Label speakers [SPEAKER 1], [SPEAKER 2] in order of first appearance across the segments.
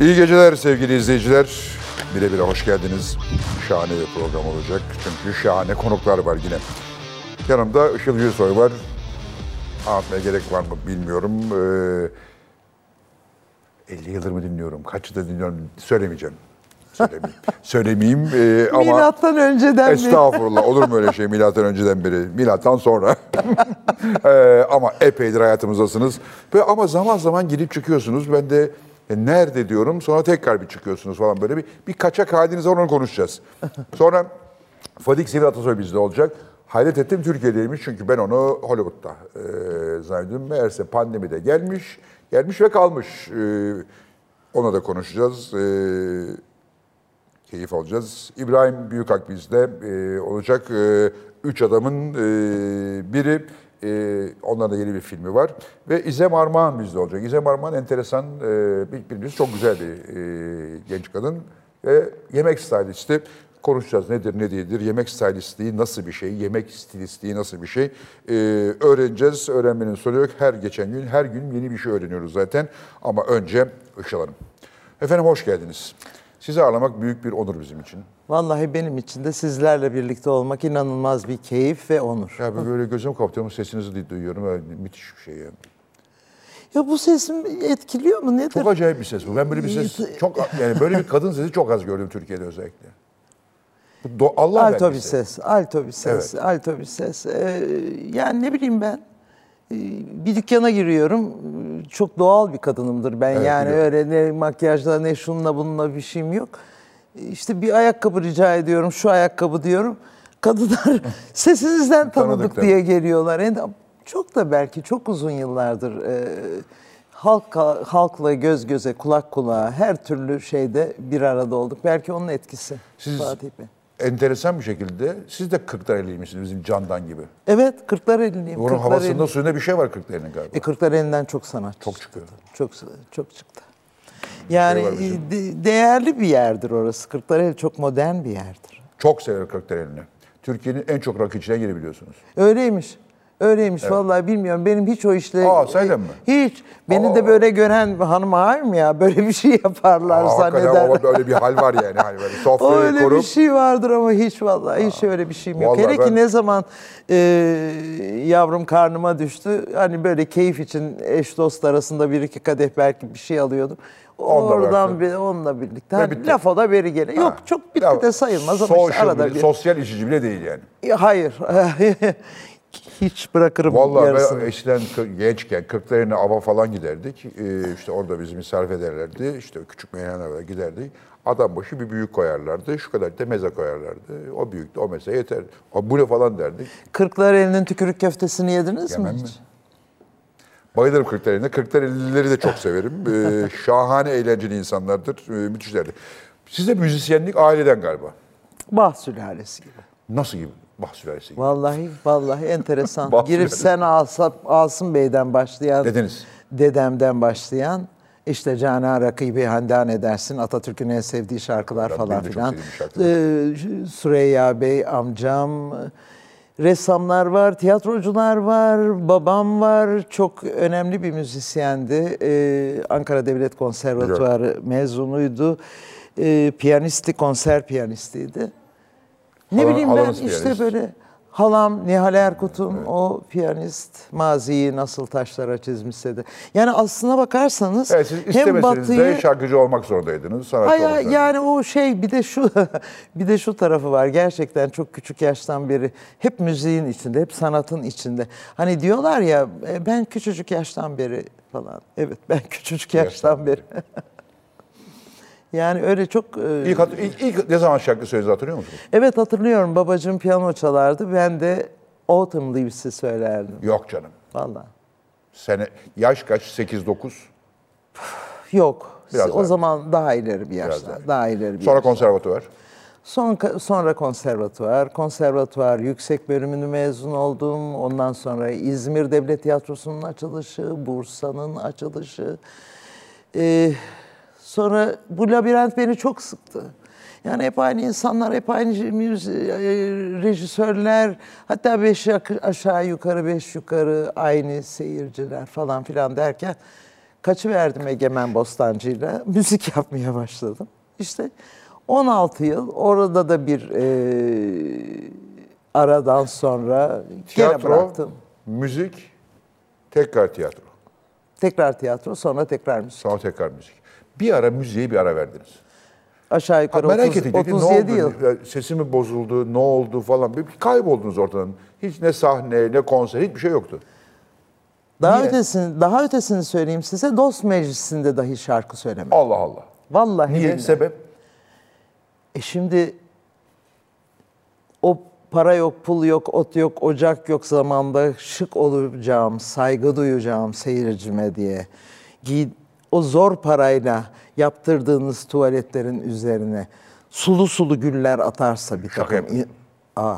[SPEAKER 1] İyi geceler sevgili izleyiciler. Bire bire hoş geldiniz. Şahane bir program olacak. Çünkü şahane konuklar var yine. Yanımda Işıl Yüzsoy var. Anlatmaya gerek var mı bilmiyorum. Ee, 50 yıldır mı dinliyorum? Kaç yıldır dinliyorum? Söylemeyeceğim. Söylemeyeyim. Söylemeyeyim ee, ama...
[SPEAKER 2] Milattan önceden beri.
[SPEAKER 1] Estağfurullah olur mu öyle şey milattan önceden beri, milattan sonra. Ee, ama epeydir hayatımızdasınız. Ve ama zaman zaman girip çıkıyorsunuz. Ben de e, nerede diyorum sonra tekrar bir çıkıyorsunuz falan böyle bir, bir kaçak haliniz var onu konuşacağız. Sonra Fadik Sivil Atasoy bizde olacak. Hayret ettim Türkiye'deymiş çünkü ben onu Hollywood'da e, zannediyordum. Meğerse pandemide gelmiş, gelmiş ve kalmış. E, ona da konuşacağız. E, keyif alacağız. İbrahim Büyükak bizde e, olacak. E, üç adamın e, biri. E, onların da yeni bir filmi var. Ve İzem Armağan bizde olacak. İzem Armağan enteresan, e, bir- bildiğiniz çok güzel bir e, genç kadın. Ve yemek stylisti. Konuşacağız nedir ne değildir, yemek stylistliği nasıl bir şey, yemek stilistliği nasıl bir şey E, öğreneceğiz. Öğrenmenin sonu yok. Her geçen gün, her gün yeni bir şey öğreniyoruz zaten. Ama önce Işıl Hanım. Efendim hoş geldiniz. Sizi ağırlamak büyük bir onur bizim için.
[SPEAKER 2] Vallahi benim için de sizlerle birlikte olmak inanılmaz bir keyif ve onur.
[SPEAKER 1] Ya ben böyle gözüm kaptıyorum, sesinizi du- duyuyorum. Öyle müthiş bir şey yani.
[SPEAKER 2] Ya bu sesim etkiliyor mu nedir?
[SPEAKER 1] Çok acayip bir ses bu. Ben böyle bir ses, çok yani böyle bir kadın sesi çok az gördüm Türkiye'de özellikle. Bu do- Allah
[SPEAKER 2] Alto bir
[SPEAKER 1] vergisi.
[SPEAKER 2] ses, alto bir ses, alto bir ses. Ee, yani ne bileyim ben e, bir dükkana giriyorum. Çok doğal bir kadınımdır ben.
[SPEAKER 1] Evet,
[SPEAKER 2] yani
[SPEAKER 1] biliyorum.
[SPEAKER 2] öyle ne makyajla ne şununla bununla bir şeyim yok. İşte bir ayakkabı rica ediyorum, şu ayakkabı diyorum. Kadınlar sesinizden tanıdık
[SPEAKER 1] Tanıdık,
[SPEAKER 2] diye geliyorlar. Yani çok da belki çok uzun yıllardır e, halk halkla göz göze, kulak kulağa her türlü şeyde bir arada olduk. Belki onun etkisi.
[SPEAKER 1] Siz-
[SPEAKER 2] Fatih Bey.
[SPEAKER 1] Enteresan bir şekilde siz de 40'lar misiniz bizim candan gibi.
[SPEAKER 2] Evet, Kırklareli'liyim.
[SPEAKER 1] Onun havasında
[SPEAKER 2] Kırklareli.
[SPEAKER 1] suyunda bir şey var 40'larının galiba.
[SPEAKER 2] E, Kırklareli'den çok sanatçı.
[SPEAKER 1] Çok çıkıyor.
[SPEAKER 2] Çok çok çıktı. Yani
[SPEAKER 1] var bizim.
[SPEAKER 2] e, de- değerli bir yerdir orası. Kırklareli çok modern bir yerdir.
[SPEAKER 1] Çok sever 40'larını. Türkiye'nin en çok rakı içine girebiliyorsunuz.
[SPEAKER 2] Öyleymiş. Öyleymiş vallahi bilmiyorum. Benim hiç o işle e,
[SPEAKER 1] Aa, sahiden mi?
[SPEAKER 2] Hiç. Beni
[SPEAKER 1] Aa.
[SPEAKER 2] de böyle gören hanım hayır mı ya? Böyle bir şey yaparlar
[SPEAKER 1] Aa, hakikaten
[SPEAKER 2] zannederler.
[SPEAKER 1] o- öyle bir hal var yani. Hani böyle
[SPEAKER 2] O
[SPEAKER 1] sofrayı
[SPEAKER 2] öyle bir
[SPEAKER 1] korup
[SPEAKER 2] şey vardır ama hiç vallahi hiç öyle bir şeyim yok.
[SPEAKER 1] Vallahi
[SPEAKER 2] Hele
[SPEAKER 1] ben-
[SPEAKER 2] ki ne zaman e, yavrum karnıma düştü hani böyle keyif için eş dost arasında bir iki kadeh belki bir şey alıyordum.
[SPEAKER 1] Onunla
[SPEAKER 2] Oradan
[SPEAKER 1] bıraktın.
[SPEAKER 2] bir, onunla birlikte.
[SPEAKER 1] Ve
[SPEAKER 2] Hani
[SPEAKER 1] bitti.
[SPEAKER 2] lafo da beri gele. Yok
[SPEAKER 1] Ha.
[SPEAKER 2] çok bitti
[SPEAKER 1] Ya,
[SPEAKER 2] de sayılmaz ama işte
[SPEAKER 1] social
[SPEAKER 2] arada
[SPEAKER 1] bile-
[SPEAKER 2] bir.
[SPEAKER 1] Sosyal içici bile değil yani.
[SPEAKER 2] Ya, Hayır. hiç bırakırım
[SPEAKER 1] Vallahi
[SPEAKER 2] yarısını.
[SPEAKER 1] ben eskiden kı- gençken kırklarına ava falan giderdik. Ee, işte orada bizi misafir ederlerdi. İşte küçük meyhanelere giderdik. Adam başı bir büyük koyarlardı. Şu kadar da meze koyarlardı. O büyüktü, o meze yeter. O bu ne falan derdik.
[SPEAKER 2] Kırklareli'nin tükürük köftesini yediniz
[SPEAKER 1] Yemem
[SPEAKER 2] mi
[SPEAKER 1] mi?
[SPEAKER 2] hiç?
[SPEAKER 1] Bayılırım kırklarına. Kırklar ellileri de çok severim. Ee, şahane eğlenceli insanlardır. Ee, müthişlerdir. Sizde müzisyenlik aileden galiba.
[SPEAKER 2] Bah sülalesi gibi.
[SPEAKER 1] Nasıl gibi? Bah sülalesi gibi.
[SPEAKER 2] Vallahi vallahi enteresan.
[SPEAKER 1] Bahsediyorum.
[SPEAKER 2] Girip sen Asap, Asım Bey'den başlayan,
[SPEAKER 1] Dedeniz.
[SPEAKER 2] dedemden başlayan, işte Cana Rakibi Handan edersin, Atatürk'ün en sevdiği şarkılar
[SPEAKER 1] Ben
[SPEAKER 2] falan
[SPEAKER 1] benim de çok
[SPEAKER 2] filan.
[SPEAKER 1] sevdiğim
[SPEAKER 2] Ee, Süreyya Bey, amcam, ressamlar var, tiyatrocular var, babam var. Çok önemli bir müzisyendi. Ee, Ankara Devlet Konservatuvarı mezunuydu. Ee, piyanisti, konser piyanistiydi. Ne
[SPEAKER 1] Halan-
[SPEAKER 2] bileyim ben
[SPEAKER 1] halanız
[SPEAKER 2] işte
[SPEAKER 1] piyanist.
[SPEAKER 2] böyle halam Nihal Erkut'un o piyanist maziyi nasıl taşlara çizmişse de. Yani aslına bakarsanız
[SPEAKER 1] Evet, siz
[SPEAKER 2] hem
[SPEAKER 1] istemeseniz
[SPEAKER 2] batıyı
[SPEAKER 1] de şarkıcı olmak zorundaydınız. Sanatçı
[SPEAKER 2] Hayır,
[SPEAKER 1] olmak zorundaydınız.
[SPEAKER 2] yani o şey bir de şu bir de şu tarafı var. Gerçekten çok küçük yaştan beri hep müziğin içinde, hep sanatın içinde. Hani diyorlar ya e, ben küçücük yaştan beri falan. Evet ben küçücük yaştan beri. yani öyle çok e,
[SPEAKER 1] İlk, hat- ilk, ilk ne zaman şarkı söylediğinizi hatırlıyor musunuz?
[SPEAKER 2] Evet hatırlıyorum babacığım piyano çalardı. Ben de Autumn Leaves'i söylerdim.
[SPEAKER 1] Yok canım.
[SPEAKER 2] Valla.
[SPEAKER 1] Sene, yaş kaç? 8-9.
[SPEAKER 2] Yok.
[SPEAKER 1] Biraz
[SPEAKER 2] o
[SPEAKER 1] daha.
[SPEAKER 2] zaman daha ileri bir yaşta.
[SPEAKER 1] daha.
[SPEAKER 2] Daha ileri bir
[SPEAKER 1] Sonra
[SPEAKER 2] Sonra,
[SPEAKER 1] konservatuvar.
[SPEAKER 2] Son, sonra konservatuvar. Konservatuvar yüksek bölümünü mezun oldum. Ondan sonra İzmir Devlet Tiyatrosu'nun açılışı, Bursa'nın açılışı. Ee, sonra bu labirent beni çok sıktı. Yani hep aynı insanlar, hep aynı müzi- e, rejisörler, hatta beş yak- aşağı yukarı, beş yukarı aynı seyirciler falan filan derken Kaçıverdim Egemen Bostancı'yla. Müzik yapmaya başladım. İşte 16 yıl orada da bir e, aradan sonra gene
[SPEAKER 1] Tiyatro,
[SPEAKER 2] bıraktım.
[SPEAKER 1] müzik, tekrar tiyatro.
[SPEAKER 2] Tekrar tiyatro sonra tekrar müzik.
[SPEAKER 1] Sonra tekrar müzik. Bir ara müziğe bir ara verdiniz.
[SPEAKER 2] Aşağı yukarı
[SPEAKER 1] merak
[SPEAKER 2] 30
[SPEAKER 1] ettim. Peki
[SPEAKER 2] 37
[SPEAKER 1] ne
[SPEAKER 2] yıl.
[SPEAKER 1] oldu? Ya Sesi mi bozuldu, ne oldu falan. Bir bir kayboldunuz ortadan. Hiç ne sahne, ne konser, hiçbir şey yoktu.
[SPEAKER 2] Daha
[SPEAKER 1] Niye?
[SPEAKER 2] ötesini daha ötesini söyleyeyim size. Dost meclisinde dahi şarkı söylemedim.
[SPEAKER 1] Allah Allah.
[SPEAKER 2] Vallahi
[SPEAKER 1] Niye?
[SPEAKER 2] billahi.
[SPEAKER 1] Sebep?
[SPEAKER 2] E şimdi o para yok, pul yok, ot yok, ocak yok zamanda şık olacağım, saygı duyacağım seyircime diye. Giy- o zor parayla yaptırdığınız tuvaletlerin üzerine sulu sulu güller atarsa bir
[SPEAKER 1] Şaka
[SPEAKER 2] takım...
[SPEAKER 1] yapıyorsun.
[SPEAKER 2] Aa,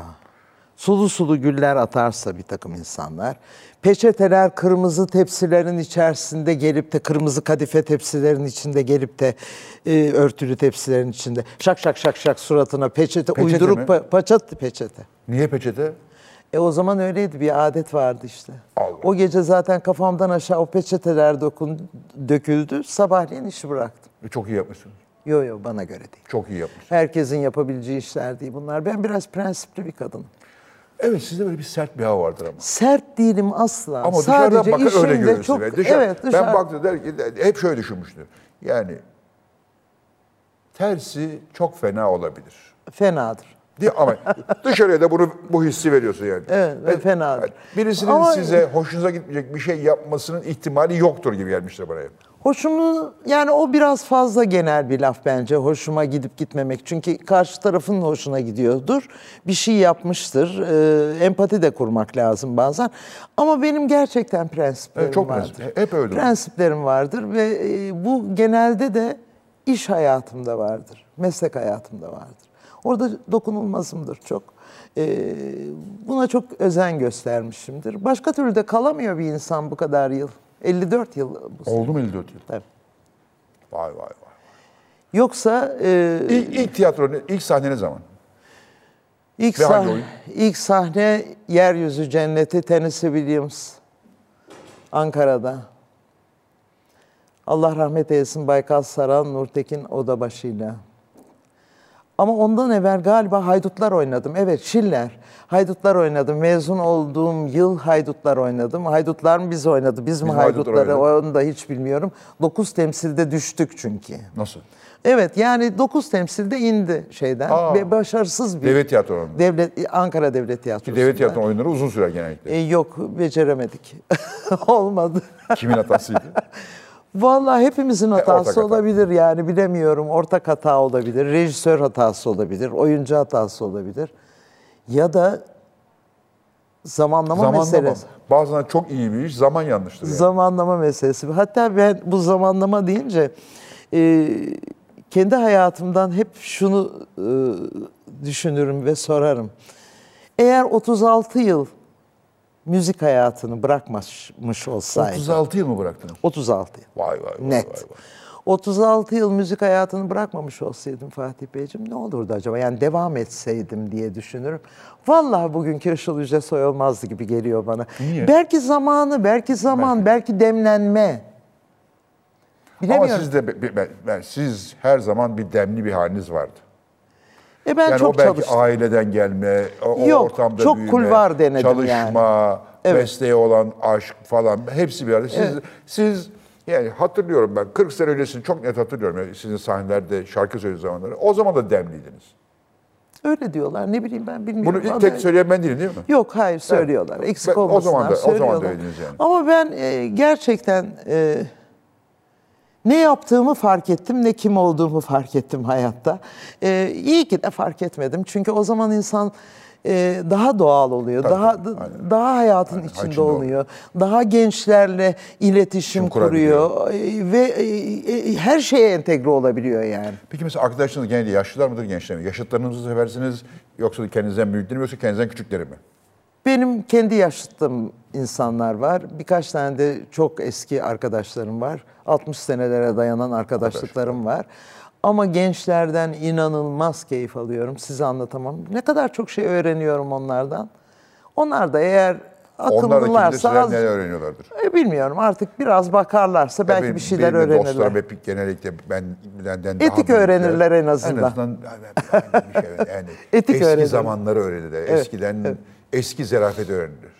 [SPEAKER 2] sulu sulu güller atarsa bir takım insanlar, peçeteler kırmızı tepsilerin içerisinde gelip de kırmızı kadife tepsilerin içinde gelip de e, örtülü tepsilerin içinde şak şak şak şak suratına peçete,
[SPEAKER 1] Peçete
[SPEAKER 2] uydurup
[SPEAKER 1] mi?
[SPEAKER 2] pa- paçat peçete.
[SPEAKER 1] Niye peçete?
[SPEAKER 2] E o zaman öyleydi bir adet vardı işte.
[SPEAKER 1] Allah.
[SPEAKER 2] O gece zaten kafamdan aşağı o peçeteler dokun, döküldü. Sabahleyin işi bıraktım.
[SPEAKER 1] E, Çok iyi yapmışsınız.
[SPEAKER 2] Yo yo bana göre değil.
[SPEAKER 1] Çok iyi yapmışsınız.
[SPEAKER 2] Herkesin yapabileceği işler değil bunlar. Ben biraz prensipli bir kadınım.
[SPEAKER 1] Evet sizde böyle bir sert bir hava vardır ama.
[SPEAKER 2] Sert değilim asla.
[SPEAKER 1] Ama
[SPEAKER 2] Sadece
[SPEAKER 1] dışarıdan bakar öyle
[SPEAKER 2] işimde
[SPEAKER 1] görürsün.
[SPEAKER 2] çok,
[SPEAKER 1] yani. Dışarı-
[SPEAKER 2] evet, dışarı,
[SPEAKER 1] Ben baktım der ki der- hep şöyle düşünmüştüm. Yani tersi çok fena olabilir.
[SPEAKER 2] fenadır.
[SPEAKER 1] Değil mi? ama dışarıya da bunu bu hissi veriyorsun yani.
[SPEAKER 2] Evet, ve fenadır.
[SPEAKER 1] Birisinin
[SPEAKER 2] Ama-
[SPEAKER 1] size hoşunuza gitmeyecek bir şey yapmasının ihtimali yoktur gibi gelmişti bana. hep.
[SPEAKER 2] Hoşumu yani o biraz fazla genel bir laf bence hoşuma gidip gitmemek. Çünkü karşı tarafın hoşuna gidiyordur. Bir şey yapmıştır. Ee, empati de kurmak lazım bazen. Ama benim gerçekten prensiplerim
[SPEAKER 1] Evet, çok
[SPEAKER 2] vardır.
[SPEAKER 1] prensip- hep öyle.
[SPEAKER 2] Prensiplerim vardır ve e, bu genelde de iş hayatımda vardır. Meslek hayatımda vardır. Orada dokunulmazımdır çok. Ee, buna çok özen göstermişimdir. Başka türlü de kalamıyor bir insan bu kadar yıl. 54 yıl bu
[SPEAKER 1] Oldu mu 54 yıl?
[SPEAKER 2] Tabii.
[SPEAKER 1] Vay vay vay.
[SPEAKER 2] Yoksa e,
[SPEAKER 1] İlk, ilk tiyatro, ne- ilk sahne ne zaman?
[SPEAKER 2] ilk,
[SPEAKER 1] ve hangi
[SPEAKER 2] sah-
[SPEAKER 1] oyun?
[SPEAKER 2] ilk sahne Yeryüzü Cenneti Tennessee Williams Ankara'da. Allah rahmet eylesin Baykal Saran Nurtekin Odabaşı'yla. Ama ondan evvel galiba Haydutlar oynadım. Evet Şiller. Haydutlar oynadım. Mezun olduğum yıl Haydutlar oynadım. Haydutlar mı biz oynadı? Biz mi
[SPEAKER 1] Biz Haydutlar
[SPEAKER 2] Haydutları? Onu da hiç bilmiyorum. 9 temsilde düştük çünkü.
[SPEAKER 1] Nasıl?
[SPEAKER 2] Evet yani 9 temsilde indi şeyden.
[SPEAKER 1] Aa.
[SPEAKER 2] Ve başarısız bir
[SPEAKER 1] Devlet tiyatrolarında.
[SPEAKER 2] devlet Ankara Devlet Tiyatrosu.
[SPEAKER 1] Devlet tiyatro oyunları uzun sürer genellikle.
[SPEAKER 2] E, yok beceremedik. Olmadı.
[SPEAKER 1] Kimin hatasıydı?
[SPEAKER 2] Vallahi hepimizin hatası
[SPEAKER 1] E, hata.
[SPEAKER 2] olabilir yani bilemiyorum. Ortak hata olabilir, rejisör hatası olabilir, oyuncu hatası olabilir. Ya da zamanlama,
[SPEAKER 1] Zamanlama.
[SPEAKER 2] meselesi.
[SPEAKER 1] Bazen çok iyi bir iş, zaman yanlıştır. Yani.
[SPEAKER 2] Zamanlama meselesi. Hatta ben bu zamanlama deyince e, kendi hayatımdan hep şunu e, düşünürüm ve sorarım. Eğer 36 yıl müzik hayatını bırakmamış olsaydı.
[SPEAKER 1] 36 yıl mı bıraktınız?
[SPEAKER 2] 36 yıl.
[SPEAKER 1] Vay vay vay.
[SPEAKER 2] Net.
[SPEAKER 1] vay, vay.
[SPEAKER 2] 36 yıl müzik hayatını bırakmamış olsaydım Fatih Beyciğim ne olurdu acaba? Yani devam etseydim diye düşünürüm. Vallahi bugünkü Işıl Yüce Soy olmazdı gibi geliyor bana.
[SPEAKER 1] Niye?
[SPEAKER 2] Belki zamanı, belki zaman, belki, demlenme.
[SPEAKER 1] Ama
[SPEAKER 2] Bilemiyorum.
[SPEAKER 1] siz de be- be- ben, ben- siz her zaman bir demli bir haliniz vardı.
[SPEAKER 2] e ben
[SPEAKER 1] Yani
[SPEAKER 2] çok
[SPEAKER 1] o belki
[SPEAKER 2] çalıştım.
[SPEAKER 1] aileden gelme, o, o
[SPEAKER 2] Yok,
[SPEAKER 1] ortamda
[SPEAKER 2] çok
[SPEAKER 1] büyüme,
[SPEAKER 2] kulvar denedim
[SPEAKER 1] çalışma,
[SPEAKER 2] Evet.
[SPEAKER 1] mesleğe olan aşk falan hepsi bir arada. Siz, siz yani hatırlıyorum ben 40 sene öncesini çok net hatırlıyorum. Yani sizin sahnelerde şarkı söylediğiniz zamanları. O zaman da demliydiniz.
[SPEAKER 2] Öyle diyorlar ne bileyim ben bilmiyorum.
[SPEAKER 1] Bunu ilk
[SPEAKER 2] Ama-
[SPEAKER 1] tek söyleyen ben değilim değil mi?
[SPEAKER 2] Yok hayır söylüyorlar. Eksik
[SPEAKER 1] Ben- o
[SPEAKER 2] olmasınlar
[SPEAKER 1] zaman da- o zaman da
[SPEAKER 2] söylüyorlar.
[SPEAKER 1] öyleydiniz yani.
[SPEAKER 2] Ama ben e, gerçekten e, ne yaptığımı fark ettim ne kim olduğumu fark ettim hayatta. E, iyi ki de fark etmedim. Çünkü o zaman insan e, daha doğal oluyor.
[SPEAKER 1] Tabii,
[SPEAKER 2] daha
[SPEAKER 1] tabii, aynen.
[SPEAKER 2] daha hayatın içinde,
[SPEAKER 1] içinde oluyor.
[SPEAKER 2] oluyor. Daha gençlerle iletişim
[SPEAKER 1] kurabiliyor.
[SPEAKER 2] kuruyor e, ve e, e, her şeye entegre olabiliyor yani.
[SPEAKER 1] Peki mesela arkadaşlarınız genelde yaşlılar mıdır gençler mi? Yaşıtlarınızı seversiniz yoksa kendinizden büyükleri mi yoksa kendinizden küçükleri mi?
[SPEAKER 2] Benim kendi yaşıtım insanlar var. Birkaç tane de çok eski arkadaşlarım var. 60 senelere dayanan arkadaşlıklarım var. Ama gençlerden inanılmaz keyif alıyorum. Size anlatamam. Ne kadar çok şey öğreniyorum onlardan. Onlar da eğer
[SPEAKER 1] Onlar da kimdir
[SPEAKER 2] akıllılarsa
[SPEAKER 1] sizden
[SPEAKER 2] az,
[SPEAKER 1] neler öğreniyorlardır?
[SPEAKER 2] E, bilmiyorum artık biraz bakarlarsa belki
[SPEAKER 1] Tabii
[SPEAKER 2] bir
[SPEAKER 1] benim
[SPEAKER 2] şeyler
[SPEAKER 1] de
[SPEAKER 2] öğrenirler.
[SPEAKER 1] Dostlarım hep genellikle ben benden daha
[SPEAKER 2] Etik
[SPEAKER 1] büyükler.
[SPEAKER 2] öğrenirler en azından.
[SPEAKER 1] En azından aynı bir şey öğren- yani
[SPEAKER 2] Etik
[SPEAKER 1] eski
[SPEAKER 2] öğrenirler.
[SPEAKER 1] zamanları öğrenirler. Eskiden eski zarafet öğrenilir.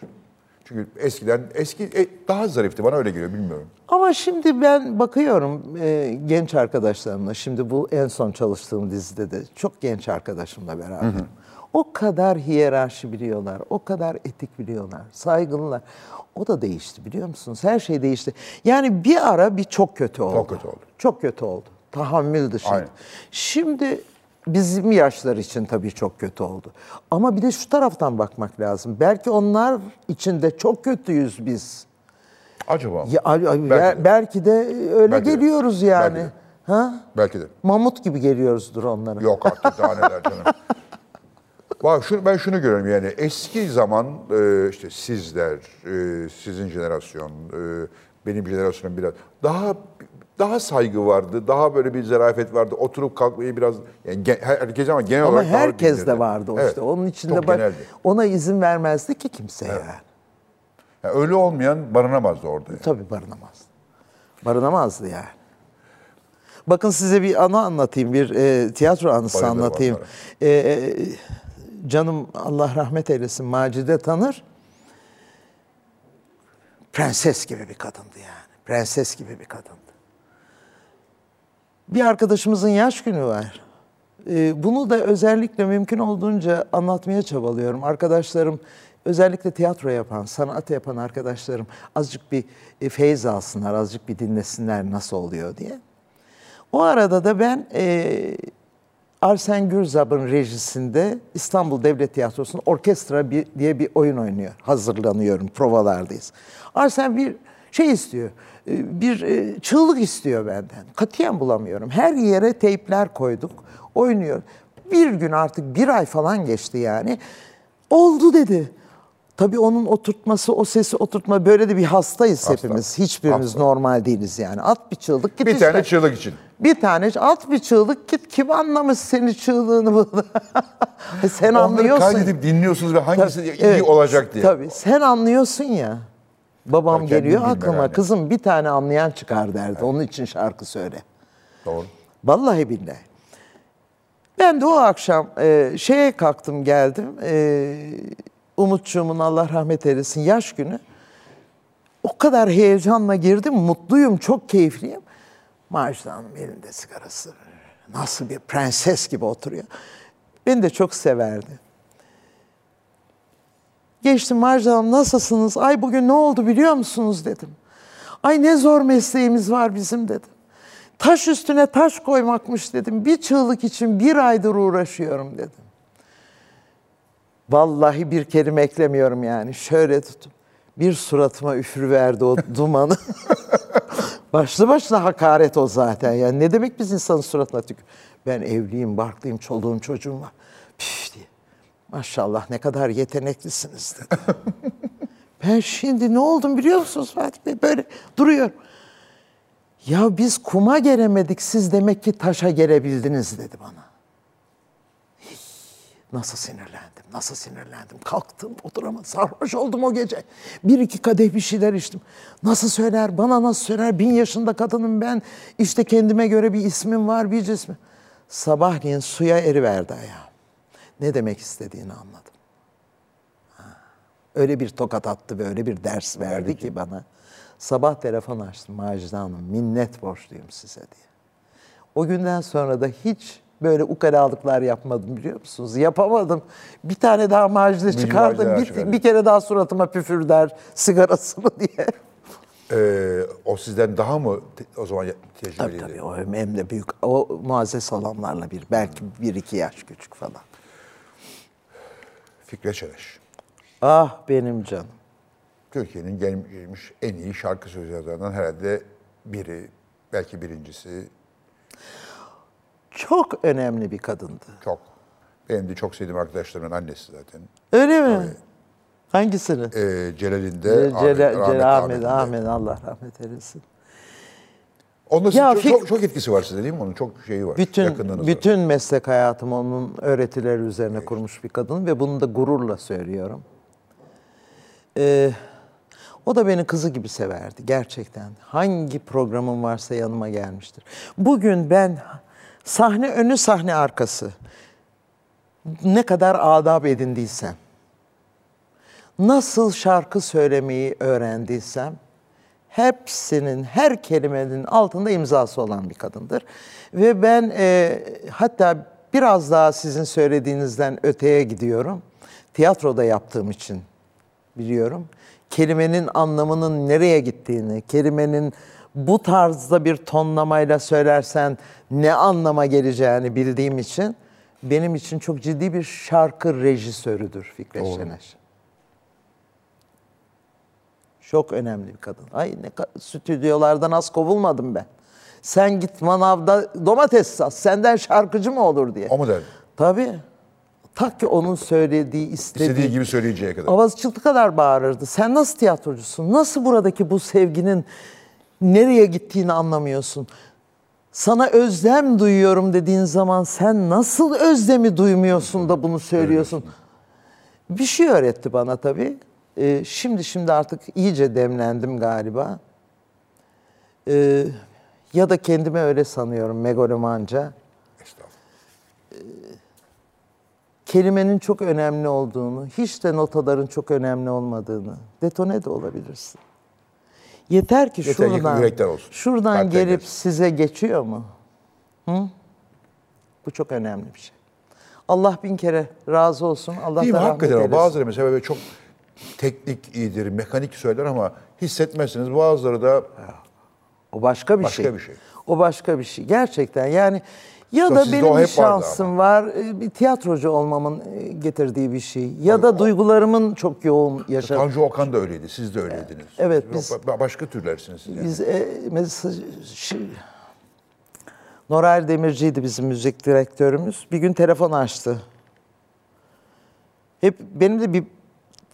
[SPEAKER 1] Çünkü eskiden eski e, daha zarifti bana öyle geliyor bilmiyorum.
[SPEAKER 2] Ama şimdi ben bakıyorum e, genç arkadaşlarımla. Şimdi bu en son çalıştığım dizide de çok genç arkadaşımla beraber. O kadar hiyerarşi biliyorlar, o kadar etik biliyorlar, saygılılar. O da değişti biliyor musunuz? Her şey değişti. Yani bir ara bir çok kötü oldu.
[SPEAKER 1] Çok kötü oldu.
[SPEAKER 2] Çok kötü oldu. Tahammül dışıydı.
[SPEAKER 1] Aynen.
[SPEAKER 2] Şimdi bizim yaşlar için tabii çok kötü oldu. Ama bir de şu taraftan bakmak lazım. Belki onlar için de çok kötüyüz biz.
[SPEAKER 1] Acaba mı?
[SPEAKER 2] Ya, ay-
[SPEAKER 1] Belki
[SPEAKER 2] ay-
[SPEAKER 1] de.
[SPEAKER 2] ya- belki, de. e, öyle
[SPEAKER 1] Belki de.
[SPEAKER 2] geliyoruz yani.
[SPEAKER 1] Belki de.
[SPEAKER 2] Ha?
[SPEAKER 1] Belki de.
[SPEAKER 2] Mamut gibi geliyoruzdur onlara.
[SPEAKER 1] Yok artık daha neler canım. Bak şunu, ben şunu görüyorum yani eski zaman e, işte sizler, e, sizin jenerasyon, e, benim jenerasyonum biraz daha daha saygı vardı, daha böyle bir zarafet vardı. Oturup kalkmayı biraz yani gen- herkes ama genel
[SPEAKER 2] Ama
[SPEAKER 1] olarak daha
[SPEAKER 2] herkes de
[SPEAKER 1] bilirdi.
[SPEAKER 2] vardı o
[SPEAKER 1] Evet,
[SPEAKER 2] işte. Onun içinde
[SPEAKER 1] çok
[SPEAKER 2] bak-
[SPEAKER 1] geneldi.
[SPEAKER 2] ona izin vermezdi ki kimse yani.
[SPEAKER 1] Yani öyle olmayan barınamazdı orada. yani.
[SPEAKER 2] Tabii barınamaz. Barınamazdı yani. Bakın size bir anı anlatayım, bir e, tiyatro anısı
[SPEAKER 1] Bayılırım
[SPEAKER 2] anlatayım.
[SPEAKER 1] anılara.
[SPEAKER 2] E, e, canım Allah rahmet eylesin Macide Tanır. Prenses gibi bir kadındı yani. Prenses gibi bir kadındı. Bir arkadaşımızın yaş günü var. Ee, Bunu da özellikle mümkün olduğunca anlatmaya çabalıyorum. Arkadaşlarım, özellikle tiyatro yapan, sanat yapan arkadaşlarım azıcık bir e, feyz alsınlar, azıcık bir dinlesinler nasıl oluyor diye. O arada da ben e, Arsen Gürzap'ın rejisinde İstanbul Devlet Tiyatrosu'nun orkestra bir, diye bir oyun oynuyor. Hazırlanıyorum, provalardayız. Arsen bir şey istiyor, e, bir e, çığlık istiyor benden. Katiyen bulamıyorum. Her yere teypler koyduk, oynuyor. Bir gün artık bir ay falan geçti yani. Oldu dedi. Tabii onun oturtması, o sesi oturtma böyle de bir hastayız
[SPEAKER 1] Hasta.
[SPEAKER 2] hepimiz. Hiçbirimiz
[SPEAKER 1] Hasta.
[SPEAKER 2] normal değiliz yani. At bir çığlık git
[SPEAKER 1] Bir
[SPEAKER 2] işte.
[SPEAKER 1] tane çığlık için.
[SPEAKER 2] Bir tane at bir çığlık git. Kim anlamış senin çığlığını bunu? sen
[SPEAKER 1] Onları
[SPEAKER 2] anlıyorsun.
[SPEAKER 1] kaydedip dinliyorsunuz ve hangisi
[SPEAKER 2] Tabii,
[SPEAKER 1] iyi
[SPEAKER 2] evet.
[SPEAKER 1] olacak diye.
[SPEAKER 2] Tabii sen anlıyorsun ya. Babam
[SPEAKER 1] Tabii, kendin
[SPEAKER 2] geliyor
[SPEAKER 1] bilme
[SPEAKER 2] aklıma
[SPEAKER 1] yani.
[SPEAKER 2] kızım bir tane anlayan çıkar derdi. Onun için şarkı söyle.
[SPEAKER 1] Doğru.
[SPEAKER 2] Vallahi billahi. Ben de o akşam e, şeye kalktım geldim. E, Umutçuğumun Allah rahmet eylesin yaş günü. O kadar heyecanla girdim. Mutluyum, çok keyifliyim. Macide Hanım elinde sigarası. Nasıl bir prenses gibi oturuyor. Beni de çok severdi. Geçtim Macide Hanım nasılsınız? Ay bugün ne oldu biliyor musunuz dedim. Ay ne zor mesleğimiz var bizim dedim. Taş üstüne taş koymakmış dedim. Bir çığlık için bir aydır uğraşıyorum dedim. Vallahi bir kelime eklemiyorum yani. Şöyle tutup bir suratıma üfürüverdi o dumanı. Başlı başına hakaret o zaten. Yani ne demek biz insanın suratına tükür? Ben evliyim, barklıyım, çoluğum, çocuğum var. Püf diye. Maşallah ne kadar yeteneklisiniz dedi. ben şimdi ne oldum biliyor musunuz Fatih Bey? Böyle duruyorum. Ya biz kuma gelemedik, siz demek ki taşa gelebildiniz dedi bana. Hii, Nasıl sinirlendim, nasıl sinirlendim. Kalktım, oturamadım, sarhoş oldum o gece. Bir iki kadeh bir şeyler içtim. Nasıl söyler, bana nasıl söyler, bin yaşında kadınım ben. İşte kendime göre bir ismim var, bir cismim. Sabahleyin suya eriverdi ayağım. Ne demek istediğini anladım. Öyle bir tokat attı ve öyle bir ders verdi, ki. bana. Sabah telefon açtım Macide Hanım minnet borçluyum size diye. O günden sonra da hiç böyle ukalalıklar yapmadım biliyor musunuz? Yapamadım. Bir tane daha Macide çıkardım.
[SPEAKER 1] Macide
[SPEAKER 2] Bir,
[SPEAKER 1] çıkardım.
[SPEAKER 2] bir kere daha suratıma püfür der sigarasını diye.
[SPEAKER 1] Ee, o sizden daha mı te- o zaman
[SPEAKER 2] Tabii
[SPEAKER 1] tecrübeliydi?
[SPEAKER 2] tabii o hem de büyük. O muazzez salamlarla bir belki bir iki yaş küçük falan.
[SPEAKER 1] Fikret Çeleş.
[SPEAKER 2] Ah benim canım.
[SPEAKER 1] Türkiye'nin gel- gelmiş en iyi şarkı söz yazarlarından herhalde biri, belki birincisi
[SPEAKER 2] Çok önemli bir kadındı.
[SPEAKER 1] çok. Benim de çok sevdiğim arkadaşlarımın annesi zaten.
[SPEAKER 2] Öyle mi? Hangisini?
[SPEAKER 1] Ee, Celal'in de
[SPEAKER 2] Cel-
[SPEAKER 1] Ahmet,
[SPEAKER 2] Celal- Celal-
[SPEAKER 1] rahmetli Ahmet'in
[SPEAKER 2] Ahmet, Ahmet,
[SPEAKER 1] de.
[SPEAKER 2] Allah rahmet eylesin.
[SPEAKER 1] Onun
[SPEAKER 2] Ya
[SPEAKER 1] çok,
[SPEAKER 2] Fik-
[SPEAKER 1] çok, çok etkisi var size değil mi? Onun çok şeyi var. yakınlığınız
[SPEAKER 2] Bütün
[SPEAKER 1] var.
[SPEAKER 2] bütün meslek hayatım onun öğretileri üzerine kurmuş bir kadın ve bunu da gururla söylüyorum. Ee, o da beni kızı gibi severdi gerçekten. Hangi programım varsa yanıma gelmiştir. Bugün ben sahne önü sahne arkası ne kadar adab edindiysem, nasıl şarkı söylemeyi öğrendiysem hepsinin, her kelimenin altında imzası olan bir kadındır. Ve ben e, hatta biraz daha sizin söylediğinizden öteye gidiyorum. Tiyatroda yaptığım için biliyorum. Kelimenin anlamının nereye gittiğini, kelimenin bu tarzda bir tonlamayla söylersen ne anlama geleceğini bildiğim için benim için çok ciddi bir şarkı rejisörüdür Fikret Şener. Çok önemli bir kadın. Ay ne ka- stüdyolardan az kovulmadım ben. Sen git manavda domates sat, senden şarkıcı mı olur diye.
[SPEAKER 1] O mu derdi?
[SPEAKER 2] Tabii. Tak ki onun söylediği, istediği
[SPEAKER 1] İstediği gibi söyleyeceği kadar.
[SPEAKER 2] Avaz çıktı kadar bağırırdı. Sen nasıl tiyatrocusun? Nasıl buradaki bu sevginin nereye gittiğini anlamıyorsun? Sana özlem duyuyorum dediğin zaman sen nasıl özlemi duymuyorsun da bunu söylüyorsun? Bir şey öğretti bana tabii. Ee, şimdi şimdi artık iyice demlendim galiba. Ee, ya da kendimi öyle sanıyorum megalomanca.
[SPEAKER 1] Estağfurullah.
[SPEAKER 2] kelimenin çok önemli olduğunu, hiç de notaların çok önemli olmadığını, detone de olabilirsin. Yeter ki
[SPEAKER 1] Yeter ki
[SPEAKER 2] şuradan,
[SPEAKER 1] yürekten olsun.
[SPEAKER 2] şuradan
[SPEAKER 1] Kalpten
[SPEAKER 2] gelip
[SPEAKER 1] gelsin.
[SPEAKER 2] size geçiyor mu? Hı? Bu çok önemli bir şey. Allah bin kere razı olsun. Allah
[SPEAKER 1] Değil mi?
[SPEAKER 2] da rahmet
[SPEAKER 1] Hakikaten ama
[SPEAKER 2] eylesin.
[SPEAKER 1] bazıları mesela böyle çok teknik iyidir, mekanik söyler ama hissetmezsiniz. Bazıları da
[SPEAKER 2] O başka bir
[SPEAKER 1] Başka
[SPEAKER 2] şey.
[SPEAKER 1] bir şey.
[SPEAKER 2] O başka bir şey. Gerçekten yani ya
[SPEAKER 1] Sonra
[SPEAKER 2] da
[SPEAKER 1] sizde o
[SPEAKER 2] benim bir
[SPEAKER 1] hep vardı
[SPEAKER 2] şansım var. e, Bir tiyatrocu olmamın e, getirdiği bir şey. Ya da duygularımın çok yoğun yaşadığı
[SPEAKER 1] Tanju Okan da öyleydi, siz de öyleydiniz.
[SPEAKER 2] Evet,
[SPEAKER 1] Yok,
[SPEAKER 2] biz-
[SPEAKER 1] ba- başka türlersiniz. siz yani.
[SPEAKER 2] Biz e, mes- şi- Noray Demirci'ydi bizim müzik direktörümüz. Bir gün telefon açtı. Hep benim de bir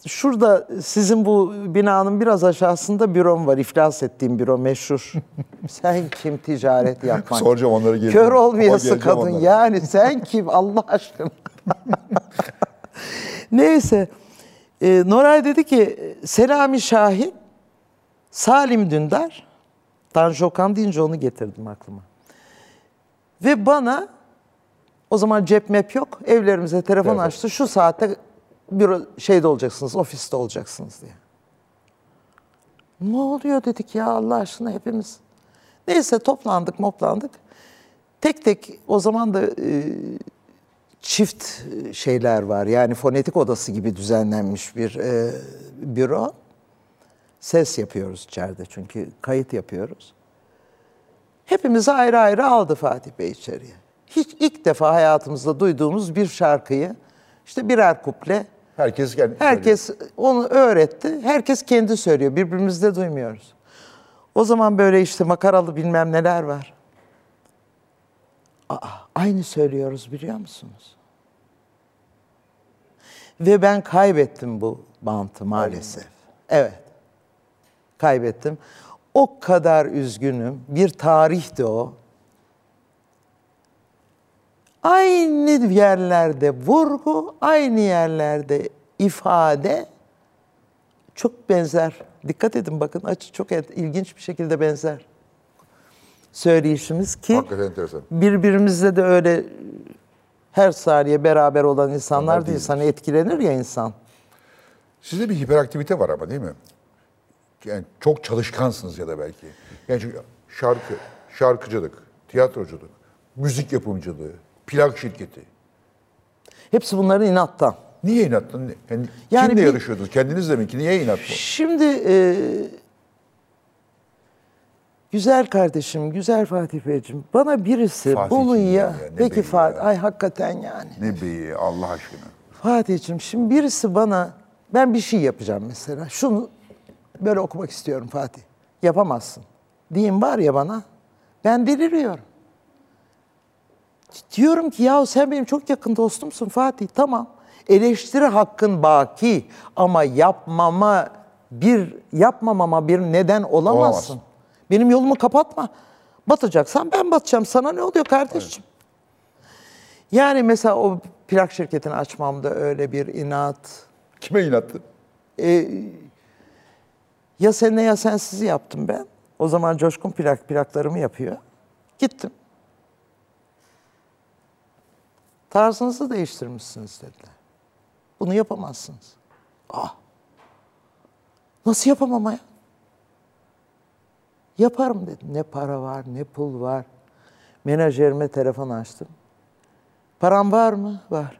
[SPEAKER 2] şurada sizin bu binanın biraz aşağısında bürom var. İflas ettiğim büro meşhur. sen kim ticaret yapmak?
[SPEAKER 1] Soracağım onları geleceğim.
[SPEAKER 2] Kör olmayası
[SPEAKER 1] Ama geleceğim
[SPEAKER 2] kadın
[SPEAKER 1] onlara.
[SPEAKER 2] yani sen kim Allah aşkına. Neyse. E, Noray dedi ki Selami Şahin, Salim Dündar, Tanju Okan deyince onu getirdim aklıma. Ve bana o zaman cep map yok. Evlerimize telefon
[SPEAKER 1] Telefon.
[SPEAKER 2] açtı. Şu saatte büro şeyde olacaksınız, ofiste olacaksınız diye. Ne oluyor dedik ya Allah aşkına hepimiz. Neyse toplandık moplandık. Tek tek o zaman da e, çift şeyler var. Yani fonetik odası gibi düzenlenmiş bir e, büro. Ses yapıyoruz içeride çünkü kayıt yapıyoruz. Hepimizi ayrı ayrı aldı Fatih Bey içeriye. Hiç ilk defa hayatımızda duyduğumuz bir şarkıyı işte birer kuple
[SPEAKER 1] Herkes kendi
[SPEAKER 2] herkes onu öğretti. Herkes kendi söylüyor. Birbirimizi de duymuyoruz. O zaman böyle işte makaralı bilmem neler var. Aa, aynı söylüyoruz biliyor musunuz? Ve ben kaybettim bu bantı maalesef. Evet. Kaybettim. O kadar üzgünüm. Bir tarihti o. Aynı yerlerde vurgu, aynı yerlerde ifade çok benzer. Dikkat edin bakın açı çok en- ilginç bir şekilde benzer. Söyleyişimiz ki
[SPEAKER 1] Hakikaten enteresan.
[SPEAKER 2] birbirimizle de öyle her saniye beraber olan insanlar
[SPEAKER 1] Onlar
[SPEAKER 2] değil.
[SPEAKER 1] değiliz.
[SPEAKER 2] Hani etkilenir ya insan.
[SPEAKER 1] Sizde bir hiperaktivite var ama değil mi? Yani çok çalışkansınız ya da belki. Yani çünkü şarkı, şarkıcılık, tiyatroculuk, müzik yapımcılığı, plak şirketi.
[SPEAKER 2] Hepsi bunların inattan.
[SPEAKER 1] Niye inatlı? Yani
[SPEAKER 2] Yani
[SPEAKER 1] kimle
[SPEAKER 2] bir-
[SPEAKER 1] yarışıyordunuz? Kendinizle mi ki? Niye inatlı?
[SPEAKER 2] Şimdi e, güzel kardeşim, güzel Fatih Beyciğim bana birisi
[SPEAKER 1] Fatih'ciğim
[SPEAKER 2] bulun ya.
[SPEAKER 1] ya, ne
[SPEAKER 2] Peki
[SPEAKER 1] beyi
[SPEAKER 2] Fatih,
[SPEAKER 1] ya.
[SPEAKER 2] ay hakikaten yani.
[SPEAKER 1] Ne beyi Allah aşkına.
[SPEAKER 2] Fatih'ciğim şimdi birisi bana ben bir şey yapacağım mesela. Şunu böyle okumak istiyorum Fatih. Yapamazsın. Diyeyim var ya bana. Ben deliriyorum. Diyorum ki yahu sen benim çok yakın dostumsun Fatih. Tamam. Eleştiri hakkın baki ama yapmama bir yapmamama bir neden olamazsın.
[SPEAKER 1] Olamazsın.
[SPEAKER 2] Benim yolumu kapatma. Batacaksan ben batacağım. Sana ne oluyor kardeşim? Yani mesela o plak şirketini açmamda öyle bir inat.
[SPEAKER 1] Kime inatlı?
[SPEAKER 2] Ee, Ya seninle ya sensizi yaptım ben. O zaman Coşkun plak plaklarımı yapıyor. Gittim. Tarzınızı değiştirmişsiniz dediler. Bunu yapamazsınız. Ah. Nasıl yapamam ya? Yaparım dedim. Ne para var, ne pul var. Menajerime telefon açtım. Param var mı? Var.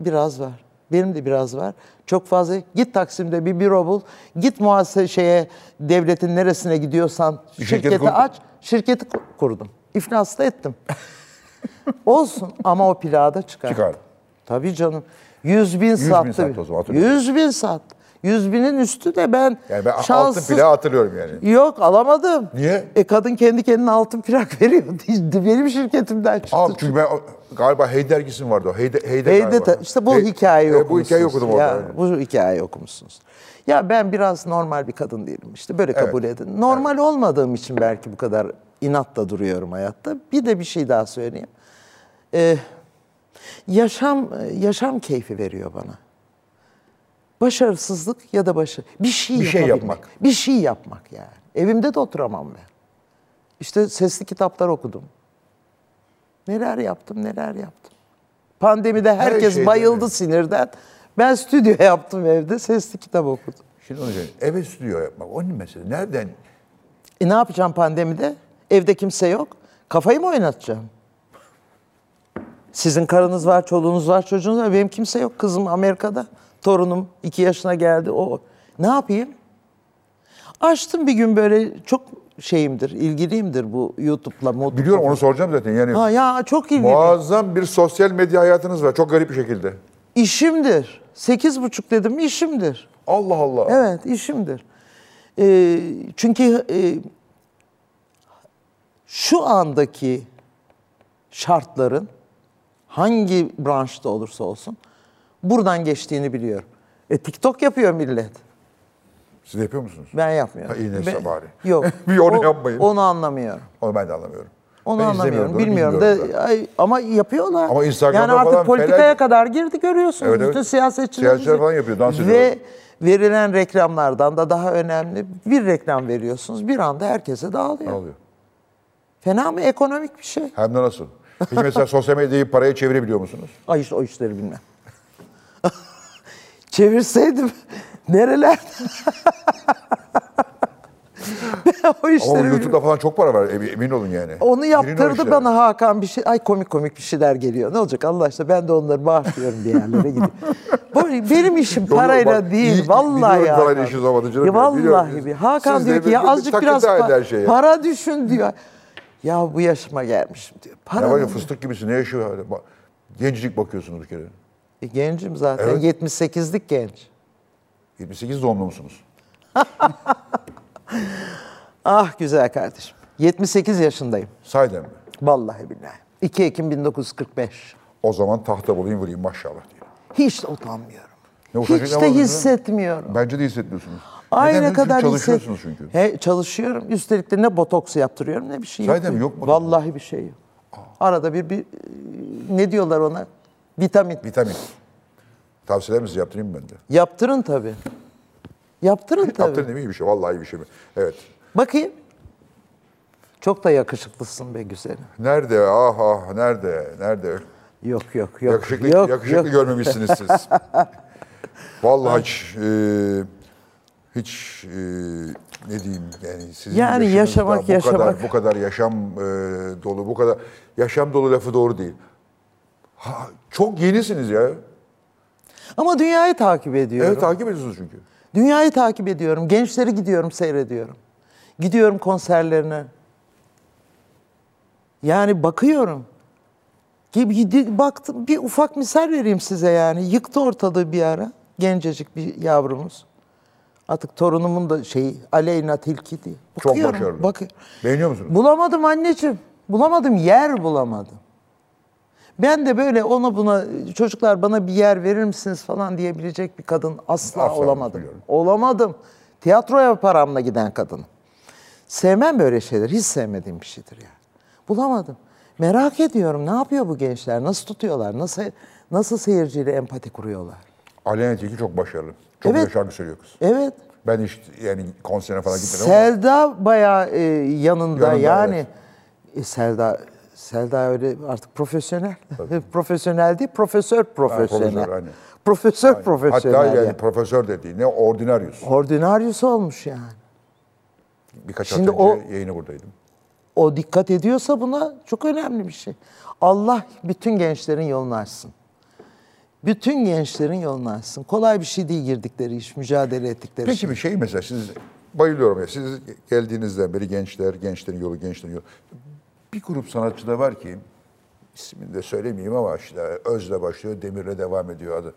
[SPEAKER 2] Biraz var. Benim de biraz var. Çok fazla. Git Taksim'de bir büro bul. Git muhasebe şeye devletin neresine gidiyorsan
[SPEAKER 1] Bir şirket
[SPEAKER 2] şirketi
[SPEAKER 1] kurdun.
[SPEAKER 2] aç. Şirketi ku- kurdum. İflas da ettim. Olsun ama o plağı da çıkar.
[SPEAKER 1] Çıkar.
[SPEAKER 2] Tabii canım. 100 bin
[SPEAKER 1] bin
[SPEAKER 2] sattı.
[SPEAKER 1] sattı o zaman, hatırlıyorum.
[SPEAKER 2] 100 bin sattı. 100 binin üstü de ben,
[SPEAKER 1] Yani ben altın
[SPEAKER 2] şanssız
[SPEAKER 1] bile hatırlıyorum yani.
[SPEAKER 2] Yok alamadım.
[SPEAKER 1] Niye?
[SPEAKER 2] E kadın kendi kendine altın plak veriyor. Benim şirketimden çıktı.
[SPEAKER 1] Abi çünkü ben galiba Hey dergisi mi vardı o? Heyde, Heyde,
[SPEAKER 2] Beyde
[SPEAKER 1] galiba.
[SPEAKER 2] ta- işte bu
[SPEAKER 1] Hey-
[SPEAKER 2] hikayeyi
[SPEAKER 1] e,
[SPEAKER 2] okumuşsunuz.
[SPEAKER 1] Bu hikayeyi okudum orada.
[SPEAKER 2] Ya, bu hikayeyi okumuşsunuz. Ya ben biraz normal bir kadın değilim işte böyle kabul edin. Normal olmadığım için belki bu kadar inatla duruyorum hayatta. Bir de bir şey daha söyleyeyim. Ee, yaşam yaşam keyfi veriyor bana. Başarısızlık ya da başı bir şey
[SPEAKER 1] Bir şey
[SPEAKER 2] yapabilmek,
[SPEAKER 1] yapmak.
[SPEAKER 2] Bir şey yapmak yani. Evimde de oturamam ben. İşte sesli kitaplar okudum. Neler yaptım, neler yaptım. Pandemide herkes
[SPEAKER 1] şey, değil
[SPEAKER 2] bayıldı
[SPEAKER 1] mi?
[SPEAKER 2] sinirden. Ben stüdyo yaptım evde, sesli kitap okudum.
[SPEAKER 1] Şimdi onu söyleyeyim. Eve stüdyo yapmak. Onun meselesi. Nereden?
[SPEAKER 2] E ne yapacağım pandemide? Evde kimse yok. Kafayı mı oynatacağım? Sizin karınız var, çoluğunuz var, çocuğunuz var. Benim kimse yok. Kızım Amerika'da. Torunum iki yaşına geldi. O ne yapayım? Açtım bir gün böyle çok şeyimdir, ilgiliyimdir bu YouTube'la, YouTube'la.
[SPEAKER 1] Biliyorum onu soracağım zaten. Yani
[SPEAKER 2] Ha ya çok ilgili.
[SPEAKER 1] muazzam bir sosyal medya hayatınız var. Çok garip bir şekilde.
[SPEAKER 2] İşimdir. Sekiz buçuk dedim işimdir.
[SPEAKER 1] Allah Allah.
[SPEAKER 2] Evet işimdir. Ee, çünkü e, şu andaki şartların hangi branşta olursa olsun buradan geçtiğini biliyorum. E, TikTok yapıyor millet.
[SPEAKER 1] Siz de yapıyor musunuz?
[SPEAKER 2] Ben yapmıyorum.
[SPEAKER 1] Ha, iyi neyse
[SPEAKER 2] Ben-
[SPEAKER 1] bari.
[SPEAKER 2] Yok.
[SPEAKER 1] Bir onu
[SPEAKER 2] O-
[SPEAKER 1] yapmayın.
[SPEAKER 2] Onu anlamıyorum.
[SPEAKER 1] Onu ben de anlamıyorum.
[SPEAKER 2] Onu
[SPEAKER 1] Ben izlemiyorum da,
[SPEAKER 2] anlamıyorum. Bilmiyorum,
[SPEAKER 1] bilmiyorum
[SPEAKER 2] da, ay, ama yapıyorlar.
[SPEAKER 1] Ama Instagram'da
[SPEAKER 2] yani artık
[SPEAKER 1] falan
[SPEAKER 2] politikaya
[SPEAKER 1] felaket-
[SPEAKER 2] kadar girdi görüyorsunuz.
[SPEAKER 1] Evet, evet.
[SPEAKER 2] Bütün siyasetçiler
[SPEAKER 1] Siyasetçiler falan yapıyor, dans ediyorlar.
[SPEAKER 2] Ve verilen reklamlardan da daha önemli bir reklam veriyorsunuz. Bir anda herkese dağılıyor.
[SPEAKER 1] Ne oluyor?
[SPEAKER 2] Fena mı ekonomik bir şey?
[SPEAKER 1] Hem de nasıl? Peki mesela sosyal medyayı paraya çevirebiliyor musunuz?
[SPEAKER 2] Ay işte o işleri bilmem. Çevirseydim nerelerde? ben o işleri
[SPEAKER 1] Ama
[SPEAKER 2] bilmiyorum.
[SPEAKER 1] YouTube'da falan çok para var em- emin olun yani.
[SPEAKER 2] Onu
[SPEAKER 1] Girin o
[SPEAKER 2] yaptırdı
[SPEAKER 1] işlere.
[SPEAKER 2] bana Hakan bir şey. Ay komik komik bir şeyler geliyor. Ne olacak Allah aşkına ben de onları bağışlıyorum bir yerlere gidip. Bu- Benim işim
[SPEAKER 1] Yok,
[SPEAKER 2] parayla
[SPEAKER 1] bak,
[SPEAKER 2] değil.
[SPEAKER 1] iyi-
[SPEAKER 2] vallahi
[SPEAKER 1] biliyorum
[SPEAKER 2] ya.
[SPEAKER 1] parayla işiniz olmadı canım
[SPEAKER 2] Ya
[SPEAKER 1] ya, biliyorum.
[SPEAKER 2] vallahi bir. Hakan
[SPEAKER 1] Siz de
[SPEAKER 2] diyor ki
[SPEAKER 1] bir-
[SPEAKER 2] ya
[SPEAKER 1] bir
[SPEAKER 2] azıcık
[SPEAKER 1] takıntı
[SPEAKER 2] biraz
[SPEAKER 1] halinde her
[SPEAKER 2] pa-
[SPEAKER 1] şey ya.
[SPEAKER 2] para düşün diyor. Ya bu yaşıma gelmişim diyor.
[SPEAKER 1] Ya
[SPEAKER 2] Para
[SPEAKER 1] var ya
[SPEAKER 2] ne?
[SPEAKER 1] fıstık gibisin ne yaşıyor hala? Bak, Gencecik bakıyorsunuz bir kere.
[SPEAKER 2] E, Gencim zaten.
[SPEAKER 1] Evet.
[SPEAKER 2] 78'lik genç.
[SPEAKER 1] 78 doğumlu musunuz?
[SPEAKER 2] Ah güzel kardeşim. 78 yaşındayım.
[SPEAKER 1] Sahiden mi?
[SPEAKER 2] Vallahi billahi. 2 Ekim 1945.
[SPEAKER 1] O zaman tahta bulayım vurayım maşallah diye.
[SPEAKER 2] Hiç de utanmıyorum.
[SPEAKER 1] Ne
[SPEAKER 2] Hiç
[SPEAKER 1] utanacak
[SPEAKER 2] de
[SPEAKER 1] ne var?
[SPEAKER 2] hissetmiyorum.
[SPEAKER 1] Bence de hissetmiyorsunuz.
[SPEAKER 2] Ay
[SPEAKER 1] Neden?
[SPEAKER 2] ne
[SPEAKER 1] Çünkü
[SPEAKER 2] kadar
[SPEAKER 1] çalışıyorsunuz
[SPEAKER 2] yüksek-
[SPEAKER 1] çünkü.
[SPEAKER 2] He, çalışıyorum. Üstelik de ne botoks yaptırıyorum ne bir şey
[SPEAKER 1] Sahiden mi? Yok botoks.
[SPEAKER 2] Vallahi bir şey yok. Arada bir, bir e, ne diyorlar ona? Vitamin.
[SPEAKER 1] Vitamin. Tavsiyelerimizi yaptırayım mı ben de?
[SPEAKER 2] Yaptırın tabii. Yaptırın tabii.
[SPEAKER 1] Yaptırın değil mi? İyi bir şey. Vallahi iyi bir şey. Evet.
[SPEAKER 2] Bakayım. Çok da yakışıklısın be güzelim.
[SPEAKER 1] Nerede? Ah ah nerede? Nerede?
[SPEAKER 2] Yok yok yok.
[SPEAKER 1] Yakışıklı,
[SPEAKER 2] yok,
[SPEAKER 1] yakışıklı
[SPEAKER 2] yok.
[SPEAKER 1] görmemişsiniz siz. Vallahi hiç, e, hiç e, ne diyeyim yani sizin
[SPEAKER 2] Yani
[SPEAKER 1] yaşınızda
[SPEAKER 2] yaşamak,
[SPEAKER 1] bu
[SPEAKER 2] yaşamak.
[SPEAKER 1] kadar bu kadar yaşam e, dolu bu kadar yaşam dolu lafı doğru değil. Ha, çok yenisiniz ya.
[SPEAKER 2] Ama dünyayı takip ediyorum.
[SPEAKER 1] Evet takip ediyorsunuz çünkü.
[SPEAKER 2] Dünyayı takip ediyorum. Gençleri gidiyorum seyrediyorum. Gidiyorum konserlerine. Yani bakıyorum. Gibi gidi- baktım bir ufak misal vereyim size yani. Yıktı ortalığı bir ara. Gencecik bir yavrumuz. Artık torunumun da şeyi Aleyna Tilki diye.
[SPEAKER 1] Çok
[SPEAKER 2] Bakıyorum,
[SPEAKER 1] başarılı.
[SPEAKER 2] bakı-
[SPEAKER 1] Beğeniyor musunuz?
[SPEAKER 2] Bulamadım anneciğim. Bulamadım yer bulamadım. Ben de böyle ona buna çocuklar bana bir yer verir misiniz falan diyebilecek bir kadın asla,
[SPEAKER 1] Asla,
[SPEAKER 2] olamadım.
[SPEAKER 1] biliyorum.
[SPEAKER 2] Olamadım. Tiyatroya paramla giden kadın. Sevmem böyle şeyler. Hiç sevmediğim bir şeydir yani. Bulamadım. Merak ediyorum ne yapıyor bu gençler? Nasıl tutuyorlar? Nasıl nasıl seyirciyle empati kuruyorlar?
[SPEAKER 1] Aleyna Tilki çok başarılı. Çok
[SPEAKER 2] Evet.
[SPEAKER 1] güzel şarkı söylüyor kız.
[SPEAKER 2] Evet.
[SPEAKER 1] Ben hiç yani konsere falan gitmedim ama
[SPEAKER 2] Selda bayağı e, yanında
[SPEAKER 1] Yanında,
[SPEAKER 2] yani.
[SPEAKER 1] evet.
[SPEAKER 2] E, Selda Selda öyle artık profesyonel. profesyonel değil, profesör profesyonel.
[SPEAKER 1] profesör, aynen.
[SPEAKER 2] Profesör profesyonel.
[SPEAKER 1] hatta yani
[SPEAKER 2] yani.
[SPEAKER 1] profesör dediğine ordinaryus.
[SPEAKER 2] Ordinaryus olmuş yani.
[SPEAKER 1] Birkaç
[SPEAKER 2] Şimdi
[SPEAKER 1] hafta önce yayını buradaydım.
[SPEAKER 2] O dikkat ediyorsa buna çok önemli bir şey. Allah bütün gençlerin yolunu açsın. Bütün gençlerin yolunu açsın. Kolay bir şey değil girdikleri iş, mücadele ettikleri iş.
[SPEAKER 1] Peki bir şey mesela siz bayılıyorum ya siz geldiğinizden beri gençler, gençlerin yolu, gençlerin yolu. Bir grup sanatçı da var ki ismini de söylemeyeyim ama işte Öz'le başlıyor, Demir'le devam ediyor adı.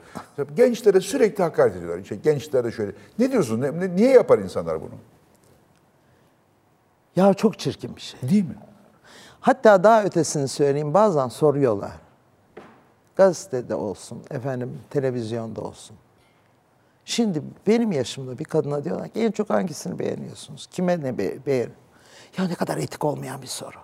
[SPEAKER 1] Gençlere sürekli hakaret ediyorlar. İşte gençler de şöyle. Ne diyorsun? Ne- ne- niye yapar insanlar bunu?
[SPEAKER 2] Ya çok çirkin bir şey.
[SPEAKER 1] Değil mi?
[SPEAKER 2] Hatta daha ötesini söyleyeyim. Bazen soruyorlar. Gazetede olsun, efendim televizyonda olsun. Şimdi benim yaşımda bir kadına diyorlar ki en çok hangisini beğeniyorsunuz? Kime ne be- beğen? Ya ne kadar etik olmayan bir soru.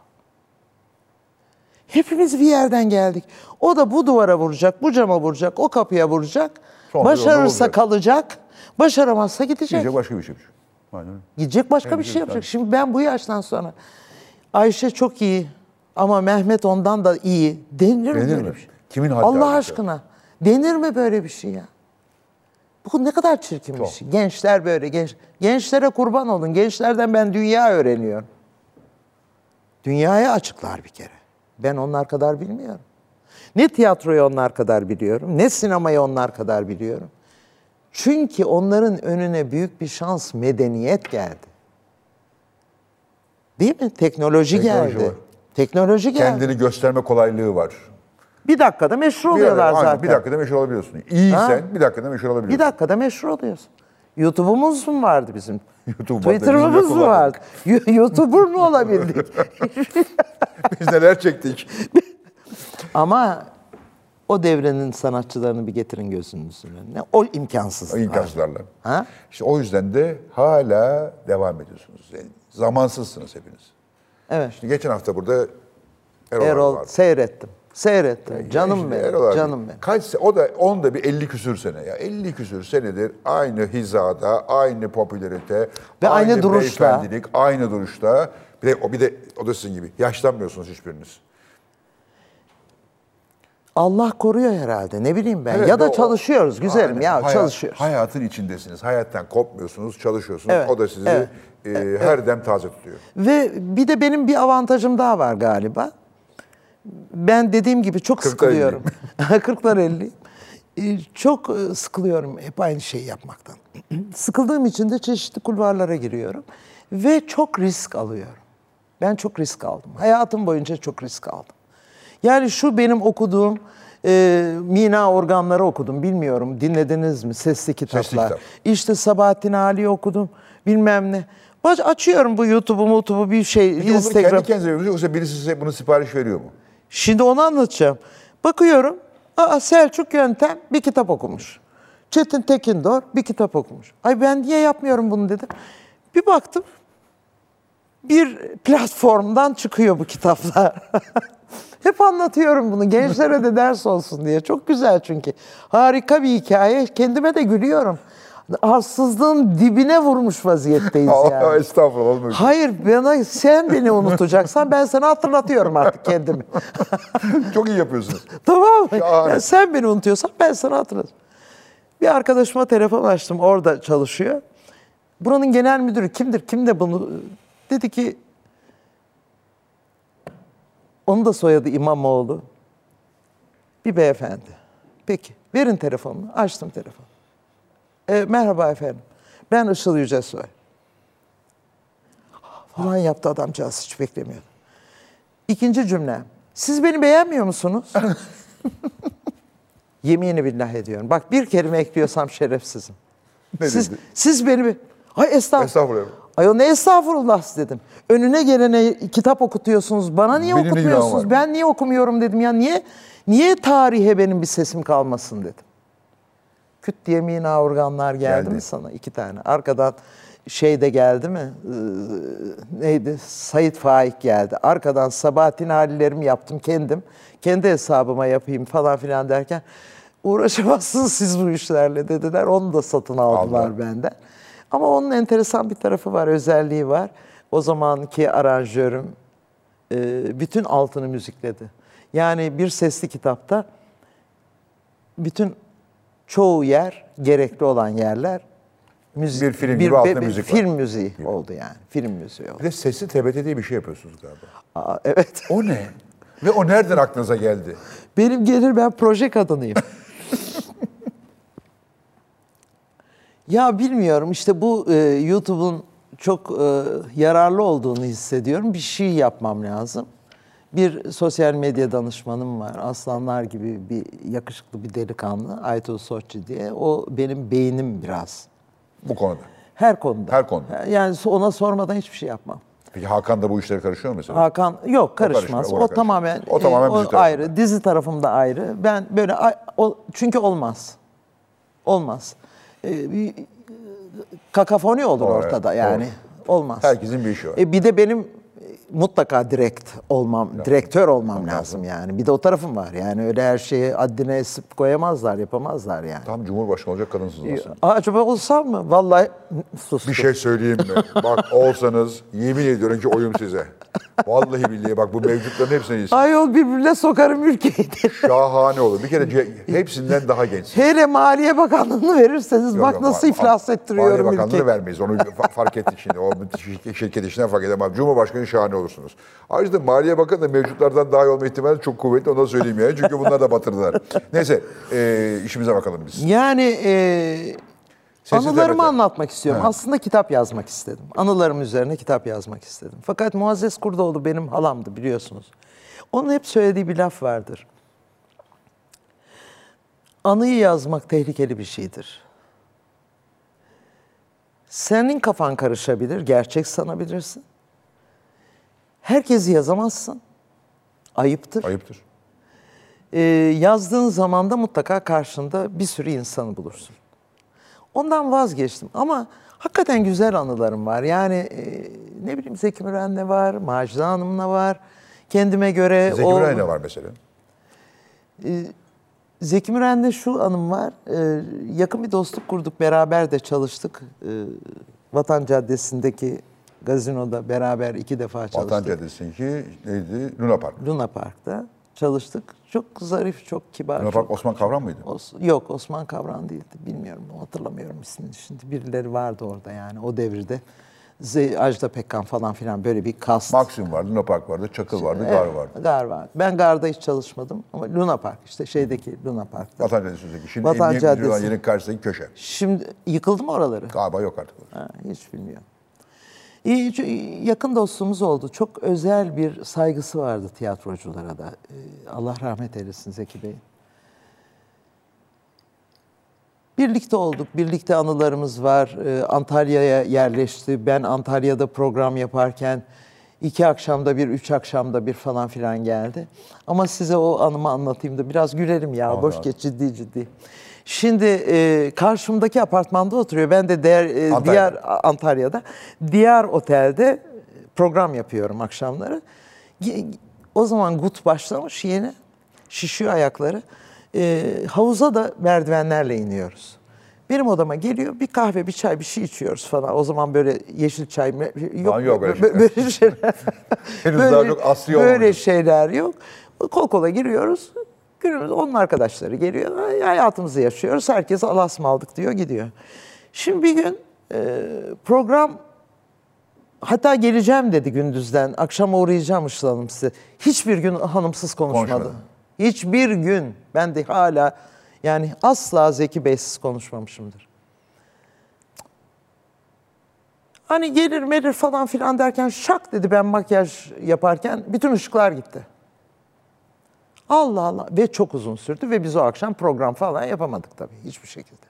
[SPEAKER 2] Hepimiz bir yerden geldik. O da bu duvara vuracak, bu cama vuracak, o kapıya vuracak.
[SPEAKER 1] Sonra yolda
[SPEAKER 2] Başarırsa
[SPEAKER 1] olacak.
[SPEAKER 2] kalacak, başaramazsa gidecek.
[SPEAKER 1] Gece Şey, başka bir şeymiş. Aynen öyle.
[SPEAKER 2] Gidecek başka bir şey yapacak. Şimdi ben bu yaştan sonra Ayşe çok iyi ama Mehmet ondan da iyi. Denir mi
[SPEAKER 1] Denir
[SPEAKER 2] böyle
[SPEAKER 1] mi?
[SPEAKER 2] bir şey?
[SPEAKER 1] Kimin haddi
[SPEAKER 2] Allah
[SPEAKER 1] ayrıca?
[SPEAKER 2] aşkına. Denir mi böyle bir şey ya? Bu ne kadar çirkin bir şey. Gençler böyle genç. Gençlere kurban olun. Gençlerden ben dünya öğreniyorum. Dünyaya açıklar bir kere. Ben onlar kadar bilmiyorum. Ne tiyatroyu onlar kadar biliyorum, ne sinemayı onlar kadar biliyorum. Çünkü onların önüne büyük bir şans medeniyet geldi. Değil mi?
[SPEAKER 1] Teknoloji
[SPEAKER 2] Teknoloji, geldi.
[SPEAKER 1] var.
[SPEAKER 2] Teknoloji geldi.
[SPEAKER 1] Kendini gösterme kolaylığı var.
[SPEAKER 2] Bir dakikada meşhur
[SPEAKER 1] Bir,
[SPEAKER 2] oluyorlar
[SPEAKER 1] aynen,
[SPEAKER 2] zaten.
[SPEAKER 1] bir dakikada meşhur olabiliyorsun. İyiysen bir dakikada meşhur
[SPEAKER 2] Bir
[SPEAKER 1] olabiliyorsun.
[SPEAKER 2] dakikada meşhur oluyorsun. YouTube'umuz mu vardı bizim?
[SPEAKER 1] YouTube vardı,
[SPEAKER 2] Twitter'ımız
[SPEAKER 1] biz de
[SPEAKER 2] mı vardı? Yo- YouTuber mu olabildik?
[SPEAKER 1] Biz neler çektik.
[SPEAKER 2] Ama o devrenin sanatçılarını bir getirin gözünüzün önüne. O imkansız.
[SPEAKER 1] İnkazlarla.
[SPEAKER 2] Ha?
[SPEAKER 1] İşte o yüzden de hala devam ediyorsunuz. Yani zamansızsınız hepiniz.
[SPEAKER 2] Evet.
[SPEAKER 1] Şimdi geçen hafta burada Erol,
[SPEAKER 2] Erol
[SPEAKER 1] abi vardı.
[SPEAKER 2] seyrettim. Seyrettim. Canım
[SPEAKER 1] Şimdi
[SPEAKER 2] benim.
[SPEAKER 1] Erol abi
[SPEAKER 2] Canım benim.
[SPEAKER 1] Kaç se- o da onda bir 50 küsür sene ya. 50 küsür senedir aynı hizada, aynı popülerite,
[SPEAKER 2] Ve aynı duruşta.
[SPEAKER 1] beyefendilik, aynı duruşta. Bir de o bir de o da sizin gibi yaşlanmıyorsunuz hiçbiriniz.
[SPEAKER 2] Allah koruyor herhalde. Ne bileyim ben.
[SPEAKER 1] Evet,
[SPEAKER 2] ya da
[SPEAKER 1] o-
[SPEAKER 2] çalışıyoruz güzelim
[SPEAKER 1] Aynen.
[SPEAKER 2] ya
[SPEAKER 1] Hayat-
[SPEAKER 2] çalışıyoruz.
[SPEAKER 1] Hayatın içindesiniz. Hayattan kopmuyorsunuz, çalışıyorsunuz.
[SPEAKER 2] Evet,
[SPEAKER 1] O da sizi
[SPEAKER 2] evet,
[SPEAKER 1] e, her dem taze tutuyor.
[SPEAKER 2] Ve bir de benim bir avantajım daha var galiba. Ben dediğim gibi çok
[SPEAKER 1] Kırklar
[SPEAKER 2] sıkılıyorum. Kırklar elliyim. Ee, Çok e, sıkılıyorum hep aynı şeyi yapmaktan. Sıkıldığım için de çeşitli kulvarlara giriyorum. Ve çok risk alıyorum. Ben çok risk aldım. Hayatım boyunca çok risk aldım. Yani şu benim okuduğum e, Mina organları okudum. Bilmiyorum dinlediniz mi? Sesli kitaplar.
[SPEAKER 1] kitap.
[SPEAKER 2] İşte Sabahattin Ali okudum. Bilmem ne. Baş, açıyorum bu YouTube'u, YouTube'u bir şey,
[SPEAKER 1] Bir de onları
[SPEAKER 2] Instagram.
[SPEAKER 1] Kendi kendinize yapıyorsunuz yoksa birisi size bunu sipariş veriyor mu?
[SPEAKER 2] Şimdi onu anlatacağım. Bakıyorum. Aa, Selçuk Yöntem bir kitap okumuş. Çetin Tekindor bir kitap okumuş. Ay ben niye yapmıyorum bunu dedim. Bir baktım. Bir platformdan çıkıyor bu kitaplar. Hep anlatıyorum bunu. Gençlere de ders olsun diye. Çok güzel çünkü. Harika bir hikaye. Kendime de gülüyorum. Arsızlığın dibine vurmuş vaziyetteyiz yani.
[SPEAKER 1] Allah estağfurullah olmuyor.
[SPEAKER 2] Hayır bana sen beni unutacaksan ben sana hatırlatıyorum artık kendimi.
[SPEAKER 1] Çok iyi yapıyorsunuz.
[SPEAKER 2] tamam mı?
[SPEAKER 1] Şahane.
[SPEAKER 2] Yani sen beni unutuyorsan ben sana hatırlatıyorum. Bir arkadaşıma telefon açtım orada çalışıyor. Buranın genel müdürü kimdir? Kim de bunu dedi ki onun da soyadı İmamoğlu. Bir beyefendi. Peki verin telefonunu. Açtım telefonu. E, merhaba efendim. Ben Işıl Yücesoy. Falan yaptı adamcağız hiç beklemiyordum. İkinci cümle. Siz beni beğenmiyor musunuz? Yemini billah ediyorum. Bak bir kelime ekliyorsam şerefsizim.
[SPEAKER 1] Ne
[SPEAKER 2] siz,
[SPEAKER 1] dedi?
[SPEAKER 2] siz beni... be- Ay estağfurullah.
[SPEAKER 1] Estağfurullah.
[SPEAKER 2] Ay o ne estağfurullah dedim. Önüne gelene kitap okutuyorsunuz. Bana niye
[SPEAKER 1] Benim ne günahım
[SPEAKER 2] okutmuyorsunuz?
[SPEAKER 1] var?
[SPEAKER 2] Ben niye okumuyorum dedim. Ya niye niye tarihe benim bir sesim kalmasın dedim. Küt diye mina organlar geldi,
[SPEAKER 1] Geldi.
[SPEAKER 2] mi sana? iki tane. Arkadan şey de geldi mi? Ee, neydi? Sait Faik geldi. Arkadan Sabahattin Halilerimi yaptım kendim. Kendi hesabıma yapayım falan filan derken uğraşamazsınız siz bu işlerle dediler. Onu da satın aldılar
[SPEAKER 1] Aldılar.
[SPEAKER 2] benden. Ama onun enteresan bir tarafı var, özelliği var. O zamanki aranjörüm e, bütün altını müzikledi. Yani bir sesli kitapta bütün çoğu yer, gerekli olan yerler müzik,
[SPEAKER 1] Bir film gibi altında müzik var.
[SPEAKER 2] film müziği oldu yani. Film müziği oldu.
[SPEAKER 1] Bir de sesli TBT diye bir şey yapıyorsunuz galiba.
[SPEAKER 2] Aa, evet.
[SPEAKER 1] O ne? Ve o nereden aklınıza geldi?
[SPEAKER 2] Benim gelir ben proje kadınıyım. ya bilmiyorum işte bu e, YouTube'un çok e, yararlı olduğunu hissediyorum. Bir şey yapmam lazım. Bir sosyal medya danışmanım var. Aslanlar gibi bir yakışıklı bir delikanlı. Aytun Soçi diye. O benim beynim biraz.
[SPEAKER 1] Bu konuda.
[SPEAKER 2] Her konuda.
[SPEAKER 1] Her konuda.
[SPEAKER 2] Yani ona sormadan hiçbir şey yapmam.
[SPEAKER 1] Peki Hakan da bu işlere karışıyor mu mesela?
[SPEAKER 2] Hakan yok karışmaz. O,
[SPEAKER 1] karışmıyor, o karışmıyor.
[SPEAKER 2] tamamen e,
[SPEAKER 1] O tamamen dizi tarafında.
[SPEAKER 2] ayrı. Dizi tarafımda ayrı. Ben böyle a- o, çünkü olmaz. Olmaz. E, bir- kakafoni olur
[SPEAKER 1] Doğru,
[SPEAKER 2] ortada
[SPEAKER 1] evet,
[SPEAKER 2] yani. Olmaz.
[SPEAKER 1] Herkesin bir işi var.
[SPEAKER 2] E, bir de benim e, mutlaka direkt olmam, direktör olmam lazım yani. Bir de o tarafım var. Yani öyle her şeyi addine esip koyamazlar, yapamazlar yani.
[SPEAKER 1] Tam Cumhurbaşkanı olacak kadınsınız aslında.
[SPEAKER 2] Aa, Acaba olsam mı? Vallahi sus.
[SPEAKER 1] Bir şey söyleyeyim mi? Bak olsanız yemin ediyorum ki oyum size. Vallahi billahi bak bu mevcutların hepsini iyisin.
[SPEAKER 2] Ayol birbirine sokarım ülkeyi de.
[SPEAKER 1] Şahane olur. Bir kere ce- hepsinden daha gençsin.
[SPEAKER 2] Hele Maliye Bakanlığı'nı verirseniz bak
[SPEAKER 1] Yok,
[SPEAKER 2] nasıl
[SPEAKER 1] ama-
[SPEAKER 2] iflas ettiriyorum
[SPEAKER 1] Maliye Bakanlığı
[SPEAKER 2] ülkeyi.
[SPEAKER 1] vermeyiz. Onu fa- fark ettik şimdi. O şir- şirket işinden fark edemem. Cumhurbaşkanı şahane olursunuz. Ayrıca Maliye Bakanı da mevcutlardan daha iyi olma ihtimali çok kuvvetli. Onu da söyleyeyim yani. Çünkü bunlar da batırdılar. Neyse e, işimize bakalım biz.
[SPEAKER 2] Yani e,
[SPEAKER 1] Şey, Sesi
[SPEAKER 2] anılarımı
[SPEAKER 1] demedi.
[SPEAKER 2] anlatmak istiyorum. Aslında kitap yazmak istedim. Anılarım üzerine kitap yazmak istedim. Fakat Muazzez Kurdoğlu benim halamdı biliyorsunuz. Onun hep söylediği bir laf vardır. Anıyı yazmak tehlikeli bir şeydir. Senin kafan karışabilir, gerçek sanabilirsin. Herkesi yazamazsın. Ayıptır.
[SPEAKER 1] Ayıptır.
[SPEAKER 2] Ee, yazdığın zaman da mutlaka karşında bir sürü insanı bulursun. Ondan vazgeçtim ama hakikaten güzel anılarım var. Yani e, ne bileyim Zeki Müren'le var, Macide Hanım'la var. Kendime göre
[SPEAKER 1] Zeki
[SPEAKER 2] E, o-
[SPEAKER 1] Müren ne var mesela?
[SPEAKER 2] Zeki Müren'de şu anım var. Ee, yakın bir dostluk kurduk, beraber de çalıştık. Ee, Vatan Caddesi'ndeki gazinoda beraber iki defa çalıştık.
[SPEAKER 1] Vatan Caddesi'nki neydi? Luna Park.
[SPEAKER 2] Luna Park'ta çalıştık. Çok zarif, çok kibar.
[SPEAKER 1] Luna
[SPEAKER 2] çok-
[SPEAKER 1] Park Osman Kavran mıydı?
[SPEAKER 2] Os- yok Osman Kavran değildi. Bilmiyorum hatırlamıyorum ismini şimdi. Birileri vardı orada yani o devirde. Z- Ajda Pekkan falan filan böyle bir kast.
[SPEAKER 1] Maksim vardı, Luna Park vardı, Çakıl vardı, Gar vardı.
[SPEAKER 2] Gar vardı. Ben Gar'da hiç çalışmadım ama Luna Park işte şeydeki Luna Park'ta.
[SPEAKER 1] Vatan Caddesi'ndeki. Şimdi
[SPEAKER 2] Vatan
[SPEAKER 1] Emniyet Müdürü olan
[SPEAKER 2] Caddesi.
[SPEAKER 1] yerin karşısındaki köşe.
[SPEAKER 2] Şimdi yıkıldı mı oraları?
[SPEAKER 1] Galiba yok artık.
[SPEAKER 2] Ha, hiç bilmiyorum. İyi, ço- yakın dostluğumuz oldu. Çok özel bir saygısı vardı tiyatroculara da. Ee, Allah rahmet eylesin Zeki Bey. Birlikte olduk, birlikte anılarımız var. Ee, Antalya'ya yerleşti. Ben Antalya'da program yaparken iki akşamda bir, üç akşamda bir falan filan geldi. Ama size o anımı anlatayım da biraz gülerim ya. Boş geç ciddi ciddi. Şimdi e, karşımdaki apartmanda oturuyor. Ben de değer, e,
[SPEAKER 1] Antalya'da.
[SPEAKER 2] diğer A- Antalya'da. Diğer otelde program yapıyorum akşamları. Ge- O zaman gut başlamış yeni. Şişiyor ayakları. Ee, havuza da merdivenlerle iniyoruz. Benim odama geliyor bir kahve bir çay bir şey içiyoruz falan. O zaman böyle yeşil çay me- yok,
[SPEAKER 1] Lan yok öyle
[SPEAKER 2] bö- bö- böyle şeyler.
[SPEAKER 1] Henüz daha çok asri
[SPEAKER 2] Böyle
[SPEAKER 1] olmamış.
[SPEAKER 2] şeyler yok. Kol kola giriyoruz. Günümüz onun arkadaşları geliyor. Hay- Hayatımızı yaşıyoruz. Herkes alasmaldık diyor gidiyor. Şimdi bir gün e, program hatta geleceğim dedi gündüzden. Akşama uğrayacağım Işıl Hanım size. Hiçbir gün hanımsız konuşmadı.
[SPEAKER 1] Konuşmadı.
[SPEAKER 2] Hiçbir gün. Ben de hala yani asla Zeki Bey'siz konuşmamışımdır. Hani gelir melir falan filan derken şak dedi ben makyaj yaparken bütün ışıklar gitti. Allah Allah ve çok uzun sürdü ve biz o akşam program falan yapamadık tabii hiçbir şekilde.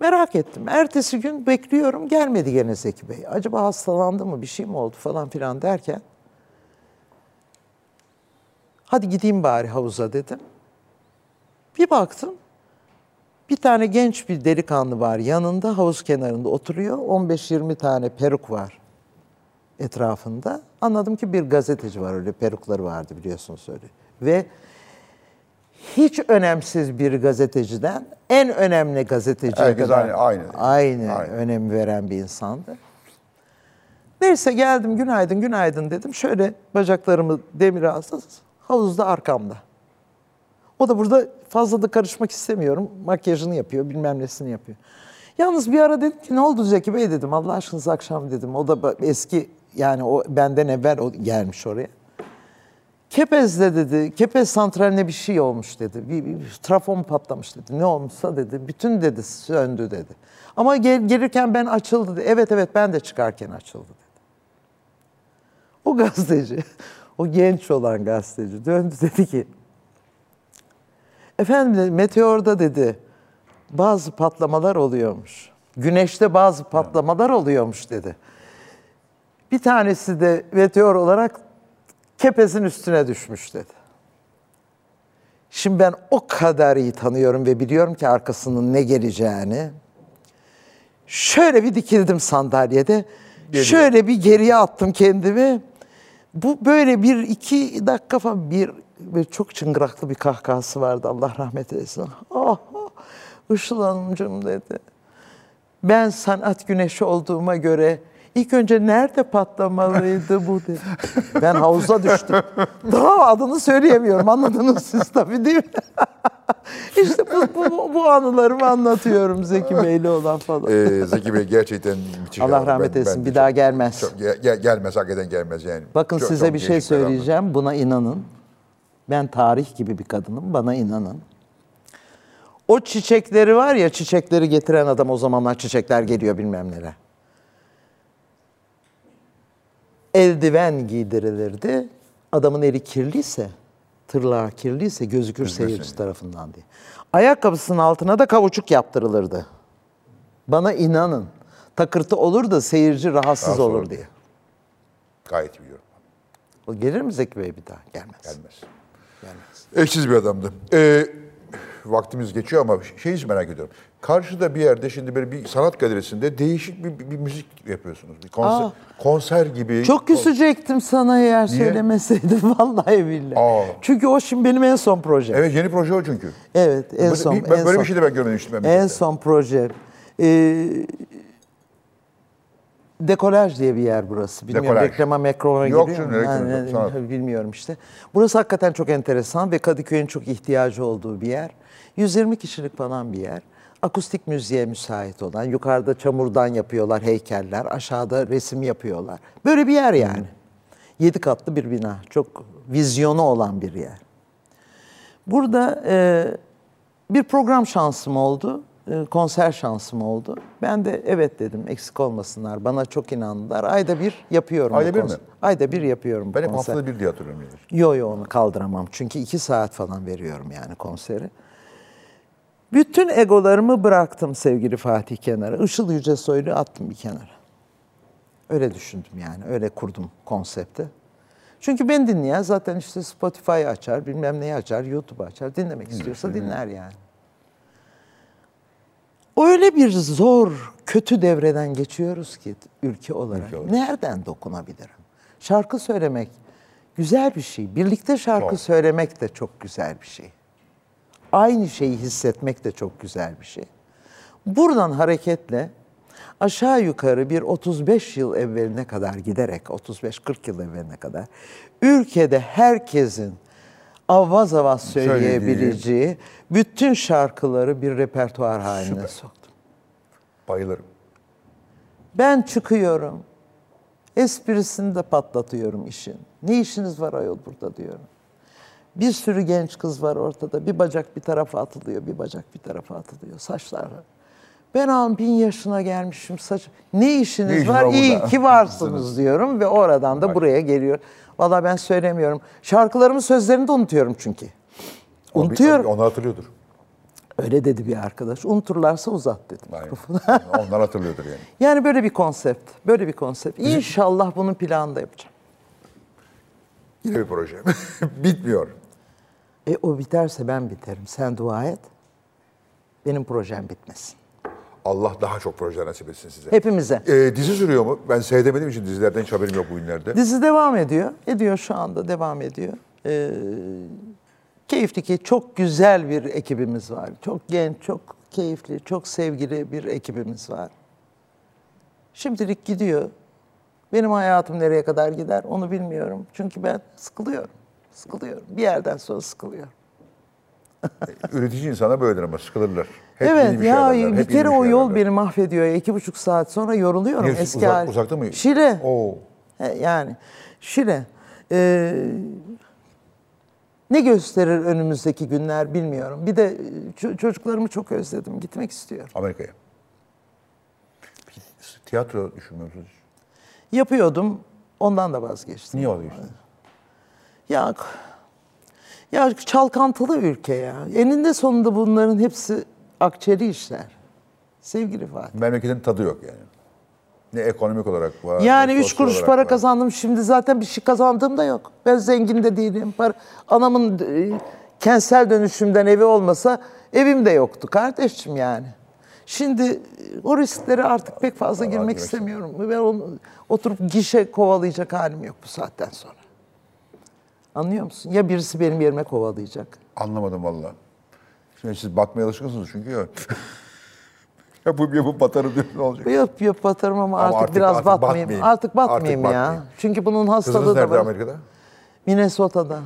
[SPEAKER 2] Merak ettim. Ertesi gün bekliyorum gelmedi gene Zeki Bey. Acaba hastalandı mı bir şey mi oldu falan filan derken. Hadi gideyim bari havuza dedim. Bir baktım bir tane genç bir delikanlı var yanında havuz kenarında oturuyor. 15-20 tane peruk var etrafında. Anladım ki bir gazeteci var öyle perukları vardı biliyorsunuz öyle. Ve hiç önemsiz bir gazeteciden en önemli gazeteciye
[SPEAKER 1] Herkes
[SPEAKER 2] kadar
[SPEAKER 1] aynı- aynı.
[SPEAKER 2] aynı
[SPEAKER 1] Aynı.
[SPEAKER 2] önem veren bir insandı. Neyse geldim günaydın günaydın dedim. Şöyle bacaklarımı demire astım. Havuzda arkamda. O da burada fazla da karışmak istemiyorum. Makyajını yapıyor, bilmem nesini yapıyor. Yalnız bir ara dedim ki ne oldu Zeki Bey dedim. Allah aşkınıza akşam dedim. O da ba- eski yani o benden evvel o gelmiş oraya. Kepez'de dedi, Kepez santraline bir şey olmuş dedi. Bir, bir- bir trafon patlamış dedi. Ne olmuşsa dedi, bütün dedi söndü dedi. Ama gel- gelirken ben açıldı dedi. Evet evet ben de çıkarken açıldı dedi. O gazeteci, o genç olan gazeteci döndü dedi ki Efendim dedi, meteorda dedi bazı patlamalar oluyormuş. Güneşte bazı patlamalar oluyormuş dedi. Bir tanesi de meteor olarak kepezin üstüne düşmüş dedi. Şimdi ben o kadar iyi tanıyorum ve biliyorum ki arkasının ne geleceğini. Şöyle bir dikildim sandalyede. Şöyle bir geriye attım kendimi. Bu böyle bir iki dakika falan bir böyle çok çıngıraklı bir kahkahası vardı Allah rahmet eylesin. Ah, ah, Işıl Hanımcığım dedi. Ben sanat güneşi olduğuma göre ilk önce nerede patlamalıydı bu dedi. Ben havuza düştüm. Daha adını söyleyemiyorum anladınız siz tabii değil mi? işte bu, bu, bu, bu anılarımı anlatıyorum Zeki Bey'le olan falan.
[SPEAKER 1] Ee, Zeki Bey gerçekten müthiş.
[SPEAKER 2] Allah
[SPEAKER 1] adam.
[SPEAKER 2] rahmet
[SPEAKER 1] Ben-
[SPEAKER 2] eylesin
[SPEAKER 1] ben
[SPEAKER 2] bir
[SPEAKER 1] çok-
[SPEAKER 2] daha gelmez.
[SPEAKER 1] çok- ge- ge- gelmez hakikaten gelmez yani.
[SPEAKER 2] Bakın
[SPEAKER 1] Çok-
[SPEAKER 2] size
[SPEAKER 1] çok
[SPEAKER 2] bir şey
[SPEAKER 1] değişik adam.
[SPEAKER 2] söyleyeceğim. Buna inanın. Ben tarih gibi bir kadınım. Bana inanın. O çiçekleri var ya çiçekleri getiren adam o zamanlar çiçekler geliyor bilmem nere. Eldiven giydirilirdi. Adamın eli kirliyse, tırlağı kirliyse gözükür seyirci tarafından diye. Ayakkabısının altına da kavuçuk yaptırılırdı. Bana inanın. Takırtı olur da seyirci rahatsız
[SPEAKER 1] Rahatsız
[SPEAKER 2] olur
[SPEAKER 1] olur.
[SPEAKER 2] diye.
[SPEAKER 1] Gayet biliyorum.
[SPEAKER 2] O gelir mi Zeki Bey bir daha? Gelmez.
[SPEAKER 1] Gelmez. Eşsiz bir adamdı. Ee, vaktimiz geçiyor ama şeyi merak ediyorum. Karşıda bir yerde şimdi böyle bir sanat galerisinde değişik bir, bir- bir müzik yapıyorsunuz. Bir konser,
[SPEAKER 2] Aa.
[SPEAKER 1] konser gibi.
[SPEAKER 2] Çok küsecektim sana eğer
[SPEAKER 1] şey Niye?
[SPEAKER 2] söylemeseydim vallahi billahi.
[SPEAKER 1] Aa.
[SPEAKER 2] Çünkü o şimdi benim en son projem. Evet,
[SPEAKER 1] Evet yeni proje o çünkü.
[SPEAKER 2] en
[SPEAKER 1] Böyle-
[SPEAKER 2] son.
[SPEAKER 1] bir- ben-
[SPEAKER 2] en
[SPEAKER 1] böyle
[SPEAKER 2] son.
[SPEAKER 1] bir şey de ben görmemiştim.
[SPEAKER 2] En
[SPEAKER 1] memlekette.
[SPEAKER 2] son proje. Ee, Dekolaj diye bir yer burası. Bilmiyorum
[SPEAKER 1] Dekolaj.
[SPEAKER 2] reklama mekrona
[SPEAKER 1] Yok
[SPEAKER 2] giriyor
[SPEAKER 1] canım,
[SPEAKER 2] mu?
[SPEAKER 1] reklam
[SPEAKER 2] Ha,
[SPEAKER 1] yok,
[SPEAKER 2] ne-
[SPEAKER 1] sanat.
[SPEAKER 2] Bilmiyorum işte. Burası hakikaten çok enteresan ve Kadıköy'ün çok ihtiyacı olduğu bir yer. 120 kişilik falan bir yer. Akustik müziğe müsait olan. Yukarıda çamurdan yapıyorlar heykeller. Aşağıda resim yapıyorlar. Böyle bir yer yani. 7 katlı bir bina. Çok vizyonu olan bir yer. Burada e, bir program şansım oldu, e, konser şansım oldu. Ben de evet dedim, eksik olmasınlar. Bana çok inandılar. Ayda bir yapıyorum. bu
[SPEAKER 1] Ayda bir
[SPEAKER 2] konser-
[SPEAKER 1] mi?
[SPEAKER 2] Ayda bir yapıyorum bu
[SPEAKER 1] Ben hep
[SPEAKER 2] konser.
[SPEAKER 1] haftada bir diye hatırlıyorum. yani.
[SPEAKER 2] Yo yo onu kaldıramam. Çünkü iki saat falan veriyorum yani konseri. Bütün egolarımı bıraktım sevgili Fatih kenara. Işıl Yüce Soylu attım bir kenara. Öyle düşündüm yani. Öyle kurdum konsepti. Çünkü beni dinleyen zaten işte Spotify açar, bilmem neyi açar, YouTube açar. Dinlemek istiyorsa dinler yani. Öyle bir zor, kötü devreden geçiyoruz ki ülke olarak.
[SPEAKER 1] Ülke olarak.
[SPEAKER 2] Nereden dokunabilirim? Şarkı söylemek güzel bir şey. Birlikte şarkı
[SPEAKER 1] Çok.
[SPEAKER 2] söylemek de çok güzel bir şey. Aynı şeyi hissetmek de çok güzel bir şey. Buradan hareketle aşağı yukarı bir 35 yıl evveline kadar giderek 35-40 yıl evveline kadar ülkede herkesin avaz avaz
[SPEAKER 1] Söylediği.
[SPEAKER 2] söyleyebileceği bütün şarkıları bir repertuar haline
[SPEAKER 1] Süper.
[SPEAKER 2] soktum.
[SPEAKER 1] Bayılırım.
[SPEAKER 2] Ben çıkıyorum. Esprisini de patlatıyorum işin. Ne işiniz var ayol burada diyorum. Bir sürü genç kız var ortada. Bir bacak bir tarafa atılıyor, bir bacak bir tarafa atılıyor. Saçlar. Ben an bin yaşına gelmişim saç. Ne işiniz
[SPEAKER 1] Ne işin
[SPEAKER 2] var?
[SPEAKER 1] var
[SPEAKER 2] İyi
[SPEAKER 1] burada?
[SPEAKER 2] ki varsınız diyorum ve oradan da buraya geliyor. Valla ben söylemiyorum. Şarkılarımın sözlerini de unutuyorum çünkü.
[SPEAKER 1] Onu bir-
[SPEAKER 2] Unutuyorum.
[SPEAKER 1] Onu hatırlıyordur.
[SPEAKER 2] Öyle dedi bir arkadaş. Unuturlarsa uzat dedim.
[SPEAKER 1] Aynen. Onlar hatırlıyordur yani.
[SPEAKER 2] Yani böyle bir konsept, böyle bir konsept. İnşallah bunun planını da yapacağım.
[SPEAKER 1] Yine bir proje. Bitmiyor.
[SPEAKER 2] E o biterse ben biterim. Sen dua et. Benim projem bitmesin.
[SPEAKER 1] Allah daha çok proje nasip etsin size.
[SPEAKER 2] Hepimize.
[SPEAKER 1] Ee, dizi sürüyor mu? Ben seyredemediğim için dizilerden hiç haberim yok bu günlerde.
[SPEAKER 2] Dizi devam ediyor. Ediyor şu anda, devam ediyor. Ee, E, keyifli ki çok güzel bir ekibimiz var. Çok genç, çok keyifli, çok sevgili bir ekibimiz var. Şimdilik gidiyor. Benim hayatım nereye kadar gider onu bilmiyorum. Çünkü ben sıkılıyorum. Sıkılıyorum. Bir yerden sonra sıkılıyorum.
[SPEAKER 1] Üretici insana böyledir ama sıkılırlar. Hep yeni
[SPEAKER 2] evet
[SPEAKER 1] bir şey
[SPEAKER 2] ya
[SPEAKER 1] ararlar, hep
[SPEAKER 2] bir
[SPEAKER 1] yeni
[SPEAKER 2] kere
[SPEAKER 1] şey
[SPEAKER 2] o yol
[SPEAKER 1] ararlar.
[SPEAKER 2] beni mahvediyor. ya. İki buçuk saat sonra yoruluyorum.
[SPEAKER 1] Niye,
[SPEAKER 2] Eski
[SPEAKER 1] uzak-
[SPEAKER 2] hal-
[SPEAKER 1] uzakta mı?
[SPEAKER 2] Şile.
[SPEAKER 1] Oo.
[SPEAKER 2] He, Yani Şile. Ee, ne gösterir önümüzdeki günler bilmiyorum. Bir de e, ço- çocuklarımı çok özledim. Gitmek istiyorum.
[SPEAKER 1] Amerika'ya. Biz Tiyatro düşünmüyorsunuz.
[SPEAKER 2] Yapıyordum. Ondan da vazgeçtim.
[SPEAKER 1] Niye vazgeçtiniz?
[SPEAKER 2] Ya ya çalkantılı ülke ya. Eninde sonunda bunların hepsi akçeli işler. Sevgili Fatih.
[SPEAKER 1] Memleketin tadı yok yani. Ne ekonomik olarak var.
[SPEAKER 2] Yani
[SPEAKER 1] ne
[SPEAKER 2] üç
[SPEAKER 1] sosyal
[SPEAKER 2] kuruş
[SPEAKER 1] olarak
[SPEAKER 2] para
[SPEAKER 1] var.
[SPEAKER 2] kazandım. Şimdi zaten bir şey kazandığım da yok. Ben zengin de değilim. Para, anamın e, kentsel dönüşümden evi olmasa evim de yoktu kardeşim yani. Şimdi e, o risklere artık pek fazla girmek
[SPEAKER 1] girmek
[SPEAKER 2] istemiyorum. Ben onu, oturup gişe kovalayacak halim yok bu saatten sonra. Anlıyor musun? Ya birisi benim yerime kovalayacak.
[SPEAKER 1] Anlamadım valla. Şimdi siz batmaya alışkınsınız çünkü ya. yapıp yapıp batarım diyor ne olacak?
[SPEAKER 2] Yap yap batarım ama, artık,
[SPEAKER 1] artık-
[SPEAKER 2] biraz
[SPEAKER 1] artık
[SPEAKER 2] batmayayım.
[SPEAKER 1] batmayayım.
[SPEAKER 2] Artık batmayayım
[SPEAKER 1] Artık
[SPEAKER 2] ya.
[SPEAKER 1] batmayayım.
[SPEAKER 2] Çünkü bunun hastalığı
[SPEAKER 1] Kızınız
[SPEAKER 2] da
[SPEAKER 1] nerede
[SPEAKER 2] var.
[SPEAKER 1] Amerika'da?
[SPEAKER 2] Minnesota'da.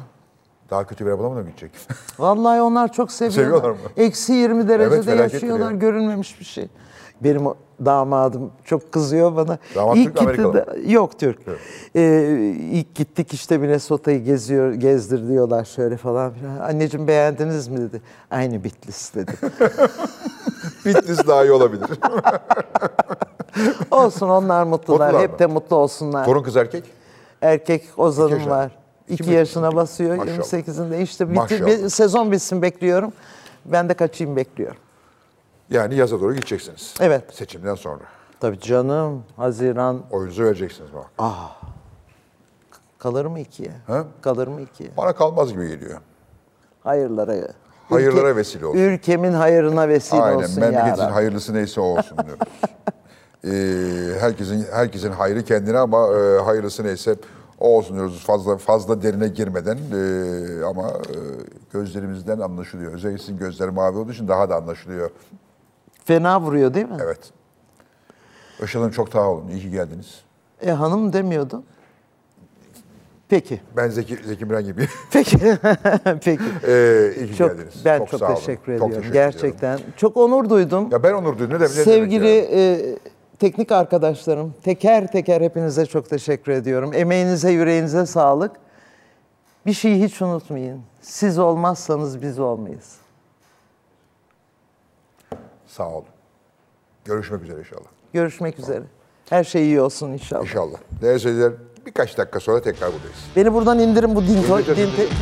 [SPEAKER 1] Daha kötü bir arabada mı gidecek?
[SPEAKER 2] Vallahi onlar çok seviyorlar.
[SPEAKER 1] Seviyorlar mı?
[SPEAKER 2] Eksi 20 derecede
[SPEAKER 1] felakettir
[SPEAKER 2] yaşıyorlar.
[SPEAKER 1] ya.
[SPEAKER 2] Görünmemiş bir şey. Benim o damadım çok kızıyor bana.
[SPEAKER 1] Damat
[SPEAKER 2] İlk
[SPEAKER 1] Türk, Amerikalı
[SPEAKER 2] gitti de- Yok Türk. Ee, ilk gittik işte Minnesota'yı geziyor, gezdir diyorlar şöyle falan filan. Anneciğim beğendiniz mi dedi. Aynı Bitlis dedi.
[SPEAKER 1] Bitlis daha iyi olabilir.
[SPEAKER 2] Olsun onlar mutlular.
[SPEAKER 1] Mutlular
[SPEAKER 2] Hep
[SPEAKER 1] mı?
[SPEAKER 2] de mutlu olsunlar.
[SPEAKER 1] Torun kız erkek.
[SPEAKER 2] Erkek
[SPEAKER 1] İki
[SPEAKER 2] Ozan'ım
[SPEAKER 1] yaşında.
[SPEAKER 2] var.
[SPEAKER 1] İki
[SPEAKER 2] 2
[SPEAKER 1] mi?
[SPEAKER 2] yaşına basıyor.
[SPEAKER 1] Maşallah.
[SPEAKER 2] 28'inde işte bitir,
[SPEAKER 1] Maşallah.
[SPEAKER 2] bir sezon bitsin bekliyorum. Ben de kaçayım bekliyorum.
[SPEAKER 1] Yani yaza doğru gideceksiniz.
[SPEAKER 2] Evet.
[SPEAKER 1] Seçimden sonra.
[SPEAKER 2] Tabii canım Haziran
[SPEAKER 1] Oyunuzu vereceksiniz bak.
[SPEAKER 2] kalır mı ikiye?
[SPEAKER 1] Ha?
[SPEAKER 2] Kalır mı ikiye?
[SPEAKER 1] Bana kalmaz gibi geliyor.
[SPEAKER 2] Hayırlara.
[SPEAKER 1] Hayırlara vesile olsun.
[SPEAKER 2] Ülkemin hayırına vesile
[SPEAKER 1] Aynen.
[SPEAKER 2] olsun ya
[SPEAKER 1] Memleketin
[SPEAKER 2] Rabbi.
[SPEAKER 1] hayırlısı neyse o olsun diyoruz. Ee, herkesin herkesin hayrı kendine ama e, hayırlısı neyse o olsun diyoruz. Fazla fazla derine girmeden e, ama e, gözlerimizden anlaşılıyor. Özellikle sizin gözleri mavi olduğu için daha da anlaşılıyor.
[SPEAKER 2] Fena vuruyor değil mi?
[SPEAKER 1] Evet. Işıl Hanım çok sağ olun. İyi ki geldiniz.
[SPEAKER 2] E hanım demiyordun. Peki.
[SPEAKER 1] Ben Zeki, Zeki Müren gibi.
[SPEAKER 2] Peki. Peki.
[SPEAKER 1] Ee, iyi ki
[SPEAKER 2] Çok,
[SPEAKER 1] geldiniz.
[SPEAKER 2] ben çok,
[SPEAKER 1] sağ olun.
[SPEAKER 2] teşekkür
[SPEAKER 1] Çok
[SPEAKER 2] ediyorum.
[SPEAKER 1] teşekkür ediyorum.
[SPEAKER 2] Gerçekten. Çok onur duydum.
[SPEAKER 1] Ya ben Onur Düğün'ü de bile
[SPEAKER 2] Sevgili
[SPEAKER 1] demek
[SPEAKER 2] e, teknik arkadaşlarım, teker teker hepinize çok teşekkür ediyorum. Emeğinize, yüreğinize sağlık. Bir şeyi hiç unutmayın. Siz olmazsanız biz olmayız.
[SPEAKER 1] ya. Sağ olun. Görüşmek üzere inşallah.
[SPEAKER 2] Görüşmek üzere. Her şey iyi olsun inşallah.
[SPEAKER 1] İnşallah. Değerli seyirciler birkaç dakika sonra tekrar buradayız.
[SPEAKER 2] Beni buradan indirin bu dinto.
[SPEAKER 1] İndireceğiz,
[SPEAKER 2] dinto-
[SPEAKER 1] indireceğiz.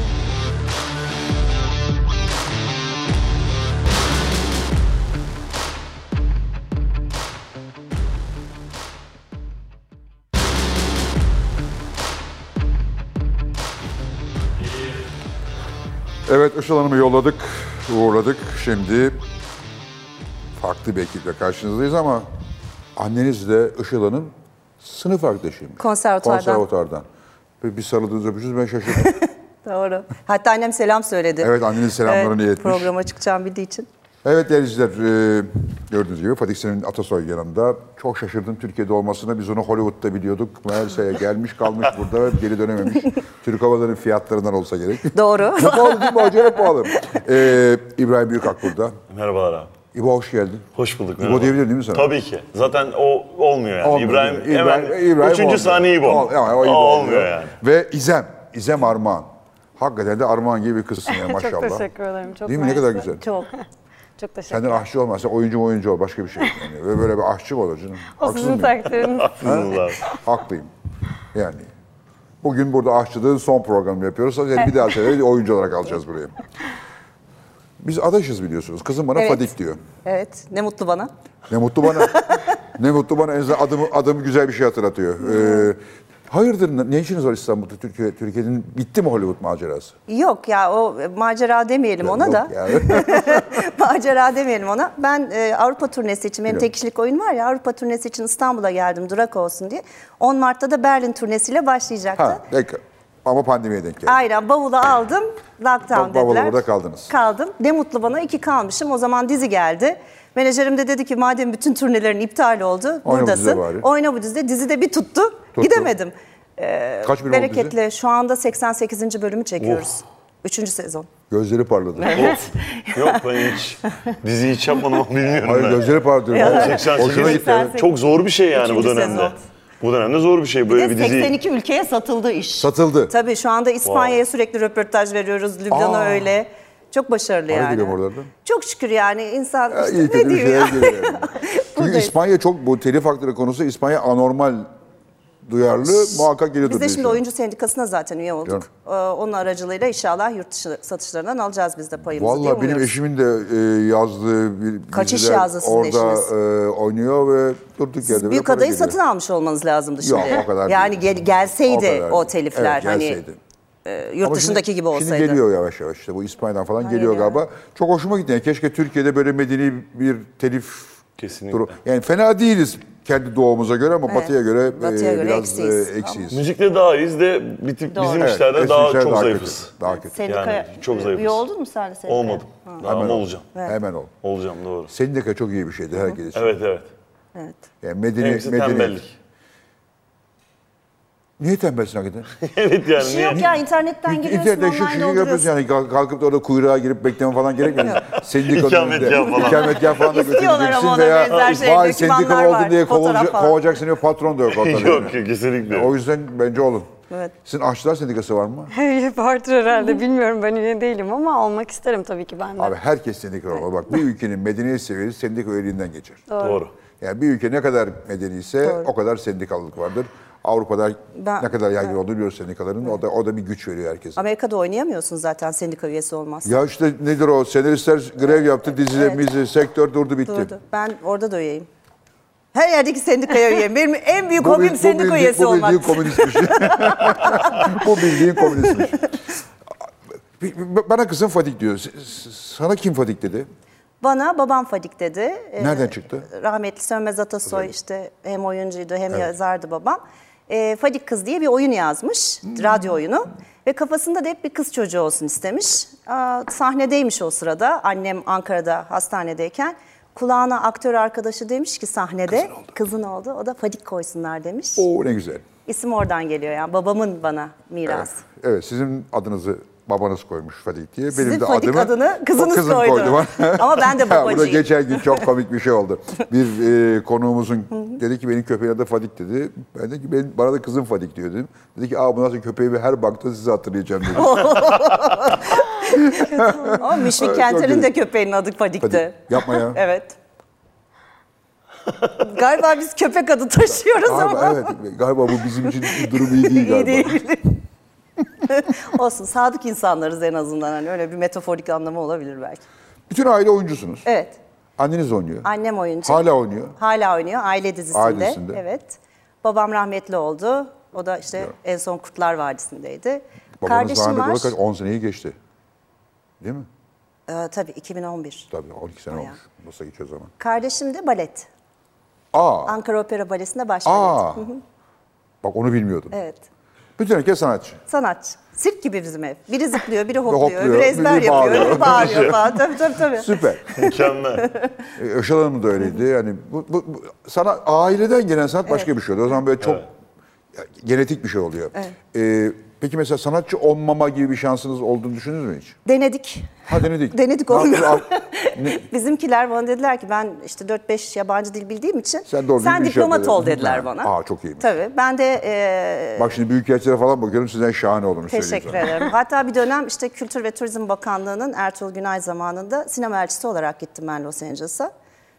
[SPEAKER 1] Evet Işıl Hanım'ı yolladık, uğurladık. Şimdi farklı bir ekiple karşınızdayız ama anneniz de Işıl Hanım sınıf arkadaşıyım.
[SPEAKER 3] Konservatuvardan.
[SPEAKER 1] Konservatuvardan. Bir bir sarıldınız öpüştünüz ben şaşırdım.
[SPEAKER 3] Doğru. Hatta annem selam söyledi.
[SPEAKER 1] Evet, annenin selamlarını
[SPEAKER 3] Evet,
[SPEAKER 1] iletmiş.
[SPEAKER 3] Programa çıkacağım bildiği için.
[SPEAKER 1] Evet değerli izleyiciler, e, gördüğünüz gibi Fatih Senin Atasoy yanımda. Çok şaşırdım Türkiye'de olmasına. Biz onu Hollywood'da biliyorduk. Meğerse gelmiş kalmış burada ve geri dönememiş. Türk Havaların fiyatlarından olsa gerek.
[SPEAKER 3] Doğru.
[SPEAKER 1] Hep pahalı değil mi hoca? Hep pahalı. E, İbrahim Büyükak burada.
[SPEAKER 4] Merhabalar abi.
[SPEAKER 1] İbo hoş geldin.
[SPEAKER 4] Hoş bulduk.
[SPEAKER 1] İbo diyebilir miyim sana?
[SPEAKER 4] Tabii ki. Zaten o olmuyor yani.
[SPEAKER 1] Olmuyor,
[SPEAKER 4] İbrahim,
[SPEAKER 1] değil mi?
[SPEAKER 4] hemen üçüncü
[SPEAKER 1] olmuyor.
[SPEAKER 4] saniye İbo.
[SPEAKER 1] Ol- yani o
[SPEAKER 4] O
[SPEAKER 1] İbo
[SPEAKER 4] olmuyor
[SPEAKER 1] oluyor.
[SPEAKER 4] yani.
[SPEAKER 1] Ve İzem, İzem Armağan. Hakikaten de Armağan gibi bir kızsın ya maşallah.
[SPEAKER 5] Çok teşekkür ederim. Çok
[SPEAKER 1] Değil mi? Ne
[SPEAKER 5] mersi.
[SPEAKER 1] kadar güzel.
[SPEAKER 5] Çok. Çok teşekkür
[SPEAKER 1] Kendin aşçı olma. Sen oyuncu mu oyuncu ol. Başka bir şey. Yani. Ve böyle bir aşçı mı olur canım?
[SPEAKER 5] O
[SPEAKER 1] Haksız
[SPEAKER 5] sizin
[SPEAKER 1] mıyım?
[SPEAKER 5] takdiriniz.
[SPEAKER 4] Haklısınız abi.
[SPEAKER 1] Haklıyım. Yani. Bugün burada aşçılığın son programını yapıyoruz. Yani bir daha sene oyuncu olarak alacağız burayı. Biz adaşız biliyorsunuz. Kızım bana
[SPEAKER 3] Evet.
[SPEAKER 1] Fadik diyor.
[SPEAKER 3] Evet. Ne mutlu bana.
[SPEAKER 1] Ne mutlu bana. ne mutlu bana. En azından adım, adım güzel bir şey hatırlatıyor. Ee, hayırdır ne- ne işiniz var İstanbul'da? Türkiye, Türkiye'nin bitti mi Hollywood macerası?
[SPEAKER 3] Yok ya o e, macera demeyelim ona
[SPEAKER 1] Yok
[SPEAKER 3] da.
[SPEAKER 1] yani.
[SPEAKER 3] macera demeyelim ona. Ben e, Avrupa turnesi için benim
[SPEAKER 1] Biliyorum.
[SPEAKER 3] tek kişilik oyun var ya Avrupa turnesi için İstanbul'a geldim durak olsun diye. 10 Mart'ta da Berlin turnesiyle başlayacaktı.
[SPEAKER 1] ha, peki. Ama pandemiye denk geldi.
[SPEAKER 3] Aynen bavulu aldım.
[SPEAKER 1] Bak,
[SPEAKER 3] Lockdown
[SPEAKER 1] bavula
[SPEAKER 3] dediler.
[SPEAKER 1] burada kaldınız.
[SPEAKER 3] Kaldım. Ne mutlu bana iki kalmışım. O zaman dizi geldi. Menajerim de dedi ki madem bütün turnelerin iptal oldu
[SPEAKER 1] Oyna bu dizide
[SPEAKER 3] buradasın.
[SPEAKER 1] bari.
[SPEAKER 3] Oyna bu dizide. Dizide bir tuttu. Gidemedim.
[SPEAKER 1] Kaç bölüm oldu dizi?
[SPEAKER 3] Bereketle şu anda 88. bölümü çekiyoruz. Üçüncü sezon.
[SPEAKER 1] Gözleri parladı.
[SPEAKER 4] Of. Yok ben hiç diziyi hiç yapmadım ama bilmiyorum
[SPEAKER 1] Hayır
[SPEAKER 4] ben.
[SPEAKER 1] gözleri parladı. Hoşuna
[SPEAKER 4] 88
[SPEAKER 1] gitti. evet.
[SPEAKER 4] Çok zor bir şey yani bu
[SPEAKER 3] Üçüncü
[SPEAKER 4] dönemde.
[SPEAKER 3] sezon.
[SPEAKER 4] Bu dönemde zor bir şey böyle
[SPEAKER 6] Bir
[SPEAKER 4] bir,
[SPEAKER 6] de
[SPEAKER 4] dizi.
[SPEAKER 6] 82 ülkeye satıldı iş.
[SPEAKER 1] Satıldı.
[SPEAKER 3] Tabii şu anda İspanya'ya sürekli röportaj veriyoruz. Lübnan'a
[SPEAKER 1] Aa.
[SPEAKER 3] öyle. Çok başarılı
[SPEAKER 1] Para
[SPEAKER 3] yani.
[SPEAKER 1] geliyor mu oralardan?
[SPEAKER 3] Çok şükür yani insan
[SPEAKER 1] Ya,
[SPEAKER 3] işte
[SPEAKER 1] iyi kötü
[SPEAKER 3] ne
[SPEAKER 1] bir
[SPEAKER 3] diyeyim
[SPEAKER 1] şeyler
[SPEAKER 3] ya.
[SPEAKER 1] geliyor. yani. Çünkü
[SPEAKER 3] Buradayız.
[SPEAKER 1] İspanya çok bu telif hakları konusu İspanya anormal duyarlı muhakkak geliyordur.
[SPEAKER 3] Biz
[SPEAKER 1] diye
[SPEAKER 3] de şimdi
[SPEAKER 1] düşünüyorum.
[SPEAKER 3] oyuncu sendikasına zaten üye olduk.
[SPEAKER 1] Diyorum.
[SPEAKER 3] Ee, onun aracılığıyla inşallah yurt dışı satışlarından alacağız biz de payımızı diye
[SPEAKER 1] Valla benim
[SPEAKER 3] umuyoruz.
[SPEAKER 1] eşimin de e, yazdığı bir
[SPEAKER 3] Kaçış
[SPEAKER 1] diziler
[SPEAKER 3] yazdı sizin
[SPEAKER 1] orada
[SPEAKER 3] eşiniz?
[SPEAKER 1] e, oynuyor ve durduk yerde.
[SPEAKER 3] Siz
[SPEAKER 1] böyle
[SPEAKER 3] büyük
[SPEAKER 1] para
[SPEAKER 3] adayı
[SPEAKER 1] geliyor.
[SPEAKER 3] satın almış olmanız lazımdı
[SPEAKER 1] Yok,
[SPEAKER 3] şimdi.
[SPEAKER 1] o kadar
[SPEAKER 3] yani
[SPEAKER 1] değil.
[SPEAKER 3] gel- gelseydi o,
[SPEAKER 1] kadar.
[SPEAKER 3] telifler
[SPEAKER 1] Evet,
[SPEAKER 3] hani
[SPEAKER 1] gelseydi.
[SPEAKER 3] e, yurt
[SPEAKER 1] Ama
[SPEAKER 3] dışındaki
[SPEAKER 1] şimdi-
[SPEAKER 3] gibi olsaydı.
[SPEAKER 1] Şimdi geliyor yavaş yavaş işte bu İspanya'dan falan geliyor
[SPEAKER 3] ya.
[SPEAKER 1] galiba. Çok hoşuma gitti. Yani keşke Türkiye'de böyle medeni bir telif
[SPEAKER 4] Kesinlikle.
[SPEAKER 1] Yani fena değiliz kendi doğumuza göre ama batıya göre, e,
[SPEAKER 3] Batıya göre
[SPEAKER 1] biraz
[SPEAKER 3] eksiyiz.
[SPEAKER 1] e, eksiyiz.
[SPEAKER 4] Müzikte daha iyiyiz de bir tip bizim
[SPEAKER 1] Evet,
[SPEAKER 4] işlerde
[SPEAKER 1] eski
[SPEAKER 4] daha
[SPEAKER 1] işler
[SPEAKER 4] çok
[SPEAKER 1] daha
[SPEAKER 4] zayıfız.
[SPEAKER 1] Kötü, daha kötü.
[SPEAKER 6] Sendikaya
[SPEAKER 4] Yani çok zayıfız.
[SPEAKER 6] üye oldun mu sen de sendikaya?
[SPEAKER 4] Olmadım. Daha ama olacağım.
[SPEAKER 1] Hemen ol.
[SPEAKER 4] Olacağım doğru.
[SPEAKER 1] Sendika çok iyi bir şeydi herkes için.
[SPEAKER 4] Evet evet.
[SPEAKER 1] Yani medeni,
[SPEAKER 4] Hepsi
[SPEAKER 1] medeni.
[SPEAKER 4] tembellik.
[SPEAKER 1] Niye tembelsin hakikaten?
[SPEAKER 4] evet
[SPEAKER 6] Bir
[SPEAKER 4] yani
[SPEAKER 6] şey
[SPEAKER 4] niye?
[SPEAKER 6] yok ya internetten giriyorsun
[SPEAKER 1] İnternette şu
[SPEAKER 6] online
[SPEAKER 1] şeyi yapıyorsun
[SPEAKER 6] dolduruyorsun.
[SPEAKER 1] yani Kalk- kalkıp da orada kuyruğa girip bekleme falan gerekmiyor. Sendika
[SPEAKER 4] İkametgah
[SPEAKER 1] döneminde.
[SPEAKER 4] falan.
[SPEAKER 1] İkametgah falan da
[SPEAKER 3] İstiyorlar
[SPEAKER 1] götüreceksin
[SPEAKER 3] ama ona
[SPEAKER 1] veya
[SPEAKER 3] benzer şey,
[SPEAKER 1] vay
[SPEAKER 3] dokümanlar
[SPEAKER 1] sendika oldun
[SPEAKER 3] var,
[SPEAKER 1] diye
[SPEAKER 3] fotoğraf
[SPEAKER 1] kovulca-
[SPEAKER 3] falan.
[SPEAKER 1] kovacaksın diye patron da yok ortada.
[SPEAKER 4] Yok
[SPEAKER 1] yani.
[SPEAKER 4] kesinlikle.
[SPEAKER 1] O yüzden bence olun.
[SPEAKER 3] Evet.
[SPEAKER 1] Sizin aşçılar sendikası var mı?
[SPEAKER 5] Vardır herhalde bilmiyorum ben üye değilim ama olmak isterim tabii ki ben de.
[SPEAKER 1] Abi herkes sendika olmalı. Bak bir ülkenin medeniyet seviyesi sendika üyeliğinden geçer.
[SPEAKER 4] Doğru.
[SPEAKER 1] Yani bir ülke ne kadar medeniyse o kadar sendikalılık vardır. Avrupa'da
[SPEAKER 3] Ben-
[SPEAKER 1] ne kadar yaygın olduğu biliyoruz sendikaların. O da, o da bir güç veriyor herkese.
[SPEAKER 3] Amerika'da oynayamıyorsun zaten sendika üyesi olmaz.
[SPEAKER 1] Ya işte nedir o? Senaristler grev yaptı, dizide, mizi, sektör durdu bitti.
[SPEAKER 3] Durdu. Ben orada da üyeyim. Her yerdeki sendikaya üyeyim. Benim en büyük
[SPEAKER 1] Bu bil-
[SPEAKER 3] hobim
[SPEAKER 1] bu
[SPEAKER 3] sendika
[SPEAKER 1] bildiğin-
[SPEAKER 3] üyesi olmak.
[SPEAKER 1] Bu bildiğin komünistmiş. bu bildiğin komünistmiş. Bir- bir- Bana kızım Fadik diyor. S- s- Sana kim Fadik dedi?
[SPEAKER 3] Bana babam Fadik dedi. Ee,
[SPEAKER 1] Nereden çıktı?
[SPEAKER 3] Rahmetli Sönmez Atasoy işte hem oyuncuydu hem yazardı babam. Ee, Fadik Kız diye bir oyun yazmış,
[SPEAKER 1] Hmm.
[SPEAKER 3] radyo oyunu. Ve kafasında da hep bir kız çocuğu olsun istemiş. Aa, sahnedeymiş o sırada. Annem Ankara'da hastanedeyken. Kulağına aktör arkadaşı demiş ki sahnede kızın oldu. O da Fadik koysunlar demiş.
[SPEAKER 1] Oo ne güzel.
[SPEAKER 3] İsim oradan geliyor yani babamın bana miras.
[SPEAKER 1] Evet sizin adınızı babanız koymuş Fadik diye.
[SPEAKER 3] Sizin Fadik adını kızınız
[SPEAKER 1] o kızım
[SPEAKER 3] koydu.
[SPEAKER 1] bana.
[SPEAKER 3] Ama ben de
[SPEAKER 1] Ya, bu da
[SPEAKER 3] babacıyım.
[SPEAKER 1] geçen gün çok komik bir şey oldu. Bir e, konuğumuzun dedi ki benim köpeğin adı Fadik dedi. Ben de ki "Benim- bana da kızım Fadik diyor dedim. Dedi ki aa bu nasıl köpeği her baktığında sizi hatırlayacağım dedi.
[SPEAKER 3] Oh Ama Müşfik
[SPEAKER 1] Evet,
[SPEAKER 3] Kenter'in
[SPEAKER 1] çok
[SPEAKER 3] de köpeğinin adı Fadik'ti.
[SPEAKER 1] Fadik. Yapma ya.
[SPEAKER 3] Evet. Galiba biz köpek adı taşıyoruz ama
[SPEAKER 1] Galiba, evet, galiba bu bizim için durum iyi değil
[SPEAKER 3] iyi
[SPEAKER 1] galiba.
[SPEAKER 3] değil. Olsun sadık insanlarız en azından hani öyle bir metaforik anlamı olabilir belki.
[SPEAKER 1] Bütün aile oyuncusunuz.
[SPEAKER 3] Evet.
[SPEAKER 1] Anneniz oynuyor.
[SPEAKER 3] Annem oyuncu.
[SPEAKER 1] Hala oynuyor.
[SPEAKER 3] Hala oynuyor aile dizisinde.
[SPEAKER 1] Ailesinde.
[SPEAKER 3] Evet. Babam rahmetli oldu. O da işte en son Kurtlar Vadisi'ndeydi.
[SPEAKER 1] Babanız
[SPEAKER 3] Kardeşim
[SPEAKER 1] rahmetli
[SPEAKER 3] var.
[SPEAKER 1] olalı kaç? 10 seneyi geçti. Değil mi?
[SPEAKER 3] Ee, tabii 2011.
[SPEAKER 1] Tabii 12 sene
[SPEAKER 3] Bayağı.
[SPEAKER 1] olmuş. Nasıl geçiyor zaman?
[SPEAKER 3] Kardeşim de balet.
[SPEAKER 1] Aa,
[SPEAKER 3] Ankara Opera Balesi'nde baş
[SPEAKER 1] aa.
[SPEAKER 3] balet. Hı hı,
[SPEAKER 1] Bak onu bilmiyordum.
[SPEAKER 3] Evet.
[SPEAKER 1] Bütün herkes sanatçı.
[SPEAKER 3] Sanatçı. Sirk gibi bizim ev. Biri zıplıyor, biri hopluyor,
[SPEAKER 1] hopluyor,
[SPEAKER 3] biri ezber
[SPEAKER 1] biri
[SPEAKER 3] yapıyor,
[SPEAKER 1] bağırıyor.
[SPEAKER 3] biri bağırıyor falan. Tabii tabii tabii.
[SPEAKER 1] Süper.
[SPEAKER 4] Mükemmel.
[SPEAKER 1] Ee, Işıl Hanım da öyleydi. Yani bu, bu, bu sana aileden gelen sanat başka bir şey oluyor. O zaman böyle çok genetik bir şey oluyor. Ee, peki mesela sanatçı olmama gibi bir şansınız olduğunu düşündünüz mü hiç?
[SPEAKER 3] Denedik.
[SPEAKER 1] Ha denedik.
[SPEAKER 3] Denedik
[SPEAKER 1] Ne yaptın?
[SPEAKER 3] olmuyor.
[SPEAKER 1] Ne-
[SPEAKER 3] Bizimkiler bana dediler ki ben işte 4-5 yabancı dil bildiğim için
[SPEAKER 1] Sen doğru düzgün bir şey
[SPEAKER 3] diplomat
[SPEAKER 1] yapıyorsun."
[SPEAKER 3] ol dediler
[SPEAKER 1] Ha.
[SPEAKER 3] bana.
[SPEAKER 1] Aa, çok iyiymiş.
[SPEAKER 3] Tabii ben de e,
[SPEAKER 1] Bak şimdi büyük yerlere falan bakıyorum sizden şahane olduğunu söyleyeyim
[SPEAKER 3] teşekkür
[SPEAKER 1] sana.
[SPEAKER 3] ederim. Hatta bir dönem işte Kültür ve Turizm Bakanlığı'nın Ertuğrul Günay zamanında sinema elçisi olarak gittim ben Los Angeles'a.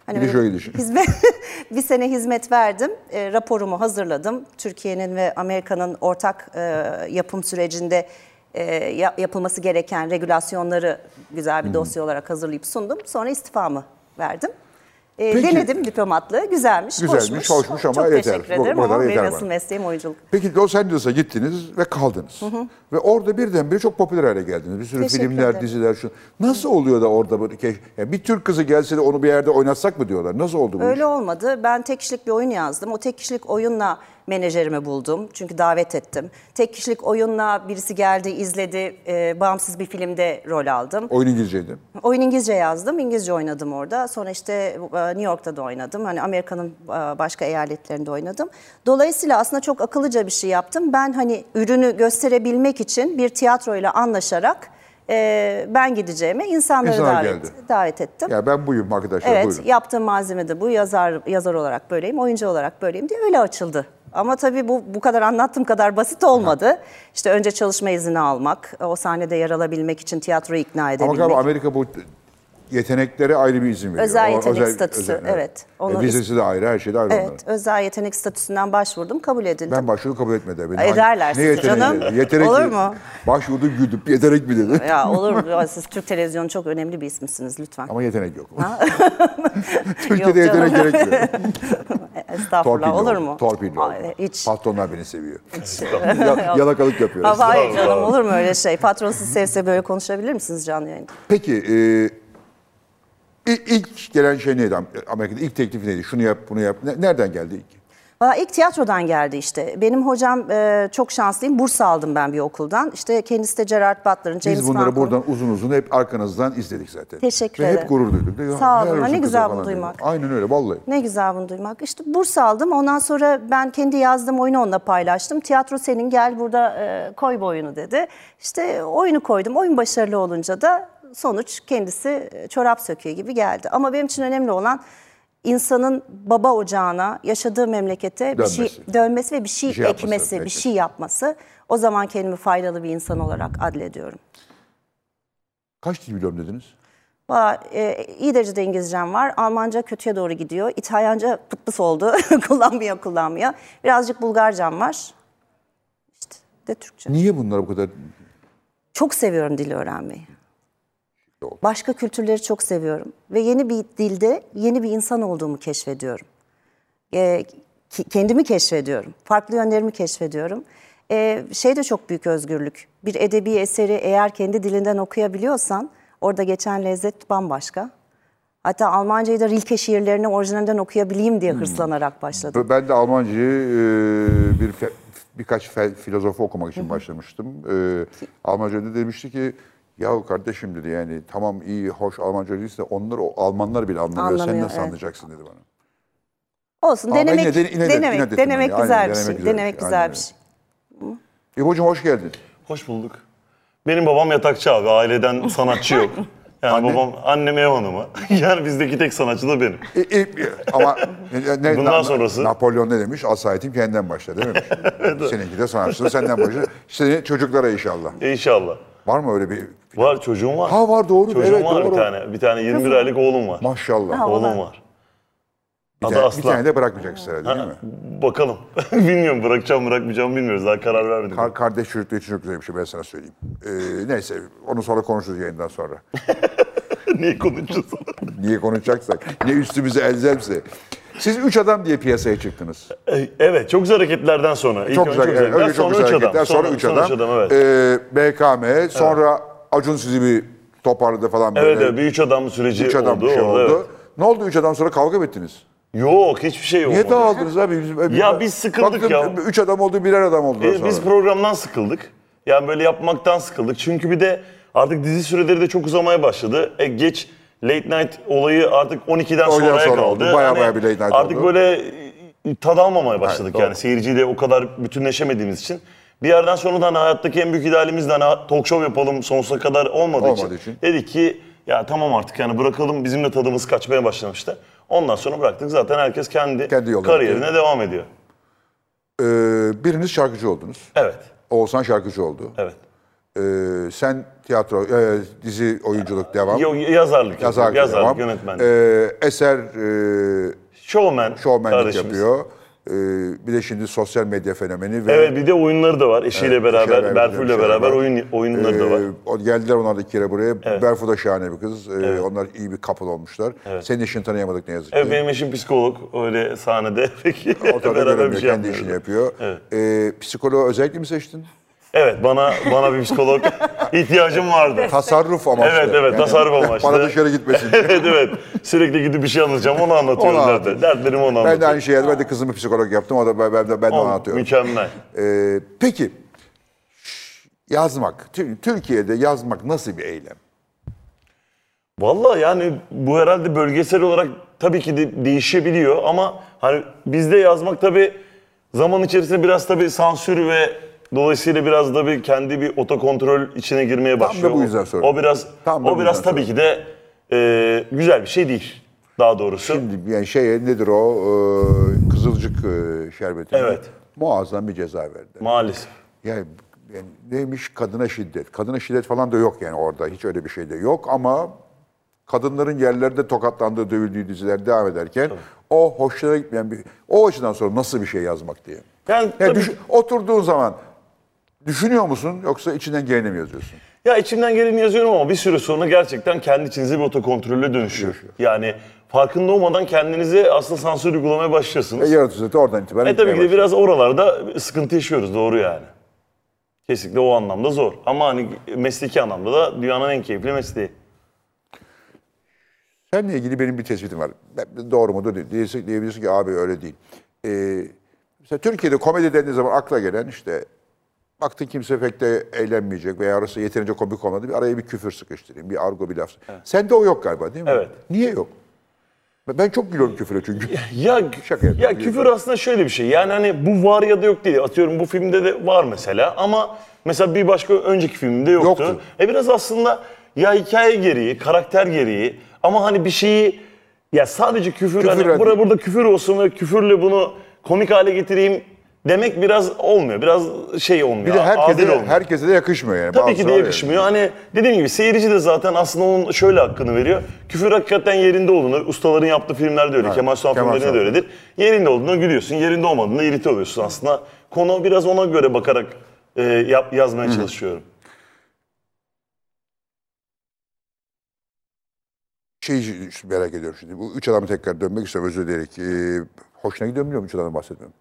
[SPEAKER 3] Hani
[SPEAKER 1] Bir de
[SPEAKER 3] böyle
[SPEAKER 1] şöyle düşün.
[SPEAKER 3] hizmet, bir sene hizmet verdim, E, raporumu hazırladım. Türkiye'nin ve Amerika'nın ortak e, yapım sürecinde e, ya- yapılması gereken regülasyonları güzel bir dosya olarak hazırlayıp sundum. Sonra istifamı verdim. E,
[SPEAKER 1] Peki.
[SPEAKER 3] denedim diplomatlığı, güzelmiş,
[SPEAKER 1] Güzelmiş,
[SPEAKER 3] hoşmuş.
[SPEAKER 1] hoşmuş ama
[SPEAKER 3] Çok
[SPEAKER 1] yeter.
[SPEAKER 3] teşekkür
[SPEAKER 1] Bu- bu
[SPEAKER 3] ederim
[SPEAKER 1] kadar
[SPEAKER 3] ama benim
[SPEAKER 1] yeter
[SPEAKER 3] asıl
[SPEAKER 1] bana.
[SPEAKER 3] mesleğim oyunculuk.
[SPEAKER 1] Peki Los Angeles'a gittiniz ve kaldınız. Ve orada birdenbire çok popüler hale geldiniz. Bir sürü
[SPEAKER 3] Teşekkür
[SPEAKER 1] filmler,
[SPEAKER 3] ederim.
[SPEAKER 1] diziler şu. Nasıl oluyor da orada böyle keş- yani bir Türk kızı gelse de onu bir yerde oynatsak mı diyorlar? Nasıl oldu bu iş?
[SPEAKER 3] Öyle olmadı. Ben tek kişilik bir oyun yazdım. O tek kişilik oyunla menajerimi buldum. Çünkü davet ettim. Tek kişilik oyunla birisi geldi, izledi. e, bağımsız bir filmde rol aldım.
[SPEAKER 1] Oyun İngilizceydi.
[SPEAKER 3] Oyun İngilizce yazdım. İngilizce oynadım orada. Sonra işte e, New York'ta da oynadım. Hani Amerika'nın e, başka eyaletlerinde oynadım. Dolayısıyla aslında çok akıllıca bir şey yaptım. Ben hani ürünü gösterebilmek için bir tiyatroyla anlaşarak e, ben gideceğime insanları
[SPEAKER 1] İnsanlar
[SPEAKER 3] davet,
[SPEAKER 1] geldi.
[SPEAKER 3] davet ettim.
[SPEAKER 1] Ya ben buyum arkadaşlar
[SPEAKER 3] evet,
[SPEAKER 1] buyurun.
[SPEAKER 3] yaptığım malzeme de bu. Yazar yazar olarak böyleyim, oyuncu olarak böyleyim diye öyle açıldı. Ama tabii bu bu kadar anlattığım kadar basit olmadı. İşte önce çalışma izni almak, o sahnede yer alabilmek için tiyatroyu ikna
[SPEAKER 1] Ama
[SPEAKER 3] edebilmek.
[SPEAKER 1] galiba Amerika bu yeteneklere ayrı bir izin veriyor.
[SPEAKER 3] Özel
[SPEAKER 1] O-
[SPEAKER 3] yetenek statüsü, evet.
[SPEAKER 1] E,
[SPEAKER 3] Onu-
[SPEAKER 1] vizesi de ayrı, her şey de ayrı onların.
[SPEAKER 3] Evet, özel yetenek statüsünden başvurdum, kabul edildi.
[SPEAKER 1] Ben başvuru kabul etmedi. Beni
[SPEAKER 3] Ay, ederler sizi
[SPEAKER 1] yeteneği
[SPEAKER 3] E, canım.
[SPEAKER 1] dedi? Yetenek
[SPEAKER 3] Olur
[SPEAKER 1] dedi.
[SPEAKER 3] mu?
[SPEAKER 1] Başvurdu güdüp yetenek mi dedi.
[SPEAKER 3] Ya olur mu? Ya Siz Türk televizyonu çok önemli bir ismisiniz lütfen.
[SPEAKER 1] Ama yetenek yok.
[SPEAKER 3] Yok
[SPEAKER 1] Türkiye'de
[SPEAKER 3] canım.
[SPEAKER 1] yetenek gerekmiyor.
[SPEAKER 3] Estağfurullah
[SPEAKER 1] Torpil
[SPEAKER 3] olur mu?
[SPEAKER 1] Torpilli
[SPEAKER 3] Ay,
[SPEAKER 1] oldu.
[SPEAKER 3] Hiç.
[SPEAKER 1] Patronlar beni seviyor. Ya- Yalakalık yapıyoruz.
[SPEAKER 3] Ama hayır canım
[SPEAKER 4] Estağfurullah.
[SPEAKER 3] olur mu öyle şey? Patronsuz sevse böyle konuşabilir misiniz canlı yayında?
[SPEAKER 1] Peki e, i- ilk gelen şey neydi Amerika'da? İlk teklif neydi? Şunu yap, bunu yap. Ne- Nereden geldi ilk?
[SPEAKER 3] Valla ilk tiyatrodan geldi işte. Benim hocam e, çok şanslıyım. Burs aldım ben bir okuldan. İşte kendisi de Gerard Butler'ın, James
[SPEAKER 1] Biz bunları
[SPEAKER 3] Franco'nun-
[SPEAKER 1] buradan uzun uzun hep arkanızdan izledik zaten.
[SPEAKER 3] Teşekkür
[SPEAKER 1] Ve hep
[SPEAKER 3] ederim.
[SPEAKER 1] gurur duyduk. Ya,
[SPEAKER 3] Sağ olun.
[SPEAKER 1] helal
[SPEAKER 3] Ha, ne
[SPEAKER 1] olsun kıza
[SPEAKER 3] güzel
[SPEAKER 1] falan
[SPEAKER 3] bunu
[SPEAKER 1] dedik.
[SPEAKER 3] duymak.
[SPEAKER 1] Aynen öyle vallahi.
[SPEAKER 3] Ne güzel bunu duymak. İşte burs aldım. Ondan sonra ben kendi yazdığım oyunu onunla paylaştım. Tiyatro senin gel burada e, koy bu oyunu dedi. İşte oyunu koydum. Oyun başarılı olunca da sonuç kendisi e, çorap söküğü gibi geldi. Ama benim için önemli olan insanın baba ocağına, yaşadığı memlekete bir şey
[SPEAKER 1] Dönmesi.
[SPEAKER 3] dönmesi ve bir şey,
[SPEAKER 1] Bir şey yapması,
[SPEAKER 3] ekmesi, bir
[SPEAKER 1] ekmesi.
[SPEAKER 3] şey yapması. O zaman kendimi faydalı bir insan olarak adlediyorum.
[SPEAKER 1] Kaç dil biliyorum dediniz?
[SPEAKER 3] Valla e, iyi derecede İngilizcem var. Almanca kötüye doğru gidiyor. İtalyanca pıt pıs oldu. kullanmıyor kullanmıyor. Birazcık Bulgarcam var. İşte bir de Türkçe.
[SPEAKER 1] Niye bunlara bu kadar
[SPEAKER 3] Çok seviyorum dil öğrenmeyi. Başka kültürleri çok seviyorum. Ve yeni bir dilde yeni bir insan olduğumu keşfediyorum. E, ki- kendimi keşfediyorum. Farklı yönlerimi keşfediyorum. E, şey de çok büyük özgürlük. Bir edebi eseri eğer kendi dilinden okuyabiliyorsan orada geçen lezzet bambaşka. Hatta Almancayı da Rilke şiirlerini orijinalinden okuyabileyim
[SPEAKER 1] Hmm.
[SPEAKER 3] diye hırslanarak başladım.
[SPEAKER 1] Ben de Almancayı e, bir fe- birkaç fe- filozofu okumak için başlamıştım. E, Almanca önde demişti ki ya kardeşim dedi yani tamam iyi hoş Almanca değilse onları o Almanlar bile anlamıyor. Sen
[SPEAKER 3] Anlamıyor,
[SPEAKER 1] nasıl
[SPEAKER 3] evet.
[SPEAKER 1] anlayacaksın dedi bana.
[SPEAKER 3] Olsun
[SPEAKER 1] Ama ben
[SPEAKER 3] denemek
[SPEAKER 1] yine de inat-
[SPEAKER 3] denemek
[SPEAKER 1] inat ettim
[SPEAKER 3] denemek
[SPEAKER 1] yani.
[SPEAKER 3] güzel
[SPEAKER 1] Aynen,
[SPEAKER 3] bir şey.
[SPEAKER 1] denemek
[SPEAKER 3] Denemek
[SPEAKER 1] güzel
[SPEAKER 3] güzel,
[SPEAKER 1] bir şey. Aynen
[SPEAKER 3] bir şey.
[SPEAKER 1] İbo'cum E, hoş geldin.
[SPEAKER 4] Hoş bulduk. Benim babam yatakçı abi. Aileden sanatçı yok. Yani
[SPEAKER 1] Anne?
[SPEAKER 4] babam annem ev hanımı. yani bizdeki tek sanatçı da benim.
[SPEAKER 1] E, e, e, ama ne- ne,
[SPEAKER 4] Bundan sonrası-
[SPEAKER 1] Napolyon ne demiş? Asayitim kendinden başla dememiş. Seninki de sanatçı senden başla. Seni çocuklara inşallah.
[SPEAKER 4] İnşallah.
[SPEAKER 1] Var mı öyle bir...
[SPEAKER 4] E, Var çocuğum var.
[SPEAKER 1] Ha var doğru.
[SPEAKER 4] Çocuğum
[SPEAKER 1] evet,
[SPEAKER 4] var
[SPEAKER 1] doğru.
[SPEAKER 4] bir tane. Bir tane 21 aylık oğlum var.
[SPEAKER 1] Maşallah.
[SPEAKER 4] Oğlum var.
[SPEAKER 1] Bir,
[SPEAKER 4] Adı
[SPEAKER 1] tane, bir
[SPEAKER 4] Aslan.
[SPEAKER 1] tane de bırakmayacaksın herhalde değil mi?
[SPEAKER 4] Bakalım. Bilmiyorum bırakacağım bırakmayacağım bilmiyoruz. Daha karar vermedik.
[SPEAKER 1] Kar- kardeş çocukluğu için çok güzel bir şey ben sana söyleyeyim. Ee, neyse onu sonra konuşuruz yayından sonra.
[SPEAKER 4] Niye konuşacağız?
[SPEAKER 1] Niye konuşacaksak, ne üstümüze elzemse. Siz üç adam diye piyasaya çıktınız.
[SPEAKER 4] E, evet çok güzel hareketlerden sonra. İlk
[SPEAKER 1] çok
[SPEAKER 4] önce
[SPEAKER 1] güzel. evet,
[SPEAKER 4] hareketler,
[SPEAKER 1] önce çok
[SPEAKER 4] sonra
[SPEAKER 1] güzel
[SPEAKER 4] üç adam.
[SPEAKER 1] hareketler, sonra, üç adam.
[SPEAKER 4] evet.
[SPEAKER 1] Ee, BKM, sonra Acun sizi bir toparladı falan böyle.
[SPEAKER 4] evet, evet, bir üç adam süreci
[SPEAKER 1] Üç adam
[SPEAKER 4] oldu.
[SPEAKER 1] bir şey
[SPEAKER 4] oldu,
[SPEAKER 1] oldu.
[SPEAKER 4] evet.
[SPEAKER 1] Ne oldu üç adam sonra kavga mı ettiniz?
[SPEAKER 4] Yok hiçbir şey olmadı.
[SPEAKER 1] Niye dağıldınız abi? Biz-
[SPEAKER 4] Ya biz sıkıldık
[SPEAKER 1] Baktım,
[SPEAKER 4] ya.
[SPEAKER 1] Üç adam oldu, birer adam oldu
[SPEAKER 4] Biz-
[SPEAKER 1] sonra.
[SPEAKER 4] Biz programdan sıkıldık. Yani böyle yapmaktan sıkıldık. Çünkü bir de artık dizi süreleri de çok uzamaya başladı. E, geç late night olayı artık 12'den
[SPEAKER 1] Ondan
[SPEAKER 4] sonraya
[SPEAKER 1] sonra
[SPEAKER 4] kaldı. Hani
[SPEAKER 1] oldu. Baya baya bir late night
[SPEAKER 4] Artık
[SPEAKER 1] oldu.
[SPEAKER 4] böyle e, tad almamaya başladık
[SPEAKER 1] doğru.
[SPEAKER 4] yani seyirciyle o kadar bütünleşemediğimiz için. Bir yerden sonra da hani hayattaki en büyük idealimiz de hani talk show yapalım sonsuza kadar olmadığı
[SPEAKER 1] Olmadığı
[SPEAKER 4] için.
[SPEAKER 1] için.
[SPEAKER 4] Dedik ki ya tamam artık yani bırakalım bizim de tadımız kaçmaya başlamıştı. Ondan sonra bıraktık zaten herkes kendi,
[SPEAKER 1] Kendi yoluna
[SPEAKER 4] kariyerine devam ediyor.
[SPEAKER 1] Ee, biriniz şarkıcı oldunuz.
[SPEAKER 4] Evet,
[SPEAKER 1] Oğuzhan şarkıcı oldu.
[SPEAKER 4] evet.
[SPEAKER 1] Ee, sen tiyatro, e, dizi, oyunculuk devam.
[SPEAKER 4] Yo- yazarlık,
[SPEAKER 1] Yazarlık
[SPEAKER 4] yazarlık, yazarlık
[SPEAKER 1] devam.
[SPEAKER 4] yönetmenlik.
[SPEAKER 1] Ee, eser e,
[SPEAKER 4] Showman.
[SPEAKER 1] şovmenlik
[SPEAKER 4] kardeşimiz.
[SPEAKER 1] yapıyor. Ee, bir de şimdi sosyal medya fenomeni ve
[SPEAKER 4] Evet bir de oyunları da var. Eşiyle
[SPEAKER 1] Evet, eşiyle beraber
[SPEAKER 4] beraber,
[SPEAKER 1] bir
[SPEAKER 4] Berfu'yla
[SPEAKER 1] şey
[SPEAKER 4] beraber
[SPEAKER 1] var.
[SPEAKER 4] oyun oyunları da var.
[SPEAKER 1] Ee, o- geldiler onlar da iki kere buraya. Berfu da şahane bir kız. Ee, Onlar iyi bir couple olmuşlar. Senin eşini tanıyamadık ne yazık ki.
[SPEAKER 4] Evet benim eşim psikolog. Öyle sahnede peki
[SPEAKER 1] O tarafa
[SPEAKER 4] beraber
[SPEAKER 1] göremiyor,
[SPEAKER 4] bir şey
[SPEAKER 1] kendi işini
[SPEAKER 4] yapmıyoruz.
[SPEAKER 1] yapıyor. Ee, psikoloğu özellikle mi seçtin?
[SPEAKER 4] Evet bana bana bir psikolog ihtiyacım vardı.
[SPEAKER 1] Tasarruf amaçlı.
[SPEAKER 4] Evet, evet, tasarruf amaçlı.
[SPEAKER 1] Bana dışarı gitmesin diye.
[SPEAKER 4] evet evet. Sürekli gidip bir şey anlatacağım onu anlatıyorum
[SPEAKER 1] Onu
[SPEAKER 4] zaten. Dertlerimi ona
[SPEAKER 1] Ben de
[SPEAKER 4] anlatıyorum.
[SPEAKER 1] aynı şeyi Ben de kızımı psikolog yaptım. O da ben, ben de, ben de ona
[SPEAKER 4] On-
[SPEAKER 1] atıyorum.
[SPEAKER 4] Mükemmel.
[SPEAKER 1] Ee, peki yazmak. Tü- Türkiye'de yazmak nasıl bir eylem?
[SPEAKER 4] Valla yani bu herhalde bölgesel olarak tabii ki de değişebiliyor ama hani bizde yazmak tabii zaman içerisinde biraz tabii sansür ve dolayısıyla biraz da bir kendi bir otokontrol içine girmeye
[SPEAKER 1] Tam da
[SPEAKER 4] başlıyor.
[SPEAKER 1] bu yüzden
[SPEAKER 4] O,
[SPEAKER 1] soruyorum.
[SPEAKER 4] o biraz
[SPEAKER 1] Tam da bu
[SPEAKER 4] o biraz
[SPEAKER 1] yüzden
[SPEAKER 4] tabii ki de e, güzel bir şey değil daha doğrusu.
[SPEAKER 1] Şimdi yani şey nedir o e, kızılcık e, şerbeti.
[SPEAKER 4] Evet.
[SPEAKER 1] Muazzam bir ceza verdi.
[SPEAKER 4] Maalesef.
[SPEAKER 1] Yani, yani neymiş kadına şiddet. Kadına şiddet falan da yok yani orada. Hiç öyle bir şey de yok ama kadınların yerlerde tokatlandığı, dövüldüğü diziler devam ederken o hoşlara gitmeyen bir... O açıdan sonra nasıl bir şey yazmak diye.
[SPEAKER 4] Yani
[SPEAKER 1] Yani
[SPEAKER 4] tabii-
[SPEAKER 1] düşün- oturduğun zaman düşünüyor musun yoksa içinden geleni mi yazıyorsun?
[SPEAKER 4] Ya içimden geleni yazıyorum ama bir süre sonra gerçekten kendi içinize bir otokontrolle dönüşüyor. Yani farkında olmadan kendinize aslında sansür uygulamaya
[SPEAKER 1] E,
[SPEAKER 4] başlıyorsunuz.
[SPEAKER 1] yaratıcı zaten oradan itibaren
[SPEAKER 4] E tabii ki
[SPEAKER 1] gitmeye
[SPEAKER 4] de biraz oralarda sıkıntı yaşıyoruz doğru yani. Kesinlikle o anlamda zor. Ama hani mesleki anlamda da dünyanın en keyifli mesleği.
[SPEAKER 1] Seninle ilgili benim bir tespitim var. Ben- Doğru mu değil. Diyebilirsin, diyebilirsin ki abi öyle değil. Ee, mesela Türkiye'de komedi dendiği zaman akla gelen işte baktın kimse pek de eğlenmeyecek veya arası yeterince komik olmadı. Bir araya bir küfür sıkıştırayım, bir argo bir laf. Sende o yok galiba değil mi?
[SPEAKER 4] Evet.
[SPEAKER 1] Niye yok? Ben ben çok gülüyorum küfüre çünkü.
[SPEAKER 4] Ya,
[SPEAKER 1] Şaka yapıyorum,
[SPEAKER 4] ya küfür
[SPEAKER 1] biliyorum.
[SPEAKER 4] aslında şöyle bir şey. Yani hani bu var ya da yok değil. Atıyorum bu filmde de var mesela ama mesela bir başka önceki filmde yoktu.
[SPEAKER 1] Yoktu.
[SPEAKER 4] E biraz aslında ya hikaye gereği, karakter gereği ama hani bir şeyi ya sadece küfür,
[SPEAKER 1] Küfür
[SPEAKER 4] hani
[SPEAKER 1] hani-
[SPEAKER 4] burada burada küfür olsun ve küfürle bunu komik hale getireyim demek biraz olmuyor. Biraz şey olmuyor.
[SPEAKER 1] bir de
[SPEAKER 4] adil
[SPEAKER 1] herkese,
[SPEAKER 4] olmuyor.
[SPEAKER 1] herkese de yakışmıyor yani.
[SPEAKER 4] Tabii ki
[SPEAKER 1] Bazıları
[SPEAKER 4] de
[SPEAKER 1] var yani.
[SPEAKER 4] yakışmıyor. Hani dediğim gibi seyirci de zaten aslında onun şöyle hakkını veriyor. Küfür hakikaten yerinde olduğunu, ustaların yaptığı filmlerde öyle, Kemal Sunal
[SPEAKER 1] Kemal
[SPEAKER 4] filmlerinde de
[SPEAKER 1] Sunal.
[SPEAKER 4] öyledir. Yerinde olduğunda gülüyorsun, yerinde olmadığında irite oluyorsun aslında. Konu biraz ona göre bakarak e, yap, yazmaya çalışıyorum.
[SPEAKER 1] Şeyi Şey, merak ediyorum şimdi. Bu üç adamı tekrar dönmek istiyorum özür dileyerek. Ee, hoşuna gidiyor mu biliyor musun? üç adamı bahsetmiyorum?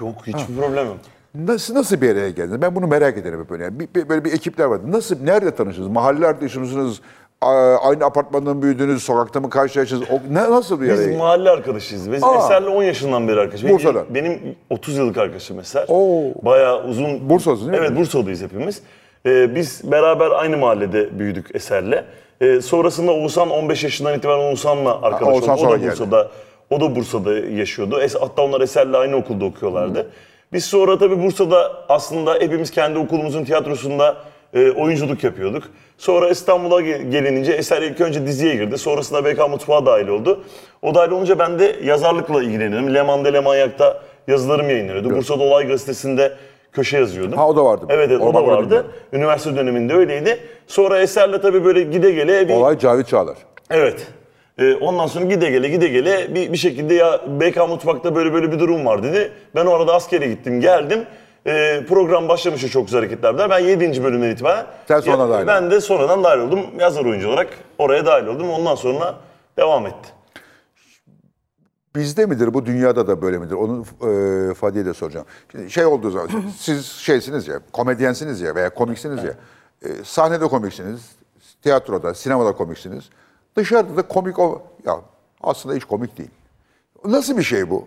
[SPEAKER 4] Yok hiçbir problem yok.
[SPEAKER 1] Nasıl nasıl bir araya geldiniz? Ben bunu merak ederim hep böyle. Yani bir- bir- böyle bir ekipler vardı. Nasıl nerede tanıştınız? Mahalle arkadaşınızsınız? a- Aynı apartmanda mı büyüdünüz? Sokakta mı karşılaştınız? O, ne, nasıl bir
[SPEAKER 4] Biz
[SPEAKER 1] araya?
[SPEAKER 4] mahalle arkadaşıyız. Biz
[SPEAKER 1] Aa.
[SPEAKER 4] Eser'le 10 yaşından beri arkadaşız.
[SPEAKER 1] Bursa'dan.
[SPEAKER 4] Benim, benim 30 yıllık arkadaşım Eser.
[SPEAKER 1] Oo.
[SPEAKER 4] Bayağı uzun.
[SPEAKER 1] Bursalısın değil mi?
[SPEAKER 4] Evet Bursalıyız hepimiz. Ee, biz beraber aynı mahallede büyüdük Eser'le. Ee, sonrasında Oğuzhan 15 yaşından itibaren Oğuzhan'la arkadaş
[SPEAKER 1] Oğuzhan
[SPEAKER 4] oldu. O
[SPEAKER 1] sonra
[SPEAKER 4] da
[SPEAKER 1] geldi.
[SPEAKER 4] Bursa'da, o da Bursa'da yaşıyordu. Es- hatta onlar Eser'le aynı okulda okuyorlardı. Biz sonra tabii Bursa'da aslında hepimiz kendi okulumuzun tiyatrosunda e, oyunculuk yapıyorduk. Sonra İstanbul'a ge- gelinince Eser ilk önce diziye girdi. Sonrasında BK Mutfağı dahil oldu. O dahil olunca ben de yazarlıkla ilgileniyordum. Leman'da Lemanyak'ta yazılarım yayınlanıyordu. Bursa'da Olay Gazetesi'nde köşe yazıyordum.
[SPEAKER 1] Ha, o da vardı.
[SPEAKER 4] Evet, evet o
[SPEAKER 1] Orman
[SPEAKER 4] da
[SPEAKER 1] Bölümünde.
[SPEAKER 4] vardı. Üniversite döneminde öyleydi. Sonra Eser'le tabii böyle gide gele bir
[SPEAKER 1] Olay Cavit Çağlar.
[SPEAKER 4] Evet. Ee, ondan sonra gide gele gide gele bir, bir şekilde ya BK Mutfak'ta böyle böyle bir durum var dedi. Ben o arada askere gittim geldim. Ee, program başlamıştı çok güzel hareketler. Ben 7. bölümden itibaren.
[SPEAKER 1] Sen sonra
[SPEAKER 4] Ya,
[SPEAKER 1] dahil
[SPEAKER 4] Ben de sonradan dahil oldum. Yazar oyuncu olarak oraya dahil oldum. Ondan sonra devam etti.
[SPEAKER 1] Bizde midir bu dünyada da böyle midir? Onu e, Fadi'ye de soracağım. Şimdi şey olduğu zaman siz şeysiniz ya, komedyensiniz ya veya komiksiniz ya. E, sahnede komiksiniz, tiyatroda, sinemada komiksiniz. Dışarıda da komik o ya aslında hiç komik değil. Nasıl bir şey bu?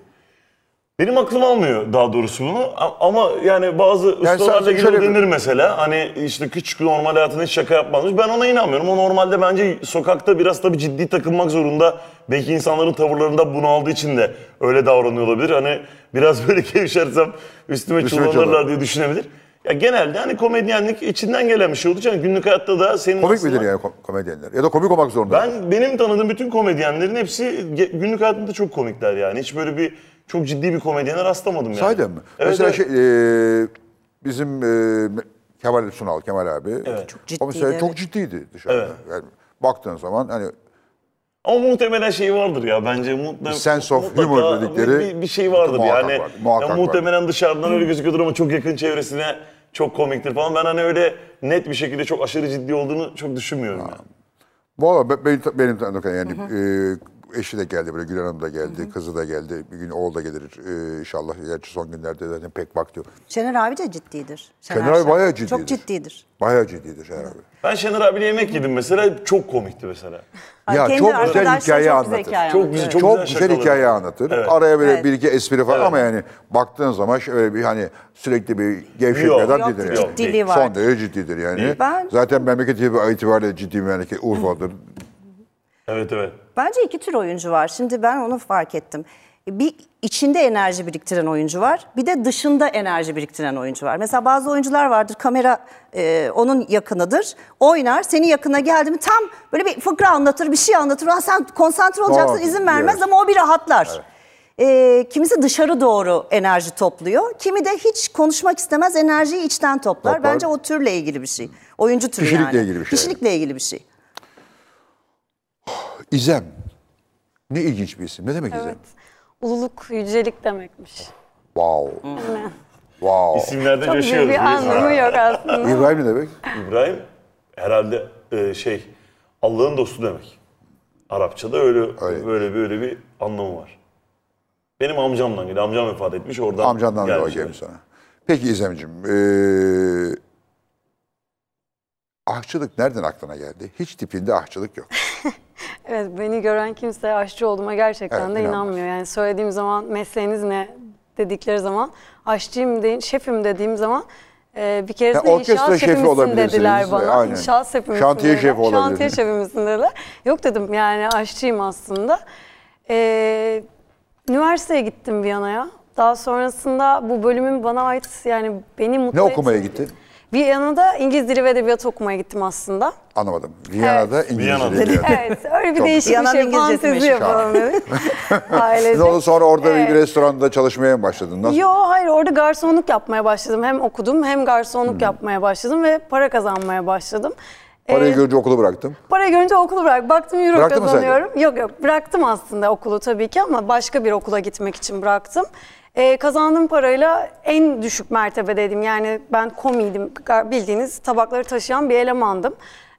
[SPEAKER 4] Benim aklım almıyor daha doğrusu bunu A- ama yani bazı ustalarla
[SPEAKER 1] sadece
[SPEAKER 4] ilgili
[SPEAKER 1] şöyle bir-
[SPEAKER 4] denir mesela hani işte küçük normal hayatında hiç şaka yapmazmış. Ben ona inanmıyorum. O normalde bence sokakta biraz tabii ciddi takılmak zorunda. Belki insanların tavırlarında bunu aldığı için de öyle davranıyor olabilir. Hani biraz böyle gevşersem üstüme
[SPEAKER 1] Üstüme
[SPEAKER 4] çullanırlar
[SPEAKER 1] çullanır.
[SPEAKER 4] diye düşünebilir. Ya genelde hani komedyenlik içinden gelen bir şey olduğu için günlük hayatta da senin
[SPEAKER 1] Komik
[SPEAKER 4] aslında-
[SPEAKER 1] midir yani kom- komedyenler? Ya da komik olmak zorunda. mı?
[SPEAKER 4] ben benim tanıdığım bütün komedyenlerin hepsi ge- günlük hayatında çok komikler yani. Hiç böyle bir çok ciddi bir komedyene rastlamadım yani.
[SPEAKER 1] Sahiden mi?
[SPEAKER 4] Evet,
[SPEAKER 1] mesela
[SPEAKER 4] evet.
[SPEAKER 1] şey, e, bizim e, Kemal Sunal, Kemal abi. Çok
[SPEAKER 3] ciddiydi,
[SPEAKER 1] O mesela çok
[SPEAKER 3] evet.
[SPEAKER 1] ciddiydi dışarıda. Yani baktığın zaman hani
[SPEAKER 4] Ama muhtemelen şey vardır ya bence. Mutle,
[SPEAKER 1] sense of
[SPEAKER 4] mutlaka
[SPEAKER 1] humor dedikleri
[SPEAKER 4] Bir, bir şey vardır
[SPEAKER 1] muhakkak
[SPEAKER 4] yani.
[SPEAKER 1] var, muhakkak
[SPEAKER 4] Ya muhtemelen dışarıdan öyle gözüküyordur ama çok yakın çevresine çok komiktir falan. Ben hani öyle net bir şekilde çok aşırı ciddi olduğunu çok düşünmüyorum. yani.
[SPEAKER 1] Valla be- benim, benim tanıdığım yani e, eşi de geldi böyle Gül Hanım da geldi, kızı da geldi. Bir gün oğul da gelir ee, inşallah. Gerçi son günlerde zaten pek vakti yok.
[SPEAKER 3] Şener abi de ciddidir.
[SPEAKER 1] Şener abi
[SPEAKER 3] Şen.
[SPEAKER 1] bayağı
[SPEAKER 3] Çok
[SPEAKER 1] ciddidir.
[SPEAKER 3] ciddidir.
[SPEAKER 1] Bayağı ciddidir Şener abi.
[SPEAKER 4] Ben Şener abiyle yemek yedim mesela. Çok komikti mesela.
[SPEAKER 3] Ay,
[SPEAKER 1] Ya
[SPEAKER 3] kendi
[SPEAKER 1] çok güzel
[SPEAKER 3] arkadaşları
[SPEAKER 1] hikaye
[SPEAKER 3] çok
[SPEAKER 1] anlatır.
[SPEAKER 3] Güzel hikaye
[SPEAKER 4] Çok
[SPEAKER 3] anlatıyor.
[SPEAKER 4] güzel,
[SPEAKER 1] Çok,
[SPEAKER 4] güzel
[SPEAKER 1] güzel,
[SPEAKER 4] şakaları.
[SPEAKER 1] hikaye anlatır. Araya böyle
[SPEAKER 3] Evet.
[SPEAKER 1] bir iki espri falan ama yani baktığın zaman şöyle bir hani sürekli bir gevşetmeden
[SPEAKER 4] Yok,
[SPEAKER 1] değildir
[SPEAKER 4] yok,
[SPEAKER 1] yani.
[SPEAKER 3] ciddiliği var.
[SPEAKER 1] Son derece ciddidir yani.
[SPEAKER 3] Ben-
[SPEAKER 1] Zaten memleket itibariyle ciddi bir memleket Urfa'dır.
[SPEAKER 4] Evet evet.
[SPEAKER 3] Bence iki tür oyuncu var. Şimdi ben onu fark ettim. Bir içinde enerji biriktiren oyuncu var. Bir de dışında enerji biriktiren oyuncu var. Mesela bazı oyuncular vardır. Kamera e, onun yakınıdır. Oynar. Senin yakına geldi mi tam böyle bir fıkra anlatır, bir şey anlatır. "Ulan sen konsantre olacaksın,
[SPEAKER 1] Doğru,
[SPEAKER 3] izin vermez
[SPEAKER 1] evet.
[SPEAKER 3] ama o bir rahatlar. E, kimisi dışarı doğru enerji topluyor. Kimi de hiç konuşmak istemez enerjiyi içten toplar.
[SPEAKER 1] Toplar.
[SPEAKER 3] Bence o türle ilgili bir şey. Oyuncu türü
[SPEAKER 1] Kişilikle
[SPEAKER 3] yani.
[SPEAKER 1] ilgili bir şey.
[SPEAKER 3] Kişilikle ilgili bir şey.
[SPEAKER 1] İzem. Ne ilginç bir isim. Ne demek İzem?
[SPEAKER 5] Evet. Ululuk, yücelik demekmiş.
[SPEAKER 1] Wow. wow.
[SPEAKER 4] İsimlerden
[SPEAKER 5] Çok büyük
[SPEAKER 4] yaşıyoruz.
[SPEAKER 5] bir
[SPEAKER 4] biz.
[SPEAKER 5] anlamı yok aslında.
[SPEAKER 1] İbrahim ne demek?
[SPEAKER 4] İbrahim herhalde e, şey Allah'ın dostu demek. Arapçada öyle,
[SPEAKER 1] Öyle.
[SPEAKER 4] böyle böyle bir anlamı var. Benim amcamdan geldi. Amcam vefat etmiş oradan.
[SPEAKER 1] Amcandan da o
[SPEAKER 4] gelmiş.
[SPEAKER 1] gelmiş sana. Peki İzem'ciğim. e, eee aşçılık nereden aklına geldi? Hiç tipinde aşçılık yok.
[SPEAKER 5] Evet beni gören kimse aşçı olduğuma gerçekten
[SPEAKER 1] Evet,
[SPEAKER 5] de
[SPEAKER 1] inanmaz.
[SPEAKER 5] inanmıyor. Yani söylediğim zaman mesleğiniz ne dedikleri zaman aşçıyım deyin, şefim dediğim zaman e, bir keresinde
[SPEAKER 1] orkestra
[SPEAKER 5] inşaat
[SPEAKER 1] şefi
[SPEAKER 5] şefi misin
[SPEAKER 1] olabilirsiniz.
[SPEAKER 5] dediler bana.
[SPEAKER 1] Aynen.
[SPEAKER 5] İnşaat şefi misin
[SPEAKER 1] Şantiye
[SPEAKER 5] dediler.
[SPEAKER 1] şefi
[SPEAKER 5] Şantiye
[SPEAKER 1] olabilirsiniz.
[SPEAKER 5] şefi misin dediler. Yok dedim yani aşçıyım aslında. E, üniversiteye gittim Viyana'ya. Daha sonrasında bu bölümün bana ait yani beni mutlu
[SPEAKER 1] Ne okumaya
[SPEAKER 5] etmedi.
[SPEAKER 1] gittin?
[SPEAKER 5] Viyana'da İngiliz Dili ve Edebiyatı okumaya gittim aslında.
[SPEAKER 1] Anlamadım. Viyana'da İngilizce
[SPEAKER 4] Viyana'da.
[SPEAKER 1] dili.
[SPEAKER 5] Evet, öyle bir değişik bir
[SPEAKER 3] Yanan
[SPEAKER 5] şey.
[SPEAKER 3] İngilizcesi
[SPEAKER 5] Fantezi
[SPEAKER 3] meşhur.
[SPEAKER 5] yapalım dedik.
[SPEAKER 1] Ne oldu
[SPEAKER 5] Ailece.
[SPEAKER 1] sonra orada bir
[SPEAKER 5] Evet.
[SPEAKER 1] restoranda çalışmaya mı başladın? Nasıl?
[SPEAKER 5] Yo hayır orada garsonluk yapmaya başladım. Hem okudum hem garsonluk yapmaya başladım ve para kazanmaya başladım.
[SPEAKER 1] Parayı
[SPEAKER 5] Ee,
[SPEAKER 1] görünce okulu bıraktım.
[SPEAKER 5] Parayı görünce okulu bırak. Baktım euro
[SPEAKER 1] Bıraktın mı sen de?
[SPEAKER 5] kazanıyorum. Yok yok bıraktım aslında okulu tabii ki ama başka bir okula gitmek için bıraktım. Ee, kazandığım parayla en düşük mertebedeydim. Yani ben komiydim. Gar- Bildiğiniz tabakları taşıyan bir elemandım.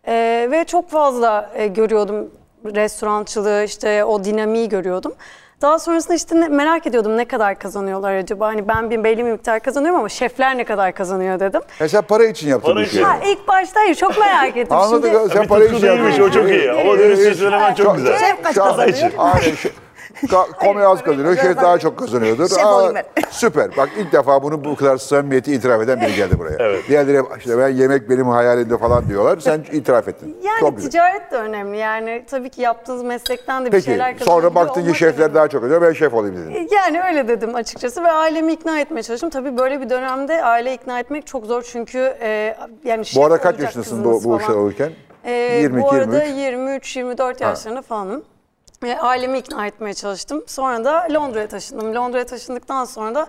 [SPEAKER 5] Ee, ve çok fazla e, görüyordum restorançılığı işte o dinamiği görüyordum. Daha sonrasında işte ne- merak ediyordum ne kadar kazanıyorlar acaba? Hani ben bir belli bir miktar kazanıyorum ama şefler ne kadar kazanıyor dedim.
[SPEAKER 1] E sen para için yaptın
[SPEAKER 4] Para
[SPEAKER 1] bu
[SPEAKER 4] için.
[SPEAKER 1] şeyi.
[SPEAKER 5] Ha, ilk başta hayır çok merak ettim.
[SPEAKER 1] Anladık.
[SPEAKER 5] Şimdi-
[SPEAKER 1] Sen
[SPEAKER 4] Bir
[SPEAKER 1] para için
[SPEAKER 4] tutku değilmiş,
[SPEAKER 1] yaptın. E,
[SPEAKER 4] şey o çok iyi. Ama dönüşü söylemen çok güzel.
[SPEAKER 3] Şef kaç
[SPEAKER 1] Şu an-
[SPEAKER 3] kazanıyor?
[SPEAKER 1] Aynen. şu- Ka- Komedi az kazanıyor. Şef daha çok kazanıyordur.
[SPEAKER 3] Şef
[SPEAKER 1] Aa,
[SPEAKER 3] olayım ben.
[SPEAKER 1] süper. Bak ilk defa bunu bu kadar samimiyeti itiraf eden biri geldi buraya. Diğerleri hep, işte ben yemek benim hayalimde falan diyorlar. Sen itiraf ettin.
[SPEAKER 5] Yani
[SPEAKER 1] çok güzel.
[SPEAKER 5] ticaret de önemli. Yani tabii ki yaptığınız meslekten de bir
[SPEAKER 1] Peki
[SPEAKER 5] şeyler kazanabiliyor
[SPEAKER 1] sonra baktın ki
[SPEAKER 5] olmak
[SPEAKER 1] şefler
[SPEAKER 5] önemli.
[SPEAKER 1] daha çok kazanıyor. Ben şef olayım dedin.
[SPEAKER 5] Yani öyle dedim açıkçası ve ailemi ikna etmeye çalıştım. Tabii böyle bir dönemde aile ikna etmek çok zor çünkü e, yani şef
[SPEAKER 1] Bu arada kaç
[SPEAKER 5] olacak
[SPEAKER 1] yaşındasın bu,
[SPEAKER 5] kızınız
[SPEAKER 1] bu işler
[SPEAKER 5] falan.
[SPEAKER 1] olurken?
[SPEAKER 5] Ee,
[SPEAKER 1] 22,
[SPEAKER 5] bu arada
[SPEAKER 1] 23.
[SPEAKER 5] 23-24 yaşlarında falanım. Ee, ailemi ikna etmeye çalıştım. Sonra da Londra'ya taşındım. Londra'ya taşındıktan sonra da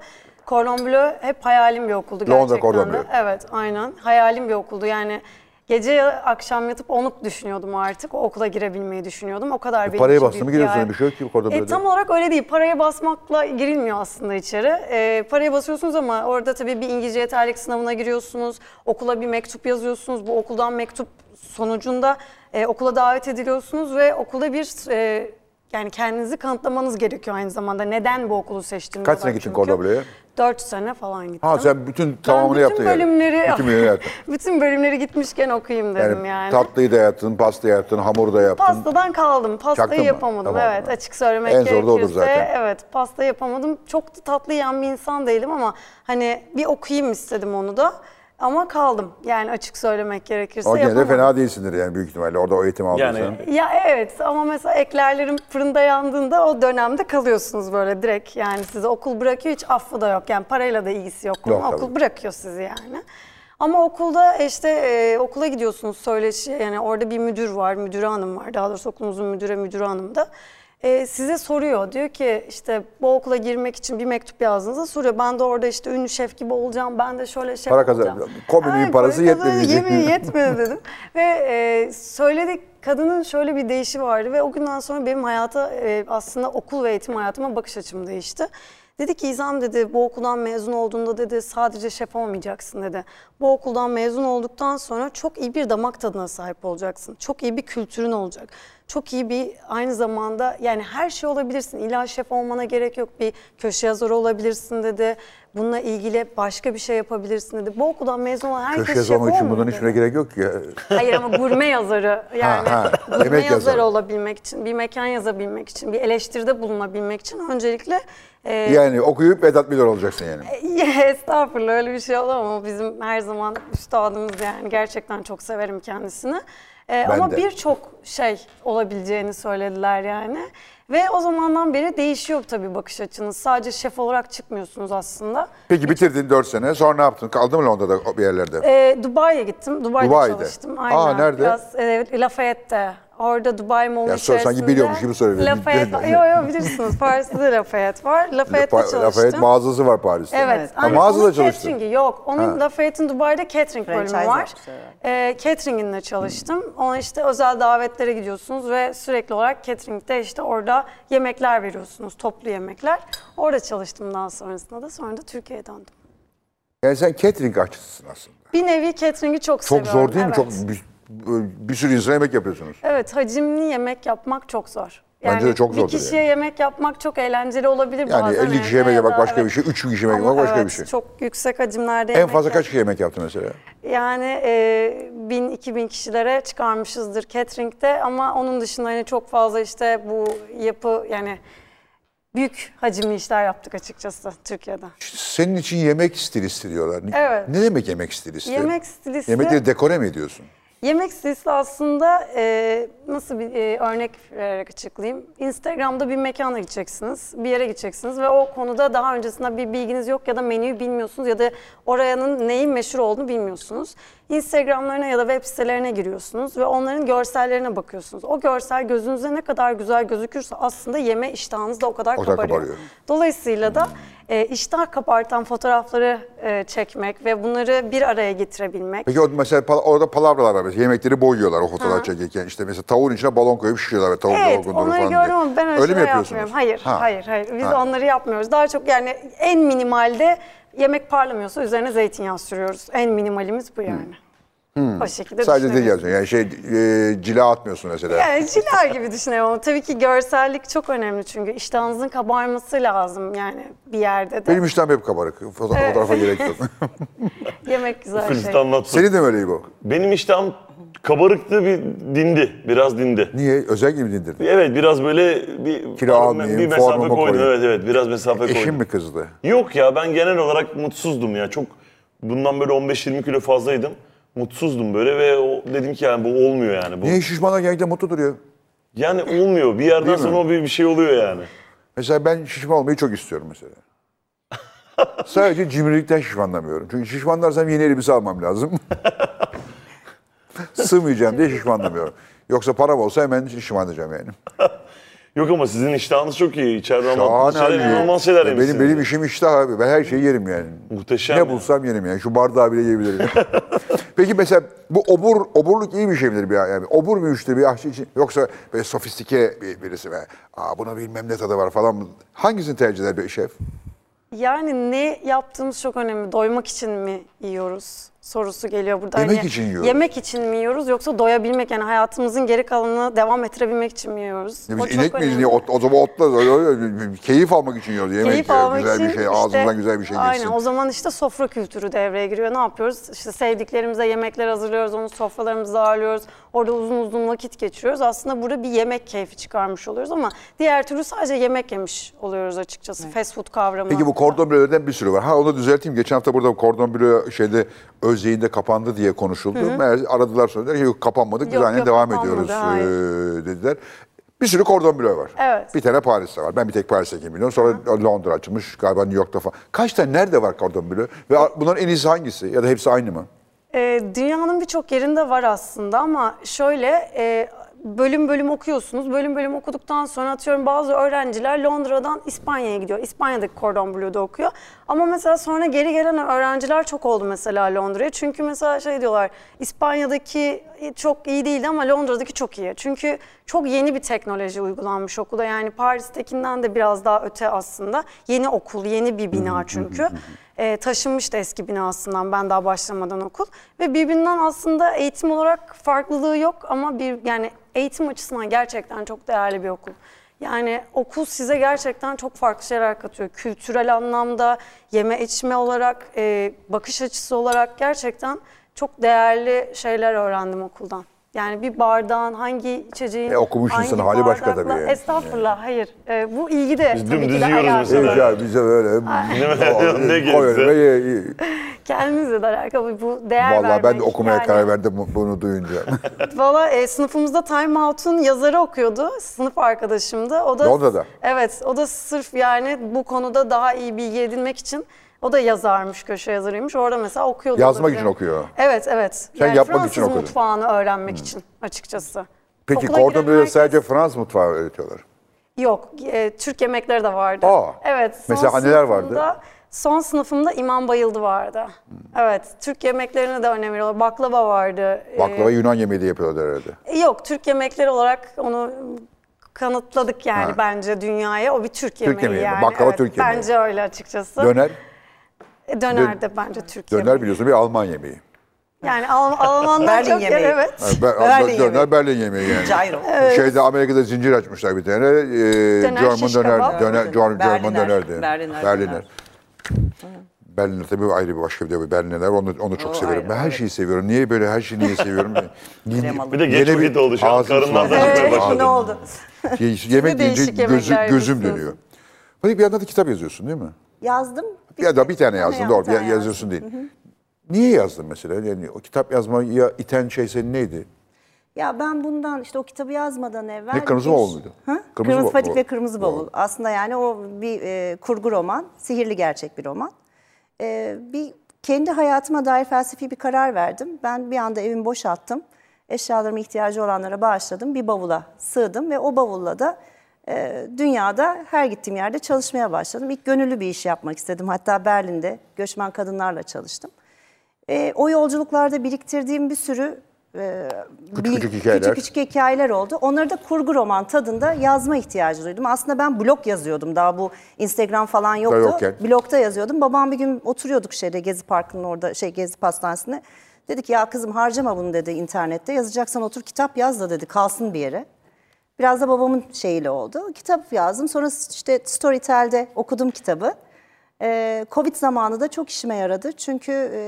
[SPEAKER 5] Cordon Bleu hep hayalim bir okuldu
[SPEAKER 1] Londra
[SPEAKER 5] gerçekten
[SPEAKER 1] Cordon
[SPEAKER 5] de.
[SPEAKER 1] Bleu.
[SPEAKER 5] Evet aynen hayalim bir okuldu yani. Gece akşam yatıp onu düşünüyordum artık. O okula girebilmeyi düşünüyordum. O kadar benim
[SPEAKER 1] paraya
[SPEAKER 5] için
[SPEAKER 1] E, bastı mı
[SPEAKER 5] büyük
[SPEAKER 1] giriyorsun?
[SPEAKER 5] hayal.
[SPEAKER 1] Bir şey yok ki Cordon
[SPEAKER 5] E,
[SPEAKER 1] Bleu'de.
[SPEAKER 5] tam olarak öyle değil. Paraya basmakla girilmiyor aslında içeri. E, paraya basıyorsunuz ama orada tabii bir İngilizce yeterlik sınavına giriyorsunuz. Okula bir mektup yazıyorsunuz. Bu okuldan mektup sonucunda e, okula davet ediliyorsunuz ve okula bir e, yani kendinizi kanıtlamanız gerekiyor aynı zamanda. Neden bu okulu seçtiğiniz.
[SPEAKER 1] Kaç sene gittin Cordon Bleu'ya?
[SPEAKER 5] 4 sene falan gittim.
[SPEAKER 1] Ha sen bütün
[SPEAKER 5] ben
[SPEAKER 1] tamamını
[SPEAKER 5] bütün
[SPEAKER 1] yaptın yani.
[SPEAKER 5] bölümleri,
[SPEAKER 1] Bütün bölümleri yaptın.
[SPEAKER 5] bütün bölümleri gitmişken okuyayım dedim
[SPEAKER 1] Yani,
[SPEAKER 5] yani.
[SPEAKER 1] tatlıyı da yaptın, pastayı yaptın, hamuru da yaptın.
[SPEAKER 5] Pastadan kaldım. Pastayı
[SPEAKER 1] Çaktın mı?
[SPEAKER 5] yapamadım.
[SPEAKER 1] Tamam.
[SPEAKER 5] evet, açık
[SPEAKER 1] En
[SPEAKER 5] söylemek gerekirse.
[SPEAKER 1] zoru da olur zaten.
[SPEAKER 5] Evet, pasta yapamadım. Çok da tatlı yiyen bir insan değilim ama hani bir okuyayım istedim onu da. Ama kaldım. Yani açık söylemek gerekirse
[SPEAKER 1] Ama gene de
[SPEAKER 5] yapamadım.
[SPEAKER 1] fena değilsindir yani büyük ihtimalle. Orada o eğitimi aldın
[SPEAKER 4] Yani-
[SPEAKER 1] sen.
[SPEAKER 5] Ya evet ama mesela eklerlerim fırında yandığında o dönemde kalıyorsunuz böyle direkt. Yani sizi okul bırakıyor hiç affı da yok. Yani parayla da ilgisi yok.
[SPEAKER 1] Yok
[SPEAKER 5] onun. okul
[SPEAKER 1] tabii.
[SPEAKER 5] bırakıyor sizi yani. Ama okulda işte e, okula gidiyorsunuz söyleşi yani orada bir müdür var, müdür hanım var. Daha doğrusu okulumuzun müdüre müdür hanım da. E, size soruyor diyor ki işte bu okula girmek için bir mektup yazdığınızda soruyor. Ben de orada işte ünlü şef gibi olacağım. Ben de şöyle şef
[SPEAKER 1] Para kazan-
[SPEAKER 5] olacağım.
[SPEAKER 1] Komünün
[SPEAKER 5] Ay,
[SPEAKER 1] parası
[SPEAKER 5] para kazan-
[SPEAKER 1] yetmedi.
[SPEAKER 5] Yemin yetmedi dedim. Ve e, söyledik kadının şöyle bir değişi vardı ve o günden sonra benim hayata e, aslında okul ve eğitim hayatıma bakış açım değişti. Dedi ki İzam dedi bu okuldan mezun olduğunda dedi sadece şef olmayacaksın dedi. Bu okuldan mezun olduktan sonra çok iyi bir damak tadına sahip olacaksın. Çok iyi bir kültürün olacak. Çok iyi bir aynı zamanda yani her şey olabilirsin. İlla şef olmana gerek yok. Bir köşe yazarı olabilirsin dedi. Bununla ilgili başka bir şey yapabilirsin dedi. Bu okuldan mezun olan herkes
[SPEAKER 1] Köşe
[SPEAKER 5] şef olmuyor.
[SPEAKER 1] zaman için bundan
[SPEAKER 5] dedi.
[SPEAKER 1] hiçbirine gerek yok ki.
[SPEAKER 5] Hayır ama gurme yazarı yani
[SPEAKER 1] ha,
[SPEAKER 5] gurme
[SPEAKER 1] yemek
[SPEAKER 5] yazarı,
[SPEAKER 1] yazarı.
[SPEAKER 5] olabilmek için, bir mekan yazabilmek için, bir eleştiride bulunabilmek için öncelikle e,
[SPEAKER 1] Yani okuyup Vedat Milor olacaksın yani.
[SPEAKER 5] estağfurullah öyle bir şey olur ama bizim her zaman üstadımız yani gerçekten çok severim kendisini. E,
[SPEAKER 1] Ben
[SPEAKER 5] ama
[SPEAKER 1] de.
[SPEAKER 5] birçok şey olabileceğini söylediler yani. Ve o zamandan beri değişiyor tabii bakış açınız. Sadece şef olarak çıkmıyorsunuz aslında.
[SPEAKER 1] Peki bitirdin 4 sene. Sonra ne yaptın? Kaldın mı Londra'da bir yerlerde?
[SPEAKER 5] Ee, Dubai'ye gittim. Dubai'de,
[SPEAKER 1] Dubai'de.
[SPEAKER 5] çalıştım.
[SPEAKER 1] Aa,
[SPEAKER 5] Aynen.
[SPEAKER 1] nerede?
[SPEAKER 5] Biraz, e, Lafayette'de. Orada Dubai Mall'un
[SPEAKER 1] Ya sor-
[SPEAKER 5] içerisinde.
[SPEAKER 1] sanki biliyormuş gibi söylüyor.
[SPEAKER 5] Lafayette.
[SPEAKER 1] Bilmiyorum.
[SPEAKER 5] yok yok bilirsiniz. Paris'te de Lafayette var. Lafayette'de
[SPEAKER 1] Lafa-
[SPEAKER 5] çalıştım.
[SPEAKER 1] Lafayette mağazası var Paris'te.
[SPEAKER 5] Evet.
[SPEAKER 1] Ha,
[SPEAKER 5] aynen.
[SPEAKER 1] mağazada
[SPEAKER 5] Onun
[SPEAKER 1] çalıştın.
[SPEAKER 5] catering'i yok. Onun Lafayette'in Dubai'de catering bölümü
[SPEAKER 3] Franchise
[SPEAKER 5] var.
[SPEAKER 3] yapmışlar
[SPEAKER 5] Ee, catering'inle çalıştım. Ona işte özel davetlere gidiyorsunuz ve sürekli olarak catering'de işte orada yemekler veriyorsunuz. Toplu yemekler. Orada çalıştım daha sonrasında da. Sonra da Türkiye'ye döndüm.
[SPEAKER 1] Yani sen catering aşçısısın aslında.
[SPEAKER 5] Bir nevi catering'i çok,
[SPEAKER 1] Çok
[SPEAKER 5] seviyorum.
[SPEAKER 1] zor değil mi?
[SPEAKER 5] Evet.
[SPEAKER 1] Çok bir, bir sürü insana yemek yapıyorsunuz.
[SPEAKER 5] Evet, hacimli yemek yapmak çok zor.
[SPEAKER 1] Bence de çok
[SPEAKER 5] bir
[SPEAKER 1] zordur
[SPEAKER 5] kişiye yemek yapmak çok eğlenceli olabilir
[SPEAKER 1] Yani
[SPEAKER 5] bazen.
[SPEAKER 1] 50 kişi
[SPEAKER 5] evde
[SPEAKER 1] yemek
[SPEAKER 5] ya da-
[SPEAKER 1] yapmak başka
[SPEAKER 5] evet.
[SPEAKER 1] bir şey, 3 kişi yemek
[SPEAKER 5] Ama
[SPEAKER 1] yapmak başka bir
[SPEAKER 5] evet,
[SPEAKER 1] şey.
[SPEAKER 5] Çok yüksek hacimlerde
[SPEAKER 1] En
[SPEAKER 5] yemek
[SPEAKER 1] fazla
[SPEAKER 5] yap-
[SPEAKER 1] kaç kişi yemek yaptı mesela?
[SPEAKER 5] Yani e, 1000-2000 kişilere çıkarmışızdır catering'de ama onun dışında hani çok fazla işte bu yapı yani büyük hacimli işler yaptık açıkçası Türkiye'de.
[SPEAKER 1] Senin için yemek stilisti diyorlar.
[SPEAKER 5] Evet.
[SPEAKER 1] Ne demek yemek stilisti?
[SPEAKER 5] Yemek stilisti-
[SPEAKER 1] Yemekleri dekore mi ediyorsun?
[SPEAKER 5] Yemek stilisi aslında e, nasıl bir e, örnek vererek açıklayayım. Instagram'da bir mekana gideceksiniz, bir yere gideceksiniz ve o konuda daha öncesinde bir bilginiz yok ya da menüyü bilmiyorsunuz ya da orayanın neyin meşhur olduğunu bilmiyorsunuz. Instagram'larına ya da web sitelerine giriyorsunuz ve onların görsellerine bakıyorsunuz. O görsel gözünüze ne kadar güzel gözükürse aslında yeme iştahınız da o kadar
[SPEAKER 1] O kadar
[SPEAKER 5] kabarıyor.
[SPEAKER 1] kabarıyor. Hmm.
[SPEAKER 5] Dolayısıyla da e, iştah kabartan fotoğrafları e, çekmek ve bunları bir araya getirebilmek.
[SPEAKER 1] Peki o mesela pala- orada palavralar var. Mesela yemekleri boyuyorlar o fotoğraf çekirken. İşte mesela tavuğun içine balon koyup şişiyorlar ve tavuk
[SPEAKER 5] Evet,
[SPEAKER 1] dalgındır
[SPEAKER 5] onları
[SPEAKER 1] falan diye.
[SPEAKER 5] gördüm ama ben öyle,
[SPEAKER 1] Öyle mi
[SPEAKER 5] şeyler
[SPEAKER 1] yapıyorsunuz?
[SPEAKER 5] yapmıyorum. Hayır,
[SPEAKER 1] Ha.
[SPEAKER 5] hayır, hayır. Biz
[SPEAKER 1] Ha.
[SPEAKER 5] onları yapmıyoruz. Daha çok yani en minimalde yemek parlamıyorsa üzerine zeytinyağı sürüyoruz. En minimalimiz bu yani. O şekilde
[SPEAKER 1] Hmm. Sadece dil
[SPEAKER 5] düşünebiliriz.
[SPEAKER 1] yazıyorsun. Yani şey e, cila atmıyorsun mesela.
[SPEAKER 5] Yani çiler gibi düşünüyorum. ama Tabii ki görsellik çok önemli çünkü iştahınızın kabarması lazım yani bir yerde de.
[SPEAKER 1] Benim iştahım hep kabarık. Foto- Fotoğrafa gerek yok.
[SPEAKER 5] Yemek güzel şey.
[SPEAKER 4] Kılıç'ta anlattı.
[SPEAKER 1] Senin de mi öyle bu?
[SPEAKER 4] Benim iştahım kabarıktı bir dindi. Biraz dindi.
[SPEAKER 1] Niye? Özel gibi dindirdin.
[SPEAKER 4] Evet biraz böyle bir,
[SPEAKER 1] Kilo almayayım,
[SPEAKER 4] bir mesafe
[SPEAKER 1] formumu
[SPEAKER 4] koydum.
[SPEAKER 1] koyayım.
[SPEAKER 4] Evet evet biraz mesafe koydum.
[SPEAKER 1] Eşin mi kızdı?
[SPEAKER 4] Yok ya ben genel olarak mutsuzdum ya. Çok bundan böyle 15-20 kilo fazlaydım. Mutsuzdum böyle ve o, dedim ki yani bu olmuyor yani. Bu.
[SPEAKER 1] Niye şişmanlar genelde mutlu duruyor?
[SPEAKER 4] Yani olmuyor. Bir yerden
[SPEAKER 1] Değil mi?
[SPEAKER 4] sonra o bir, bir şey oluyor yani.
[SPEAKER 1] Mesela ben şişman olmayı çok istiyorum mesela. Sadece cimrilikten şişmanlamıyorum. Çünkü şişmanlarsam yeni elbise almam lazım. Sığmayacağım diye şişmanlamıyorum. Yoksa param olsa hemen şişmanlayacağım yani.
[SPEAKER 4] Yok ama sizin iştahınız çok iyi. İçeride ama
[SPEAKER 1] Şahane abi.
[SPEAKER 4] şeyler, inanılmaz şeyler
[SPEAKER 1] Ya
[SPEAKER 4] yemişsiniz.
[SPEAKER 1] Benim, benim işim iştah abi. Ben her şeyi yerim yani.
[SPEAKER 4] Muhteşem
[SPEAKER 1] Ne
[SPEAKER 4] ya.
[SPEAKER 1] bulsam yerim yani. Şu bardağı bile yiyebilirim. Peki mesela bu obur, oburluk iyi bir şey midir? Bir, yani obur bir müşteri bir aşçı için yoksa böyle sofistike bir, birisi ve Aa, buna bilmem ne tadı var falan. mı? Hangisini tercih eder bir şef?
[SPEAKER 5] Yani ne yaptığımız çok önemli. Doymak için mi yiyoruz sorusu geliyor burada.
[SPEAKER 1] Yemek için yiyoruz.
[SPEAKER 5] Yemek için mi yiyoruz yoksa doyabilmek yani hayatımızın geri kalanını devam ettirebilmek için mi yiyoruz?
[SPEAKER 1] Ya
[SPEAKER 5] O
[SPEAKER 1] Biz
[SPEAKER 5] çok
[SPEAKER 1] inek miyiz
[SPEAKER 5] önemli.
[SPEAKER 1] diye ot- o zaman otla keyif almak için yiyoruz. Yemek
[SPEAKER 5] Keyif
[SPEAKER 1] yiyoruz.
[SPEAKER 5] almak
[SPEAKER 1] güzel
[SPEAKER 5] için
[SPEAKER 1] bir şey,
[SPEAKER 5] işte-
[SPEAKER 1] ağzımızdan güzel bir şey geçsin.
[SPEAKER 5] Aynen o zaman işte sofra kültürü devreye giriyor. Ne yapıyoruz? İşte sevdiklerimize yemekler hazırlıyoruz, onu sofralarımızda ağırlıyoruz. Orada uzun uzun vakit geçiriyoruz. Aslında burada bir yemek keyfi çıkarmış oluyoruz ama diğer türlü sadece yemek yemiş oluyoruz açıkçası. Fast food kavramı.
[SPEAKER 1] Peki bu kordon blöden bir sürü var. Ha onu düzelteyim. Geçen hafta burada kordon blö şeyde özeyinde kapandı diye konuşuldu. Meğer aradılar sonra dediler ki yok kapanmadık biz
[SPEAKER 5] Yok,
[SPEAKER 1] aynen
[SPEAKER 5] yok,
[SPEAKER 1] devam
[SPEAKER 5] kapanmadı,
[SPEAKER 1] ediyoruz
[SPEAKER 5] hayır.
[SPEAKER 1] eee, dediler. Bir sürü kordon blö var.
[SPEAKER 5] Evet.
[SPEAKER 1] Bir tane Paris'te var. Ben bir tek Paris'te biliyorum. Sonra Londra açılmış galiba New York'ta falan. Kaç tane nerede var kordon blö? Ve bunların en iyisi hangisi? Ya da hepsi aynı mı?
[SPEAKER 5] Ee, dünyanın birçok yerinde var aslında ama şöyle e, bölüm bölüm okuyorsunuz. Bölüm bölüm okuduktan sonra atıyorum bazı öğrenciler Londra'dan İspanya'ya gidiyor. İspanya'daki Cordon Bleu'da okuyor. Ama mesela sonra geri gelen öğrenciler çok oldu mesela Londra'ya. Çünkü mesela şey diyorlar İspanya'daki çok iyi değildi ama Londra'daki çok iyi. Çünkü çok yeni bir teknoloji uygulanmış okulda. Yani Paris'tekinden de biraz daha öte aslında. Yeni okul, yeni bir bina çünkü. E, taşınmıştı eski binasından ben daha başlamadan okul. Ve birbirinden aslında eğitim olarak farklılığı yok ama bir yani eğitim açısından gerçekten çok değerli bir okul. Yani okul size gerçekten çok farklı şeyler katıyor. Kültürel anlamda, yeme içme olarak, e, bakış açısı olarak gerçekten çok değerli şeyler öğrendim okuldan. Yani bir bardağın hangi içeceğin
[SPEAKER 1] E, okumuşsun
[SPEAKER 5] hangi
[SPEAKER 1] sen, hali başka
[SPEAKER 5] bardakla-
[SPEAKER 1] tabii yani.
[SPEAKER 5] Estağfurullah, hayır. E, bu ilgi de
[SPEAKER 4] Biz
[SPEAKER 5] tabii ki
[SPEAKER 4] dümdüz
[SPEAKER 5] de
[SPEAKER 4] yiyoruz
[SPEAKER 5] alakalı.
[SPEAKER 4] mesela.
[SPEAKER 1] Evet ya bize böyle
[SPEAKER 4] Ne gezdi?
[SPEAKER 1] koy önüme ye- ye.
[SPEAKER 5] Kendimizle de alakalı bu değer
[SPEAKER 1] Vallahi ben de
[SPEAKER 5] vermek.
[SPEAKER 1] okumaya
[SPEAKER 5] Yani-
[SPEAKER 1] karar verdim bu- bunu duyunca.
[SPEAKER 5] Valla e, sınıfımızda Time Out'un yazarı okuyordu. Sınıf arkadaşımdı. O da
[SPEAKER 1] Londra'da.
[SPEAKER 5] Evet, o da sırf yani bu konuda daha iyi bilgi edinmek için o da yazarmış, köşe yazarıymış. Orada mesela okuyordu.
[SPEAKER 1] Yazmak
[SPEAKER 5] olabilir.
[SPEAKER 1] için okuyor.
[SPEAKER 5] Evet, evet.
[SPEAKER 1] Sen yapmak için
[SPEAKER 5] Fransız
[SPEAKER 1] okudun.
[SPEAKER 5] mutfağını öğrenmek için açıkçası.
[SPEAKER 1] Peki
[SPEAKER 5] Okula giren
[SPEAKER 1] Cordon
[SPEAKER 5] herkes-
[SPEAKER 1] sadece Fransız mutfağı öğretiyorlar.
[SPEAKER 5] Yok, e, Türk yemekleri de vardı.
[SPEAKER 1] Aa,
[SPEAKER 5] evet. son
[SPEAKER 1] mesela anneler vardı. Hmm.
[SPEAKER 5] sınıfımda- Son sınıfımda İmam Bayıldı vardı. Evet, Türk yemeklerine de önem veriyorlar. Baklava vardı. e,
[SPEAKER 1] Baklava Yunan yemeği de yapıyorlar herhalde.
[SPEAKER 5] Yok Türk yemekleri olarak onu kanıtladık yani
[SPEAKER 1] Ha.
[SPEAKER 5] bence dünyaya. O bir Türk yemeği,
[SPEAKER 1] yemeği mi?
[SPEAKER 5] yani.
[SPEAKER 1] Baklava Türk yemeği.
[SPEAKER 5] Bence öyle açıkçası.
[SPEAKER 1] Döner,
[SPEAKER 5] E, döner de bence Türk
[SPEAKER 1] döner
[SPEAKER 5] yemeği.
[SPEAKER 1] biliyorsun bir Alman yemeği.
[SPEAKER 5] Yani Al- Almanlar
[SPEAKER 6] Berlin
[SPEAKER 5] çok
[SPEAKER 6] yemeği.
[SPEAKER 5] evet.
[SPEAKER 1] Yani Ber-
[SPEAKER 6] Berlin
[SPEAKER 1] döner
[SPEAKER 6] yemeği.
[SPEAKER 1] Berlin yemeği yani.
[SPEAKER 6] Cairo.
[SPEAKER 1] Şeyde Amerika'da zincir açmışlar bir tane. Ee,
[SPEAKER 5] Döner,
[SPEAKER 1] German
[SPEAKER 5] şiş
[SPEAKER 1] döner,
[SPEAKER 5] kebap.
[SPEAKER 1] döner, German
[SPEAKER 6] Berliner,
[SPEAKER 1] döner diye.
[SPEAKER 6] Berliner,
[SPEAKER 1] Berliner.
[SPEAKER 6] döner.
[SPEAKER 1] Berliner tabii ayrı bir başka bir de Berlinerler. Onu, onu çok
[SPEAKER 6] O
[SPEAKER 1] severim.
[SPEAKER 6] ayrı,
[SPEAKER 1] ben her
[SPEAKER 6] evet.
[SPEAKER 1] şeyi seviyorum. Niye böyle her şeyi niye seviyorum? Yine-
[SPEAKER 4] Bir de geç
[SPEAKER 1] yine
[SPEAKER 4] vakit oldu şu an.
[SPEAKER 1] ağzım
[SPEAKER 4] Karından da
[SPEAKER 1] sulandı.
[SPEAKER 4] çıkmaya
[SPEAKER 1] Ağzım
[SPEAKER 4] başladı.
[SPEAKER 6] Ne oldu?
[SPEAKER 1] Ye- Yemek
[SPEAKER 5] değişik
[SPEAKER 1] deyince
[SPEAKER 5] yemekler
[SPEAKER 1] gözü, gözüm
[SPEAKER 5] yapıyorsunuz.
[SPEAKER 1] dönüyor. Fadik bir yandan da kitap yazıyorsun değil mi?
[SPEAKER 3] Yazdım.
[SPEAKER 1] Ya da bir tane yazdın
[SPEAKER 3] tane
[SPEAKER 1] doğru. Ya-
[SPEAKER 3] yazdım.
[SPEAKER 1] yazıyorsun değil. Niye yazdın mesela? Yani o kitap yazmaya iten şey senin neydi?
[SPEAKER 3] Ya ben bundan işte o kitabı yazmadan evvel...
[SPEAKER 1] Ne, Kırmızı
[SPEAKER 3] bir-
[SPEAKER 1] Bavul muydu?
[SPEAKER 3] Ha?
[SPEAKER 1] Kırmızı
[SPEAKER 3] Kırmızı,
[SPEAKER 1] Bavul.
[SPEAKER 3] Patik ve Kırmızı
[SPEAKER 1] Bavul.
[SPEAKER 3] Bavul. Aslında yani o bir e, kurgu roman, sihirli gerçek bir roman. E, bir kendi hayatıma dair felsefi bir karar verdim. Ben bir anda evimi boşalttım. Eşyalarımı ihtiyacı olanlara bağışladım. Bir bavula sığdım ve o bavulla da e, dünyada her gittiğim yerde çalışmaya başladım. İlk gönüllü bir iş yapmak istedim. Hatta Berlin'de göçmen kadınlarla çalıştım. E, o yolculuklarda biriktirdiğim bir sürü e, bil-
[SPEAKER 1] küçük hikayeler.
[SPEAKER 3] küçük küçük hikayeler oldu. Onları da kurgu roman tadında yazma ihtiyacı duydum. Aslında ben blog yazıyordum daha bu Instagram falan yoktu.
[SPEAKER 1] yokken.
[SPEAKER 3] Blogda yazıyordum. Babam bir gün oturuyorduk şeyde Gezi Parkı'nın orada şey Gezi Pastanesi'nde. Dedi ki ya kızım harcama bunu dedi internette. Yazacaksan otur kitap yaz da dedi kalsın bir yere. Biraz da babamın şeyiyle oldu. Kitap yazdım. Sonra işte Storytel'de okudum kitabı. Ee, Covid zamanı da çok işime yaradı. Çünkü e,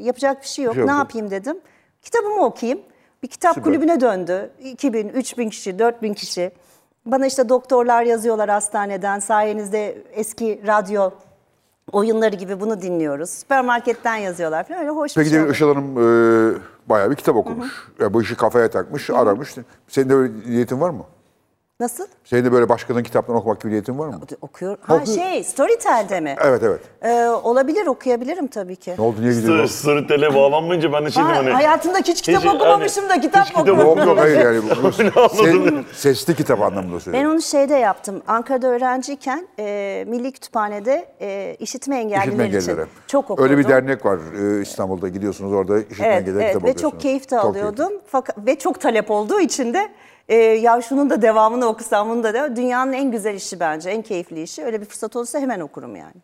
[SPEAKER 3] yapacak bir şey yok.
[SPEAKER 1] Bir şey
[SPEAKER 3] ne
[SPEAKER 1] yok.
[SPEAKER 3] yapayım dedim. Kitabımı okuyayım. Bir kitap kulübüne döndü. 2000, 3000 kişi, 4000 kişi. Bana işte doktorlar yazıyorlar hastaneden. Sayenizde eski radyo oyunları gibi bunu dinliyoruz. Süpermarketten yazıyorlar falan. Öyle hoş
[SPEAKER 1] Peki
[SPEAKER 3] bir şey
[SPEAKER 1] de
[SPEAKER 3] oldu.
[SPEAKER 1] Işıl Hanım e, bayağı bir kitap okumuş. Ya bu işi kafaya takmış, aramış. Senin de böyle niyetin var mı?
[SPEAKER 3] Nasıl?
[SPEAKER 1] Senin de böyle başkalarının kitaptan okumak gibi niyetin var mı?
[SPEAKER 3] Okuyor. Ha
[SPEAKER 1] Oku-
[SPEAKER 3] şey, Storytel'de mi?
[SPEAKER 1] Evet evet.
[SPEAKER 3] Ee, olabilir okuyabilirim tabii ki.
[SPEAKER 1] Ne oldu niye
[SPEAKER 4] Sır,
[SPEAKER 1] gidiyorsun?
[SPEAKER 4] Storytel'e bağlanmayınca ben de şey
[SPEAKER 6] Ha,
[SPEAKER 4] hani...
[SPEAKER 6] hayatımda hiç kitap
[SPEAKER 4] Hiç-
[SPEAKER 6] okumamışım da
[SPEAKER 4] hani,
[SPEAKER 6] kitap
[SPEAKER 4] hiç kitap
[SPEAKER 6] okuyorum.
[SPEAKER 1] Yok yok hayır yani. Bu,
[SPEAKER 4] anladım.
[SPEAKER 1] se- sesli kitap anlamında
[SPEAKER 3] Ben
[SPEAKER 1] söylüyorum.
[SPEAKER 3] onu şeyde yaptım. Ankara'da öğrenciyken e, Milli Kütüphane'de e, işitme engelliler
[SPEAKER 1] İşitme
[SPEAKER 3] için
[SPEAKER 1] engelleri.
[SPEAKER 3] çok okudum.
[SPEAKER 1] Öyle bir dernek var e, İstanbul'da gidiyorsunuz orada işitme
[SPEAKER 3] Evet,
[SPEAKER 1] engelleri
[SPEAKER 3] evet.
[SPEAKER 1] kitap
[SPEAKER 3] ve
[SPEAKER 1] okuyorsunuz.
[SPEAKER 3] çok keyif de
[SPEAKER 1] Çok
[SPEAKER 3] alıyordum. Fakat ve çok talep olduğu için de e, ya şunun da devamını okusam, bunun da devam. Dünyanın en güzel işi bence, en keyifli işi. Öyle bir fırsat olursa hemen okurum yani.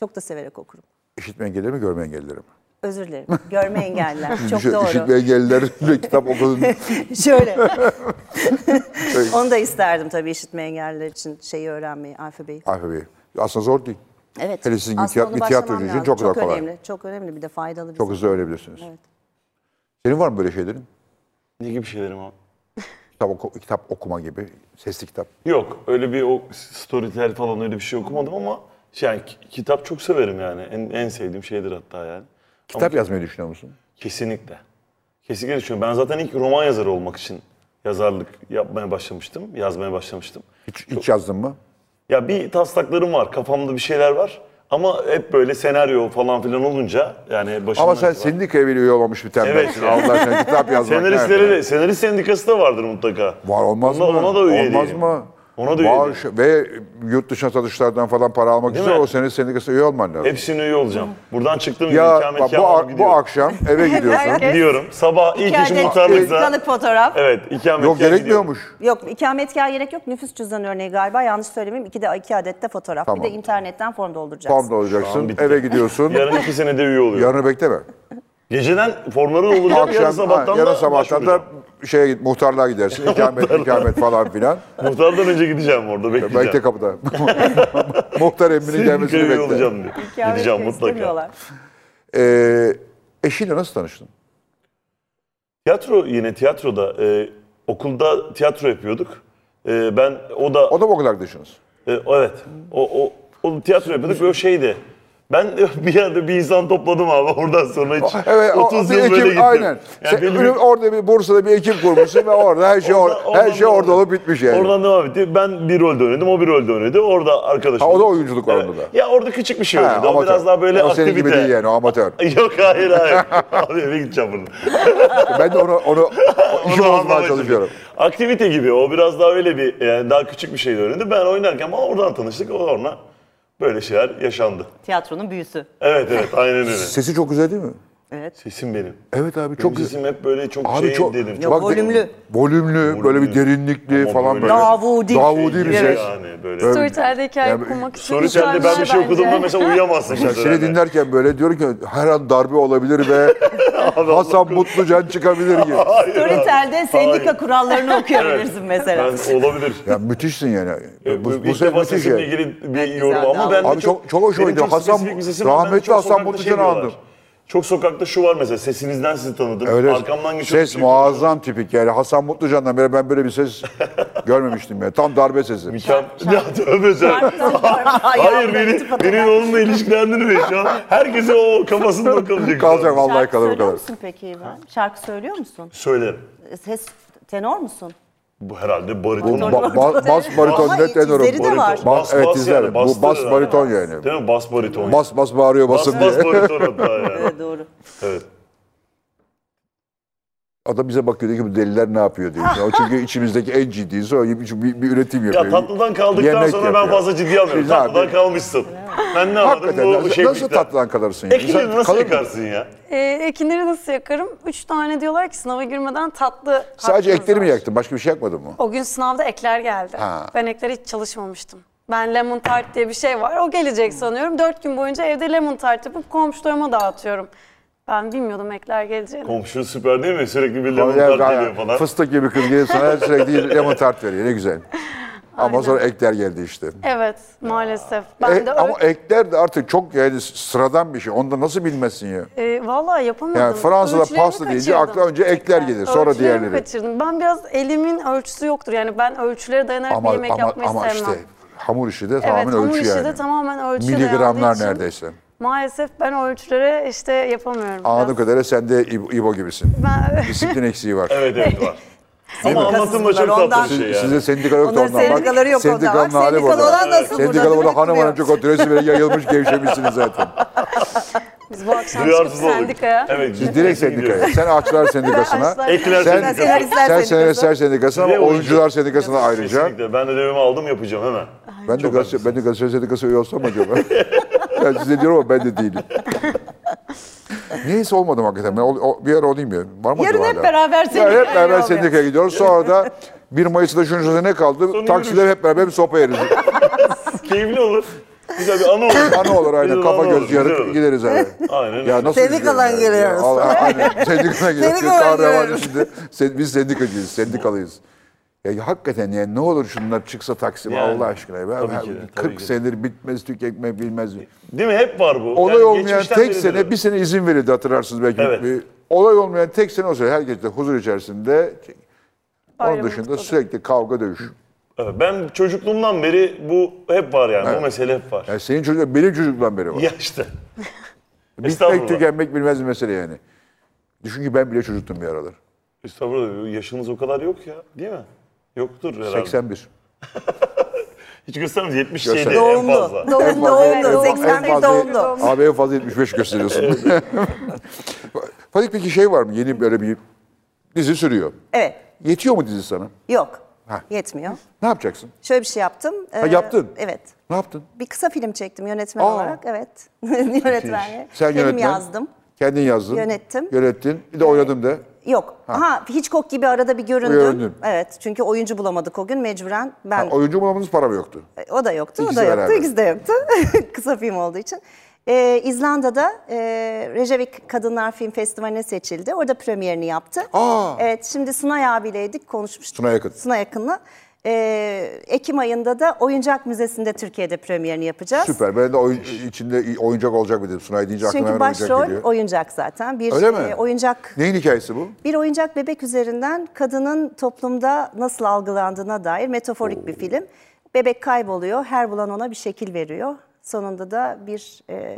[SPEAKER 3] Çok da severek okurum.
[SPEAKER 1] İşitme engelleri mi görme engelleri mi?
[SPEAKER 3] Özür dilerim. Görme engeller. Çok
[SPEAKER 1] Şu İşitme
[SPEAKER 3] doğru.
[SPEAKER 1] engellilerle kitap okudun.
[SPEAKER 3] Şöyle. Onu da isterdim tabii işitme engelliler için şeyi öğrenmeyi, alfabeyi.
[SPEAKER 1] Alfabeyi. Aslında zor değil.
[SPEAKER 3] Evet.
[SPEAKER 1] Hele sizin gibi
[SPEAKER 3] Aslında
[SPEAKER 1] tiyat-
[SPEAKER 3] onu
[SPEAKER 1] bir tiyatrocu
[SPEAKER 3] başlamam
[SPEAKER 1] için
[SPEAKER 3] lazım.
[SPEAKER 1] çok zor kolay.
[SPEAKER 3] önemli. Çok önemli bir de faydalı bir
[SPEAKER 1] Çok hızlı öğrenebilirsiniz. Senin var mı böyle şeylerin?
[SPEAKER 4] Ne gibi şeylerim abi?
[SPEAKER 1] Kitap, oku- kitap okuma gibi, sesli kitap.
[SPEAKER 4] Yok öyle bir o storytel falan öyle bir şey okumadım ama şey yani ki- kitap çok severim yani. En, en sevdiğim şeydir hatta yani.
[SPEAKER 1] Kitap yazmayı düşünüyor musun?
[SPEAKER 4] Kesinlikle. Kesinlikle düşünüyorum. Ben zaten ilk roman yazarı olmak için yazarlık yapmaya başlamıştım, yazmaya başlamıştım.
[SPEAKER 1] Hiç, hiç yazdın mı?
[SPEAKER 4] Ya bir taslaklarım var, kafamda bir şeyler var. Ama hep böyle senaryo falan filan olunca yani başımdan...
[SPEAKER 1] Ama sen sendikaya bile üye olmamış bir tembelsin.
[SPEAKER 4] Evet.
[SPEAKER 1] Allah aşkına kitap yazmak.
[SPEAKER 4] Senaristlere
[SPEAKER 1] nerede?
[SPEAKER 4] de, senarist sendikası da vardır mutlaka.
[SPEAKER 1] Var olmaz
[SPEAKER 4] Ona-
[SPEAKER 1] mı?
[SPEAKER 4] Ona da üye
[SPEAKER 1] Olmaz
[SPEAKER 4] değilim.
[SPEAKER 1] mı?
[SPEAKER 4] Ona da üye
[SPEAKER 1] Bağış ve yurt dışına satışlardan falan para almak
[SPEAKER 4] Değil
[SPEAKER 1] üzere
[SPEAKER 4] mi?
[SPEAKER 1] o sene sendikası üye olman lazım.
[SPEAKER 4] Hepsine üye olacağım. Buradan çıktım ya,
[SPEAKER 1] ya bak,
[SPEAKER 4] ikamet
[SPEAKER 1] bu, ak-
[SPEAKER 4] bu,
[SPEAKER 1] bu akşam eve gidiyorsun.
[SPEAKER 4] Gidiyorum. Sabah ilk işim
[SPEAKER 6] İçeride
[SPEAKER 4] muhtarlıksa.
[SPEAKER 6] Tanık fotoğraf.
[SPEAKER 4] Evet ikamet
[SPEAKER 1] Yok gerekmiyormuş.
[SPEAKER 3] Yok ikametgah gerek yok. Nüfus cüzdanı örneği galiba yanlış söylemeyeyim. İki, de, iki adet de fotoğraf.
[SPEAKER 1] Tamam.
[SPEAKER 3] Bir de internetten form dolduracağız.
[SPEAKER 1] Tam da olacaksın.
[SPEAKER 4] bitti.
[SPEAKER 1] Eve gidiyorsun.
[SPEAKER 4] Yarın iki senede üye oluyorum.
[SPEAKER 1] Yarını bekleme.
[SPEAKER 4] Geceden formları olacak yarın
[SPEAKER 1] Akşam ha,
[SPEAKER 4] sabahtan
[SPEAKER 1] yarın
[SPEAKER 4] da
[SPEAKER 1] sabahtan da
[SPEAKER 4] başvuracağım.
[SPEAKER 1] şeye git muhtarlığa gidersin. İkamet, ikamet falan filan.
[SPEAKER 4] Muhtardan önce gideceğim orada bekleyeceğim.
[SPEAKER 1] Belki de kapıda. Muhtar emminin gelmesini
[SPEAKER 4] Sevgili
[SPEAKER 1] bekle.
[SPEAKER 4] olacağım diye.
[SPEAKER 3] İkametgah
[SPEAKER 4] Gideceğim mutlaka.
[SPEAKER 3] istemiyorlar.
[SPEAKER 1] Ee, eşiyle nasıl tanıştın?
[SPEAKER 4] Tiyatro yine tiyatroda e, okulda tiyatro yapıyorduk. E, ben o da
[SPEAKER 1] O da mı okul arkadaşınız?
[SPEAKER 4] E, evet. O, o, o tiyatro yapıyorduk ve o şeydi. Ben bir yerde bir insan topladım abi oradan sonra hiç
[SPEAKER 1] Evet, o-
[SPEAKER 4] 30
[SPEAKER 1] bir
[SPEAKER 4] yıl böyle
[SPEAKER 1] ekip,
[SPEAKER 4] gittim.
[SPEAKER 1] aynen.
[SPEAKER 4] Yani
[SPEAKER 1] Sen
[SPEAKER 4] benim-
[SPEAKER 1] ünü- orada bir Bursa'da bir ekip kurmuşsun ve orada her şey
[SPEAKER 4] Oradan-
[SPEAKER 1] or- her
[SPEAKER 4] oradan
[SPEAKER 1] şey
[SPEAKER 4] devam
[SPEAKER 1] orada olup bitmiş yani.
[SPEAKER 4] Oradan devam etti. Ben bir rolde oynadım, o bir rolde oynadı. Orada arkadaşım.
[SPEAKER 1] Ha, o da oyunculuk var
[SPEAKER 4] Evet.
[SPEAKER 1] onda da.
[SPEAKER 4] Ya orada küçük bir şey
[SPEAKER 1] Ha,
[SPEAKER 4] oynadı. o
[SPEAKER 1] amatör.
[SPEAKER 4] biraz daha böyle
[SPEAKER 1] o senin
[SPEAKER 4] aktivite.
[SPEAKER 1] gibi değil yani o amatör.
[SPEAKER 4] Yok hayır hayır. abi eve gideceğim buradan.
[SPEAKER 1] ben de onu onu o işi
[SPEAKER 4] Onu
[SPEAKER 1] bozmaya
[SPEAKER 4] anlamaya
[SPEAKER 1] çalışıyorum.
[SPEAKER 4] Aktivite gibi o biraz daha öyle bir yani daha küçük bir şey öğrendi. Ben oynarken falan oradan tanıştık. Oradan böyle şeyler yaşandı.
[SPEAKER 6] Tiyatronun büyüsü.
[SPEAKER 4] Evet evet aynen öyle.
[SPEAKER 1] Sesi çok güzel değil mi?
[SPEAKER 4] Sesim benim.
[SPEAKER 1] Evet abi
[SPEAKER 4] Çok
[SPEAKER 1] çok
[SPEAKER 4] sesim hep böyle çok
[SPEAKER 1] Abi
[SPEAKER 4] şey
[SPEAKER 1] çok
[SPEAKER 4] dedim.
[SPEAKER 1] bak-
[SPEAKER 6] volümlü.
[SPEAKER 1] Volümlü, böyle bir derinlikli
[SPEAKER 4] Ama
[SPEAKER 1] falan
[SPEAKER 4] böyle-
[SPEAKER 1] böyle.
[SPEAKER 6] Davudi.
[SPEAKER 1] Davudi bir
[SPEAKER 4] Şey
[SPEAKER 1] ses.
[SPEAKER 4] Yani böyle.
[SPEAKER 1] Böyle-
[SPEAKER 5] Storytel'de hikaye
[SPEAKER 1] Yani-
[SPEAKER 5] okumak için
[SPEAKER 4] Storytel'de ben
[SPEAKER 5] mükemmel
[SPEAKER 4] bir şey okuduğumda
[SPEAKER 5] bence.
[SPEAKER 4] mesela uyuyamazsın.
[SPEAKER 1] Ya
[SPEAKER 4] mesela.
[SPEAKER 1] seni dinlerken böyle diyorum ki her an darbe olabilir ve Hasan Mutlucan çıkabilir gibi.
[SPEAKER 4] Hayır,
[SPEAKER 6] Storytel'de sendika
[SPEAKER 4] Hayır.
[SPEAKER 6] kurallarını okuyabilirsin mesela.
[SPEAKER 4] Ben, olabilir.
[SPEAKER 1] Ya müthişsin yani.
[SPEAKER 4] Bu,
[SPEAKER 1] E, Bu, bu
[SPEAKER 4] İlk
[SPEAKER 1] ses
[SPEAKER 4] defa
[SPEAKER 1] müthiş
[SPEAKER 4] sesimle
[SPEAKER 1] ya.
[SPEAKER 4] ilgili
[SPEAKER 6] Ben
[SPEAKER 4] bir
[SPEAKER 6] güzel
[SPEAKER 4] yorum ama
[SPEAKER 6] daha-
[SPEAKER 4] ben de
[SPEAKER 1] Abi çok- çok hoş
[SPEAKER 4] benim
[SPEAKER 1] oynuyor.
[SPEAKER 4] çok
[SPEAKER 1] Hasan-
[SPEAKER 4] spesifik bir sesim var. Ben de
[SPEAKER 1] rahmetli
[SPEAKER 4] çok
[SPEAKER 1] Hasan
[SPEAKER 4] sokakta şey
[SPEAKER 1] Mutlucan'ı
[SPEAKER 4] diyorlar.
[SPEAKER 1] andım.
[SPEAKER 4] Çok sokakta şu var mesela sesinizden sizi tanıdım.
[SPEAKER 1] Öyle
[SPEAKER 4] Arkamdan geçiyor.
[SPEAKER 1] ses muazzam tipik yani Hasan Mutlucan'dan beri ben böyle bir ses görmemiştim ya. Tam darbe sesi.
[SPEAKER 4] Mükemmel. Ya tövbe sen. Hayır beni, benim onunla ilişkilendirme şu an. Herkese o kafasında o kalacak.
[SPEAKER 1] Kalacak vallahi
[SPEAKER 6] Şarkı
[SPEAKER 1] kalır bu
[SPEAKER 6] söylüyor
[SPEAKER 1] kadar.
[SPEAKER 6] musun peki İbrahim? Şarkı söylüyor musun?
[SPEAKER 4] Söylerim.
[SPEAKER 6] Ses tenor musun?
[SPEAKER 4] Bu herhalde bariton.
[SPEAKER 1] Ba- ba- bas bariton
[SPEAKER 3] Ama
[SPEAKER 1] net en
[SPEAKER 3] izleri de
[SPEAKER 1] Bariton.
[SPEAKER 3] var.
[SPEAKER 1] Bas, evet izler. bu
[SPEAKER 4] yani,
[SPEAKER 1] bas
[SPEAKER 4] bastırır
[SPEAKER 1] bariton
[SPEAKER 4] abi.
[SPEAKER 1] yani.
[SPEAKER 4] Değil mi? Bas bariton.
[SPEAKER 1] Bas bas bağırıyor basın
[SPEAKER 4] bas, bas
[SPEAKER 1] diye.
[SPEAKER 4] bariton hatta yani.
[SPEAKER 6] Doğru.
[SPEAKER 4] evet.
[SPEAKER 1] Adam bize bakıyor diyor ki bu deliler ne yapıyor diyor. O çünkü içimizdeki en ciddisi o. Bir, bir, bir üretim yapıyor.
[SPEAKER 4] Ya tatlıdan kaldıktan
[SPEAKER 1] Yemek
[SPEAKER 4] sonra ben
[SPEAKER 1] yapıyor.
[SPEAKER 4] fazla ciddiye almıyorum.
[SPEAKER 1] Güzel
[SPEAKER 4] tatlıdan
[SPEAKER 1] abi.
[SPEAKER 4] kalmışsın. Ben ne anladım
[SPEAKER 1] Hakikaten
[SPEAKER 4] bu
[SPEAKER 1] nasıl,
[SPEAKER 4] şey
[SPEAKER 1] nasıl tatlıdan kalırsın? ya?
[SPEAKER 4] Ekini
[SPEAKER 1] İnsan
[SPEAKER 4] nasıl
[SPEAKER 1] kalır mı?
[SPEAKER 4] yıkarsın ya?
[SPEAKER 5] Ee, ekinleri nasıl yakarım? Üç tane diyorlar ki sınava girmeden tatlı
[SPEAKER 1] Sadece
[SPEAKER 5] hakkınız
[SPEAKER 1] ekleri mi
[SPEAKER 5] var.
[SPEAKER 1] yaktın? Başka bir şey yakmadın mı?
[SPEAKER 5] O gün sınavda ekler geldi.
[SPEAKER 1] Ha.
[SPEAKER 5] Ben eklere hiç çalışmamıştım. Ben lemon tart diye bir şey var. O gelecek
[SPEAKER 1] Hmm.
[SPEAKER 5] sanıyorum. Dört gün boyunca evde lemon tart yapıp komşularıma dağıtıyorum. Ben bilmiyordum ekler geleceğini.
[SPEAKER 4] Komşun süper değil mi? Sürekli bir lemon
[SPEAKER 1] Tabii,
[SPEAKER 4] tart
[SPEAKER 1] yani
[SPEAKER 4] geliyor falan.
[SPEAKER 1] Fıstık gibi kız geliyor sana sürekli lemon tart veriyor. Ne güzel. Ama sonra ekler geldi işte.
[SPEAKER 5] Evet maalesef. Ben
[SPEAKER 1] E,
[SPEAKER 5] de
[SPEAKER 1] ama
[SPEAKER 5] ö-
[SPEAKER 1] ekler de artık çok yani sıradan bir şey. Onu da nasıl bilmezsin ya?
[SPEAKER 5] e, vallahi yapamadım.
[SPEAKER 1] Yani Fransa'da
[SPEAKER 5] Ölçülerimi
[SPEAKER 1] pasta deyince
[SPEAKER 5] kaçırdım.
[SPEAKER 1] akla önce ekler gelir. Sonra
[SPEAKER 5] Ölçülerimi
[SPEAKER 1] diğerleri.
[SPEAKER 5] kaçırdım. Ben biraz elimin ölçüsü yoktur. Yani ben ölçülere dayanarak bir
[SPEAKER 1] Ama
[SPEAKER 5] yemek
[SPEAKER 1] ama,
[SPEAKER 5] yapmayı
[SPEAKER 1] ama
[SPEAKER 5] sevmem.
[SPEAKER 1] işte hamur işi de
[SPEAKER 5] evet,
[SPEAKER 1] tamamen
[SPEAKER 5] hamur
[SPEAKER 1] ölçü
[SPEAKER 5] işi
[SPEAKER 1] yani.
[SPEAKER 5] de tamamen ölçüye dayandığı
[SPEAKER 1] Miligramlar
[SPEAKER 5] için
[SPEAKER 1] neredeyse.
[SPEAKER 5] Maalesef ben ölçülere işte yapamıyorum.
[SPEAKER 1] Anladığım
[SPEAKER 5] biraz.
[SPEAKER 1] kadarıyla sen de İbo İbo gibisin.
[SPEAKER 5] Ben-
[SPEAKER 1] Disiplin eksiği var.
[SPEAKER 4] Evet evet var. Ama anlatım da
[SPEAKER 3] Kasızlar,
[SPEAKER 4] çok tatlı
[SPEAKER 3] ondan-
[SPEAKER 4] bir şey yani.
[SPEAKER 1] Sizde sendika yok da
[SPEAKER 3] Onların
[SPEAKER 1] ondan bak.
[SPEAKER 3] sendikaları yok orada.
[SPEAKER 1] Sendikanın
[SPEAKER 3] Bak,
[SPEAKER 1] hali
[SPEAKER 3] sendikalı
[SPEAKER 1] burada.
[SPEAKER 3] olan nasıl burada?
[SPEAKER 1] Sendikalı olan
[SPEAKER 3] Direkt
[SPEAKER 1] hanım
[SPEAKER 3] duruyor.
[SPEAKER 1] hanım çok oturuyorsun böyle yayılmış gevşemişsiniz zaten.
[SPEAKER 5] Biz bu akşam çıkıp
[SPEAKER 4] Duyarsız olduk.
[SPEAKER 5] sendikaya.
[SPEAKER 4] Evet.
[SPEAKER 1] Siz direkt sendikaya. Sen ağaçlar sendikasına.
[SPEAKER 5] Ağaçlar-
[SPEAKER 4] Ekler
[SPEAKER 1] Sen,
[SPEAKER 4] sendikası.
[SPEAKER 1] sen,
[SPEAKER 3] Senaristler
[SPEAKER 1] sen
[SPEAKER 3] Sendikası.
[SPEAKER 1] senaristler sendikasına
[SPEAKER 4] Bir de
[SPEAKER 1] ama
[SPEAKER 4] oyuncu.
[SPEAKER 1] oyuncular sendikasına ayrıca.
[SPEAKER 4] Kesinlikle. Ben de dövme aldım yapacağım hemen.
[SPEAKER 1] Ben de, gazete, ben de gazete sendikası üye olsam acaba? ben size diyorum ama ben de değilim. Neyse olmadım hakikaten. Ben ol- o- bir ara olayım ya. Var mı
[SPEAKER 6] Yarın
[SPEAKER 1] acaba
[SPEAKER 6] hep
[SPEAKER 1] hala?
[SPEAKER 6] beraber
[SPEAKER 1] Ya
[SPEAKER 6] sendikaya
[SPEAKER 1] hep beraber
[SPEAKER 6] yol verin.
[SPEAKER 1] sendikaya gidiyoruz. Sonra da 1 Mayıs'ta şunun şurada ne kaldı?
[SPEAKER 4] yürüyüş.
[SPEAKER 1] Taksiler hep beraber bir sopa yeriz.
[SPEAKER 4] Keyifli olur. Güzel bir anı olur.
[SPEAKER 1] Ana olur aynen.
[SPEAKER 4] Bir
[SPEAKER 1] Kafa
[SPEAKER 4] anı olur,
[SPEAKER 1] göz
[SPEAKER 4] güzel
[SPEAKER 1] yarık
[SPEAKER 4] olur.
[SPEAKER 1] gideriz eve.
[SPEAKER 4] Aynen öyle.
[SPEAKER 1] Ya nasıl
[SPEAKER 2] Sendikadan
[SPEAKER 1] üzülüyorum ya.
[SPEAKER 2] geliyoruz.
[SPEAKER 1] Allah- Aynen. Sendikadan geliyoruz.
[SPEAKER 2] Sendikadan
[SPEAKER 1] Kahraman
[SPEAKER 2] geliyoruz.
[SPEAKER 1] içinde. Sen- Biz sendikacıyız, sendikalıyız. Ya, ya hakikaten yani ne olur şunlar çıksa Taksim
[SPEAKER 4] Yani,
[SPEAKER 1] Allah aşkına. Ya,
[SPEAKER 4] tabii
[SPEAKER 1] ben-
[SPEAKER 4] ki de, tabii
[SPEAKER 1] 40
[SPEAKER 4] ki de.
[SPEAKER 1] senedir bitmez tükenmek bilmez.
[SPEAKER 4] Değil mi? Hep var bu.
[SPEAKER 1] Olay
[SPEAKER 4] Yani
[SPEAKER 1] olmayan
[SPEAKER 4] geçmişten
[SPEAKER 1] tek
[SPEAKER 4] beridir
[SPEAKER 1] sene
[SPEAKER 4] öyle.
[SPEAKER 1] bir sene izin verildi hatırlarsınız belki.
[SPEAKER 4] Evet.
[SPEAKER 1] Bir- Olay olmayan tek sene o sene herkes de huzur içerisinde. Onun
[SPEAKER 5] Bayramı
[SPEAKER 1] dışında
[SPEAKER 5] kutladı.
[SPEAKER 1] sürekli kavga dövüş.
[SPEAKER 4] Evet, Ben çocukluğumdan beri bu hep var yani. Bu mesele hep var.
[SPEAKER 1] Yani senin çocuk benim çocukluğumdan beri var.
[SPEAKER 4] Ya işte.
[SPEAKER 1] Bitmek
[SPEAKER 4] Estağfurullah.
[SPEAKER 1] tükenmek bilmez bir mesele yani. Düşün ki ben bile çocuktum bir aralar.
[SPEAKER 4] Estağfurullah yaşınız o kadar yok ya değil mi? Yoktur herhalde.
[SPEAKER 1] 81.
[SPEAKER 4] Hiç göstermez 70
[SPEAKER 1] Göster.
[SPEAKER 4] şeydi en
[SPEAKER 3] Doğumlu.
[SPEAKER 4] fazla.
[SPEAKER 3] Doğumlu,
[SPEAKER 1] En fazla-
[SPEAKER 3] doğumlu.
[SPEAKER 1] en
[SPEAKER 3] 81
[SPEAKER 1] fazla-
[SPEAKER 3] doğumlu.
[SPEAKER 1] Abi en fazla 75 gösteriyorsun. Fadik peki şey var mı? Yeni böyle bir dizi sürüyor.
[SPEAKER 3] Evet.
[SPEAKER 1] Yetiyor mu dizi sana?
[SPEAKER 3] Yok. Yetmiyor.
[SPEAKER 1] Ne yapacaksın?
[SPEAKER 3] Şöyle bir şey yaptım.
[SPEAKER 1] Ha,
[SPEAKER 3] Ee,
[SPEAKER 1] yaptın.
[SPEAKER 3] Evet.
[SPEAKER 1] Ne yaptın?
[SPEAKER 3] Bir kısa film çektim yönetmen
[SPEAKER 1] Aa.
[SPEAKER 3] olarak. Evet. Yönetmenle.
[SPEAKER 1] Sen
[SPEAKER 3] Kendim
[SPEAKER 1] yönetmen.
[SPEAKER 3] yazdım.
[SPEAKER 1] Kendin yazdın.
[SPEAKER 3] Yönettim.
[SPEAKER 1] Yönettin. Bir de oynadım de.
[SPEAKER 3] Yok. Ha. Hitchcock gibi arada bir göründüm.
[SPEAKER 1] Göründün.
[SPEAKER 3] Evet. Çünkü oyuncu bulamadık o gün mecburen. Ben
[SPEAKER 1] Ha, oyuncu bulmanız para mı yoktu?
[SPEAKER 3] E, O da yoktu,
[SPEAKER 1] İkisi
[SPEAKER 3] o da yoktu,
[SPEAKER 1] beraber.
[SPEAKER 3] ikisi de yoktu. Kısa film olduğu için. Ee, İzlanda'da e, Reykjavik Kadınlar Film Festivali'ne seçildi. Orada premierini yaptı.
[SPEAKER 1] Aa!
[SPEAKER 3] Evet, şimdi Sunay abiyleydik, konuşmuştuk.
[SPEAKER 1] Sunay Akın.
[SPEAKER 3] Sunay Akın'la. Ee, Ekim ayında da Oyuncak Müzesi'nde Türkiye'de premierini yapacağız.
[SPEAKER 1] Süper. Ben de oyun, içinde oyuncak olacak mı dedim. Sunay deyince aklıma
[SPEAKER 3] Çünkü
[SPEAKER 1] hemen oyuncak
[SPEAKER 3] başrol
[SPEAKER 1] geliyor.
[SPEAKER 3] oyuncak zaten. Bir
[SPEAKER 1] Öyle mi?
[SPEAKER 3] e, oyuncak
[SPEAKER 1] Neyin hikayesi bu?
[SPEAKER 3] bir oyuncak bebek üzerinden kadının toplumda nasıl algılandığına dair metaforik bir film. Bebek kayboluyor, her bulan ona bir şekil veriyor. Sonunda da bir e,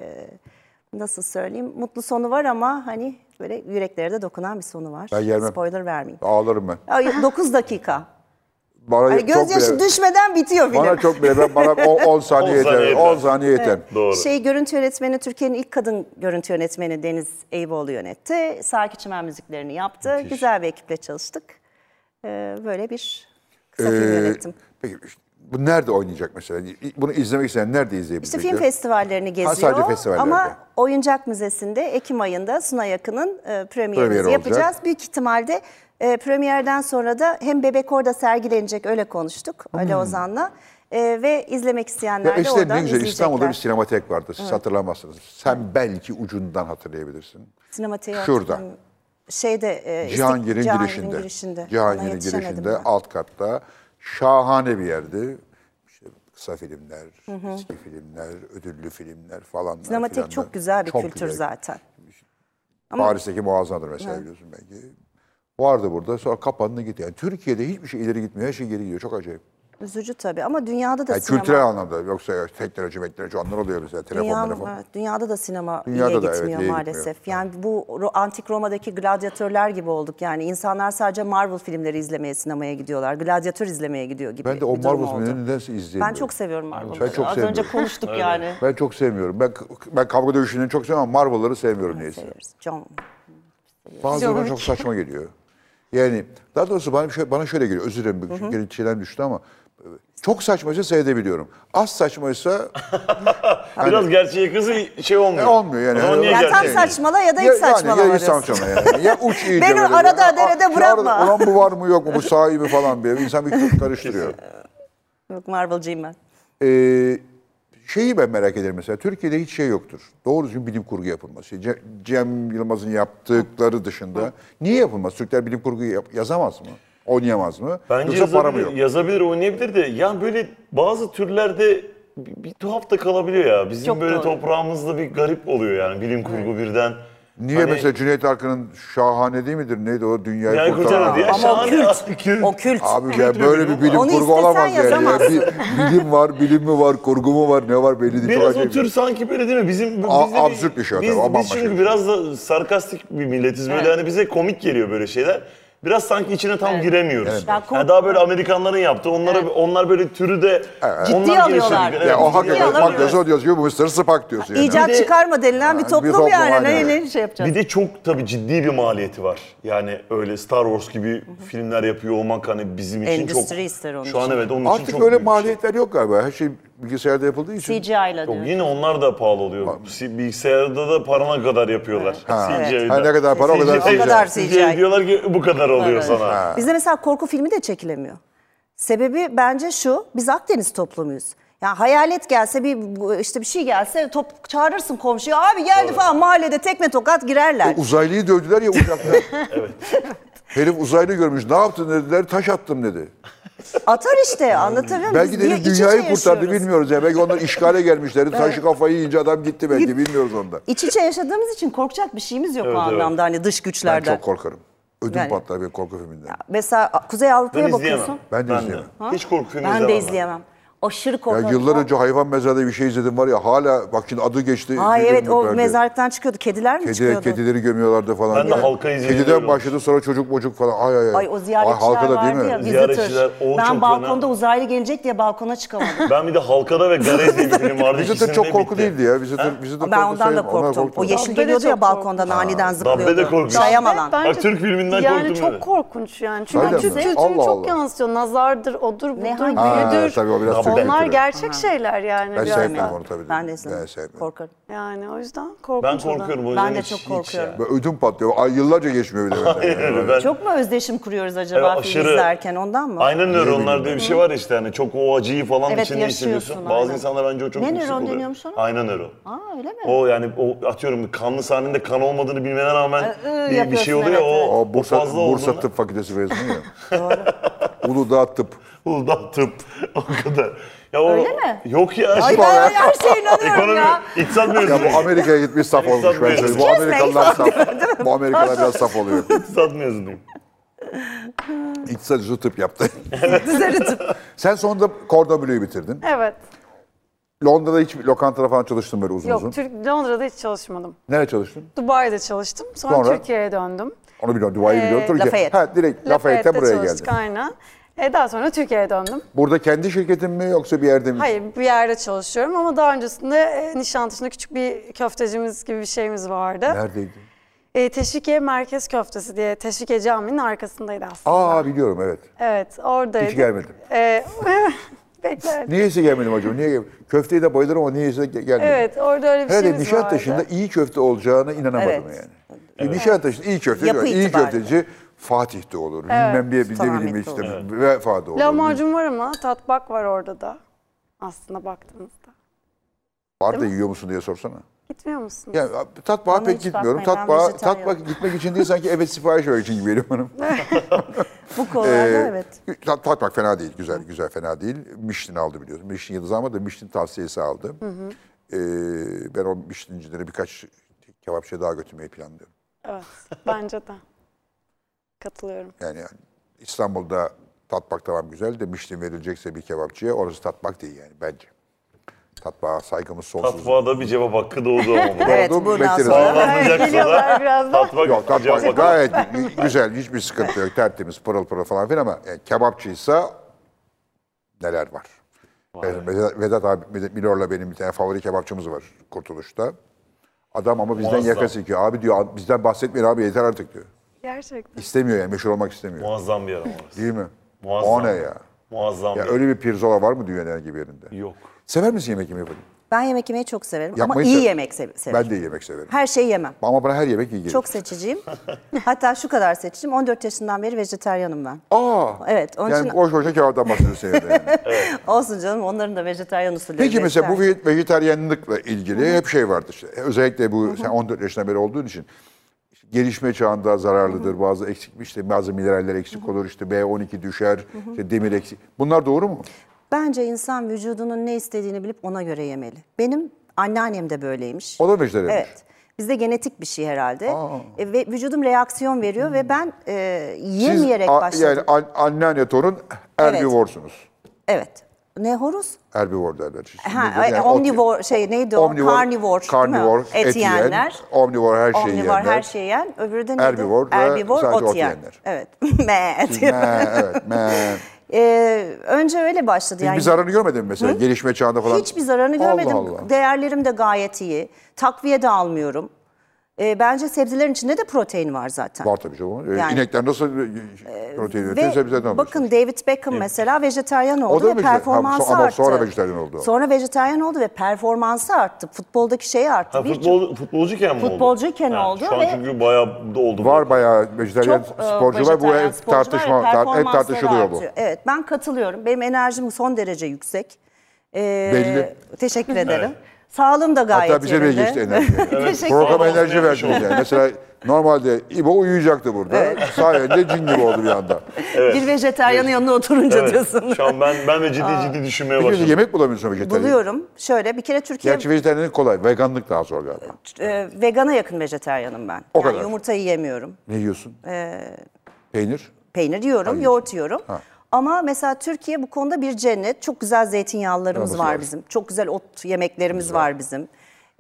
[SPEAKER 3] nasıl söyleyeyim mutlu sonu var ama hani böyle yüreklere de dokunan bir sonu var.
[SPEAKER 1] Ben gelmem.
[SPEAKER 3] Spoiler vermeyeyim.
[SPEAKER 1] Ağlarım ben.
[SPEAKER 3] 9 dakika.
[SPEAKER 1] Bana
[SPEAKER 3] Hani gözyaşı
[SPEAKER 1] bile-
[SPEAKER 3] düşmeden bitiyor film.
[SPEAKER 1] Bana çok bile ben- bana 10 saniye
[SPEAKER 4] On saniye
[SPEAKER 1] yeter.
[SPEAKER 4] yeter.
[SPEAKER 1] 10 saniye yeter.
[SPEAKER 4] Doğru.
[SPEAKER 3] Şey görüntü yönetmeni Türkiye'nin ilk kadın görüntü yönetmeni Deniz Eyüboğlu yönetti. Sarkı Çimen müziklerini yaptı. Güzel bir ekiple çalıştık. Ee, böyle bir kısa film
[SPEAKER 1] Ee,
[SPEAKER 3] yönettim.
[SPEAKER 1] Peki bu nerede oynayacak mesela? Bunu izlemek isteyen nerede izleyebilecek?
[SPEAKER 3] İşte film
[SPEAKER 1] diyor?
[SPEAKER 3] festivallerini geziyor.
[SPEAKER 1] sadece festivallerde.
[SPEAKER 3] Ama Oyuncak Müzesi'nde Ekim ayında Sunay Yakın'ın e, premierimizi
[SPEAKER 1] Premieri olacak.
[SPEAKER 3] yapacağız. Büyük ihtimalte e, premierden sonra da hem Bebek orada sergilenecek öyle konuştuk Ali Ozan'la. E, ve izlemek isteyenler
[SPEAKER 1] Hmm. Ya
[SPEAKER 3] de
[SPEAKER 1] işte
[SPEAKER 3] oradan
[SPEAKER 1] ne güzel
[SPEAKER 3] izleyecekler.
[SPEAKER 1] İstanbul'da bir sinematek vardı. Siz hatırlamazsınız. Sen belki ucundan hatırlayabilirsin.
[SPEAKER 3] Sinematiğe
[SPEAKER 1] Şurada.
[SPEAKER 3] oturun. Şeyde e, istik-
[SPEAKER 1] Cihangir'in
[SPEAKER 3] Cihangir'in
[SPEAKER 1] girişinde.
[SPEAKER 3] girişinde. Ona
[SPEAKER 1] Cihangir'in
[SPEAKER 3] yetişemedim
[SPEAKER 1] girişinde
[SPEAKER 3] ben.
[SPEAKER 1] alt katta şahane bir yerdi. İşte kısa filmler, eski filmler, ödüllü filmler falan.
[SPEAKER 3] Sinematik çok güzel bir kültür zaten.
[SPEAKER 1] Paris'teki muazzamdır mesela biliyorsun belki. Vardı burada sonra kapandı gitti. Yani Türkiye'de hiçbir şey ileri gitmiyor. Her şey geri gidiyor. Çok acayip.
[SPEAKER 3] Üzücü tabii ama dünyada da
[SPEAKER 1] Yani
[SPEAKER 3] sinema.
[SPEAKER 1] kültürel anlamda. Yoksa ya teknoloji, teknoloji onlar oluyor mesela. Telefonlar
[SPEAKER 3] Dünya,
[SPEAKER 1] falan.
[SPEAKER 3] E evet, dünyada da sinema
[SPEAKER 1] Dünyada
[SPEAKER 3] iyiye
[SPEAKER 1] da evet,
[SPEAKER 3] gitmiyor
[SPEAKER 1] iyiye
[SPEAKER 3] maalesef. Yani bu Ro- antik Roma'daki gladyatörler gibi olduk. Yani insanlar sadece Marvel filmleri izlemeye sinemaya gidiyorlar. Gladyatör izlemeye gidiyor gibi
[SPEAKER 1] Ben de o
[SPEAKER 3] bir durum
[SPEAKER 1] Marvel
[SPEAKER 3] oldu.
[SPEAKER 1] filmlerini nedense izleyemiyorum.
[SPEAKER 3] Ben çok seviyorum Marvel'ları.
[SPEAKER 1] Ben çok
[SPEAKER 6] Az
[SPEAKER 1] sevmiyorum.
[SPEAKER 6] önce konuştuk
[SPEAKER 3] hani.
[SPEAKER 6] yani.
[SPEAKER 1] Ben çok sevmiyorum. Ben ben kavga dövüşlerini çok seviyorum ama Marvel'ları sevmiyorum neyse.
[SPEAKER 3] Seviyoruz. John.
[SPEAKER 1] Bazıları bana çok saçma geliyor. Yani daha doğrusu bana, bir şey- bana şöyle geliyor. Özür dilerim. Çünkü geri şeyden düştü ama. e, Çok saçmaysa seyredebiliyorum. Az saçmaysa
[SPEAKER 4] Biraz gerçeğe kızı şey olmuyor.
[SPEAKER 1] E, olmuyor yani.
[SPEAKER 4] O zaman niye
[SPEAKER 1] Ya
[SPEAKER 3] Ya tam
[SPEAKER 4] gerçeğe?
[SPEAKER 3] saçmala ya da hiç
[SPEAKER 1] ya,
[SPEAKER 3] saçmalama
[SPEAKER 1] yani, ya hiç
[SPEAKER 3] diyorsun.
[SPEAKER 1] saçmalama yani. Ya uç iyice
[SPEAKER 3] Beni
[SPEAKER 1] böyle.
[SPEAKER 3] arada
[SPEAKER 1] Aa,
[SPEAKER 3] derede
[SPEAKER 1] şu arada
[SPEAKER 3] bırakma.
[SPEAKER 1] Ulan bu var mı yok mu bu sahibi falan diye. insan bir karıştırıyor.
[SPEAKER 3] Yok Marvel'cıyım ben.
[SPEAKER 1] Ee, şeyi ben merak ederim mesela. Türkiye'de hiç şey yoktur. Doğru düzgün bilim kurgu yapılması. Ce- Cem Yılmaz'ın yaptıkları dışında. Niye yapılmaz? Türkler bilim kurgu yap- yazamaz mı? Oynayamaz mı?
[SPEAKER 4] Bence
[SPEAKER 1] Yoksa para mı
[SPEAKER 4] yazabilir-
[SPEAKER 1] yok?
[SPEAKER 4] Yazabilir, oynayabilir de ya böyle bazı türlerde bir, bir tuhaf da kalabiliyor ya. Bizim
[SPEAKER 6] Çok
[SPEAKER 4] böyle
[SPEAKER 6] doğru.
[SPEAKER 4] toprağımızda bir garip oluyor yani bilim kurgu birden.
[SPEAKER 1] Niye
[SPEAKER 4] Hani-
[SPEAKER 1] mesela Cüneyt Arkın'ın şahane değil midir? Neydi o dünyayı
[SPEAKER 4] yani kurtarır
[SPEAKER 1] kurtaran?
[SPEAKER 4] diye
[SPEAKER 1] adam?
[SPEAKER 3] Ama o
[SPEAKER 4] şahane
[SPEAKER 3] kült.
[SPEAKER 4] aslında kült.
[SPEAKER 3] O kült.
[SPEAKER 1] Abi ya böyle bir bilim
[SPEAKER 3] Onu
[SPEAKER 1] kurgu
[SPEAKER 3] istesen
[SPEAKER 1] olamaz yani. ya.
[SPEAKER 3] yazamazsın.
[SPEAKER 1] Bir, bilim var, bilim mi var, kurgu mu var, ne var belli değil.
[SPEAKER 4] Biraz
[SPEAKER 1] Çok
[SPEAKER 4] o
[SPEAKER 1] acayip.
[SPEAKER 4] tür sanki böyle değil mi? Bizim bizde
[SPEAKER 1] A-
[SPEAKER 4] bir-
[SPEAKER 1] absürt bir şey o
[SPEAKER 4] Biz,
[SPEAKER 1] tabii, o
[SPEAKER 4] biz
[SPEAKER 1] bambaşka bir
[SPEAKER 4] çünkü
[SPEAKER 1] şey.
[SPEAKER 4] biraz da sarkastik bir milletiz böyle hani bize komik geliyor böyle şeyler. Biraz sanki içine tam giremiyoruz.
[SPEAKER 6] Ya
[SPEAKER 4] Yani
[SPEAKER 6] kork-
[SPEAKER 4] daha böyle Amerikanların yaptığı, onlara onlar böyle türü de
[SPEAKER 6] Ciddiye alıyorlar.
[SPEAKER 4] geliştirdik.
[SPEAKER 1] Ya
[SPEAKER 4] Evet,
[SPEAKER 1] o
[SPEAKER 4] ciddiye
[SPEAKER 1] hakikaten
[SPEAKER 4] alıyorlar.
[SPEAKER 1] bak yazıyor yazıyor bu Mısır sıpak diyorsun yani.
[SPEAKER 3] İcat
[SPEAKER 4] Bir de-
[SPEAKER 3] çıkarma denilen bir
[SPEAKER 1] bir
[SPEAKER 3] toplum
[SPEAKER 1] toplum
[SPEAKER 3] yani.
[SPEAKER 1] aynen
[SPEAKER 3] Ne,
[SPEAKER 1] öyle.
[SPEAKER 3] ne şey yapacağız?
[SPEAKER 4] Bir de çok tabii ciddi bir maliyeti var. Yani öyle Star Wars gibi filmler yapıyor olmak hani bizim için çok...
[SPEAKER 3] Endüstri ister onun
[SPEAKER 4] Şu an
[SPEAKER 3] için.
[SPEAKER 4] evet onun için
[SPEAKER 1] Artık
[SPEAKER 4] çok
[SPEAKER 1] öyle
[SPEAKER 4] büyük bir şey.
[SPEAKER 1] maliyetler yok galiba. Her şey bilgisayarda yapıldığı için.
[SPEAKER 6] CGI ile
[SPEAKER 4] Yok,
[SPEAKER 6] diyor.
[SPEAKER 4] yine onlar da pahalı oluyor. Si- Bilgisayarda da parana kadar yapıyorlar.
[SPEAKER 1] Ha.
[SPEAKER 4] CGI 'den.
[SPEAKER 1] Ha, ne kadar para, o kadar
[SPEAKER 3] CGI. O kadar CGI.
[SPEAKER 4] diyorlar ki bu kadar oluyor sana.
[SPEAKER 3] Bizde mesela korku filmi de çekilemiyor. Sebebi bence şu, biz Akdeniz toplumuyuz. Yani hayalet gelse bir işte bir şey gelse top çağırırsın komşuyu abi geldi falan mahallede tekme tokat girerler.
[SPEAKER 1] Uzaylıyı dövdüler ya uçakta. Herif uzaylı görmüş. Ne yaptın dediler. Taş attım dedi.
[SPEAKER 3] Atar işte anlatabiliyor muyum?
[SPEAKER 1] Belki
[SPEAKER 3] Biz
[SPEAKER 1] dedi
[SPEAKER 3] iç içe
[SPEAKER 1] dünyayı kurtardı
[SPEAKER 3] yaşıyoruz.
[SPEAKER 1] bilmiyoruz. ya. Belki onlar işgale gelmişler. Taşı kafayı yiyince adam gitti belki. Bilmiyoruz onda.
[SPEAKER 3] İç içe yaşadığımız için korkacak bir şeyimiz yok o anlamda hani dış
[SPEAKER 1] Ben
[SPEAKER 3] güçlerden.
[SPEAKER 1] çok korkarım. Ödüm
[SPEAKER 3] Yani-
[SPEAKER 1] patlar benim korku filminden.
[SPEAKER 3] Mesela Kuzey
[SPEAKER 4] Ben
[SPEAKER 3] Avrupa'ya
[SPEAKER 4] izleyemem.
[SPEAKER 3] bakıyorsun.
[SPEAKER 1] Ben de izleyemem.
[SPEAKER 4] Hiç korku filmi
[SPEAKER 3] Ben
[SPEAKER 4] izlemem.
[SPEAKER 3] de izleyemem.
[SPEAKER 6] Aşırı korkunç.
[SPEAKER 1] Ya yıllar önce hayvan mezarda bir şey izledim var ya hala bak şimdi adı geçti.
[SPEAKER 3] Ay
[SPEAKER 1] izledim
[SPEAKER 3] evet o
[SPEAKER 1] yukarıda.
[SPEAKER 3] mezarlıktan çıkıyordu. Kediler mi
[SPEAKER 1] Kedi,
[SPEAKER 3] çıkıyordu?
[SPEAKER 1] kedileri gömüyorlardı falan.
[SPEAKER 4] Ben de halka izleyince öyle
[SPEAKER 1] Kediden
[SPEAKER 4] olmuş.
[SPEAKER 1] başladı sonra çocuk bocuk falan. Ay ay ay.
[SPEAKER 6] Ay o ziyaretçiler
[SPEAKER 1] halka da değil
[SPEAKER 6] vardı
[SPEAKER 1] mi?
[SPEAKER 6] ya. Visitor.
[SPEAKER 4] Ziyaretçiler, o çok
[SPEAKER 6] Ben balkonda
[SPEAKER 4] fena.
[SPEAKER 6] uzaylı gelecek diye balkona çıkamadım.
[SPEAKER 4] Ben bir de Halkada ve Garez diye bir film vardı.
[SPEAKER 1] Visitor
[SPEAKER 4] İkisinde
[SPEAKER 1] çok korku
[SPEAKER 4] bitti.
[SPEAKER 1] değildi ya. Visitor, Visitor
[SPEAKER 3] Ben
[SPEAKER 1] korku
[SPEAKER 3] ondan da
[SPEAKER 1] sayılmaz. Onlar
[SPEAKER 3] korktum. O
[SPEAKER 1] korkmadı.
[SPEAKER 3] yeşil
[SPEAKER 5] Dabbe de
[SPEAKER 3] geliyordu ya
[SPEAKER 5] çok
[SPEAKER 3] balkondan aniden zıplıyordu.
[SPEAKER 4] Dabbe de korkunç.
[SPEAKER 3] Şayamalan.
[SPEAKER 5] Ve
[SPEAKER 4] Ay, Türk filminden
[SPEAKER 5] yani
[SPEAKER 4] korktum
[SPEAKER 5] çok
[SPEAKER 4] evet.
[SPEAKER 5] korkunç yani. Çünkü
[SPEAKER 1] Öyle
[SPEAKER 5] Türk
[SPEAKER 1] mi?
[SPEAKER 5] kültürünü
[SPEAKER 1] Allah
[SPEAKER 5] çok
[SPEAKER 1] Allah.
[SPEAKER 5] yansıtıyor. Nazardır, odur, budur,
[SPEAKER 6] hangi-
[SPEAKER 1] Ha,
[SPEAKER 5] büyüdür.
[SPEAKER 1] tabii o biraz Türk
[SPEAKER 5] Onlar
[SPEAKER 1] kültürü.
[SPEAKER 5] gerçek şeyler yani.
[SPEAKER 1] Ben
[SPEAKER 5] biraz
[SPEAKER 1] sevmiyorum
[SPEAKER 5] da.
[SPEAKER 1] onu tabii.
[SPEAKER 3] Ben de izledim.
[SPEAKER 1] Ben sevmiyorum.
[SPEAKER 3] Korkarım.
[SPEAKER 5] Yani o yüzden korkunç.
[SPEAKER 4] Ben
[SPEAKER 5] o da.
[SPEAKER 4] korkuyorum. o yüzden
[SPEAKER 6] Ben de
[SPEAKER 4] hiç-
[SPEAKER 6] çok
[SPEAKER 4] hiç
[SPEAKER 6] korkuyorum.
[SPEAKER 4] ya.
[SPEAKER 1] Böyle ödüm patlıyor. Ay yıllarca geçmiyor bir de. benden yani.
[SPEAKER 4] Evet, ben-
[SPEAKER 3] Çok mu özdeşim kuruyoruz
[SPEAKER 4] Evet,
[SPEAKER 3] acaba film
[SPEAKER 4] aşırı.
[SPEAKER 3] izlerken ondan mı?
[SPEAKER 4] Aynen nöronlar diye bir şey var ya işte hani çok o acıyı falan
[SPEAKER 6] Evet,
[SPEAKER 4] içinde hissediyorsun.
[SPEAKER 6] yaşıyorsun,
[SPEAKER 4] Bazı
[SPEAKER 6] aynen.
[SPEAKER 4] insanlar bence o çok
[SPEAKER 6] Ne
[SPEAKER 4] yüksek
[SPEAKER 6] nöron
[SPEAKER 4] oluyor.
[SPEAKER 6] deniyormuş ona?
[SPEAKER 4] Aynen nöron.
[SPEAKER 6] Aa öyle mi?
[SPEAKER 4] O yani o atıyorum kanlı sahnede kan olmadığını bilmene rağmen
[SPEAKER 6] Ee, ıı,
[SPEAKER 4] bir, bir şey
[SPEAKER 6] yapıyorsun,
[SPEAKER 4] oluyor
[SPEAKER 6] evet,
[SPEAKER 4] o,
[SPEAKER 1] O Bursa,
[SPEAKER 4] o fazla
[SPEAKER 1] Bursa
[SPEAKER 4] olduğunda-
[SPEAKER 1] Tıp Fakültesi mezunu ya. Uludağ Tıp.
[SPEAKER 4] Uludağ tıp o kadar. Ya o,
[SPEAKER 6] Öyle mi?
[SPEAKER 4] Yok ya.
[SPEAKER 6] Ay
[SPEAKER 4] şimdi-
[SPEAKER 6] ben her şeye inanıyorum
[SPEAKER 4] Ekonomi,
[SPEAKER 6] ya.
[SPEAKER 4] iktisat mezunu.
[SPEAKER 1] Ya bu Amerika'ya gitmiş saf
[SPEAKER 4] Excuse
[SPEAKER 1] olmuş ben
[SPEAKER 4] me.
[SPEAKER 1] söyleyeyim. Bu Amerikalılar saf. Bu Amerikalılar biraz saf oluyor.
[SPEAKER 4] İktisat mezunuyum.
[SPEAKER 1] İktisatçı tıp yaptı. Sen sonunda Kordoblü'yü bitirdin.
[SPEAKER 5] Evet.
[SPEAKER 1] Londra'da hiç lokanta falan çalıştın böyle uzun uzun.
[SPEAKER 5] Yok, Türk, Londra'da hiç çalışmadım.
[SPEAKER 1] Nerede çalıştın?
[SPEAKER 5] Dubai'de çalıştım. Sonra,
[SPEAKER 1] Sonra?
[SPEAKER 5] Türkiye'ye döndüm.
[SPEAKER 1] Onu biliyorum. Dubai'yi biliyorum. Türkiye.
[SPEAKER 3] Lafayette.
[SPEAKER 1] Ha, direkt Lafayette buraya geldin.
[SPEAKER 5] çalıştık aynen. E, daha sonra Türkiye'ye döndüm.
[SPEAKER 1] Burada kendi şirketin mi yoksa bir yerde mi?
[SPEAKER 5] Hayır bir yerde çalışıyorum ama daha öncesinde e, Nişantaşı'nda küçük bir köftecimiz gibi bir şeyimiz vardı.
[SPEAKER 1] Neredeydi?
[SPEAKER 5] E, Teşvikiye Merkez Köftesi diye Teşvikiye Camii'nin arkasındaydı aslında.
[SPEAKER 1] Aa biliyorum evet.
[SPEAKER 5] Evet oradaydı.
[SPEAKER 1] Hiç gelmedim.
[SPEAKER 5] E, beklerdim.
[SPEAKER 1] Niyeyse gelmedim acaba? Niye gelmedim? Köfteyi de bayılırım ama niyeyse ge- gelmedim.
[SPEAKER 5] Evet orada öyle bir
[SPEAKER 1] Herhalde
[SPEAKER 5] şeyimiz
[SPEAKER 1] Nişantaşı'nda
[SPEAKER 5] vardı.
[SPEAKER 1] iyi köfte olacağına inanamadım
[SPEAKER 3] Evet.
[SPEAKER 1] yani. Evet. Nişantaşı'nda iyi köfte,
[SPEAKER 3] Yapı
[SPEAKER 1] iyi
[SPEAKER 3] itibariyle.
[SPEAKER 1] köfteci Fatih de olur. Bilmem bir ne bileyim
[SPEAKER 3] Sultanahmet'te
[SPEAKER 1] işte vefa da olur.
[SPEAKER 5] Lahmacun var ama tatbak var orada da. Aslında baktığımızda.
[SPEAKER 1] Var da yiyor musun diye sorsana.
[SPEAKER 5] Gitmiyor musunuz?
[SPEAKER 1] Yani tatbağa
[SPEAKER 3] Bana
[SPEAKER 1] pek
[SPEAKER 3] hiç
[SPEAKER 1] gitmiyorum.
[SPEAKER 3] bakmayın, ben
[SPEAKER 1] Tatbağa,
[SPEAKER 3] vejetaryenim.
[SPEAKER 1] tatbağa gitmek için değil sanki evet sipariş vermek için gibi geliyor bana.
[SPEAKER 3] Bu konularda
[SPEAKER 1] Ee,
[SPEAKER 3] evet.
[SPEAKER 1] tat- Tatmak fena değil, güzel güzel fena değil. Michelin aldı biliyorsun. Michelin yıldızı almadı, Michelin tavsiyesi aldı. Ee, ben o Michelin'cilere birkaç kebapçıya daha götürmeyi planlıyorum.
[SPEAKER 5] Evet bence de. Katılıyorum.
[SPEAKER 1] Yani, yani İstanbul'da tatmak tamam güzel de Michelin verilecekse bir kebapçıya orası tatmak değil yani bence. Tatbağa saygımız sonsuz.
[SPEAKER 4] Tatbağda bir cevap hakkı doğdu ama. bu.
[SPEAKER 3] Evet,
[SPEAKER 1] Doğru,
[SPEAKER 3] bundan
[SPEAKER 1] bekleriz.
[SPEAKER 3] sonra.
[SPEAKER 4] Bağlanacaksa da
[SPEAKER 5] Geliyorlar birazdan.
[SPEAKER 4] tatbak,
[SPEAKER 1] Yok
[SPEAKER 4] cevap
[SPEAKER 1] tatmak
[SPEAKER 4] hakkı.
[SPEAKER 1] gayet güzel, hiçbir sıkıntı yok. Tertemiz, pırıl pırıl falan filan ama e, kebapçıysa neler var? Yani Vedat, Vedat abi, Vedat Milor'la benim bir tane favori kebapçımız var Kurtuluş'ta. Adam ama bizden
[SPEAKER 4] Muazzam.
[SPEAKER 1] yaka sikiyor. Abi diyor bizden bahsetmeyin abi yeter artık diyor.
[SPEAKER 5] Gerçekten.
[SPEAKER 1] İstemiyor yani meşhur olmak istemiyor.
[SPEAKER 4] Muazzam bir yer ama. orası.
[SPEAKER 1] Değil mi?
[SPEAKER 4] Muazzam.
[SPEAKER 1] O ne ya?
[SPEAKER 4] Muazzam
[SPEAKER 1] Ya
[SPEAKER 4] bir
[SPEAKER 1] öyle bir pirzola var mı dünyanın herhangi bir yerinde?
[SPEAKER 4] Yok.
[SPEAKER 1] Sever misin yemek yemeyi? efendim?
[SPEAKER 3] Ben yemek yemeyi çok severim
[SPEAKER 1] Yapmayı
[SPEAKER 3] ama iyi
[SPEAKER 1] sev-
[SPEAKER 3] yemek sev- severim.
[SPEAKER 1] Ben de iyi yemek severim.
[SPEAKER 3] Her şeyi yemem.
[SPEAKER 1] Ama bana her yemek iyi gelir.
[SPEAKER 3] Çok seçiciyim. Hatta şu kadar seçiciyim. 14 yaşından beri vejetaryenim ben.
[SPEAKER 1] Aa!
[SPEAKER 3] Evet, onun
[SPEAKER 1] yani
[SPEAKER 3] için-
[SPEAKER 1] boş boşa kebaptan bahsediyorsun evde yani.
[SPEAKER 3] Olsun canım onların da vejetaryen usulü.
[SPEAKER 1] Peki mesela bu ve- vejetaryenlikle ilgili hep şey vardı işte. Özellikle bu sen 14 yaşına beri olduğun için gelişme çağında zararlıdır. Bazı eksik işte bazı mineraller eksik olur işte B12 düşer, işte demir eksik. Bunlar doğru mu?
[SPEAKER 3] Bence insan vücudunun ne istediğini bilip ona göre yemeli. Benim anneannem de böyleymiş.
[SPEAKER 1] O da vejetaryenmiş.
[SPEAKER 3] Evet. Bizde genetik bir şey herhalde. E, ve vücudum reaksiyon veriyor ve ben e,
[SPEAKER 1] Siz
[SPEAKER 3] yemeyerek
[SPEAKER 1] a-
[SPEAKER 3] başladım.
[SPEAKER 1] yani an- anneanne torun herbivorsunuz.
[SPEAKER 3] Evet. Ne horuz?
[SPEAKER 1] Herbivor derler. Şimdi
[SPEAKER 3] Ha,
[SPEAKER 1] bizde yani ot-
[SPEAKER 3] omnivor şey neydi o?
[SPEAKER 1] omnivor,
[SPEAKER 3] Carnivore. değil mi?
[SPEAKER 1] carnivore, et, yiyen, omnivor her şeyi
[SPEAKER 3] Omnivor
[SPEAKER 1] yiyenler.
[SPEAKER 3] her şeyi yiyen. Öbürü de neydi?
[SPEAKER 1] Herbivor da
[SPEAKER 3] Herbivor,
[SPEAKER 1] sadece ot
[SPEAKER 3] ot yiyen.
[SPEAKER 1] yiyenler.
[SPEAKER 3] Evet. Me diyor.
[SPEAKER 1] Me, evet, me.
[SPEAKER 3] Ee, önce öyle başladı yani.
[SPEAKER 1] Bir zararını görmedin mi mesela gelişme çağında falan?
[SPEAKER 3] Hiçbir zararını
[SPEAKER 1] Allah
[SPEAKER 3] görmedim.
[SPEAKER 1] Allah.
[SPEAKER 3] Değerlerim de gayet iyi. Takviye de almıyorum. Ee, bence sebzelerin içinde de protein var zaten.
[SPEAKER 1] Var tabii canım. Ee,
[SPEAKER 3] Yani-
[SPEAKER 1] İnekler nasıl e, protein üretiyor? Sebzeden alıyorsun.
[SPEAKER 3] bakın David Beckham mesela vejetaryen oldu
[SPEAKER 1] da
[SPEAKER 3] ve
[SPEAKER 1] vejetaryen.
[SPEAKER 3] performansı
[SPEAKER 1] Ama
[SPEAKER 3] arttı.
[SPEAKER 1] sonra vejetaryen oldu.
[SPEAKER 3] Sonra vejetaryen oldu ve performansı arttı. Futboldaki şeyi arttı.
[SPEAKER 4] Ha,
[SPEAKER 3] Bir-
[SPEAKER 4] futbol, futbolcuyken mi oldu?
[SPEAKER 3] Futbolcuyken
[SPEAKER 4] Ha,
[SPEAKER 3] oldu
[SPEAKER 4] Şu an
[SPEAKER 3] ve-
[SPEAKER 4] çünkü bayağı da oldu.
[SPEAKER 1] Var bayağı vejetaryen
[SPEAKER 3] çok, e,
[SPEAKER 1] sporcu var. Bu
[SPEAKER 3] vejetaryen
[SPEAKER 1] hep
[SPEAKER 3] sporcular ve
[SPEAKER 1] tartışma, tar- hep
[SPEAKER 3] performansları
[SPEAKER 1] tartışılıyor bu.
[SPEAKER 3] artıyor. Evet ben katılıyorum. Benim enerjim son derece yüksek. Ee,
[SPEAKER 1] Belli.
[SPEAKER 3] Teşekkür ederim. Sağlığım da gayet
[SPEAKER 1] Hatta bize bile
[SPEAKER 3] yerinde.
[SPEAKER 1] geçti enerji.
[SPEAKER 3] Teşekkür
[SPEAKER 1] Programa
[SPEAKER 4] ederim.
[SPEAKER 1] enerji verdiniz yani. Mesela normalde İbo uyuyacaktı burada. Sayende cin gibi oldu bir anda.
[SPEAKER 3] Bir vejetaryanın yanına oturunca diyorsun.
[SPEAKER 4] Evet. Şu an ben, ben de ciddi ciddi düşünmeye
[SPEAKER 1] Peki
[SPEAKER 4] başladım.
[SPEAKER 1] yemek bulamıyorsun vejetaryen.
[SPEAKER 3] Buluyorum. Şöyle bir kere Türkiye
[SPEAKER 1] Gerçi vejetaryen kolay. Veganlık daha zor galiba.
[SPEAKER 3] e, vegana yakın vejetaryanım ben.
[SPEAKER 1] O
[SPEAKER 3] yani
[SPEAKER 1] kadar.
[SPEAKER 3] yumurtayı yemiyorum.
[SPEAKER 1] Ne yiyorsun? Peynir.
[SPEAKER 3] Peynir yiyorum, yoğurt yiyorum. Ama mesela Türkiye bu konuda bir cennet. Çok güzel zeytinyağlılarımız
[SPEAKER 1] Yalnız
[SPEAKER 3] var
[SPEAKER 1] var.
[SPEAKER 3] bizim. Çok güzel ot yemeklerimiz var bizim.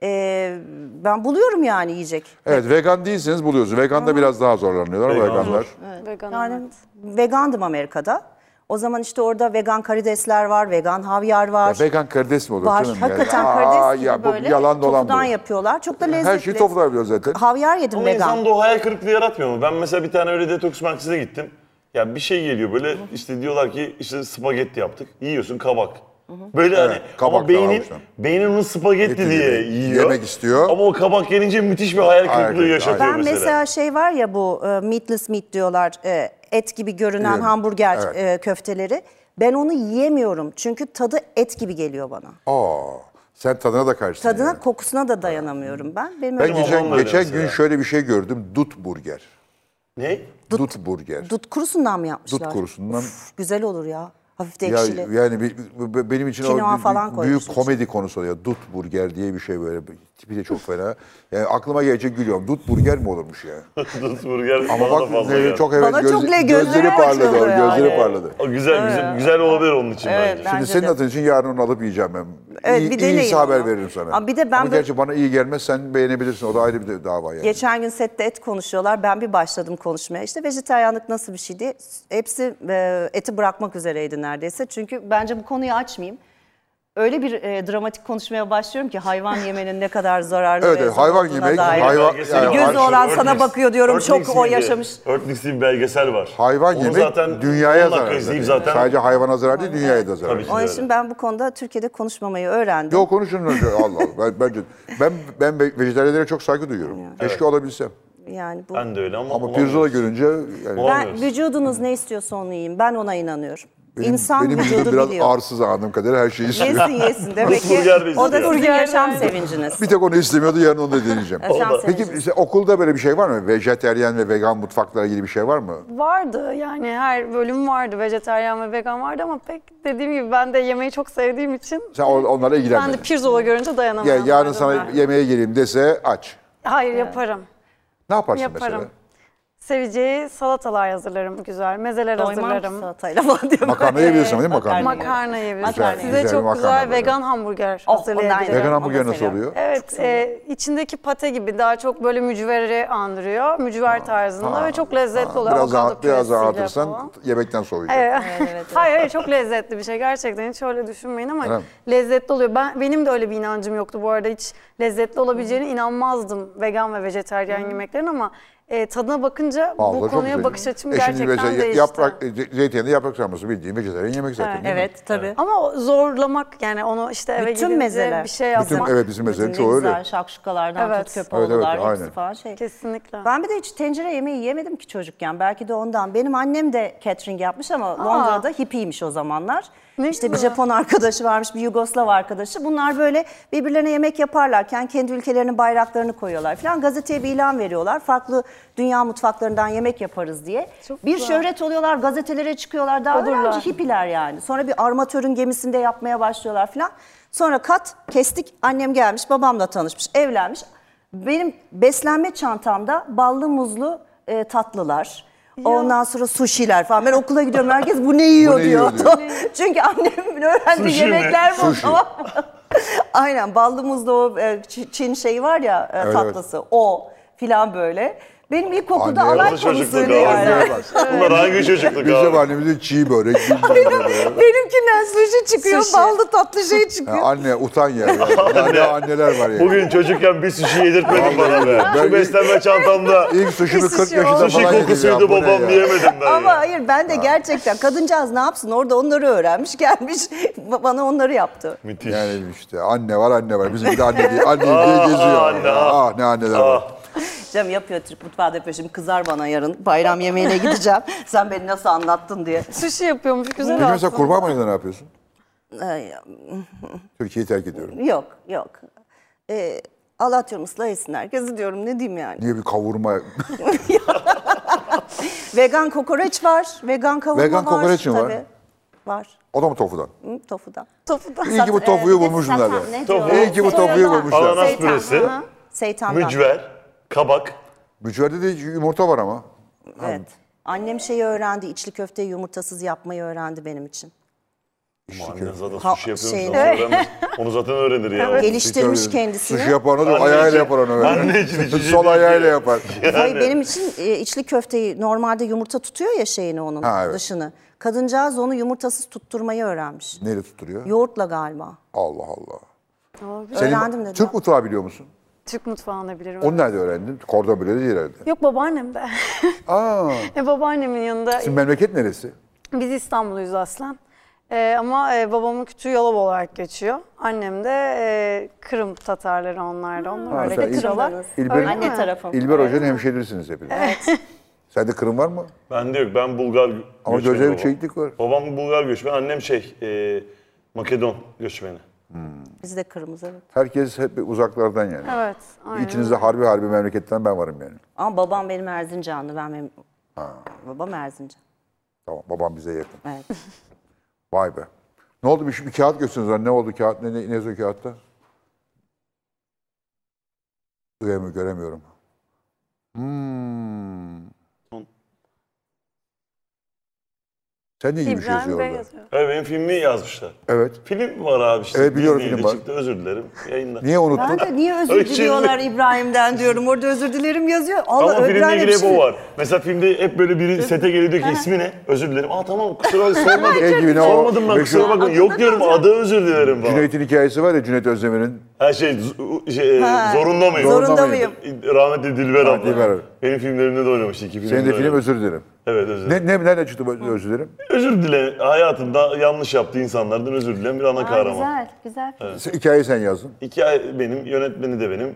[SPEAKER 3] Ee, ben buluyorum yani yiyecek.
[SPEAKER 1] Evet vegan değilseniz buluyorsunuz. Veganda biraz daha zorlanıyorlar
[SPEAKER 4] Vegan
[SPEAKER 1] veganlar.
[SPEAKER 4] zor.
[SPEAKER 5] Vegan
[SPEAKER 3] Yani vegandım Amerika'da. O zaman işte orada vegan karidesler var, vegan havyar var.
[SPEAKER 1] Ya vegan karides mi olur
[SPEAKER 3] var.
[SPEAKER 1] canım? ya?
[SPEAKER 3] Hakikaten
[SPEAKER 1] Aa,
[SPEAKER 3] karides gibi
[SPEAKER 1] ya bu
[SPEAKER 3] böyle
[SPEAKER 1] yalan dolan
[SPEAKER 3] toptan
[SPEAKER 1] bu.
[SPEAKER 3] yapıyorlar. Çok da lezzetli.
[SPEAKER 1] Her şey şeyi toplayabiliyor zaten.
[SPEAKER 3] Havyar yedim
[SPEAKER 4] Ama
[SPEAKER 3] vegan.
[SPEAKER 4] insanda o hayal kırıklığı yaratmıyor mu? Ben mesela bir tane öyle detoks merkezine gittim. Ya bir şey geliyor böyle işte diyorlar ki işte spagetti yaptık. Yiyorsun kabak. Böyle hani
[SPEAKER 1] kabak da
[SPEAKER 4] ama beynin,
[SPEAKER 1] varmış lan.
[SPEAKER 4] beynin onu spagetti
[SPEAKER 1] Eti
[SPEAKER 4] diye
[SPEAKER 1] gibi
[SPEAKER 4] yiyor.
[SPEAKER 1] yemek istiyor.
[SPEAKER 4] Ama o kabak yenince müthiş bir hayal
[SPEAKER 1] Hayal
[SPEAKER 4] kırıklığı
[SPEAKER 1] kırıklığı,
[SPEAKER 4] yaşatıyor
[SPEAKER 1] aynen.
[SPEAKER 3] Ben
[SPEAKER 4] mesela.
[SPEAKER 3] mesela. şey var ya bu e, meatless meat diyorlar e, et gibi görünen
[SPEAKER 1] Biliyorum.
[SPEAKER 3] hamburger
[SPEAKER 1] Evet.
[SPEAKER 3] e, köfteleri. Ben onu yiyemiyorum çünkü tadı et gibi geliyor bana.
[SPEAKER 1] Aa, sen tadına da karşısın.
[SPEAKER 3] Tadına
[SPEAKER 1] yani.
[SPEAKER 3] kokusuna da dayanamıyorum ben. Benim
[SPEAKER 1] Ben
[SPEAKER 3] öyle
[SPEAKER 4] Bizim
[SPEAKER 1] geçen,
[SPEAKER 4] babam da
[SPEAKER 1] geçen
[SPEAKER 4] öyle
[SPEAKER 1] gün
[SPEAKER 4] mesela.
[SPEAKER 1] şöyle bir şey gördüm. Dut burger.
[SPEAKER 4] Ne?
[SPEAKER 1] Dut, burger.
[SPEAKER 3] dut kurusundan mı yapmışlar?
[SPEAKER 1] Dut kurusundan.
[SPEAKER 3] Uf, güzel olur ya. Hafif de
[SPEAKER 1] Ya,
[SPEAKER 3] ekşili.
[SPEAKER 1] yani bir- bir- benim için o
[SPEAKER 3] Kinoa
[SPEAKER 1] bir-
[SPEAKER 3] falan
[SPEAKER 1] bir- büyük
[SPEAKER 3] koymuşsun
[SPEAKER 1] komedi konusu oluyor. Dut burger diye bir şey böyle. Bir- Tipi de çok fena. Yani aklıma gelecek gülüyorum. Dut burger mi olurmuş ya?
[SPEAKER 4] Dut burger
[SPEAKER 1] Ama
[SPEAKER 4] bana da
[SPEAKER 1] bak
[SPEAKER 4] fazla
[SPEAKER 1] e,
[SPEAKER 4] geldi.
[SPEAKER 1] çok evet
[SPEAKER 3] Bana çok
[SPEAKER 1] gözleri
[SPEAKER 3] le- gözleri
[SPEAKER 1] parladı. o,
[SPEAKER 3] açıldı
[SPEAKER 1] Gözleri
[SPEAKER 3] yani.
[SPEAKER 1] parladı.
[SPEAKER 4] O güzel güzel, güzel olabilir onun için
[SPEAKER 3] Evet,
[SPEAKER 4] bence.
[SPEAKER 3] ben-
[SPEAKER 1] Şimdi
[SPEAKER 3] Bence
[SPEAKER 1] senin
[SPEAKER 3] de.
[SPEAKER 1] adın için yarın onu alıp yiyeceğim ben.
[SPEAKER 3] Evet,
[SPEAKER 1] iyi,
[SPEAKER 3] bir
[SPEAKER 1] iyi
[SPEAKER 3] deneyin
[SPEAKER 1] haber
[SPEAKER 3] onu.
[SPEAKER 1] veririm sana.
[SPEAKER 3] Ama bir de ben
[SPEAKER 1] Ama
[SPEAKER 3] böyle-
[SPEAKER 1] gerçi bana iyi gelmez sen beğenebilirsin. O da ayrı bir dava yani.
[SPEAKER 3] Geçen gün sette et konuşuyorlar. Ben bir başladım konuşmaya. İşte vejetaryenlik nasıl bir şey diye. Hepsi e, eti bırakmak üzereydi neredeyse. Çünkü bence bu konuyu açmayayım. Öyle bir e, dramatik konuşmaya başlıyorum ki hayvan yemenin ne kadar zararlı
[SPEAKER 1] Evet,
[SPEAKER 3] ve
[SPEAKER 1] evet,
[SPEAKER 3] zor
[SPEAKER 1] hayvan
[SPEAKER 3] olduğuna
[SPEAKER 1] yemek,
[SPEAKER 3] dair.
[SPEAKER 1] hayvan-
[SPEAKER 4] Belgeseli
[SPEAKER 1] yani
[SPEAKER 4] var.
[SPEAKER 3] Gözü olan sana
[SPEAKER 4] Örtmüş-
[SPEAKER 3] bakıyor diyorum,
[SPEAKER 4] Örtmüş
[SPEAKER 3] çok o
[SPEAKER 4] miydi?
[SPEAKER 3] yaşamış.
[SPEAKER 4] Örtmüş diye bir belgesel var.
[SPEAKER 1] Hayvan
[SPEAKER 4] Onu
[SPEAKER 1] yemek
[SPEAKER 4] zaten
[SPEAKER 1] dünyaya
[SPEAKER 4] 10 dakika
[SPEAKER 1] zarar.
[SPEAKER 4] izleyip
[SPEAKER 1] zaten.
[SPEAKER 4] zaten
[SPEAKER 1] Sadece hayvana zarar değil dünyaya da zarar.
[SPEAKER 4] Tabii ki.
[SPEAKER 3] Onun
[SPEAKER 4] Evet.
[SPEAKER 3] için ben bu konuda Türkiye'de konuşmamayı öğrendim.
[SPEAKER 1] Yok konuşun önce. Allah Allah. Ben, bence, ben, ben vejetaryenlere çok saygı duyuyorum. Keşke olabilsem.
[SPEAKER 3] Yani bu
[SPEAKER 4] ben de öyle ama,
[SPEAKER 1] Ama
[SPEAKER 4] olamıyor.
[SPEAKER 1] pirzola görünce yani
[SPEAKER 3] ben
[SPEAKER 4] Olmuyoruz.
[SPEAKER 3] vücudunuz ne istiyorsa onu yiyeyim. Ben ona inanıyorum. İnsan
[SPEAKER 1] benim vücudum
[SPEAKER 3] vücudu
[SPEAKER 1] biraz
[SPEAKER 3] biliyor.
[SPEAKER 1] arsız anladığım kadarıyla her şeyi istiyor.
[SPEAKER 3] Yesin yesin demek ki
[SPEAKER 4] Burger de
[SPEAKER 3] o da
[SPEAKER 4] istiyor.
[SPEAKER 3] sizin
[SPEAKER 5] Burger de
[SPEAKER 3] yaşam
[SPEAKER 5] aynı.
[SPEAKER 3] sevinciniz.
[SPEAKER 1] Bir tek onu istemiyordu yarın onu da deneyeceğim.
[SPEAKER 3] Yaşam
[SPEAKER 1] Peki
[SPEAKER 3] sevinciniz.
[SPEAKER 1] işte okulda böyle bir şey var mı? Vejeteryen ve vegan mutfaklara ilgili bir şey var mı?
[SPEAKER 5] vardı yani her bölüm vardı. Vejetaryen ve vegan vardı ama pek dediğim gibi ben de yemeği çok sevdiğim için
[SPEAKER 1] Sen on- onlara
[SPEAKER 5] ben de
[SPEAKER 1] ilgilenmedin.
[SPEAKER 5] pirzola görünce
[SPEAKER 1] Ya,
[SPEAKER 5] dayanamadım.
[SPEAKER 1] yarın sana yemeğe geleyim dese aç.
[SPEAKER 5] Hayır yaparım.
[SPEAKER 1] Ne yaparsın
[SPEAKER 5] Yaparım.
[SPEAKER 1] mesela?
[SPEAKER 5] Seveceği salatalar hazırlarım güzel. Mezeler
[SPEAKER 3] Doymam ki
[SPEAKER 5] hazırlarım.
[SPEAKER 3] salatayla falan diyorum.
[SPEAKER 1] Makarna yiyebilirsin ama değil mi makarna?
[SPEAKER 5] Makarna yiyebilirim.
[SPEAKER 1] Güzel,
[SPEAKER 5] Size
[SPEAKER 1] güzel bir
[SPEAKER 5] çok
[SPEAKER 1] makarna
[SPEAKER 5] güzel
[SPEAKER 1] böyle.
[SPEAKER 5] vegan hamburger
[SPEAKER 3] Oh, ondan
[SPEAKER 5] hazırlayabilirim.
[SPEAKER 1] Vegan
[SPEAKER 3] Onu da
[SPEAKER 1] hamburger nasıl
[SPEAKER 3] seviyorum.
[SPEAKER 1] oluyor?
[SPEAKER 5] Evet, e, içindeki pate gibi daha çok böyle mücveri andırıyor. Mücver tarzında ve çok lezzetli oluyor.
[SPEAKER 1] Biraz
[SPEAKER 5] Avokado
[SPEAKER 1] daha, biraz daha
[SPEAKER 5] püresiyle
[SPEAKER 1] atırsan
[SPEAKER 5] falan.
[SPEAKER 1] yemekten soğuyacak.
[SPEAKER 5] Evet. hayır hayır çok lezzetli bir şey gerçekten hiç öyle düşünmeyin ama
[SPEAKER 1] Öyle mi?
[SPEAKER 5] lezzetli oluyor. Ben benim de öyle bir inancım yoktu bu arada hiç lezzetli olabileceğine inanmazdım vegan ve vejeteryan yemeklerin ama e, tadına bakınca
[SPEAKER 1] Vallahi
[SPEAKER 5] bu
[SPEAKER 1] çok
[SPEAKER 5] konuya
[SPEAKER 1] güzel.
[SPEAKER 5] bakış açım
[SPEAKER 1] E şimdi
[SPEAKER 5] gerçekten
[SPEAKER 1] veze-
[SPEAKER 5] değişti.
[SPEAKER 1] Yaprak, e, ze- zeytinyağında yaprak sarması bildiğin vejetaryen yemek zaten değil mi?
[SPEAKER 3] Evet tabii.
[SPEAKER 5] Ama o zorlamak yani onu işte eve
[SPEAKER 3] Bütün
[SPEAKER 5] gidince
[SPEAKER 3] mezeler.
[SPEAKER 5] bir şey
[SPEAKER 1] Bütün,
[SPEAKER 5] yapmak
[SPEAKER 1] evet bizim
[SPEAKER 6] Bütün
[SPEAKER 1] mesela
[SPEAKER 6] ne
[SPEAKER 1] çoğu
[SPEAKER 6] güzel
[SPEAKER 1] öyle.
[SPEAKER 6] şakşukalardan
[SPEAKER 5] Evet.
[SPEAKER 6] tut köpe
[SPEAKER 1] Evet, evet,
[SPEAKER 6] oğlular, hepsi
[SPEAKER 1] aynen.
[SPEAKER 6] falan şey.
[SPEAKER 5] kesinlikle.
[SPEAKER 3] Ben bir de hiç tencere yemeği yemedim ki çocukken. Belki de ondan. Benim annem de catering yapmış ama Londra'da hippiymiş o zamanlar.
[SPEAKER 5] Ne
[SPEAKER 3] işte bir
[SPEAKER 5] güzel.
[SPEAKER 3] Japon arkadaşı varmış, bir Yugoslav arkadaşı. Bunlar böyle birbirlerine yemek yaparlarken kendi ülkelerinin bayraklarını koyuyorlar falan. Gazeteye bir ilan veriyorlar. Farklı dünya mutfaklarından yemek yaparız diye.
[SPEAKER 5] Çok
[SPEAKER 3] bir
[SPEAKER 5] güzel.
[SPEAKER 3] şöhret oluyorlar, gazetelere çıkıyorlar. Daha
[SPEAKER 5] Olurlar.
[SPEAKER 3] önce hippiler yani. Sonra bir armatörün gemisinde yapmaya başlıyorlar falan. Sonra kat kestik. Annem gelmiş, babamla tanışmış, evlenmiş. Benim beslenme çantamda ballı muzlu e, tatlılar. Ondan sonra suşiler falan. Ben okula gidiyorum herkes bu ne yiyor,
[SPEAKER 1] Bu ne yiyor
[SPEAKER 3] diyor.
[SPEAKER 1] diyor.
[SPEAKER 3] Çünkü annemin öğrendiği
[SPEAKER 4] Sushi mi?
[SPEAKER 3] yemekler bu.
[SPEAKER 1] Sushi.
[SPEAKER 3] tamam mı? Aynen ballı muzlu o e, Ç- Çin şeyi var ya e,
[SPEAKER 1] evet.
[SPEAKER 3] tatlısı. O filan böyle. Benim ilkokulda
[SPEAKER 1] Anneye
[SPEAKER 4] Bu
[SPEAKER 3] alay
[SPEAKER 4] da
[SPEAKER 1] bak,
[SPEAKER 3] konusuydu
[SPEAKER 4] çocukluk
[SPEAKER 1] yani.
[SPEAKER 3] yani.
[SPEAKER 1] Anneye
[SPEAKER 4] abi.
[SPEAKER 1] bak.
[SPEAKER 4] Bunlar hangi çocukluk
[SPEAKER 1] Bizim
[SPEAKER 4] abi?
[SPEAKER 1] annemizin çiğ börek. bilmem ne böyle.
[SPEAKER 3] Benimkinden sushi çıkıyor,
[SPEAKER 5] Sushi.
[SPEAKER 3] ballı tatlı şey çıkıyor.
[SPEAKER 1] Ya anne utan ya. Anne anneler var ya.
[SPEAKER 4] Bugün çocukken bir sushi yedirtmedin bana be.
[SPEAKER 1] Ben-
[SPEAKER 4] Şu beslenme çantamda
[SPEAKER 1] İlk suşimi
[SPEAKER 5] Biz
[SPEAKER 1] 40
[SPEAKER 5] sushi
[SPEAKER 1] yaşında
[SPEAKER 4] sushi
[SPEAKER 1] falan yedim ya.
[SPEAKER 4] kokusuydu
[SPEAKER 1] Bu ne
[SPEAKER 4] babam
[SPEAKER 1] ya?
[SPEAKER 4] diyemedim ben
[SPEAKER 3] Ama
[SPEAKER 4] ya.
[SPEAKER 3] hayır ben de gerçekten kadıncağız ne yapsın orada onları öğrenmiş gelmiş bana onları yaptı.
[SPEAKER 4] Müthiş.
[SPEAKER 1] Yani işte anne var anne var. Bizim bir de anne diye, anne diye
[SPEAKER 4] Ah,
[SPEAKER 1] geziyor.
[SPEAKER 4] anne, ah.
[SPEAKER 1] ah ne anneler var.
[SPEAKER 4] Ah,
[SPEAKER 3] Cem yapıyor Türk mutfağı da yapıyor şimdi kızar bana yarın bayram yemeğine gideceğim sen beni nasıl anlattın diye.
[SPEAKER 5] Sushi yapıyormuş güzel
[SPEAKER 1] Peki mesela
[SPEAKER 5] aslında.
[SPEAKER 1] kurban bayramında ne yapıyorsun?
[SPEAKER 3] Ay,
[SPEAKER 1] Türkiye'yi terk ediyorum.
[SPEAKER 3] yok yok. Ee, Allah atıyorum ıslah etsin herkesi diyorum ne diyeyim yani.
[SPEAKER 1] Niye bir kavurma?
[SPEAKER 3] Vegan kokoreç var vegan kavurma
[SPEAKER 1] Vegan
[SPEAKER 3] var.
[SPEAKER 1] kokoreç mi var?
[SPEAKER 3] Tabii. Var.
[SPEAKER 1] O da mı tofudan?
[SPEAKER 3] Hı, tofudan.
[SPEAKER 5] Tofudan.
[SPEAKER 1] İyi ki bu
[SPEAKER 5] e,
[SPEAKER 1] tofuyu bulmuşlar. ya. İyi ki bu tofuyu bulmuşlar.
[SPEAKER 4] Ananas püresi,
[SPEAKER 3] Seytan'dan.
[SPEAKER 4] mücver, kabak.
[SPEAKER 1] Mücverde de yumurta var ama.
[SPEAKER 3] Evet. Annem şeyi öğrendi, içli köfteyi yumurtasız yapmayı öğrendi benim için.
[SPEAKER 4] Aman ne zaten
[SPEAKER 3] Ha,
[SPEAKER 4] sushi yapıyormuş.
[SPEAKER 3] şey-
[SPEAKER 4] nasıl öğrenmez? Onu zaten öğrenir ya.
[SPEAKER 3] Geliştirmiş kendisini.
[SPEAKER 1] hani Sushi yapanı da
[SPEAKER 4] Anne
[SPEAKER 1] ayağıyla
[SPEAKER 4] için-
[SPEAKER 1] yapar onu
[SPEAKER 4] Anne
[SPEAKER 1] öyle.
[SPEAKER 4] için ikinci
[SPEAKER 1] Sol
[SPEAKER 4] değil.
[SPEAKER 1] ayağıyla yapar.
[SPEAKER 3] Hayır, benim için e, içli köfteyi normalde yumurta tutuyor ya şeyini onun
[SPEAKER 1] Ha, evet.
[SPEAKER 3] dışını. Kadıncağız onu yumurtasız tutturmayı öğrenmiş.
[SPEAKER 1] Nereye tutturuyor?
[SPEAKER 3] Yoğurtla galiba.
[SPEAKER 1] Allah Allah.
[SPEAKER 3] Öğrendim dedi.
[SPEAKER 1] Türk mutfağı biliyor musun?
[SPEAKER 5] Türk mutfağını bilirim.
[SPEAKER 1] Onu nerede öğrendin? Kordon bile değil herhalde.
[SPEAKER 5] Yok babaannem de.
[SPEAKER 1] Aa,
[SPEAKER 5] E, babaannemin yanında.
[SPEAKER 1] sizin memleket neresi?
[SPEAKER 5] Biz İstanbulluyuz aslen. E, ama e, babamın kütüğü Yalova olarak geçiyor. Annem de e, Kırım Tatarları onlar da. Onlar öyle
[SPEAKER 1] sen İl-
[SPEAKER 5] geçiyorlar.
[SPEAKER 1] İlber-
[SPEAKER 5] Öyle
[SPEAKER 1] Anne
[SPEAKER 5] mi?
[SPEAKER 6] tarafım.
[SPEAKER 1] İlber Hoca'nın hemşehrisiniz hepiniz. Evet. Sende kırım var mı?
[SPEAKER 4] Bende yok. Ben Bulgar gö-
[SPEAKER 1] Ama
[SPEAKER 4] göçmeni
[SPEAKER 1] gözleri
[SPEAKER 4] babam.
[SPEAKER 1] çeklik var.
[SPEAKER 4] Babam Bulgar göçmeni. Annem şey e, Makedon göçmeni.
[SPEAKER 3] Bizde kırmızı evet.
[SPEAKER 1] Herkes hep uzaklardan yani.
[SPEAKER 5] Evet. Aynen.
[SPEAKER 1] İçinizde harbi harbi memleketten ben varım yani.
[SPEAKER 3] Ama babam benim Erzincanlı. Ben benim... Babam Erzincan.
[SPEAKER 1] Tamam babam bize yakın.
[SPEAKER 3] Evet.
[SPEAKER 1] Vay be. Ne oldu bir, bir kağıt gösteriniz lan. Ne oldu kağıt? Ne, ne, ne yazıyor kağıtta? Duyamıyorum, göremiyorum. Hmm. Sen ne gibi şey
[SPEAKER 5] İbrahim
[SPEAKER 1] yazıyor
[SPEAKER 5] Bey
[SPEAKER 1] orada?
[SPEAKER 5] yazıyor.
[SPEAKER 4] Evet benim filmi yazmışlar.
[SPEAKER 1] Evet.
[SPEAKER 4] Film var abi işte.
[SPEAKER 1] Evet, biliyorum
[SPEAKER 4] Disney'de
[SPEAKER 1] film var.
[SPEAKER 4] Çıktı, özür dilerim. Yayında.
[SPEAKER 1] Niye unuttun? Şey
[SPEAKER 6] Ben de niye
[SPEAKER 4] Ay,
[SPEAKER 6] özür
[SPEAKER 4] şimdi-
[SPEAKER 6] diliyorlar İbrahim'den diyorum. Orada özür dilerim yazıyor. Allah
[SPEAKER 4] şey Ama filmle
[SPEAKER 6] öbürlerine bir
[SPEAKER 4] ilgili hep
[SPEAKER 6] şey.
[SPEAKER 4] o var. Mesela filmde hep böyle biri sete geliyor diyor ki ismi ne? Özür dilerim. Aa tamam kusura bakma sormadım.
[SPEAKER 1] Şey gibi ne o
[SPEAKER 4] sormadım ben kusura
[SPEAKER 1] meşhur-
[SPEAKER 4] bakma. Yok diyorum adı özür dilerim falan.
[SPEAKER 1] Cüneyt'in hikayesi var ya Cüneyt Özdemir'in.
[SPEAKER 4] Her şey, z- şey,
[SPEAKER 6] Ha,
[SPEAKER 4] zorunda mıyım?
[SPEAKER 6] Zorunda
[SPEAKER 1] mıyım?
[SPEAKER 6] mıyım?
[SPEAKER 4] Rahmetli Dilber abla.
[SPEAKER 1] Dilber abi.
[SPEAKER 4] Benim filmlerimde de oynamıştı. iki filmde
[SPEAKER 1] Senin de film
[SPEAKER 4] oynadı.
[SPEAKER 1] özür dilerim.
[SPEAKER 4] Evet özür dilerim.
[SPEAKER 1] Ne, ne, nerede çıktı bu özür dilerim?
[SPEAKER 4] Özür dile. Hayatında yanlış yaptığı insanlardan özür dileyen bir ana kahraman.
[SPEAKER 7] Güzel, güzel.
[SPEAKER 1] Sen- Hikayeyi sen yazdın.
[SPEAKER 4] Hikaye benim, yönetmeni de benim.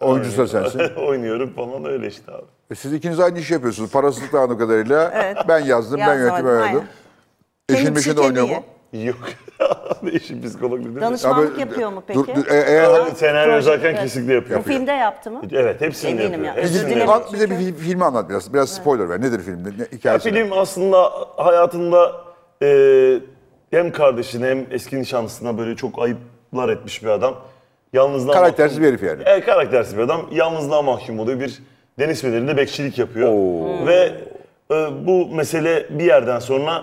[SPEAKER 1] Oyuncusu da sensin.
[SPEAKER 4] Oynuyorum falan öyle işte abi.
[SPEAKER 1] E Siz ikiniz aynı iş yapıyorsunuz. Parasızlık anı kadarıyla. Ben yazdım, ben
[SPEAKER 3] Yazdım,
[SPEAKER 1] yönetim oynadım.
[SPEAKER 3] aynen.
[SPEAKER 1] Eşin
[SPEAKER 3] Kendisi
[SPEAKER 1] meşin de oynuyor
[SPEAKER 3] kediyi.
[SPEAKER 1] mu?
[SPEAKER 4] Yok. Eşim psikolog dedi. Danış-
[SPEAKER 1] Ya
[SPEAKER 6] Danışmanlık
[SPEAKER 1] böyle-
[SPEAKER 6] yapıyor mu peki?
[SPEAKER 1] Dur, dur, e- eğer
[SPEAKER 4] Senaryo yazarken kesinlikle
[SPEAKER 6] Bu
[SPEAKER 4] yapıyor.
[SPEAKER 6] filmde yaptı mı?
[SPEAKER 4] Evet hepsini
[SPEAKER 6] Eminim
[SPEAKER 4] yapıyor.
[SPEAKER 6] ya.
[SPEAKER 4] Hepsini
[SPEAKER 6] Özür
[SPEAKER 4] yapıyor.
[SPEAKER 6] dilerim.
[SPEAKER 1] Bak bize bir fil- filmi anlat biraz. Biraz spoiler ver. Nedir filmde? Ne, hikayesi? ne?
[SPEAKER 4] Film aslında hayatında e, hem kardeşine hem eski nişanlısına böyle çok ayıplar etmiş bir adam. Yalnızlığa
[SPEAKER 1] Karaktersiz
[SPEAKER 4] mahkum-
[SPEAKER 1] bir herif yani.
[SPEAKER 4] Evet karaktersiz E, bir adam. Yalnızlığa mahkum oluyor. Bir deniz fenerinde bekçilik yapıyor. Ve e, bu mesele bir yerden sonra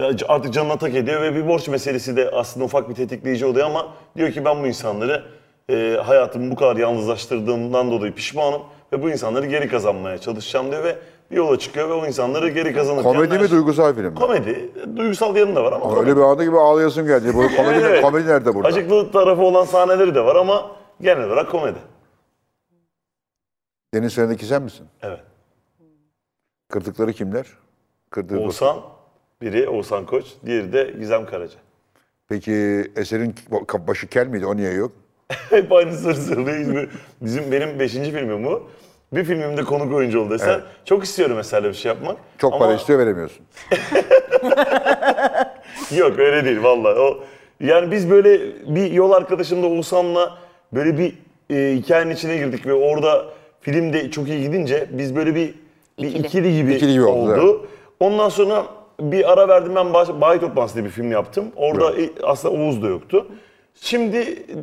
[SPEAKER 4] e, artık canına tak ediyor ve bir borç meselesi de aslında ufak bir tetikleyici oluyor ama diyor ki ben bu insanları e, hayatımı bu kadar yalnızlaştırdığımdan dolayı pişmanım ve bu insanları geri kazanmaya çalışacağım diyor ve bir yola çıkıyor ve o insanları geri kazanırken...
[SPEAKER 1] Komedi mi, duygusal film mi?
[SPEAKER 4] Komedi. Duygusal yanı da var ama komedi.
[SPEAKER 1] Öyle bir anda gibi ağlayasım geldi. Bu komedi,
[SPEAKER 4] Evet.
[SPEAKER 1] komedi nerede burada?
[SPEAKER 4] Acıklı tarafı olan sahneleri de var ama genel olarak komedi.
[SPEAKER 1] Deniz Fener'deki sen misin?
[SPEAKER 4] Evet.
[SPEAKER 1] Kırdıkları kimler? Kırdığı
[SPEAKER 4] Oğuzhan, biri Oğuzhan Koç, diğeri de Gizem Karaca.
[SPEAKER 1] Peki eserin başı kel miydi? O niye yok?
[SPEAKER 4] Hep aynı sır sırrı. Bizim benim 5. filmim bu. Bir filmimde konuk oyuncu oldu Esen. Çok istiyorum mesela bir şey yapmak.
[SPEAKER 1] Çok
[SPEAKER 4] Ama
[SPEAKER 1] para istiyor veremiyorsun.
[SPEAKER 4] Yok öyle değil vallahi. O, yani biz böyle bir yol arkadaşımla Oğuzhan'la böyle bir e, hikayenin içine girdik ve orada film de çok iyi gidince biz böyle bir, bir ikili. gibi,
[SPEAKER 1] İkili gibi oldu,
[SPEAKER 4] oldu. Ondan sonra bir ara verdim ben Bah- Bayi Toplantısı diye bir film yaptım. Orada e, aslında Oğuz da yoktu. Şimdi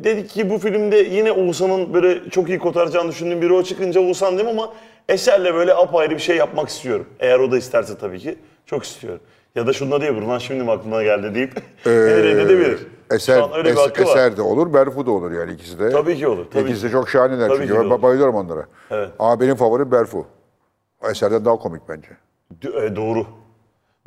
[SPEAKER 4] dedik ki bu filmde yine Oğuzhan'ın böyle çok iyi kotaracağını düşündüğüm bir rol çıkınca Oğuzhan dedim ama Eser'le böyle apayrı bir şey yapmak istiyorum. Eğer o da isterse tabii ki. Çok istiyorum. Ya da şunu da diyebilir. Lan şimdi mi aklına geldi deyip reddedebilir.
[SPEAKER 1] Ee, Eser,
[SPEAKER 4] Şu an öyle bir
[SPEAKER 1] es-
[SPEAKER 4] hakkı var.
[SPEAKER 1] eser de olur, Berfu da olur yani ikisi de.
[SPEAKER 4] Tabii ki olur, tabii
[SPEAKER 1] ikisi de
[SPEAKER 4] ki.
[SPEAKER 1] çok şahaneler
[SPEAKER 4] Tabii
[SPEAKER 1] çünkü.
[SPEAKER 4] ki de
[SPEAKER 1] Ben
[SPEAKER 4] olur.
[SPEAKER 1] bayılıyorum onlara.
[SPEAKER 4] Evet.
[SPEAKER 1] Ama benim favorim Berfu. Eserden daha komik bence.
[SPEAKER 4] D- e, doğru.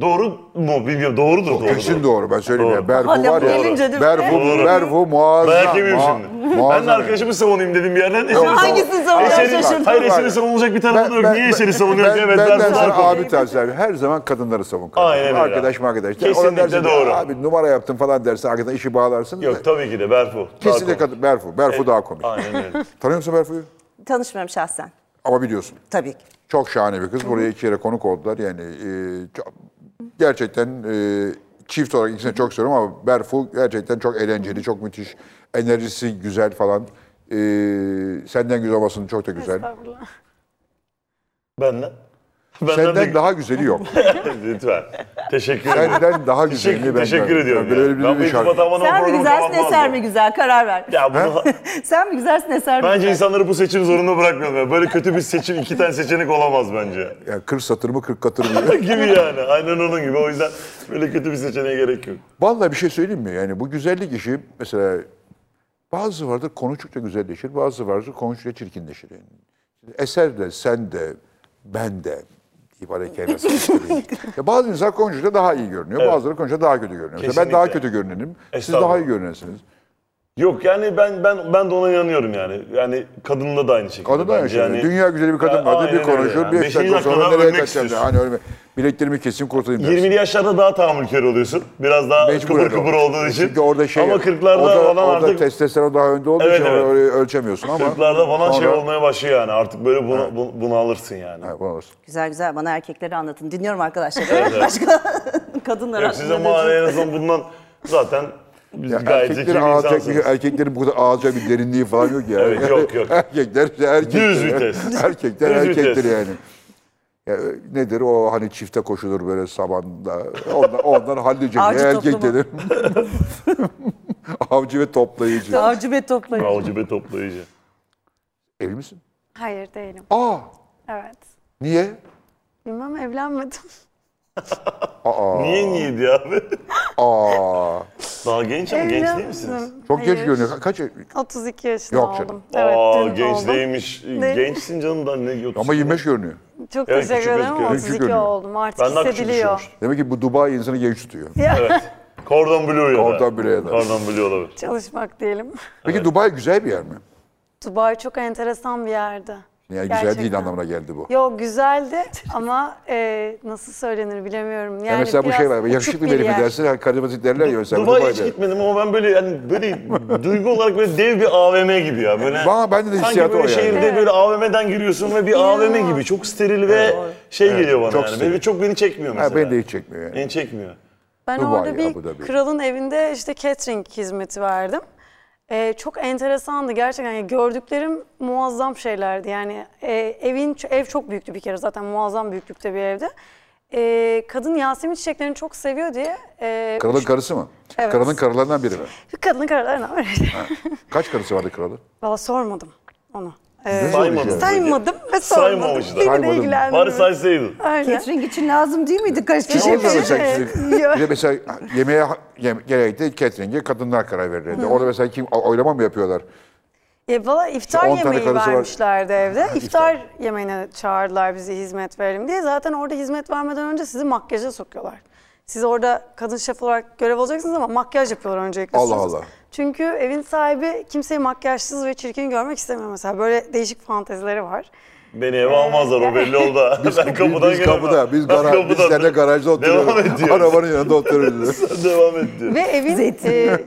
[SPEAKER 4] Doğru mu bilmiyorum. Doğrudur. Doğru,
[SPEAKER 1] Kesin doğru ben söyleyeyim
[SPEAKER 4] Doğru.
[SPEAKER 1] ya. Berfu
[SPEAKER 6] Hadi
[SPEAKER 1] var
[SPEAKER 6] bu
[SPEAKER 1] ya.
[SPEAKER 6] gelince değil mi?
[SPEAKER 1] Berfu,
[SPEAKER 4] Doğru.
[SPEAKER 1] Berfu muazzam.
[SPEAKER 4] Dayak yemeyeyim
[SPEAKER 1] mua-
[SPEAKER 4] şimdi. ben de
[SPEAKER 1] muazzam
[SPEAKER 4] arkadaşımı savunayım dedim bir yerden. Eseri
[SPEAKER 6] hangisini savunuyorsun? Şaşırdım.
[SPEAKER 4] Hayır eseri savunulacak bir tarafı da yok. Niye eseri savunuyorsun?
[SPEAKER 1] Ben,
[SPEAKER 4] Evet
[SPEAKER 1] benden
[SPEAKER 4] Berfu
[SPEAKER 1] sana
[SPEAKER 4] Sarko.
[SPEAKER 1] abi tavsiye ederim. Her zaman kadınları savun. kardeşim.
[SPEAKER 4] Aynen öyle.
[SPEAKER 1] Arkadaş arkadaş.
[SPEAKER 4] Kesinlikle doğru.
[SPEAKER 1] Abi numara yaptın falan dersin. Arkadan işi bağlarsın.
[SPEAKER 4] Yok tabii ki de Berfu.
[SPEAKER 1] Kesinlikle
[SPEAKER 4] Sarko.
[SPEAKER 1] kadın. Berfu. Berfu daha komik.
[SPEAKER 4] Aynen öyle.
[SPEAKER 1] Tanıyor musun Berfu'yu?
[SPEAKER 3] Tanışmıyorum şahsen.
[SPEAKER 1] Ama biliyorsun.
[SPEAKER 3] Tabii ki.
[SPEAKER 1] Çok şahane bir kız. Buraya iki yere konuk oldular. Yani e, çok- gerçekten e, çift olarak ikisini çok seviyorum ama Berfu gerçekten çok eğlenceli, çok müthiş. Enerjisi güzel falan. E, senden güzel olmasın çok da güzel.
[SPEAKER 5] Estağfurullah.
[SPEAKER 4] Benden. Benden
[SPEAKER 1] Senden
[SPEAKER 4] de-
[SPEAKER 1] daha güzeli yok.
[SPEAKER 4] Lütfen. Teşekkür ederim.
[SPEAKER 1] Senden daha güzelini
[SPEAKER 4] Teşekkür,
[SPEAKER 1] ben
[SPEAKER 4] teşekkür
[SPEAKER 1] görmedim.
[SPEAKER 4] ediyorum.
[SPEAKER 1] Ya böyle
[SPEAKER 4] ya.
[SPEAKER 1] bir şey
[SPEAKER 4] Ben bu
[SPEAKER 1] şarkı.
[SPEAKER 4] iltifatı almadan
[SPEAKER 6] Sen mi
[SPEAKER 4] programı
[SPEAKER 6] güzelsin
[SPEAKER 4] kapatmazdım.
[SPEAKER 6] eser mi güzel? Karar ver.
[SPEAKER 4] Ya bunu,
[SPEAKER 6] Sen mi güzelsin eser mi
[SPEAKER 4] bence
[SPEAKER 6] güzel?
[SPEAKER 4] insanları bu seçim zorunda bırakmayalım. ya. Böyle kötü bir seçim, iki tane seçenek olamaz bence.
[SPEAKER 1] Yani 40 satır mı 40 katır mı?
[SPEAKER 4] gibi yani. Aynen onun gibi. O yüzden böyle kötü bir seçeneğe gerek yok.
[SPEAKER 1] Vallahi bir şey söyleyeyim mi? Yani bu güzellik işi mesela bazı vardır konuştukça güzelleşir, bazı vardır konuştukça çirkinleşir. Yani eser de, sen de, ben de ibare kelimesi. ya bazı insan konuştukça daha iyi görünüyor, bazıları konuştukça daha kötü görünüyor. Mesela Ben
[SPEAKER 4] Kesinlikle.
[SPEAKER 1] daha kötü görünenim, siz
[SPEAKER 4] Estağfurullah.
[SPEAKER 1] daha iyi görünesiniz.
[SPEAKER 4] Yok yani ben ben ben de ona inanıyorum yani. Yani kadında da aynı şekilde.
[SPEAKER 1] Kadın da
[SPEAKER 4] bence
[SPEAKER 1] yaşıyor.
[SPEAKER 4] yani.
[SPEAKER 1] Dünya güzeli bir
[SPEAKER 4] Ya,
[SPEAKER 1] kadın vardı, bir
[SPEAKER 4] aynen öyle
[SPEAKER 1] konuşur,
[SPEAKER 4] yani.
[SPEAKER 1] bir
[SPEAKER 4] Beşinci
[SPEAKER 1] dakika sonra
[SPEAKER 4] dakikada
[SPEAKER 1] nereye
[SPEAKER 4] ölmek
[SPEAKER 1] kaçacağım?
[SPEAKER 4] istiyorsun.
[SPEAKER 1] Hani öyle bir- bileklerimi kesin kurtulayım dersin.
[SPEAKER 4] 20'li yaşlarda daha tahammülkar oluyorsun. Biraz daha
[SPEAKER 1] Mecbur
[SPEAKER 4] kıpır
[SPEAKER 1] öyle
[SPEAKER 4] kıpır
[SPEAKER 1] oluyor.
[SPEAKER 4] olduğun için.
[SPEAKER 1] Çünkü orada şey
[SPEAKER 4] Ama 40'larda
[SPEAKER 1] orada,
[SPEAKER 4] falan
[SPEAKER 1] orada
[SPEAKER 4] artık
[SPEAKER 1] testosteron daha önde olduğu
[SPEAKER 4] Evet,
[SPEAKER 1] için
[SPEAKER 4] evet.
[SPEAKER 1] orayı ölçemiyorsun ama.
[SPEAKER 4] 40'larda falan şey
[SPEAKER 1] sonra-
[SPEAKER 4] olmaya başlıyor yani. Artık böyle buna, bu- bunu alırsın yani.
[SPEAKER 1] Ha, bu olsun.
[SPEAKER 3] Güzel güzel bana erkekleri anlatın. Dinliyorum arkadaşlar.
[SPEAKER 4] evet.
[SPEAKER 3] Başka kadınlar
[SPEAKER 4] Yok size
[SPEAKER 3] hakkında
[SPEAKER 4] maalesef en azından bundan zaten biz
[SPEAKER 1] Ya
[SPEAKER 4] gayet zeki bir
[SPEAKER 1] erkeklerin ağacak
[SPEAKER 4] insansınız.
[SPEAKER 1] bir, erkeklerin bu kadar ağacak bir derinliği falan yok yani.
[SPEAKER 4] Evet, yok, yok.
[SPEAKER 1] erkekler erkekler.
[SPEAKER 4] Düz vites.
[SPEAKER 1] Erkekler
[SPEAKER 4] Düz
[SPEAKER 1] erkektir
[SPEAKER 4] vites.
[SPEAKER 1] yani. Ya, e, nedir o hani çifte koşulur böyle sabanda. Ondan, ondan hallice
[SPEAKER 6] Avcı
[SPEAKER 1] ne erkek
[SPEAKER 6] toplama.
[SPEAKER 1] dedim. Avcı ve toplayıcı.
[SPEAKER 6] Avcı ve toplayıcı.
[SPEAKER 4] Avcı ve toplayıcı.
[SPEAKER 1] Evli misin?
[SPEAKER 5] Hayır değilim.
[SPEAKER 1] Aa
[SPEAKER 5] Evet.
[SPEAKER 1] niye?
[SPEAKER 5] Bilmem evlenmedim.
[SPEAKER 4] Niye niyeydi abi?
[SPEAKER 1] Aa
[SPEAKER 4] Daha genç ama genç değil misiniz?
[SPEAKER 5] Evlenmedim.
[SPEAKER 1] çok
[SPEAKER 5] Hayır.
[SPEAKER 1] geç görünüyor. Ka- Kaç?
[SPEAKER 5] 32 yaşında
[SPEAKER 1] Yok
[SPEAKER 5] Yok
[SPEAKER 1] canım.
[SPEAKER 5] oldum. Evet,
[SPEAKER 4] Aa
[SPEAKER 5] dün
[SPEAKER 4] genç
[SPEAKER 5] oldum.
[SPEAKER 4] değilmiş. Gençsin canım da ne yoksun.
[SPEAKER 1] Ama 25 görünüyor.
[SPEAKER 5] Çok
[SPEAKER 4] Evet,
[SPEAKER 5] teşekkür
[SPEAKER 4] küçük
[SPEAKER 5] ederim ama
[SPEAKER 4] gözüküyor.
[SPEAKER 1] Küçük
[SPEAKER 5] 32
[SPEAKER 1] görünüyor.
[SPEAKER 5] oldum. Artık
[SPEAKER 4] Ben daha küçük
[SPEAKER 5] hissediliyor.
[SPEAKER 4] düşünmüştüm.
[SPEAKER 1] Demek ki bu Dubai insanı genç tutuyor.
[SPEAKER 4] Kordon Bleu ya da.
[SPEAKER 1] Kordon Bleu ya da.
[SPEAKER 4] Kordon Bleu olabilir.
[SPEAKER 5] Çalışmak diyelim.
[SPEAKER 1] Peki Dubai güzel bir yer mi?
[SPEAKER 5] Dubai çok enteresan bir yerdi.
[SPEAKER 1] Yani güzel
[SPEAKER 5] Gerçekten.
[SPEAKER 1] değil anlamına geldi bu.
[SPEAKER 5] Yok güzeldi ama e, nasıl söylenir bilemiyorum. Yani
[SPEAKER 1] Yani mesela bu
[SPEAKER 5] biraz
[SPEAKER 1] şey var.
[SPEAKER 5] uçuk
[SPEAKER 1] Yakışıklı bir
[SPEAKER 5] bir
[SPEAKER 1] herif
[SPEAKER 5] yer.
[SPEAKER 1] dersin. hani Karizmatik derler ya mesela.
[SPEAKER 4] Dubai hiç
[SPEAKER 1] Dubai'de.
[SPEAKER 4] gitmedim ama ben böyle yani böyle duygu olarak böyle dev bir AVM gibi ya. Böyle
[SPEAKER 1] Bana- bende de hissiyatı
[SPEAKER 4] Sanki böyle
[SPEAKER 1] o yani.
[SPEAKER 4] şehirde böyle AVM'den giriyorsun ve bir AVM gibi. Çok steril ve şey geliyor bana
[SPEAKER 1] çok
[SPEAKER 4] yani.
[SPEAKER 1] steril.
[SPEAKER 4] Ve çok beni çekmiyor mesela.
[SPEAKER 1] Ha, beni de hiç çekmiyor yani.
[SPEAKER 4] Beni çekmiyor.
[SPEAKER 5] Ben
[SPEAKER 1] Dubai,
[SPEAKER 5] orada
[SPEAKER 1] Abu Dhabi.
[SPEAKER 5] bir kralın evinde işte catering hizmeti verdim. Ee, çok enteresandı gerçekten. Yani gördüklerim muazzam şeylerdi. Yani e, evin ev çok büyüktü bir kere zaten muazzam büyüklükte bir evde. Ee, kadın Yasemin çiçeklerini çok seviyor diye e,
[SPEAKER 1] Kralın karısı mı?
[SPEAKER 5] Evet.
[SPEAKER 1] Kralın karılarından biri mi?
[SPEAKER 5] kadının kararlarına öyle.
[SPEAKER 1] Kaç karısı vardı kralın?
[SPEAKER 5] Valla sormadım onu. Ee,
[SPEAKER 4] Saymadım.
[SPEAKER 5] saymadım ve sormadım.
[SPEAKER 4] Saymamış da.
[SPEAKER 5] Beni de
[SPEAKER 1] Saymadım.
[SPEAKER 4] Bari
[SPEAKER 5] ilgilendirmedi.
[SPEAKER 4] saysaydın.
[SPEAKER 5] Aynen.
[SPEAKER 6] Catering için lazım değil miydi kaç
[SPEAKER 1] Ne
[SPEAKER 6] kişi?
[SPEAKER 1] oldu
[SPEAKER 5] Şey-
[SPEAKER 1] mesela
[SPEAKER 5] Şey-
[SPEAKER 1] şimdi? Bir de mesela yemeğe yem, genellikle catering'e kadınlar karar verirlerdi. Orada mesela kim o- oylama mı yapıyorlar?
[SPEAKER 5] E valla iftar
[SPEAKER 1] on tane
[SPEAKER 5] yemeği
[SPEAKER 1] karısı var.
[SPEAKER 5] vermişlerdi evde. İftar yemeğine çağırdılar bizi hizmet verelim diye. Zaten orada hizmet vermeden önce sizi makyaja sokuyorlar. Siz orada kadın şef olarak görev alacaksınız ama makyaj yapıyorlar öncelikle.
[SPEAKER 1] Allah
[SPEAKER 5] siz.
[SPEAKER 1] Allah.
[SPEAKER 5] Çünkü evin sahibi kimseyi makyajsız ve çirkin görmek istemiyor mesela. Böyle değişik fantezileri var.
[SPEAKER 4] Beni eve almazlar o belli oldu. ha. ben kapıdan
[SPEAKER 1] biz
[SPEAKER 4] giremem.
[SPEAKER 1] kapıda, biz,
[SPEAKER 4] Ben
[SPEAKER 1] gara, biz
[SPEAKER 4] kapıdan-
[SPEAKER 1] seninle garajda
[SPEAKER 4] Devam et
[SPEAKER 1] oturuyoruz.
[SPEAKER 4] diyor.
[SPEAKER 1] Arabanın yanında oturuyoruz.
[SPEAKER 4] Devam et diyor.
[SPEAKER 5] Ve evin e,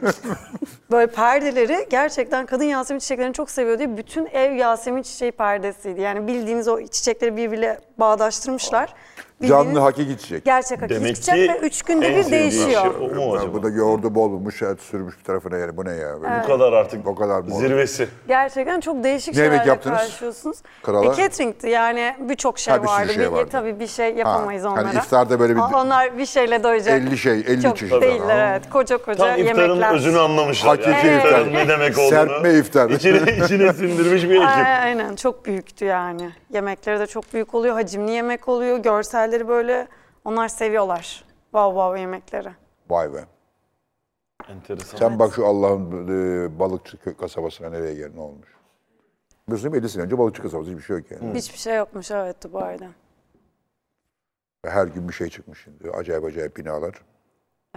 [SPEAKER 5] böyle perdeleri gerçekten kadın Yasemin çiçeklerini çok seviyor diye bütün ev Yasemin çiçeği perdesiydi. Yani bildiğiniz o çiçekleri birbiriyle bağdaştırmışlar.
[SPEAKER 1] Canlı
[SPEAKER 5] Bildiğiniz-
[SPEAKER 1] hakiki çiçek.
[SPEAKER 5] Gerçek hakiki
[SPEAKER 4] Demek
[SPEAKER 5] çiçek
[SPEAKER 4] ki
[SPEAKER 5] ve üç günde
[SPEAKER 4] en
[SPEAKER 5] bir
[SPEAKER 4] sevdiği
[SPEAKER 5] değişiyor.
[SPEAKER 4] şey o mu acaba?
[SPEAKER 1] Bu da yoğurdu bol olmuş, şahit sürmüş bir tarafına yani. Bu ne ya? Böyle
[SPEAKER 4] Bu kadar artık.
[SPEAKER 1] O kadar mı?
[SPEAKER 4] Zirvesi.
[SPEAKER 5] Gerçekten çok değişik
[SPEAKER 1] Ne yemek
[SPEAKER 5] şeylerle
[SPEAKER 1] yaptınız?
[SPEAKER 5] karşılaşıyorsunuz.
[SPEAKER 1] Krala?
[SPEAKER 5] E, catering'ti yani birçok şey
[SPEAKER 1] Ha, bir sürü
[SPEAKER 5] vardı.
[SPEAKER 1] şey
[SPEAKER 5] Bir-
[SPEAKER 1] vardı.
[SPEAKER 5] Tabii bir şey yapamayız
[SPEAKER 1] Ha, hani
[SPEAKER 5] onlara.
[SPEAKER 1] iftarda böyle bir-
[SPEAKER 5] Aa, Onlar bir şeyle doyacak.
[SPEAKER 1] 50 şey, 50
[SPEAKER 5] çok
[SPEAKER 1] çeşit.
[SPEAKER 5] değiller evet. Koca koca
[SPEAKER 4] Tam iftarın
[SPEAKER 5] yemekler.
[SPEAKER 4] özünü anlamışlar.
[SPEAKER 1] Hakiki
[SPEAKER 4] yani.
[SPEAKER 1] iftar.
[SPEAKER 4] İftarın ne demek olduğunu.
[SPEAKER 1] Serpme iftar.
[SPEAKER 4] İçine, içine sindirmiş bir
[SPEAKER 5] Aa,
[SPEAKER 4] ekip.
[SPEAKER 5] Aynen çok büyüktü yani. Yemekleri de çok büyük oluyor. Hacimli yemek oluyor. Görselleri böyle onlar seviyorlar. Vav vav yemekleri.
[SPEAKER 1] Vay be.
[SPEAKER 4] Enteresan.
[SPEAKER 1] Sen bak şu Allah'ın e, balıkçı kö- kasabasına nereye gel ne olmuş. Biliyorsun 50 sene önce balıkçı kasabası hiçbir şey yok yani.
[SPEAKER 5] Hiçbir şey yokmuş evet Dubai'de.
[SPEAKER 1] Ve Her gün bir şey çıkmış şimdi. Acayip acayip binalar.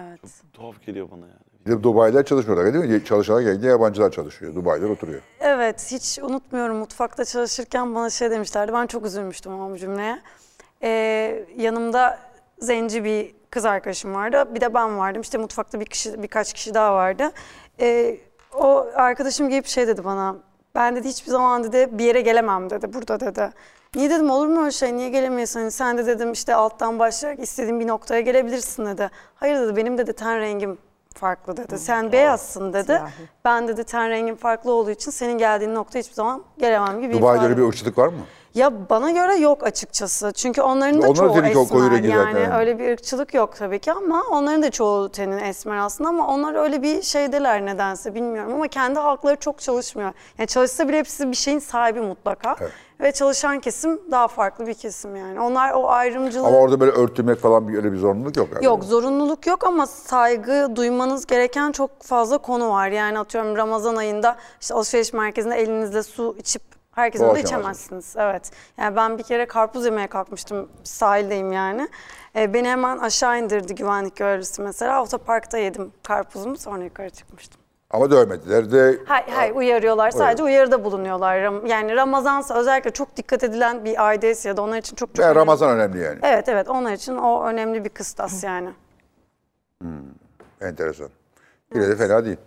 [SPEAKER 5] Evet.
[SPEAKER 4] Tuhaf geliyor bana yani.
[SPEAKER 1] Bir de Dubai'ler çalışmıyorlar değil mi? Çalışanlar geldi yabancılar çalışıyor. Dubai'ler oturuyor.
[SPEAKER 5] Evet hiç unutmuyorum mutfakta çalışırken bana şey demişlerdi. Ben çok üzülmüştüm ama bu cümleye. Ee, yanımda zenci bir kız arkadaşım vardı. Bir de ben vardım. İşte mutfakta bir kişi, birkaç kişi daha vardı. Ee, o arkadaşım gelip şey dedi bana. Ben dedi hiçbir zaman dedi bir yere gelemem dedi burada dedi. Niye dedim olur mu öyle şey niye gelemiyorsun Hani sen de dedim işte alttan başlayarak istediğin bir noktaya gelebilirsin dedi. Hayır dedi benim dedi ten rengim farklı dedi. Sen beyazsın dedi. Ben dedi ten rengim farklı olduğu için senin geldiğin noktaya hiçbir zaman gelemem gibi
[SPEAKER 1] Dubai'de
[SPEAKER 5] ifade-
[SPEAKER 1] öyle bir ırkçılık var mı?
[SPEAKER 5] Ya bana göre yok açıkçası. Çünkü onların da
[SPEAKER 1] Onlar
[SPEAKER 5] çoğu
[SPEAKER 1] teni çok koyu
[SPEAKER 5] esmer.
[SPEAKER 1] rengi zaten.
[SPEAKER 5] Yani öyle bir ırkçılık yok tabii ki ama onların da çoğu tenin esmer aslında ama onlar öyle bir şeydeler nedense bilmiyorum ama kendi halkları çok çalışmıyor. Yani çalışsa bile hepsi bir şeyin sahibi mutlaka. Ve çalışan kesim daha farklı bir kesim yani. Onlar o ayrımcılığı
[SPEAKER 1] Ama orada böyle örtülmek falan bir- öyle bir zorunluluk yok. herhalde.
[SPEAKER 5] Yok zorunluluk yok ama saygı duymanız gereken çok fazla konu var. Yani atıyorum Ramazan ayında işte alışveriş merkezinde elinizle su içip herkesin de
[SPEAKER 1] Boğaz
[SPEAKER 5] içemezsiniz. Evet. Yani ben bir kere karpuz yemeye kalkmıştım. Sahildeyim yani. Ee, beni hemen aşağı indirdi güvenlik görevlisi mesela. Otoparkta yedim karpuzumu sonra yukarı çıkmıştım.
[SPEAKER 1] Ama dövmediler de
[SPEAKER 5] Hayır, hayır uyarıyorlar. Sadece uyarıda bulunuyorlar. Ram- Yani Ramazansa özellikle çok dikkat edilen bir aideyse ya da onlar için çok çok
[SPEAKER 1] Ya
[SPEAKER 5] önemli.
[SPEAKER 1] Ramazan önemli yani.
[SPEAKER 5] Evet evet onlar için o önemli bir kıstas yani.
[SPEAKER 1] Enteresan. Yine de fena değil.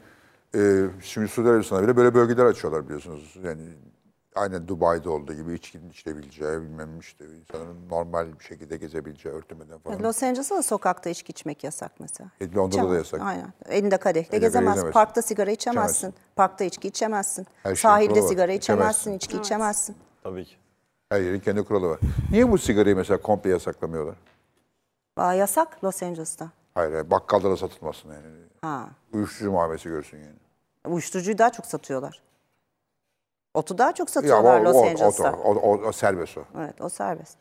[SPEAKER 1] Ee, şimdi Suudi Arabistan'da bile böyle bölgeler açıyorlar biliyorsunuz. Yani aynen Dubai'de olduğu gibi içkinin içilebileceği, bilmem işte insanların normal bir şekilde gezebileceği, örtülmeden falan.
[SPEAKER 3] Los Angeles'ta da sokakta içki içmek yasak mesela.
[SPEAKER 1] E, Londra'da da
[SPEAKER 3] İçemez.
[SPEAKER 1] yasak.
[SPEAKER 3] Aynen. Elinde kadehle
[SPEAKER 1] Elinde
[SPEAKER 3] gezemez.
[SPEAKER 1] gezemezsin.
[SPEAKER 3] Parkta sigara içemezsin.
[SPEAKER 1] İçemezsin.
[SPEAKER 3] Parkta içki içemezsin.
[SPEAKER 1] Her şeyin
[SPEAKER 3] Sahilde
[SPEAKER 1] kuralı var.
[SPEAKER 3] sigara
[SPEAKER 1] İçemezsin.
[SPEAKER 3] içemezsin, içki içemezsin.
[SPEAKER 4] Tabii ki.
[SPEAKER 1] Her yerin kendi kuralı var. Niye bu sigarayı mesela komple yasaklamıyorlar?
[SPEAKER 3] Aa, yasak Los Angeles'ta.
[SPEAKER 1] Hayır, hayır bakkalda da satılmasın yani.
[SPEAKER 3] Ha.
[SPEAKER 1] Uyuşturucu muamelesi görsün yani.
[SPEAKER 3] Uyuşturucuyu daha çok satıyorlar. Otu daha çok
[SPEAKER 1] Ya
[SPEAKER 3] satıyorlar
[SPEAKER 1] o,
[SPEAKER 3] Los
[SPEAKER 1] o,
[SPEAKER 3] Angeles'ta.
[SPEAKER 1] o, o, o serbest o.
[SPEAKER 3] Evet o serbest.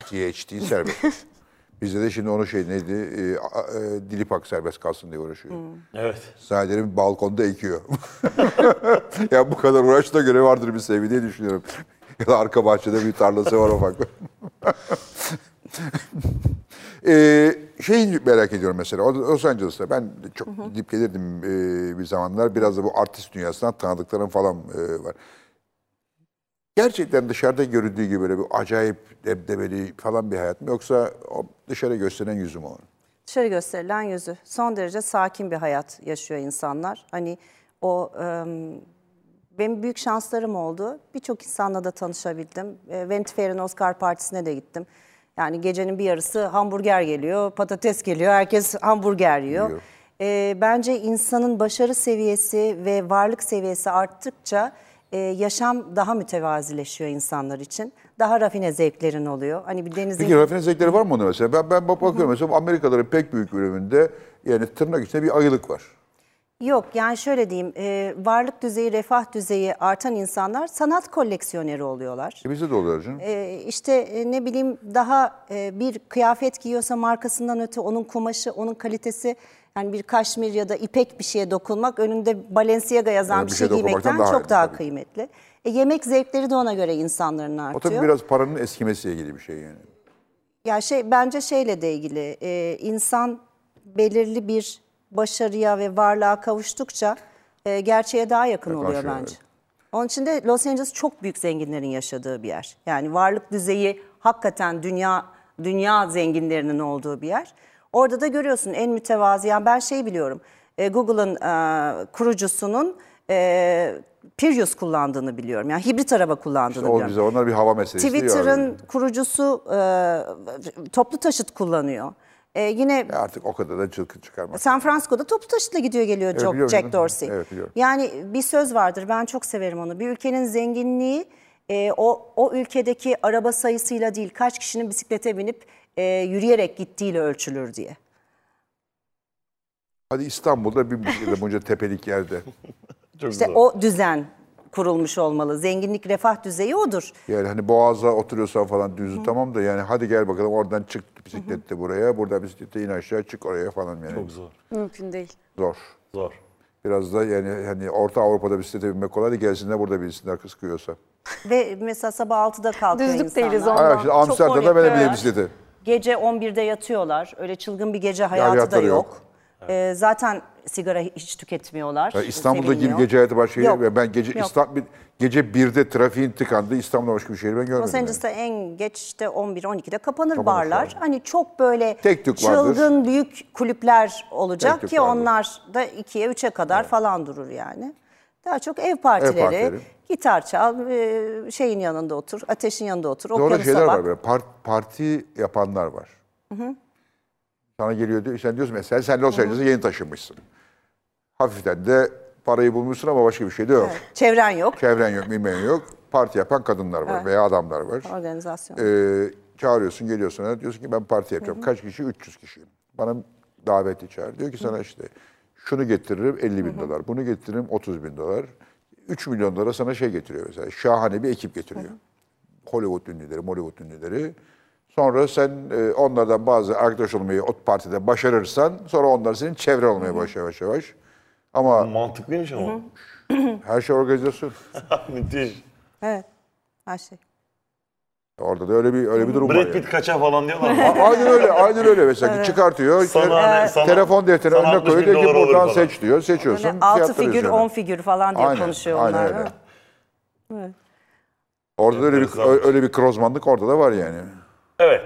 [SPEAKER 1] THT serbest. Bizde de şimdi onun şey neydi? E, a- e, Dilipak serbest kalsın diye uğraşıyor.
[SPEAKER 3] Hmm.
[SPEAKER 4] Evet.
[SPEAKER 1] Zaderim balkonda ekiyor. ya bu kadar uğraşta göre vardır bir sevgi diye düşünüyorum. Ya da arka bahçede bir tarlası var ufak. ee, şeyi merak ediyorum mesela. O- Los Angeles'ta ben çok gidip gelirdim e, bir zamanlar. Biraz da bu artist dünyasından tanıdıklarım falan e, var. Gerçekten dışarıda göründüğü gibi böyle bir acayip debdebeli falan bir hayat mı? Yoksa o dışarı gösteren yüzü mü onun?
[SPEAKER 3] Dışarı gösterilen yüzü. Son derece sakin bir hayat yaşıyor insanlar. Hani o em, benim büyük şanslarım oldu. Birçok insanla da tanışabildim. E, Vanity Fair'in Oscar partisine de gittim. Yani gecenin bir yarısı hamburger geliyor, patates geliyor, herkes hamburger yiyor.
[SPEAKER 1] Yiyor.
[SPEAKER 3] E, bence insanın başarı seviyesi ve varlık seviyesi arttıkça e, yaşam daha mütevazileşiyor insanlar için. Daha rafine zevklerin oluyor. Hani bir denizin
[SPEAKER 1] Peki rafine zevkleri var mı onda mesela? Ben, ben bak- bakıyorum mesela Amerikalıların pek büyük bölümünde yani tırnak içinde bir ayılık var.
[SPEAKER 3] Yok yani şöyle diyeyim e, varlık düzeyi, refah düzeyi artan insanlar sanat koleksiyoneri oluyorlar.
[SPEAKER 1] E bizde de oluyor canım.
[SPEAKER 3] E, işte e, ne bileyim daha e, bir kıyafet giyiyorsa markasından öte onun kumaşı, onun kalitesi yani bir kaşmir ya da ipek bir şeye dokunmak önünde Balenciaga yazan
[SPEAKER 1] Yani
[SPEAKER 3] bir
[SPEAKER 1] bir
[SPEAKER 3] şey
[SPEAKER 1] şey dokunmaktan
[SPEAKER 3] giymekten
[SPEAKER 1] daha iyi
[SPEAKER 3] çok daha
[SPEAKER 1] tabii.
[SPEAKER 3] kıymetli. E, yemek zevkleri de ona göre insanların
[SPEAKER 1] o
[SPEAKER 3] artıyor.
[SPEAKER 1] tabii biraz paranın eskimesiyle ilgili bir şey yani.
[SPEAKER 3] Ya şey bence şeyle de ilgili e, insan belirli bir başarıya ve varlığa kavuştukça e, gerçeğe daha yakın oluyor
[SPEAKER 1] şey,
[SPEAKER 3] bence. Onun için de Los Angeles çok büyük zenginlerin yaşadığı bir yer. Yani varlık düzeyi hakikaten dünya dünya zenginlerinin olduğu bir yer. Orada da görüyorsun en mütevazi. Yani ben şey biliyorum. e, Google'ın e, kurucusunun e, Prius kullandığını biliyorum. Yani hibrit araba kullandığını
[SPEAKER 1] O
[SPEAKER 3] biliyorum.
[SPEAKER 1] bize onlar bir hava meselesi. ya.
[SPEAKER 3] Twitter'ın kurucusu e, toplu taşıt kullanıyor. E, yine
[SPEAKER 1] Ya artık o kadar da çılgın çıkarmak.
[SPEAKER 3] San Francisco'da toplu taşıtla gidiyor geliyor Jack-
[SPEAKER 1] biliyorum,
[SPEAKER 3] Jack
[SPEAKER 1] biliyorum.
[SPEAKER 3] Dorsey.
[SPEAKER 1] Evet, biliyorum.
[SPEAKER 3] yani bir söz vardır ben çok severim onu. Bir ülkenin zenginliği e, o o ülkedeki araba sayısıyla değil kaç kişinin bisiklete binip e, yürüyerek gittiğiyle ölçülür diye.
[SPEAKER 1] Hadi İstanbul'da bir yılda bunca tepelik yerde.
[SPEAKER 4] Çok
[SPEAKER 3] İşte
[SPEAKER 4] güzel.
[SPEAKER 3] o düzen kurulmuş olmalı. Zenginlik refah düzeyi odur.
[SPEAKER 1] Yani hani Boğaz'a oturuyorsan falan düzü tamam da yani hadi gel bakalım oradan çık bisikletle buraya. Burada bisiklette in aşağı çık oraya falan yani.
[SPEAKER 4] Çok zor.
[SPEAKER 5] Mümkün değil.
[SPEAKER 1] Zor.
[SPEAKER 4] Zor.
[SPEAKER 1] Biraz da yani hani Orta Avrupa'da bisiklete binmek kolay da gelsinler burada binsinler kız kıyıyorsa.
[SPEAKER 3] Ve mesela sabah 6'da kalkıyor
[SPEAKER 5] Düzlük
[SPEAKER 3] insanlar.
[SPEAKER 5] değiliz
[SPEAKER 1] Aa,
[SPEAKER 5] ondan.
[SPEAKER 1] şimdi
[SPEAKER 5] Çok
[SPEAKER 1] şey Amsterdam'da ben
[SPEAKER 5] oraya-
[SPEAKER 1] de
[SPEAKER 5] Evet.
[SPEAKER 1] bineyim bisiklete.
[SPEAKER 3] Gece 11'de yatıyorlar. Öyle çılgın bir gece hayatı da
[SPEAKER 1] hayatları
[SPEAKER 3] yok.
[SPEAKER 1] yok.
[SPEAKER 3] Ee, zaten sigara hiç tüketmiyorlar.
[SPEAKER 1] Ya İstanbul'da gibi
[SPEAKER 3] sevilmiyor.
[SPEAKER 1] gece hayatı başka
[SPEAKER 3] Yok,
[SPEAKER 1] yer. Ben gece
[SPEAKER 3] yok.
[SPEAKER 1] İstanbul gece 1'de trafiğin tıkandı. İstanbul'da başka bir şehir ben görmedim.
[SPEAKER 3] Los
[SPEAKER 1] yani.
[SPEAKER 3] Angeles'ta en geç işte 11-12'de kapanır
[SPEAKER 1] Kapanır
[SPEAKER 3] barlar.
[SPEAKER 1] falan.
[SPEAKER 3] Hani çok böyle
[SPEAKER 1] Tek tük vardır.
[SPEAKER 3] çılgın büyük kulüpler olacak
[SPEAKER 1] Tek tük
[SPEAKER 3] ki
[SPEAKER 1] vardır.
[SPEAKER 3] onlar da 2'ye 3'e kadar falan durur yani. Daha çok ev partileri,
[SPEAKER 1] partileri.
[SPEAKER 3] gitar çal, e, şeyin yanında otur, ateşin yanında otur,
[SPEAKER 1] Doğru
[SPEAKER 3] okyanusa
[SPEAKER 1] şeyler
[SPEAKER 3] bak.
[SPEAKER 1] var böyle. Par- parti yapanlar var. Sana geliyor diyor. Sen diyorsun mesela sen Los Angeles'a yeni taşınmışsın. Hafiften de parayı bulmuşsun ama başka bir şey de yok.
[SPEAKER 3] Çevren yok.
[SPEAKER 1] Çevren yok, bilmeyen yok. parti yapan kadınlar var veya adamlar var.
[SPEAKER 3] Organizasyon.
[SPEAKER 1] Ee, çağırıyorsun geliyorsun ona diyorsun ki ben parti yapacağım. Kaç kişi? 300 kişi. Bana daveti çağır. Diyor ki sana işte şunu getiririm 50 bin dolar, bunu getiririm 30 bin dolar. 3 milyon dolara sana şey getiriyor mesela. Şahane bir ekip getiriyor. Hollywood ünlüleri, Hollywood ünlüleri. Sonra sen e, onlardan bazı arkadaş olmayı o partide başarırsan sonra onlar senin çevre olmaya başlar yavaş yavaş. Ama
[SPEAKER 4] Mantıklıymış ama.
[SPEAKER 1] her şey organizasyon.
[SPEAKER 4] Müthiş.
[SPEAKER 3] Evet. Her şey.
[SPEAKER 1] Orada da öyle bir öyle bir durum var.
[SPEAKER 4] Brad
[SPEAKER 1] yani.
[SPEAKER 4] Pitt kaça falan diyorlar mı?
[SPEAKER 1] A- aynen öyle, aynen öyle mesela çıkartıyor.
[SPEAKER 4] Sana
[SPEAKER 1] te-
[SPEAKER 4] ne, sana-
[SPEAKER 1] telefon defterinin
[SPEAKER 4] sana
[SPEAKER 1] önüne
[SPEAKER 4] 60
[SPEAKER 1] koyuyor
[SPEAKER 4] bin
[SPEAKER 1] diyor ki
[SPEAKER 4] dolar olur
[SPEAKER 1] buradan
[SPEAKER 4] falan.
[SPEAKER 1] seç diyor. Seçiyorsun.
[SPEAKER 6] Yani altı
[SPEAKER 1] fiyatları
[SPEAKER 6] figür,
[SPEAKER 1] üzerine.
[SPEAKER 6] 10 figür falan diye konuşuyor onlar.
[SPEAKER 1] aynen
[SPEAKER 6] değil mi?
[SPEAKER 1] öyle. Orada da öyle bir
[SPEAKER 4] Enteresanmış.
[SPEAKER 1] öyle bir krozmanlık orada da var yani.
[SPEAKER 4] Evet.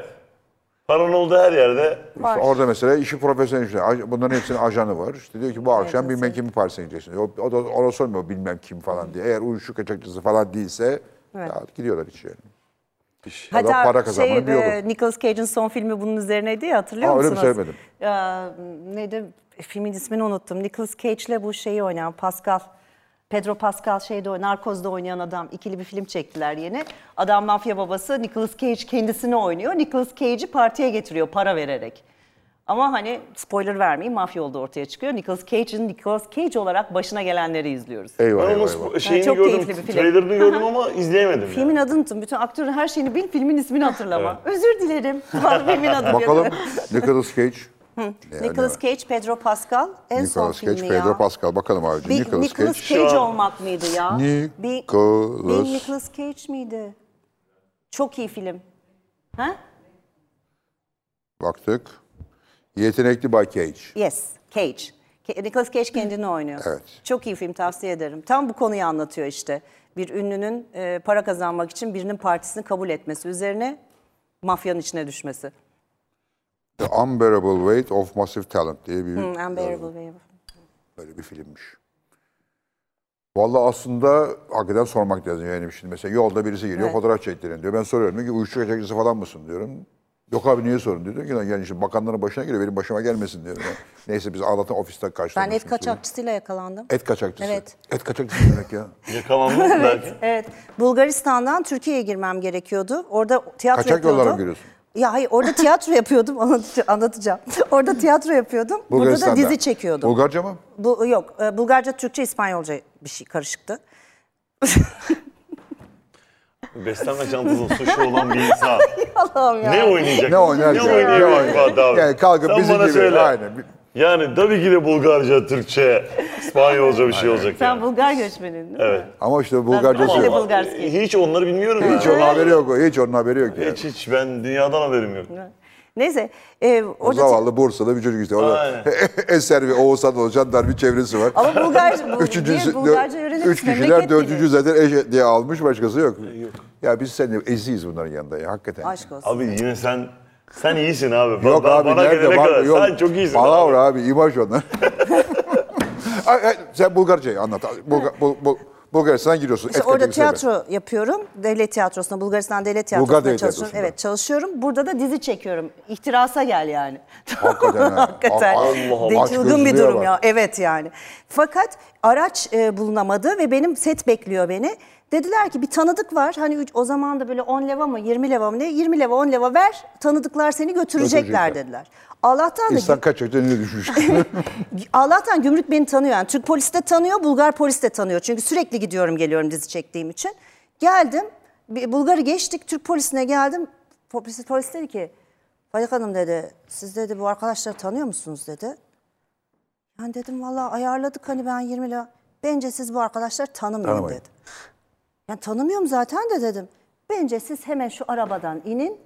[SPEAKER 4] Paranın olduğu her yerde
[SPEAKER 1] İşte orada mesela işi profesyonel işte. Aj- Bunların hepsinin ajanı var. İşte diyor ki bu akşam bilmem kimi Paris'e gideceksin. O, o da ona sormuyor bilmem kim falan diye. Eğer uyuşuk kaçakçısı falan değilse ya gidiyorlar içeri. Ya da
[SPEAKER 6] Hatta
[SPEAKER 1] para kazanmanın
[SPEAKER 6] şey,
[SPEAKER 1] bir yolu.
[SPEAKER 6] e, Nicolas Cage'in son filmi bunun üzerineydi ya hatırlıyor
[SPEAKER 1] Aa, öyle mi?
[SPEAKER 6] musunuz?
[SPEAKER 1] Sevmedim.
[SPEAKER 6] Ya, neydi? Filmin ismini unuttum. Nicolas Cage'le bu şeyi oynayan Pascal. Pedro Pascal şeyde oynayan, Narcoz'da oynayan adam. ikili bir film çektiler yeni. Adam mafya babası Nicolas Cage kendisini oynuyor. Nicolas Cage'i partiye getiriyor para vererek. Ama hani spoiler vermeyeyim mafya olduğu ortaya çıkıyor. Nicolas Cage'in Nicolas Cage olarak başına gelenleri izliyoruz.
[SPEAKER 1] Eyvah
[SPEAKER 4] ben
[SPEAKER 1] eyvah
[SPEAKER 4] onun
[SPEAKER 1] eyvah.
[SPEAKER 4] spo- şeyini
[SPEAKER 6] çok
[SPEAKER 4] gördüm,
[SPEAKER 6] keyifli bir film.
[SPEAKER 4] trailerını gördüm ama izleyemedim.
[SPEAKER 6] Filmin
[SPEAKER 4] yani.
[SPEAKER 6] adını unuttum. Bütün aktörün her şeyini bil, filmin ismini hatırlama. Özür dilerim. Bana filmin adını
[SPEAKER 1] Bakalım
[SPEAKER 6] yazın.
[SPEAKER 1] Nicolas Cage. Ne-
[SPEAKER 6] Nicolas
[SPEAKER 1] ne-
[SPEAKER 6] Cage, Pedro Pascal en son
[SPEAKER 1] Nicolas
[SPEAKER 6] filmi
[SPEAKER 1] Cage,
[SPEAKER 6] ya.
[SPEAKER 1] Pedro Pascal. Bakalım abici.
[SPEAKER 6] Bir
[SPEAKER 1] Nicolas Cage.
[SPEAKER 6] Cage
[SPEAKER 4] Şu an-
[SPEAKER 6] olmak mıydı ya? Bir,
[SPEAKER 1] Nicolas.
[SPEAKER 6] bir Nicolas Cage miydi? Çok iyi film. Ha?
[SPEAKER 1] Baktık. Yetenekli Bay Cage.
[SPEAKER 6] Yes, Cage. Ke- Nicolas Cage kendini oynuyor.
[SPEAKER 1] Evet.
[SPEAKER 6] Çok iyi film tavsiye ederim. Tam bu konuyu anlatıyor işte. Bir ünlünün e, para kazanmak için birinin partisini kabul etmesi üzerine mafyanın içine düşmesi.
[SPEAKER 1] The Unbearable Weight of Massive Talent diye bir,
[SPEAKER 6] Unbearable Wave.
[SPEAKER 1] böyle bir filmmiş. Vallahi aslında hakikaten sormak lazım yani şimdi mesela yolda birisi geliyor fotoğraf çektirin diyor. Ben soruyorum diyor ki uyuşturucu kaçakçısı falan mısın diyorum. Yok abi niye sorun diyor. Diyor ki "Lan yani şimdi bakanların başına geliyor benim başıma gelmesin diyor. Neyse biz Allah'tan ofisten kaçtık.
[SPEAKER 3] Ben et kaçakçısıyla yakalandım.
[SPEAKER 1] Et kaçakçısı.
[SPEAKER 3] Evet.
[SPEAKER 1] Et kaçakçısı ne demek ya.
[SPEAKER 4] Yakalandı mı belki.
[SPEAKER 3] Evet. Bulgaristan'dan Türkiye'ye girmem gerekiyordu. Orada tiyatro
[SPEAKER 1] Kaçak
[SPEAKER 3] yapıyordum.
[SPEAKER 1] yollara mı giriyorsun?
[SPEAKER 3] Ya hayır orada tiyatro yapıyordum anlat- anlatacağım. Orada tiyatro yapıyordum. Burada da
[SPEAKER 1] Bulgaristan'da.
[SPEAKER 3] dizi çekiyordum.
[SPEAKER 1] Bulgarca mı?
[SPEAKER 3] Bu yok e, Bulgarca, Türkçe, İspanyolca bir şey karışıktı.
[SPEAKER 4] Beslenme çantasında suçu olan bir insan.
[SPEAKER 3] Allah'ım ya.
[SPEAKER 4] ne oynayacak?
[SPEAKER 1] Ne oynar?
[SPEAKER 4] Ne
[SPEAKER 1] ya?
[SPEAKER 4] oynayacak
[SPEAKER 1] oynar?
[SPEAKER 4] Fuat abi?
[SPEAKER 1] Yani kalkıp
[SPEAKER 4] Sen
[SPEAKER 1] bizim
[SPEAKER 4] bana
[SPEAKER 1] gibi.
[SPEAKER 4] söyle.
[SPEAKER 1] Aynen.
[SPEAKER 4] Yani tabii ki de Bulgarca, Türkçe, İspanyolca bir şey olacak
[SPEAKER 6] Sen
[SPEAKER 4] yani.
[SPEAKER 6] Bulgar göçmenin değil mi?
[SPEAKER 1] Ama işte Bulgarcası
[SPEAKER 6] Ben de
[SPEAKER 1] yok.
[SPEAKER 6] Bulgarski.
[SPEAKER 4] Hiç onları bilmiyorum ya.
[SPEAKER 1] Hiç onun haberi yok. Hiç onun haberi yok. Yani.
[SPEAKER 4] Hiç hiç ben dünyadan haberim yok.
[SPEAKER 6] Neyse. e,
[SPEAKER 1] O
[SPEAKER 6] orada
[SPEAKER 1] zavallı Bursa'da bir çocuk işte. Orada
[SPEAKER 4] Aynen.
[SPEAKER 1] Eser ve Oğuzhan Olcan dar bir çevresi var.
[SPEAKER 6] Ama Bulgar, Bul-
[SPEAKER 1] Üçüncüsü,
[SPEAKER 6] diye Bulgarca
[SPEAKER 1] dö-
[SPEAKER 6] öğrenip
[SPEAKER 1] üç kişiler, dördüncü zaten eş diye almış, başkası yok. Ya biz seninle eziyiz bunların yanında ya, hakikaten.
[SPEAKER 6] Aşk olsun.
[SPEAKER 4] Abi yine sen sen iyisin abi.
[SPEAKER 1] Yok
[SPEAKER 4] Ba-
[SPEAKER 1] abi
[SPEAKER 4] bana
[SPEAKER 1] nerede
[SPEAKER 4] gelene
[SPEAKER 1] var
[SPEAKER 4] kadar
[SPEAKER 1] mı? Yok.
[SPEAKER 4] Sen çok iyisin. abi.
[SPEAKER 1] Palavra abi, imaj onlar. Ay, ay, sen Bulgarca'yı anlat. Bulga, Bul, Bul, Bulgaristan'a giriyorsun.
[SPEAKER 3] İşte
[SPEAKER 1] eski
[SPEAKER 3] orada
[SPEAKER 1] teknisyen.
[SPEAKER 3] tiyatro yapıyorum. Devlet tiyatrosunda, Bulgaristan Devlet Tiyatrosu'nda
[SPEAKER 1] Devlet
[SPEAKER 3] çalışıyorum.
[SPEAKER 1] Tiyatrosu'nda.
[SPEAKER 3] Evet çalışıyorum. Burada da dizi çekiyorum. İhtirasa gel yani.
[SPEAKER 1] Hakikaten ha.
[SPEAKER 3] Hakikaten.
[SPEAKER 1] Allah Allah.
[SPEAKER 3] De-
[SPEAKER 1] Aç
[SPEAKER 3] Çılgın bir
[SPEAKER 1] gözlüğe
[SPEAKER 3] durum
[SPEAKER 1] bak.
[SPEAKER 3] ya. Evet yani. Fakat araç e, bulunamadı ve benim set bekliyor beni. Dediler ki bir tanıdık var. Hani üç- o zaman da böyle 10 leva mı 20 leva mı ne? 20 leva 10 leva ver. Tanıdıklar seni götürecekler
[SPEAKER 1] Götürecekler.
[SPEAKER 3] dediler. Allah'tan da
[SPEAKER 1] İnsan kaç ne düşmüş.
[SPEAKER 3] Allah'tan gümrük beni tanıyor. Yani Türk polisi de tanıyor, Bulgar polisi de tanıyor. Çünkü sürekli gidiyorum geliyorum dizi çektiğim için. Geldim, bir Bulgar'ı geçtik, Türk polisine geldim. Polis, polis dedi ki, Fadik Hanım dedi, siz dedi bu arkadaşları tanıyor musunuz dedi. Ben dedim valla ayarladık hani ben 20 lira. Bence siz bu arkadaşları tanımıyorum
[SPEAKER 1] Tanımayın.
[SPEAKER 3] dedi. Yani tanımıyorum zaten de dedim. Bence siz hemen şu arabadan inin.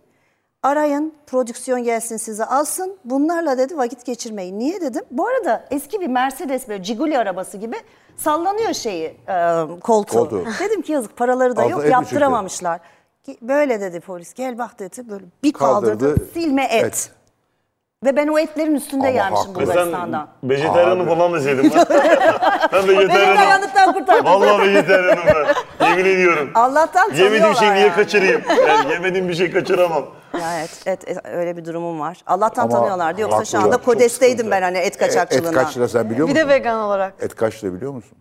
[SPEAKER 3] Arayın, prodüksiyon gelsin sizi alsın. Bunlarla dedi vakit geçirmeyin. Niye dedim? Bu arada eski bir Mercedes böyle Ciguli arabası gibi sallanıyor şeyi e, koltuğu.
[SPEAKER 1] Koltuğu.
[SPEAKER 3] Dedim ki yazık paraları da
[SPEAKER 1] Altına
[SPEAKER 3] yok
[SPEAKER 1] el mi
[SPEAKER 3] yaptıramamışlar. Ki- Böyle dedi polis gel bak dedi böyle bir kaldırdı,
[SPEAKER 1] Kaldırdı,
[SPEAKER 3] silme et.
[SPEAKER 1] et.
[SPEAKER 3] Ve ben o etlerin üstünde
[SPEAKER 1] Ama
[SPEAKER 3] gelmişim
[SPEAKER 1] haklı.
[SPEAKER 4] Ve sen
[SPEAKER 3] Bulgaristan'dan.
[SPEAKER 4] vejetaryenim falan deseydin. ben vejetaryenim.
[SPEAKER 3] Dayanıktan kurtardım.
[SPEAKER 4] Vallahi vejetaryenim ben. Yemin ediyorum.
[SPEAKER 3] Allah'tan
[SPEAKER 4] Yemediğim
[SPEAKER 3] tanıyorlar
[SPEAKER 4] şeyi niye
[SPEAKER 3] yani.
[SPEAKER 4] kaçırayım? Yani yemediğim bir şey kaçıramam.
[SPEAKER 3] Ya evet, evet, evet, öyle bir durumum var. Allah'tan
[SPEAKER 1] Ama
[SPEAKER 3] tanıyorlardı. Yoksa
[SPEAKER 1] haklı
[SPEAKER 3] şu anda
[SPEAKER 1] ya, çok E,
[SPEAKER 3] kodesteydim ben hani et
[SPEAKER 1] Et
[SPEAKER 3] kaçakçılığına.
[SPEAKER 1] kaç lira sen biliyor
[SPEAKER 5] Bir
[SPEAKER 1] musun?
[SPEAKER 5] de vegan olarak.
[SPEAKER 1] Et kaç lira biliyor musun?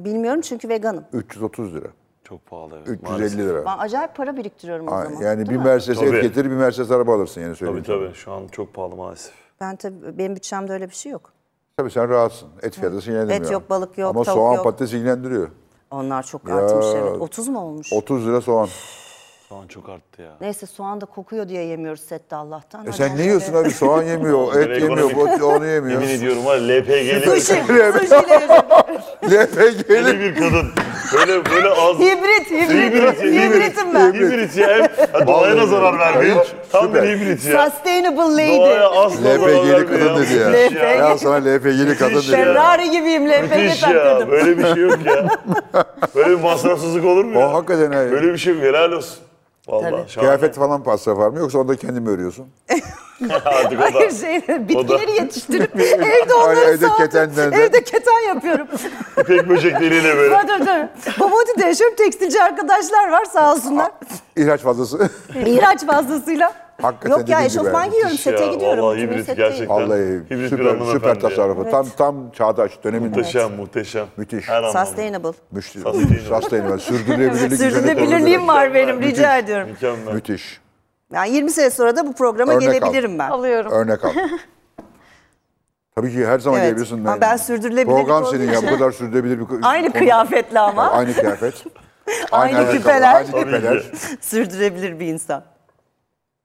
[SPEAKER 3] Bilmiyorum çünkü veganım.
[SPEAKER 1] 330 lira.
[SPEAKER 4] Çok pahalı. evet,
[SPEAKER 1] 350
[SPEAKER 4] maalesef.
[SPEAKER 1] lira.
[SPEAKER 6] Ben acayip para biriktiriyorum o
[SPEAKER 1] Ha,
[SPEAKER 6] zaman.
[SPEAKER 1] Yani
[SPEAKER 6] değil mi?
[SPEAKER 1] bir Mercedes
[SPEAKER 4] Tabii.
[SPEAKER 1] et getirir, bir Mercedes araba alırsın yani
[SPEAKER 4] Tabii
[SPEAKER 1] söyleyeyim.
[SPEAKER 4] tabii şu an çok pahalı maalesef.
[SPEAKER 3] Ben tabii benim bütçemde öyle bir şey yok.
[SPEAKER 1] Tabii sen rahatsın. Et fiyatı seni ilgilendirmiyor.
[SPEAKER 3] Et yok, balık yok,
[SPEAKER 1] Ama
[SPEAKER 3] tavuk
[SPEAKER 1] soğan
[SPEAKER 3] yok.
[SPEAKER 1] patates ilgilendiriyor.
[SPEAKER 3] Onlar çok artmış evet. 30 mu olmuş?
[SPEAKER 1] 30 lira soğan. E
[SPEAKER 4] Şu an çok arttı ya.
[SPEAKER 6] Neyse soğan da kokuyor diye yemiyoruz sette Allah'tan.
[SPEAKER 1] E sen ne yiyorsun abi? Soğan yemiyor,
[SPEAKER 4] Direkt
[SPEAKER 1] et yemiyor,
[SPEAKER 4] ekonomik.
[SPEAKER 1] bu- onu yemiyor.
[SPEAKER 4] Yemin ediyorum var ya, LPG'li
[SPEAKER 1] LPG'li.
[SPEAKER 4] böyle bir kadın. Böyle böyle az.
[SPEAKER 6] Hibrit, hibrit.
[SPEAKER 4] Hibrit,
[SPEAKER 6] Hibritim ben.
[SPEAKER 4] Hibrit ya. Hem doğaya da zarar vermiyor. Tam bir
[SPEAKER 1] Süper.
[SPEAKER 4] hibrit ya.
[SPEAKER 6] Sustainable
[SPEAKER 4] Doğaya
[SPEAKER 6] lady.
[SPEAKER 4] asla zarar
[SPEAKER 1] LPG'li
[SPEAKER 4] vermiyor
[SPEAKER 1] kadın dedi ya.
[SPEAKER 4] Müthiş
[SPEAKER 1] Ya sana LPG'li kadın
[SPEAKER 4] Müthiş
[SPEAKER 1] dedi
[SPEAKER 4] ya.
[SPEAKER 1] ya.
[SPEAKER 6] Ferrari gibiyim LPG
[SPEAKER 4] Müthiş ya.
[SPEAKER 6] takladım.
[SPEAKER 4] Böyle bir şey yok ya. Böyle bir masrafsızlık olur mu ya?
[SPEAKER 1] O hakikaten ha.
[SPEAKER 4] Böyle bir şey yok. Helal olsun. Vallahi şahane.
[SPEAKER 1] Kıyafet falan pasta var mı yoksa onu da kendin mi örüyorsun?
[SPEAKER 4] Artık o da.
[SPEAKER 6] Hayır şey, bitkileri yetiştirip evde
[SPEAKER 1] Ay,
[SPEAKER 6] onları
[SPEAKER 1] evde
[SPEAKER 6] savunup
[SPEAKER 1] ketenlerden.
[SPEAKER 6] evde keten yapıyorum.
[SPEAKER 4] İpek böcekleriyle böyle.
[SPEAKER 6] Dur dur dur. Babodi de yaşıyorum tekstilci arkadaşlar var sağ olsunlar.
[SPEAKER 1] İhraç fazlası.
[SPEAKER 6] İhraç fazlasıyla.
[SPEAKER 1] hakikaten
[SPEAKER 3] Yok ya
[SPEAKER 1] dediğin gibi
[SPEAKER 3] eşofman
[SPEAKER 1] abi.
[SPEAKER 3] giyiyorum sete
[SPEAKER 4] Ya,
[SPEAKER 3] gidiyorum.
[SPEAKER 4] Vallahi
[SPEAKER 3] Bütün gün
[SPEAKER 4] hibrit
[SPEAKER 3] setteyim.
[SPEAKER 4] gerçekten.
[SPEAKER 1] Vallahi
[SPEAKER 4] Hibrit bir
[SPEAKER 1] süper,
[SPEAKER 4] hanımefendi
[SPEAKER 1] süper
[SPEAKER 4] ya.
[SPEAKER 1] tasarrufu. Tam tam çağdaş dönemin
[SPEAKER 4] Muhteşem, muhteşem.
[SPEAKER 1] Müthiş.
[SPEAKER 4] Her anlamda.
[SPEAKER 3] Sustainable.
[SPEAKER 1] müşteri.
[SPEAKER 4] Sustainable.
[SPEAKER 1] Sustainable. Sürdürülebilirlik üzerine
[SPEAKER 6] Sürdürülebilirliğim var benim
[SPEAKER 4] Müthiş,
[SPEAKER 6] rica ediyorum.
[SPEAKER 1] kurulu.
[SPEAKER 4] Mükemmel.
[SPEAKER 1] Müthiş.
[SPEAKER 3] Yani 20 sene sonra da bu programa
[SPEAKER 1] Örnek al.
[SPEAKER 3] gelebilirim ben.
[SPEAKER 5] Alıyorum.
[SPEAKER 1] Örnek al. Tabii ki her zaman
[SPEAKER 3] Evet.
[SPEAKER 1] gelebilirsin.
[SPEAKER 3] Ama ben sürdürülebilirlik
[SPEAKER 1] Program
[SPEAKER 3] olduğu
[SPEAKER 1] senin ya bu kadar sürdürülebilir bir ko-
[SPEAKER 6] Aynı
[SPEAKER 1] konu.
[SPEAKER 6] kıyafetle ama.
[SPEAKER 1] Aynı kıyafet.
[SPEAKER 6] Aynı
[SPEAKER 1] ayakkabı,
[SPEAKER 6] küpeler.
[SPEAKER 1] Aynı
[SPEAKER 4] Tabii
[SPEAKER 1] küpeler.
[SPEAKER 4] ki.
[SPEAKER 3] Sürdürebilir bir insan.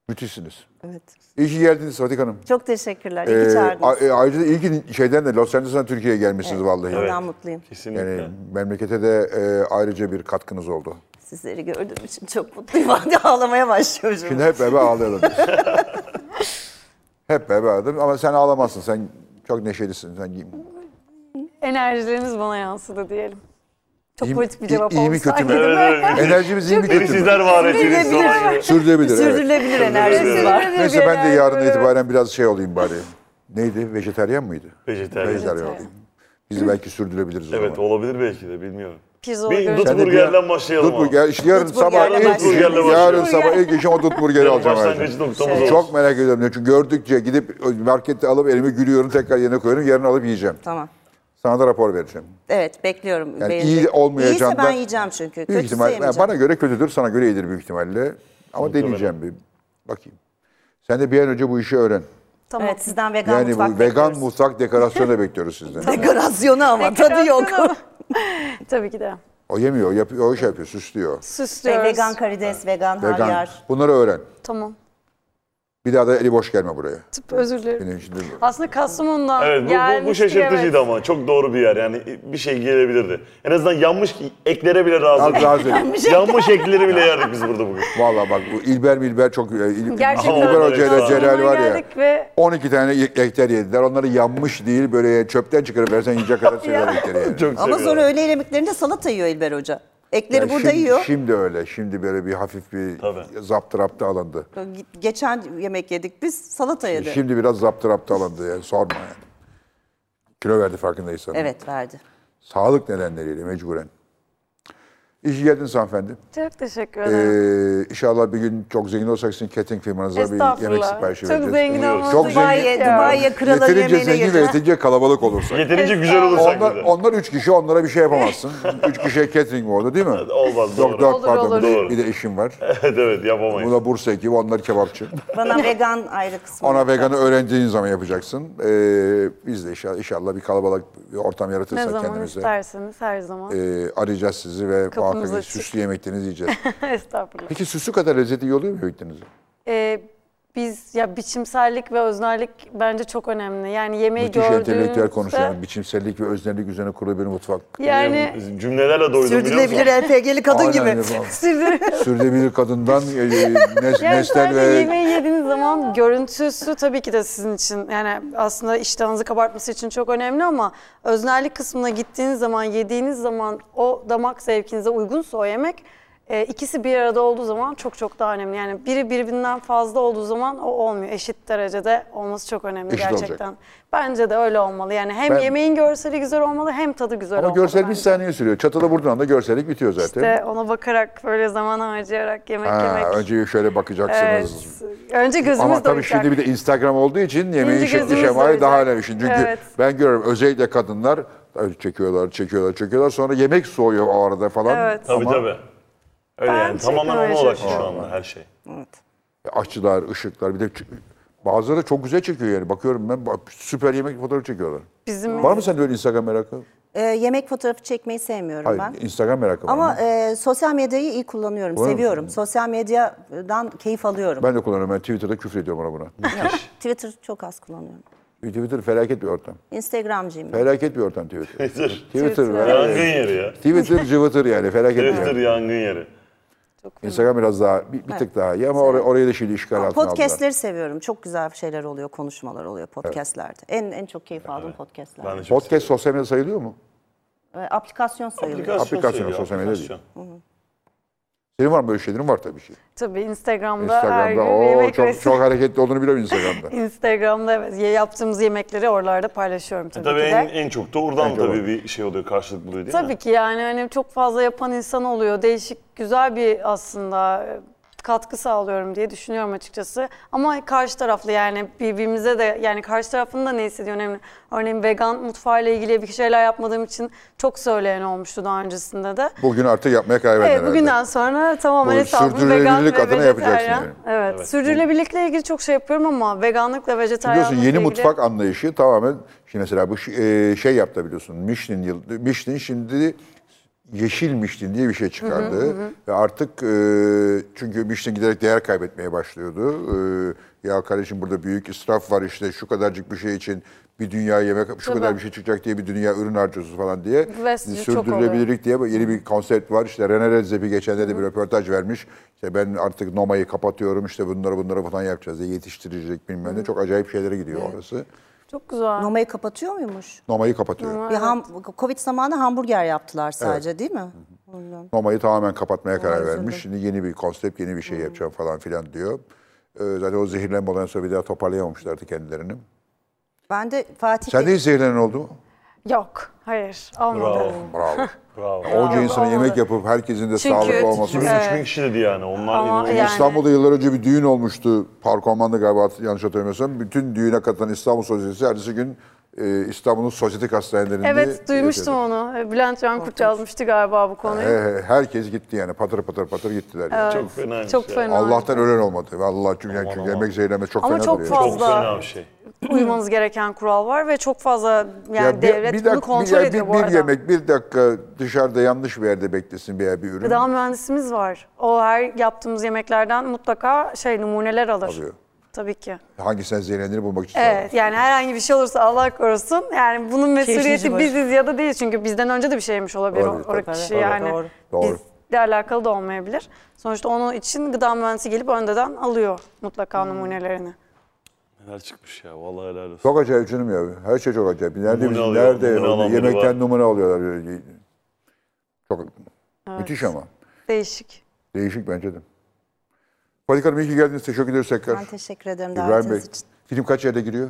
[SPEAKER 1] Müthişsiniz.
[SPEAKER 3] Evet.
[SPEAKER 1] İyi ki geldiniz Fatih Hanım.
[SPEAKER 3] Çok teşekkürler. İyi
[SPEAKER 1] Ee,
[SPEAKER 3] ki çağırdınız.
[SPEAKER 1] a- e, ayrıca da iyi ki şeyden de Los Angeles'tan Türkiye'ye gelmişsiniz vallahi.
[SPEAKER 3] Ondan mutluyum.
[SPEAKER 4] Kesinlikle.
[SPEAKER 1] Yani memlekete de e, ayrıca bir katkınız oldu.
[SPEAKER 3] Sizleri gördüğüm için çok mutluyum. Hadi ağlamaya başlıyorum.
[SPEAKER 1] Şimdi hep beraber ağlayalım. hep beraber ağlayalım ama sen ağlamazsın. Sen çok neşelisin. Sen iyi,
[SPEAKER 5] Enerjileriniz bana yansıdı diyelim. Çok
[SPEAKER 1] İyi-
[SPEAKER 5] politik bir
[SPEAKER 1] iyi-
[SPEAKER 5] cevap
[SPEAKER 1] iyi mi,
[SPEAKER 5] olmuş
[SPEAKER 1] kötü mü?
[SPEAKER 5] sanki, değil
[SPEAKER 4] Evet,
[SPEAKER 5] mi?
[SPEAKER 4] evet.
[SPEAKER 1] Enerjimiz iyi mi
[SPEAKER 4] Beni
[SPEAKER 1] kötü mü?
[SPEAKER 4] sizler var ettiniz.
[SPEAKER 6] Sürdürülebilir.
[SPEAKER 4] Vallahi.
[SPEAKER 1] Sürdürülebilir. evet.
[SPEAKER 6] Sürdürülebilir enerjisi var.
[SPEAKER 5] Sürdürülebilir
[SPEAKER 1] Neyse
[SPEAKER 5] bir
[SPEAKER 1] ben de
[SPEAKER 5] enerji,
[SPEAKER 1] yarın
[SPEAKER 5] evet.
[SPEAKER 1] itibaren biraz şey olayım bari. Neydi? Vejeteryan mıydı?
[SPEAKER 4] Vejetaryen.
[SPEAKER 1] Vejeteryan olayım. Biz de belki sürdürebiliriz o
[SPEAKER 4] Evet
[SPEAKER 1] zaman.
[SPEAKER 4] olabilir belki de bilmiyorum.
[SPEAKER 5] Pirzola
[SPEAKER 4] Bir
[SPEAKER 5] görüntü-
[SPEAKER 1] Sen de bir-
[SPEAKER 4] Dutburger'den başlayalım ama.
[SPEAKER 1] Dutburger, işte yarın sabah
[SPEAKER 3] Dutburger'le
[SPEAKER 1] ilk işim,
[SPEAKER 4] başlayalım.
[SPEAKER 1] yarın
[SPEAKER 4] Dutburger'le
[SPEAKER 1] sabah ilk işim o Dutburger'i Şey alacağım.
[SPEAKER 4] Başlangıcı
[SPEAKER 1] ayrıca.
[SPEAKER 4] noktamız olsun.
[SPEAKER 1] Çok merak ediyorum. Çünkü gördükçe gidip markette alıp elimi gülüyorum tekrar yerine koyuyorum. Yarın alıp yiyeceğim.
[SPEAKER 3] Tamam.
[SPEAKER 1] Sana da rapor vereceğim.
[SPEAKER 3] Evet bekliyorum.
[SPEAKER 1] Yani
[SPEAKER 3] Beğenecek.
[SPEAKER 1] iyi olmayacağını
[SPEAKER 3] İyiyse ben
[SPEAKER 1] da-
[SPEAKER 3] yiyeceğim çünkü.
[SPEAKER 1] Büyük
[SPEAKER 3] Kötüyse
[SPEAKER 1] ihtimal, yani
[SPEAKER 3] yemeyeceğim.
[SPEAKER 1] bana göre kötüdür, sana göre iyidir büyük ihtimalle. Ama deneyeceğim bir. Bakayım. Sen de bir an önce bu işi öğren.
[SPEAKER 5] Tamam.
[SPEAKER 3] Evet sizden vegan
[SPEAKER 1] Yani
[SPEAKER 3] mutfak
[SPEAKER 1] bu vegan
[SPEAKER 3] bekliyoruz.
[SPEAKER 1] mutfak dekorasyonu da bekliyoruz sizden.
[SPEAKER 3] Dekorasyonu ama tadı yok.
[SPEAKER 5] Dekorasyonu- Tabii ki de.
[SPEAKER 1] O yemiyor, o, yapıyor, o şey yapıyor, süslüyor.
[SPEAKER 5] Süslüyoruz.
[SPEAKER 3] Şey,
[SPEAKER 1] Şey,
[SPEAKER 3] Vegan karides, vegan,
[SPEAKER 1] Vegan.
[SPEAKER 3] havyar.
[SPEAKER 1] Bunları öğren.
[SPEAKER 5] Tamam.
[SPEAKER 1] Bir daha da eli boş gelme buraya.
[SPEAKER 5] Tıp özür dilerim.
[SPEAKER 1] Benim şimdi
[SPEAKER 5] Aslında Kastamonu'dan
[SPEAKER 4] Evet bu- bu, bu
[SPEAKER 5] gelmiştik,
[SPEAKER 4] şaşırtıcıydı
[SPEAKER 5] evet.
[SPEAKER 4] ama çok doğru bir yer yani bir şey gelebilirdi. En azından yanmış eklere bile razı.
[SPEAKER 1] Az razı edin.
[SPEAKER 4] yanmış ekleri bile yerdik biz burada bugün.
[SPEAKER 1] Valla bak bu İlber Milber çok... e, İl,
[SPEAKER 5] Gerçekten
[SPEAKER 1] İlber
[SPEAKER 4] öyle.
[SPEAKER 1] Hoca ile
[SPEAKER 4] Kastamonu'ya
[SPEAKER 1] Celal var ya.
[SPEAKER 5] geldik ve-
[SPEAKER 1] 12 tane ekler yediler. Onları yanmış değil böyle çöpten çıkarıp versen yiyecek kadar seviyorlar ekleri yani.
[SPEAKER 4] Çok
[SPEAKER 3] Ama
[SPEAKER 4] seviyorum.
[SPEAKER 3] sonra öğle yemeklerinde salata yiyor İlber Hoca. Ekleri
[SPEAKER 1] Yani
[SPEAKER 3] burada
[SPEAKER 1] şimdi,
[SPEAKER 3] yiyor.
[SPEAKER 1] Şimdi öyle. Şimdi böyle bir hafif bir
[SPEAKER 4] Tabii.
[SPEAKER 1] zaptıraptı alındı.
[SPEAKER 3] Geçen yemek yedik biz salata yedi.
[SPEAKER 1] Şimdi biraz zaptıraptı alındı yani sorma yani. Kilo verdi farkındaysan.
[SPEAKER 3] Evet verdi.
[SPEAKER 1] Sağlık nedenleriyle mecburen. İyi ki geldiniz hanımefendi.
[SPEAKER 5] Çok teşekkür
[SPEAKER 1] Ee,
[SPEAKER 5] ederim.
[SPEAKER 1] inşallah bir gün çok zengin olsak sizin catering firmanıza bir yemek
[SPEAKER 5] Estağfurullah.
[SPEAKER 1] siparişi
[SPEAKER 5] Çok
[SPEAKER 1] vereceğiz.
[SPEAKER 5] zengin olmanızı
[SPEAKER 1] Çok
[SPEAKER 5] gayet
[SPEAKER 1] zengin-
[SPEAKER 5] ya.
[SPEAKER 3] Dubai'ye kralı
[SPEAKER 1] Yeterince
[SPEAKER 3] yemeğine
[SPEAKER 1] zengin ve
[SPEAKER 3] girdi.
[SPEAKER 1] yeterince kalabalık olursak.
[SPEAKER 4] Yeterince güzel olursak
[SPEAKER 1] Onlar,
[SPEAKER 4] bize.
[SPEAKER 1] onlar üç kişi onlara bir şey yapamazsın. üç kişiye catering mi orada değil mi?
[SPEAKER 4] Olmaz
[SPEAKER 1] Yok
[SPEAKER 4] doğru.
[SPEAKER 1] dört
[SPEAKER 5] Olur,
[SPEAKER 1] pardon
[SPEAKER 5] olur.
[SPEAKER 1] bir de-
[SPEAKER 4] Doğru.
[SPEAKER 1] bir de işim var.
[SPEAKER 4] evet evet yapamayız.
[SPEAKER 1] Buna Bursa ekibi onlar kebapçı.
[SPEAKER 3] Bana vegan ayrı kısmı.
[SPEAKER 1] Ona veganı öğrendiğin zaman yapacaksın. Ee, biz de inşallah, inşallah bir kalabalık bir ortam
[SPEAKER 5] Ne
[SPEAKER 1] yaratırsak
[SPEAKER 5] zaman
[SPEAKER 1] kendimize.
[SPEAKER 5] isterseniz her zaman.
[SPEAKER 1] Ee, arayacağız sizi ve
[SPEAKER 5] Kapımız
[SPEAKER 1] muhakkak
[SPEAKER 5] açık.
[SPEAKER 1] süslü yemeklerinizi yiyeceğiz.
[SPEAKER 5] Estağfurullah.
[SPEAKER 1] Peki süslü kadar lezzetli iyi oluyor mu yemeklerinizi?
[SPEAKER 5] Ee, biz ya biçimsellik ve öznerlik bence çok önemli. Yani yemeği
[SPEAKER 1] Müthiş entelektüel
[SPEAKER 5] gördüğünüzde
[SPEAKER 1] konuşuyorum. Biçimsellik ve öznellik üzerine kurulu bir mutfak.
[SPEAKER 5] yani
[SPEAKER 4] Cümlelerle doydum
[SPEAKER 3] Sürdürülebilir LPG'li kadın
[SPEAKER 1] Aynen
[SPEAKER 3] gibi.
[SPEAKER 1] öyle.
[SPEAKER 5] sizi
[SPEAKER 1] Sürdürülebilir kadından e, e, nes,
[SPEAKER 5] yani
[SPEAKER 1] nesnel ve
[SPEAKER 5] sadece yemeği yediğiniz zaman görüntüsü tabii ki de sizin için yani aslında iştahınızı kabartması için çok önemli ama öznerlik kısmına gittiğiniz zaman yediğiniz zaman o damak zevkinize uygunsa o yemek e, ikisi bir arada olduğu zaman çok çok daha önemli. Yani biri birbirinden fazla olduğu zaman o olmuyor. Eşit derecede olması çok önemli
[SPEAKER 1] Eşit olacak.
[SPEAKER 5] gerçekten. Bence de öyle olmalı. Yani hem
[SPEAKER 1] Ben-
[SPEAKER 5] yemeğin görseli güzel olmalı hem tadı güzel
[SPEAKER 1] ama
[SPEAKER 5] olmalı.
[SPEAKER 1] görsel bir
[SPEAKER 5] bence.
[SPEAKER 1] saniye sürüyor. Çatalı buradan da görsellik bitiyor zaten.
[SPEAKER 5] İşte ona bakarak böyle zaman harcayarak yemek
[SPEAKER 1] ha,
[SPEAKER 5] yemek.
[SPEAKER 1] önce şöyle
[SPEAKER 5] Evet.
[SPEAKER 1] bakacaksınız.
[SPEAKER 5] Önce gözümüz
[SPEAKER 1] Ama tabii
[SPEAKER 5] doyacak.
[SPEAKER 1] şimdi bir de Instagram olduğu için yemeğin
[SPEAKER 5] Önce
[SPEAKER 1] şekli
[SPEAKER 5] gözümüz
[SPEAKER 1] şemali daha
[SPEAKER 5] doyacak.
[SPEAKER 1] önemli. Çünkü
[SPEAKER 5] Evet.
[SPEAKER 1] ben görüyorum özellikle e, kadınlar öyle çekiyorlar, çekiyorlar, çekiyorlar. Sonra yemek soğuyor o arada falan.
[SPEAKER 5] Evet.
[SPEAKER 4] Tabii
[SPEAKER 1] Ama
[SPEAKER 4] tabii. Öyle yani
[SPEAKER 5] Gerçekten
[SPEAKER 4] tamamen
[SPEAKER 5] öyle
[SPEAKER 4] ona odaklı şu
[SPEAKER 5] çalışıyorum.
[SPEAKER 4] anda her şey.
[SPEAKER 1] Açılar, ışıklar bir de ç- bazıları da çok güzel çekiyor yani. Bakıyorum ben bak- süper yemek fotoğrafı çekiyorlar.
[SPEAKER 5] Bizim-
[SPEAKER 1] Var mı sende öyle Instagram merakı?
[SPEAKER 3] Ee, yemek fotoğrafı çekmeyi sevmiyorum
[SPEAKER 1] Hayır,
[SPEAKER 3] ben.
[SPEAKER 1] Instagram merakı var.
[SPEAKER 3] Ama
[SPEAKER 1] mı?
[SPEAKER 3] e, sosyal medyayı iyi kullanıyorum,
[SPEAKER 1] Kullanıyor
[SPEAKER 3] seviyorum. Sosyal medyadan keyif alıyorum.
[SPEAKER 1] Ben de kullanıyorum. Ben Twitter'da küfür ediyorum ona buna.
[SPEAKER 3] Twitter çok az kullanıyorum.
[SPEAKER 1] Twitter felaket bir ortam.
[SPEAKER 3] Instagramcıyım. ben.
[SPEAKER 1] Felaket bir ortam Twitter.
[SPEAKER 4] Twitter.
[SPEAKER 1] Twitter,
[SPEAKER 4] Yangın
[SPEAKER 1] yani.
[SPEAKER 4] yeri ya.
[SPEAKER 1] Twitter cıvıtır yani felaket bir
[SPEAKER 4] Twitter
[SPEAKER 1] yer.
[SPEAKER 4] yangın yeri.
[SPEAKER 1] Instagram biraz daha bir, bir tık daha iyi ama oraya, oraya da şimdi işgal altına aldılar.
[SPEAKER 3] Podcast'leri seviyorum. Çok güzel şeyler oluyor, konuşmalar oluyor podcast'lerde. En en çok keyif aldığım podcast'ler.
[SPEAKER 4] Ben de çok
[SPEAKER 1] Podcast sosyal medya sayılıyor mu?
[SPEAKER 3] Ee, aplikasyon sayılıyor.
[SPEAKER 4] Aplikasyon,
[SPEAKER 1] Aplikasyon,
[SPEAKER 4] söylüyor,
[SPEAKER 1] sosyal medya değil.
[SPEAKER 4] aplikasyon.
[SPEAKER 1] Senin var mı böyle şeylerin? Var tabii ki.
[SPEAKER 5] Tabii Instagram'da, her gün
[SPEAKER 1] Instagram'da
[SPEAKER 5] yemek
[SPEAKER 1] o çok,
[SPEAKER 5] resmi-
[SPEAKER 1] çok hareketli olduğunu biliyorum Instagram'da.
[SPEAKER 5] Instagram'da evet ye- yaptığımız yemekleri oralarda paylaşıyorum tabii,
[SPEAKER 4] E Tabii
[SPEAKER 5] ki de.
[SPEAKER 4] en, en çok da oradan
[SPEAKER 1] En çok
[SPEAKER 4] tabii
[SPEAKER 1] o.
[SPEAKER 4] bir şey oluyor, karşılık buluyor değil
[SPEAKER 5] Tabii
[SPEAKER 4] mi?
[SPEAKER 5] ki yani hani çok fazla yapan insan oluyor. Değişik güzel bir aslında e, katkı sağlıyorum diye düşünüyorum açıkçası. Ama karşı taraflı yani birbirimize de yani karşı tarafın da ne hissediyor önemli. Örneğin vegan mutfağıyla ilgili bir şeyler yapmadığım için çok söyleyen olmuştu daha öncesinde de.
[SPEAKER 1] Bugün artık yapmaya karar verdin
[SPEAKER 5] Evet,
[SPEAKER 1] herhalde.
[SPEAKER 5] bugünden sonra tamamen
[SPEAKER 1] Bu
[SPEAKER 5] hesabım
[SPEAKER 1] sürdürülebilirlik
[SPEAKER 5] vegan ve
[SPEAKER 1] adına
[SPEAKER 5] vejetaryen.
[SPEAKER 1] yapacaksın yani.
[SPEAKER 5] Evet, sürdürülebilirlikle ilgili çok şey yapıyorum ama veganlıkla vejetaryenlikle
[SPEAKER 1] Biliyorsun
[SPEAKER 5] ilgili...
[SPEAKER 1] yeni mutfak anlayışı tamamen şimdi mesela bu şi- e, şey yaptı biliyorsun. Michelin yıl Michelin şimdi yeşil Michelin diye bir şey çıkardı ve artık e, çünkü Michelin giderek değer kaybetmeye başlıyordu. E, ya kardeşim burada büyük israf var işte şu kadarcık bir şey için bir dünya yemek şu kadar bir şey çıkacak diye bir dünya ürün harcıyorsunuz falan diye.
[SPEAKER 5] Ve çok oluyor.
[SPEAKER 1] Sürdürülebilir Birlik diye yeni bir konsept var. İşte Rene Redzepi geçenlerde de bir röportaj vermiş. İşte ben artık Noma'yı kapatıyorum işte bunları bunları falan yapacağız diye yetiştirecek bilmem ne. Çok acayip şeylere gidiyor orası.
[SPEAKER 5] Çok güzel.
[SPEAKER 3] Nomayı kapatıyor muymuş?
[SPEAKER 1] Noma'yı kapatıyor.
[SPEAKER 3] Bir ham- Covid zamanı hamburger yaptılar sadece değil mi?
[SPEAKER 1] Noma'yı tamamen kapatmaya karar vermiş. Şimdi yeni bir konsept, yeni bir şey yapacağım falan filan diyor. Ee, zaten o zehirlenme olayından sonra bir daha toparlayamamışlardı kendilerini.
[SPEAKER 3] Ben de Fatih
[SPEAKER 1] Sen de hiç zehirlenen oldu mu?
[SPEAKER 5] Yok, hayır olmadı.
[SPEAKER 4] Bravo.
[SPEAKER 1] Bravo.
[SPEAKER 4] Bravo.
[SPEAKER 1] Onca insana yemek yapıp herkesin de sağlıklı olması.
[SPEAKER 4] 23 bin kişi dedi yani. Onlar
[SPEAKER 5] Ama
[SPEAKER 4] inanılmaz.
[SPEAKER 5] yani-
[SPEAKER 1] İstanbul'da yıllar önce bir düğün olmuştu. Park Orman'da galiba yanlış hatırlamıyorsam. Bütün düğüne katılan İstanbul Sosyetesi ertesi gün e, İstanbul'un sosyetik hastanelerinde...
[SPEAKER 5] Evet, duymuştum onu. E, Bülent Cankurt yazmıştı galiba bu konuyu.
[SPEAKER 1] He, herkes gitti yani patır patır patır gittiler. yani.
[SPEAKER 4] Çok fena bir
[SPEAKER 5] Çok
[SPEAKER 4] şey.
[SPEAKER 5] fena.
[SPEAKER 1] Allah'tan ölen olmadı. Vallahi çünkü,
[SPEAKER 4] Aman,
[SPEAKER 1] çünkü
[SPEAKER 4] aman.
[SPEAKER 1] yemek zehirlenmesi çok
[SPEAKER 5] Ama
[SPEAKER 1] fena
[SPEAKER 5] çok
[SPEAKER 1] duruyor.
[SPEAKER 5] fazla
[SPEAKER 4] Çok fena bir şey.
[SPEAKER 5] Uymanız gereken kural var ve çok fazla yani
[SPEAKER 1] Ya bir-
[SPEAKER 5] devlet
[SPEAKER 1] bir
[SPEAKER 5] bunu
[SPEAKER 1] dakika-
[SPEAKER 5] kontrol
[SPEAKER 1] bir-
[SPEAKER 5] ediyor
[SPEAKER 1] bir,
[SPEAKER 5] bu arada.
[SPEAKER 1] Bir yemek bir dakika dışarıda yanlış bir yerde beklesin bir yer bir ürün.
[SPEAKER 5] Gıda mühendisimiz var. O her yaptığımız yemeklerden mutlaka şey numuneler alır.
[SPEAKER 1] Alıyor.
[SPEAKER 5] Tabii ki.
[SPEAKER 1] Hangisinden zehirlendiğini bulmak için.
[SPEAKER 5] Evet yani herhangi bir şey olursa Allah korusun. Yani bunun mesuliyeti
[SPEAKER 6] var.
[SPEAKER 5] biziz ya da değil. Çünkü bizden önce de bir şey yemiş olabilir
[SPEAKER 1] şey Olabilir,
[SPEAKER 5] o, o
[SPEAKER 1] tabii.
[SPEAKER 5] kişi
[SPEAKER 1] Tabii,
[SPEAKER 5] yani.
[SPEAKER 6] doğru.
[SPEAKER 1] Doğru.
[SPEAKER 5] Bizle alakalı da olmayabilir. Sonuçta onun için gıda mühendisi gelip öndeden alıyor
[SPEAKER 1] Hmm.
[SPEAKER 5] mutlaka numunelerini.
[SPEAKER 4] Neler çıkmış ya. Vallahi helal olsun.
[SPEAKER 1] Çok acayip canım ya. Her şey çok acayip. Nerede,
[SPEAKER 4] Numune
[SPEAKER 1] biz,
[SPEAKER 4] alıyor,
[SPEAKER 1] nerede
[SPEAKER 4] numune alan biri
[SPEAKER 1] yemekten
[SPEAKER 4] var.
[SPEAKER 1] numune alıyorlar. böyle. Çok müthiş ama.
[SPEAKER 5] Değişik.
[SPEAKER 1] Değişik bence de. Fatih Hanım iyi ki geldiniz. Teşekkür ederiz tekrar.
[SPEAKER 3] Ben teşekkür ederim
[SPEAKER 1] İbrahim Bey.
[SPEAKER 3] davetiniz için.
[SPEAKER 1] Film kaç yerde giriyor?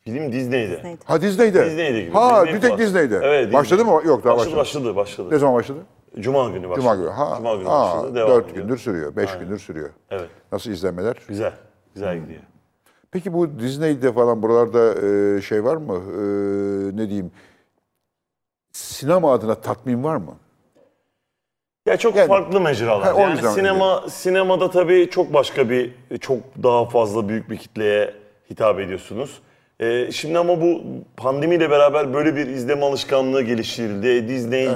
[SPEAKER 4] Film Disney'de.
[SPEAKER 1] Ha Disney'de.
[SPEAKER 4] Disney'de gibi.
[SPEAKER 1] Ha
[SPEAKER 4] Disney
[SPEAKER 1] bir tek
[SPEAKER 4] Plus.
[SPEAKER 1] Disney'de.
[SPEAKER 4] Evet.
[SPEAKER 1] başladı mı? Yok daha başladı.
[SPEAKER 4] başladı. Başladı, başladı.
[SPEAKER 1] Ne zaman başladı?
[SPEAKER 4] Cuma günü başladı.
[SPEAKER 1] Cuma günü. Ha,
[SPEAKER 4] Cuma günü
[SPEAKER 1] ha,
[SPEAKER 4] başladı. Devam
[SPEAKER 1] dört
[SPEAKER 4] ediyor.
[SPEAKER 1] gündür sürüyor. Beş gündür sürüyor.
[SPEAKER 4] Evet.
[SPEAKER 1] Nasıl izlenmeler?
[SPEAKER 4] Güzel.
[SPEAKER 1] Hmm.
[SPEAKER 4] Güzel gidiyor.
[SPEAKER 1] Peki bu Disney'de falan buralarda e, şey var mı? E, ne diyeyim? Sinema adına tatmin var mı?
[SPEAKER 4] Ya çok
[SPEAKER 1] Yani-
[SPEAKER 4] farklı mecralar.
[SPEAKER 1] Ha, o
[SPEAKER 4] yani
[SPEAKER 1] yüzden
[SPEAKER 4] sinema sinemada tabii çok başka bir çok daha fazla büyük bir kitleye hitap ediyorsunuz. Ee, şimdi ama bu pandemiyle beraber böyle bir izleme alışkanlığı geliştirildi. Disney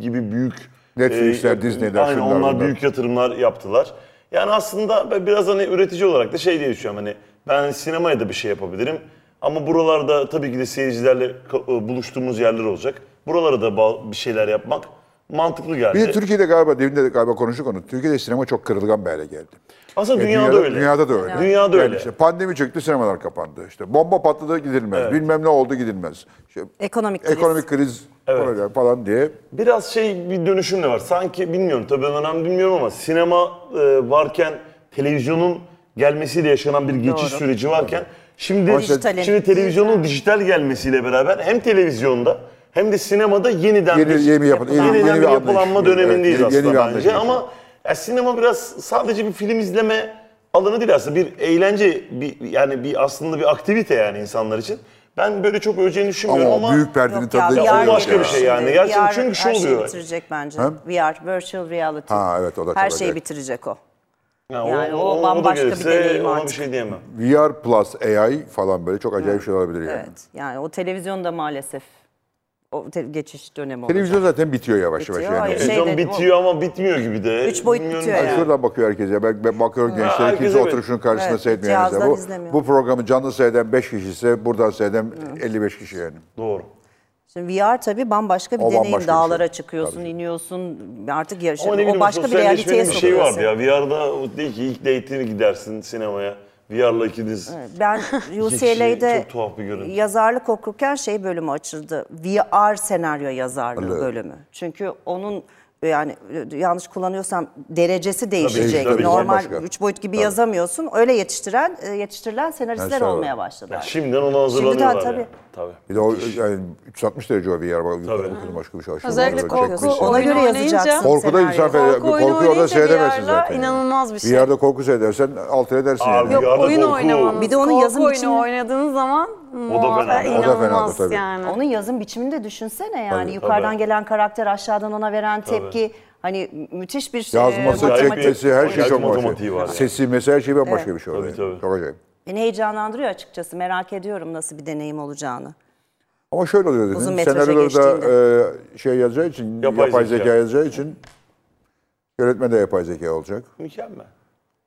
[SPEAKER 4] gibi büyük e,
[SPEAKER 1] Netflix'ler, Disney'ler,
[SPEAKER 4] Aynen
[SPEAKER 1] şunlar,
[SPEAKER 4] onlar
[SPEAKER 1] bunlar.
[SPEAKER 4] büyük yatırımlar yaptılar. Yani aslında ben biraz hani üretici olarak da şey diye düşünüyorum hani ben sinemaya da bir şey yapabilirim. Ama buralarda tabii ki de seyircilerle ka- e, buluştuğumuz yerler olacak. Buralara da ba- bir şeyler yapmak mantıklı geldi.
[SPEAKER 1] Bir de Türkiye'de galiba, demin de galiba konuştuk onu. Türkiye'de sinema çok kırılgan bir hale geldi.
[SPEAKER 4] Aslında
[SPEAKER 1] E,
[SPEAKER 4] dünyada, öyle.
[SPEAKER 1] Dünyada da öyle.
[SPEAKER 4] Dünyada
[SPEAKER 1] Yani
[SPEAKER 4] öyle.
[SPEAKER 1] işte pandemi çıktı, sinemalar kapandı. İşte bomba patladı gidilmez. Bilmem ne oldu gidilmez. İşte
[SPEAKER 3] Ekonomik kriz.
[SPEAKER 1] ekonomik kriz problem falan diye.
[SPEAKER 4] Biraz şey bir dönüşüm de var. Sanki bilmiyorum tabii ben önemli bilmiyorum ama sinema e, varken televizyonun gelmesiyle yaşanan bir geçiş süreci varken şimdi
[SPEAKER 3] Dijitalin.
[SPEAKER 4] şimdi televizyonun dijital gelmesiyle beraber hem televizyonda hem de sinemada yeniden
[SPEAKER 1] Yeni-
[SPEAKER 4] bir,
[SPEAKER 1] yeni bir yapı- yeni-
[SPEAKER 4] yeniden
[SPEAKER 1] yeni bir
[SPEAKER 4] bir
[SPEAKER 1] anlayış.
[SPEAKER 4] yapılanma
[SPEAKER 1] Evet,
[SPEAKER 4] dönemindeyiz
[SPEAKER 1] yeni- yeni bir
[SPEAKER 4] aslında
[SPEAKER 1] anlayış
[SPEAKER 4] bence
[SPEAKER 1] yaşıyor.
[SPEAKER 4] ama ya sinema biraz sadece bir film izleme alanı değil aslında bir eğlence bir yani bir aslında bir aktivite yani insanlar için. Ben böyle çok öleceğini
[SPEAKER 1] Ama
[SPEAKER 4] düşünmüyorum ama,
[SPEAKER 1] o büyük perdenin
[SPEAKER 3] Yok
[SPEAKER 1] tadı da
[SPEAKER 3] ya, VR
[SPEAKER 1] çok
[SPEAKER 4] O
[SPEAKER 1] iyi.
[SPEAKER 4] başka bir şey yani.
[SPEAKER 3] Şimdi
[SPEAKER 4] Gerçekten
[SPEAKER 3] VR
[SPEAKER 4] çünkü şu
[SPEAKER 3] her şeyi
[SPEAKER 4] oluyor.
[SPEAKER 3] bitirecek bence.
[SPEAKER 1] He?
[SPEAKER 3] VR, virtual reality.
[SPEAKER 1] Ha, evet, o da
[SPEAKER 3] Her
[SPEAKER 1] çok
[SPEAKER 3] şeyi
[SPEAKER 1] acayip.
[SPEAKER 3] bitirecek o.
[SPEAKER 4] Yani,
[SPEAKER 3] Yani o bambaşka bir deneyim
[SPEAKER 4] ona
[SPEAKER 3] artık.
[SPEAKER 4] bir şey diyemem.
[SPEAKER 1] VR plus AI falan böyle çok acayip şey olabilir yani.
[SPEAKER 3] Evet. Yani o televizyonda maalesef o te- geçiş dönemi olacak.
[SPEAKER 1] Televizyon zaten bitiyor yavaş
[SPEAKER 3] Bitiyor,
[SPEAKER 1] yavaş yani.
[SPEAKER 3] hayır.
[SPEAKER 4] Televizyon
[SPEAKER 3] Şeyde-
[SPEAKER 4] bitiyor ama bitmiyor gibi de.
[SPEAKER 3] şey Üç boyut
[SPEAKER 4] Bilmiyorum.
[SPEAKER 3] bitiyor yani.
[SPEAKER 1] Şuradan bakıyor herkes ya. Ben, ben bakıyorum gençler
[SPEAKER 4] herkes
[SPEAKER 1] kimse
[SPEAKER 4] evet.
[SPEAKER 1] oturuşun karşısında
[SPEAKER 3] Evet,
[SPEAKER 1] seyretmiyor. yani.
[SPEAKER 3] cihazdan
[SPEAKER 1] Bu,
[SPEAKER 3] izlemiyor.
[SPEAKER 1] bu programı canlı seyreden 5 kişi ise buradan seyreden 55 kişi yani.
[SPEAKER 4] Doğru.
[SPEAKER 3] Şimdi VR tabii bambaşka bir
[SPEAKER 1] O
[SPEAKER 3] deneyim.
[SPEAKER 1] bambaşka bir
[SPEAKER 3] Dağlara
[SPEAKER 1] şey.
[SPEAKER 3] çıkıyorsun,
[SPEAKER 1] Tabii.
[SPEAKER 3] iniyorsun. Artık yaşa-
[SPEAKER 4] Ama ne bileyim
[SPEAKER 3] o başka bir
[SPEAKER 4] sosyalleşmenin
[SPEAKER 3] realiteye
[SPEAKER 4] bir şey
[SPEAKER 3] sokuyor
[SPEAKER 4] vardı
[SPEAKER 3] seni.
[SPEAKER 4] ya. VR'da o değil ki ilk date'ine gidersin sinemaya. VR'la ikiniz.
[SPEAKER 3] Ben UCLA'de
[SPEAKER 4] şey, çok tuhaf bir görüntü.
[SPEAKER 3] yazarlık okurken şey bölümü açıldı. VR senaryo yazarlığı
[SPEAKER 1] Evet.
[SPEAKER 3] bölümü. Çünkü onun yani e, yanlış kullanıyorsam derecesi değişecek.
[SPEAKER 4] tabii,
[SPEAKER 3] Normal
[SPEAKER 1] bambaşka.
[SPEAKER 3] 3 boyut gibi yazamıyorsun. Öyle yetiştiren e, yetiştirilen senaristler
[SPEAKER 1] Mesela-
[SPEAKER 3] olmaya başladı.
[SPEAKER 4] Ya Şimdiden ona hazırlanıyorlar
[SPEAKER 3] tabii.
[SPEAKER 4] ya. Tabii.
[SPEAKER 1] Bir de o yani 360 derece o VR. Bak, Okudum başka bir şey. aşağı
[SPEAKER 5] Özellikle
[SPEAKER 1] doğru
[SPEAKER 5] korku
[SPEAKER 1] çekmişsin.
[SPEAKER 5] oyunu
[SPEAKER 3] Ona göre
[SPEAKER 5] oynayınca-
[SPEAKER 3] yazacaksın
[SPEAKER 1] Korkuda
[SPEAKER 3] senaryoyu.
[SPEAKER 1] insan
[SPEAKER 5] Korku
[SPEAKER 1] feda-
[SPEAKER 5] oyunu
[SPEAKER 1] korkuyu orada
[SPEAKER 5] oynayınca
[SPEAKER 1] seyredersin
[SPEAKER 5] VR'la
[SPEAKER 1] zaten. yani.
[SPEAKER 5] inanılmaz bir şey.
[SPEAKER 1] VR'da korku seyredersen alt edersin yani.
[SPEAKER 4] Abi
[SPEAKER 5] Yok
[SPEAKER 4] Yardım
[SPEAKER 5] oyun
[SPEAKER 4] oku.
[SPEAKER 5] oynamanız.
[SPEAKER 3] Bir de onun
[SPEAKER 5] korku
[SPEAKER 3] yazım
[SPEAKER 5] oyunu
[SPEAKER 3] biçimi-
[SPEAKER 5] oynadığınız zaman
[SPEAKER 4] fena.
[SPEAKER 5] muha-
[SPEAKER 4] O da
[SPEAKER 1] fena
[SPEAKER 5] inanılmaz
[SPEAKER 1] tabii.
[SPEAKER 5] yani.
[SPEAKER 3] Onun yazım biçimini de düşünsene yani.
[SPEAKER 1] Tabii,
[SPEAKER 3] Yukarıdan
[SPEAKER 4] tabii.
[SPEAKER 3] gelen karakter aşağıdan ona veren tepki. Hani müthiş bir şey.
[SPEAKER 1] Yazması,
[SPEAKER 4] Acayip bir-
[SPEAKER 1] çekmesi her şey
[SPEAKER 4] acayip
[SPEAKER 1] çok
[SPEAKER 4] matematiği
[SPEAKER 1] başka.
[SPEAKER 4] var yani.
[SPEAKER 1] Sesi mesela her şey bambaşka bir şey oluyor.
[SPEAKER 4] Tabii, tabii.
[SPEAKER 1] Çok acayip.
[SPEAKER 3] Beni heyecanlandırıyor açıkçası. Merak ediyorum nasıl bir deneyim olacağını.
[SPEAKER 1] Ama şöyle oluyor dedim.
[SPEAKER 3] Uzun metraja
[SPEAKER 1] Senaryoları da e, şey yazacağı için, yapay,
[SPEAKER 4] Yapay
[SPEAKER 1] zeka.
[SPEAKER 4] zeka
[SPEAKER 1] yazacağı için yönetmen de yapay zeka olacak.
[SPEAKER 4] Mükemmel.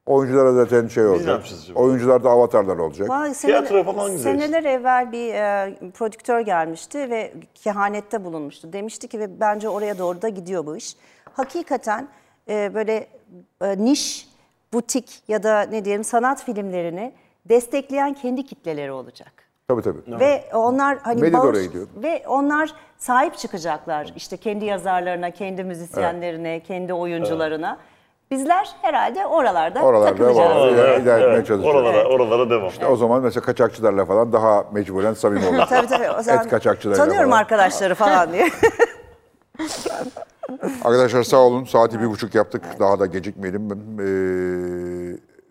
[SPEAKER 1] Oyunculara zaten şey
[SPEAKER 4] ne
[SPEAKER 1] olacak.
[SPEAKER 4] yapacağız şimdi?
[SPEAKER 1] Oyuncularda avatarlar olacak.
[SPEAKER 3] Vay,
[SPEAKER 4] Tiyatro falan güzel işte.
[SPEAKER 3] Seneler evvel bir e, prodüktör gelmişti ve kehanette bulunmuştu. Demişti ki ve bence oraya doğru da gidiyor bu iş. Hakikaten e, böyle e, niş, butik ya da ne diyelim sanat filmlerini destekleyen kendi kitleleri olacak.
[SPEAKER 1] Tabii tabii.
[SPEAKER 3] Ve onlar hani
[SPEAKER 1] Medya da
[SPEAKER 3] bağış-
[SPEAKER 1] oraya gidiyor.
[SPEAKER 3] ve onlar sahip çıkacaklar işte kendi yazarlarına, kendi müzisyenlerine, kendi oyuncularına. Bizler herhalde oralarda,
[SPEAKER 1] Oralarda,
[SPEAKER 3] takılacağız.
[SPEAKER 1] oralarda.
[SPEAKER 4] Oralara,
[SPEAKER 1] Evet, idare etmeye çalışacağız.
[SPEAKER 4] Oralara, oralara devam.
[SPEAKER 1] O zaman mesela kaçakçılarla falan daha mecburen samimi olacak.
[SPEAKER 3] Tabii tabii. O zaman
[SPEAKER 1] Et kaçakçılarıyla
[SPEAKER 3] tanıyorum
[SPEAKER 1] falan.
[SPEAKER 3] arkadaşları falan diye.
[SPEAKER 1] Arkadaşlar sağ olun. Saati bir buçuk yaptık. Daha da gecikmeyelim. Ee,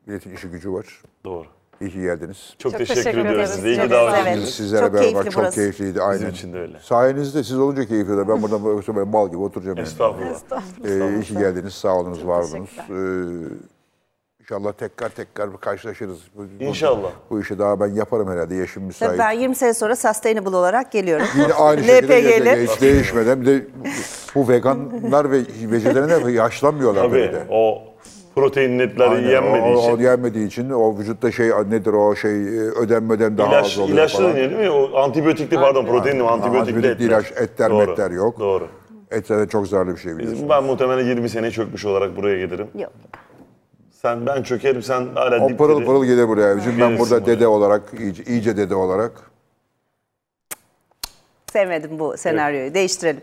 [SPEAKER 1] milletin işi gücü var.
[SPEAKER 4] Doğru.
[SPEAKER 1] İyi ki geldiniz.
[SPEAKER 4] Çok,
[SPEAKER 5] Çok
[SPEAKER 4] teşekkür,
[SPEAKER 5] teşekkür
[SPEAKER 4] ediyoruz
[SPEAKER 5] ederiz.
[SPEAKER 4] size. İyi
[SPEAKER 3] Çok
[SPEAKER 4] ki
[SPEAKER 3] güzel.
[SPEAKER 4] davet
[SPEAKER 3] Evet.
[SPEAKER 4] ettiniz.
[SPEAKER 1] Sizlere
[SPEAKER 3] Çok
[SPEAKER 1] beraber
[SPEAKER 3] keyifli
[SPEAKER 1] çok
[SPEAKER 3] burası.
[SPEAKER 1] keyifliydi. Aynen.
[SPEAKER 4] için de öyle.
[SPEAKER 1] Sayenizde siz olunca keyifli de ben buradan böyle mal gibi oturacağım. yani.
[SPEAKER 4] Estağfurullah.
[SPEAKER 1] Ee, iyi ki geldiniz. Sağ olunuz, var olunuz. Ee, inşallah tekrar tekrar karşılaşırız. Bu- bu-
[SPEAKER 4] İnşallah.
[SPEAKER 1] Bu işi daha ben yaparım herhalde. Yaşım müsait.
[SPEAKER 3] Tabii ben 20 sene sonra sustainable olarak geliyorum.
[SPEAKER 1] Yine aynı şekilde
[SPEAKER 3] LPG'li.
[SPEAKER 1] hiç değişmeden. Bir de bu veganlar ve vejetaryenler yaşlanmıyorlar böyle
[SPEAKER 4] Tabii
[SPEAKER 1] de.
[SPEAKER 4] o protein netleri
[SPEAKER 1] Aynen,
[SPEAKER 4] yenmediği
[SPEAKER 1] o,
[SPEAKER 4] için.
[SPEAKER 1] O yenmediği için o vücutta şey nedir o şey ödem ödem daha
[SPEAKER 4] İlaç,
[SPEAKER 1] az oluyor
[SPEAKER 4] ilaçlı
[SPEAKER 1] falan.
[SPEAKER 4] deniyor değil mi? O antibiyotikli pardon protein mi? Antibiyotikli
[SPEAKER 1] Antibiyotikli
[SPEAKER 4] etler.
[SPEAKER 1] ilaç, etler,
[SPEAKER 4] Doğru,
[SPEAKER 1] metler yok.
[SPEAKER 4] Doğru.
[SPEAKER 1] Etler de çok zararlı bir şey biliyorsun.
[SPEAKER 4] Ben muhtemelen 20 seneye çökmüş olarak buraya gelirim.
[SPEAKER 3] Yok.
[SPEAKER 4] Sen ben çökerim sen hala
[SPEAKER 1] O
[SPEAKER 4] dip
[SPEAKER 1] pırıl
[SPEAKER 4] diri.
[SPEAKER 1] pırıl gelir buraya. Üzüm ben
[SPEAKER 4] Bilirsin
[SPEAKER 1] burada
[SPEAKER 4] bunu.
[SPEAKER 1] dede olarak, iyice, iyice dede olarak.
[SPEAKER 3] Sevmedim bu senaryoyu. Değiştirelim.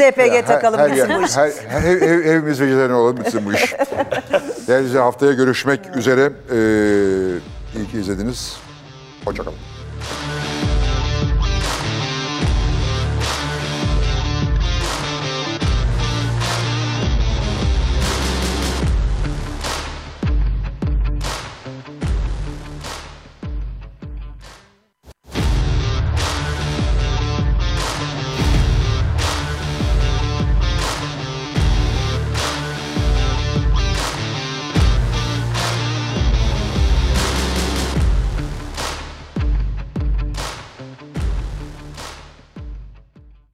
[SPEAKER 3] Hepimiz LPG
[SPEAKER 1] Her,
[SPEAKER 3] takalım
[SPEAKER 1] her,
[SPEAKER 3] bitsin
[SPEAKER 1] yer-
[SPEAKER 3] bu iş.
[SPEAKER 1] her, her, ev, ev, evimiz vejetaryen olalım bitsin bu iş. Değerli izleyiciler, haftaya görüşmek üzere. Ee, iyi ki izlediniz. Hoşçakalın.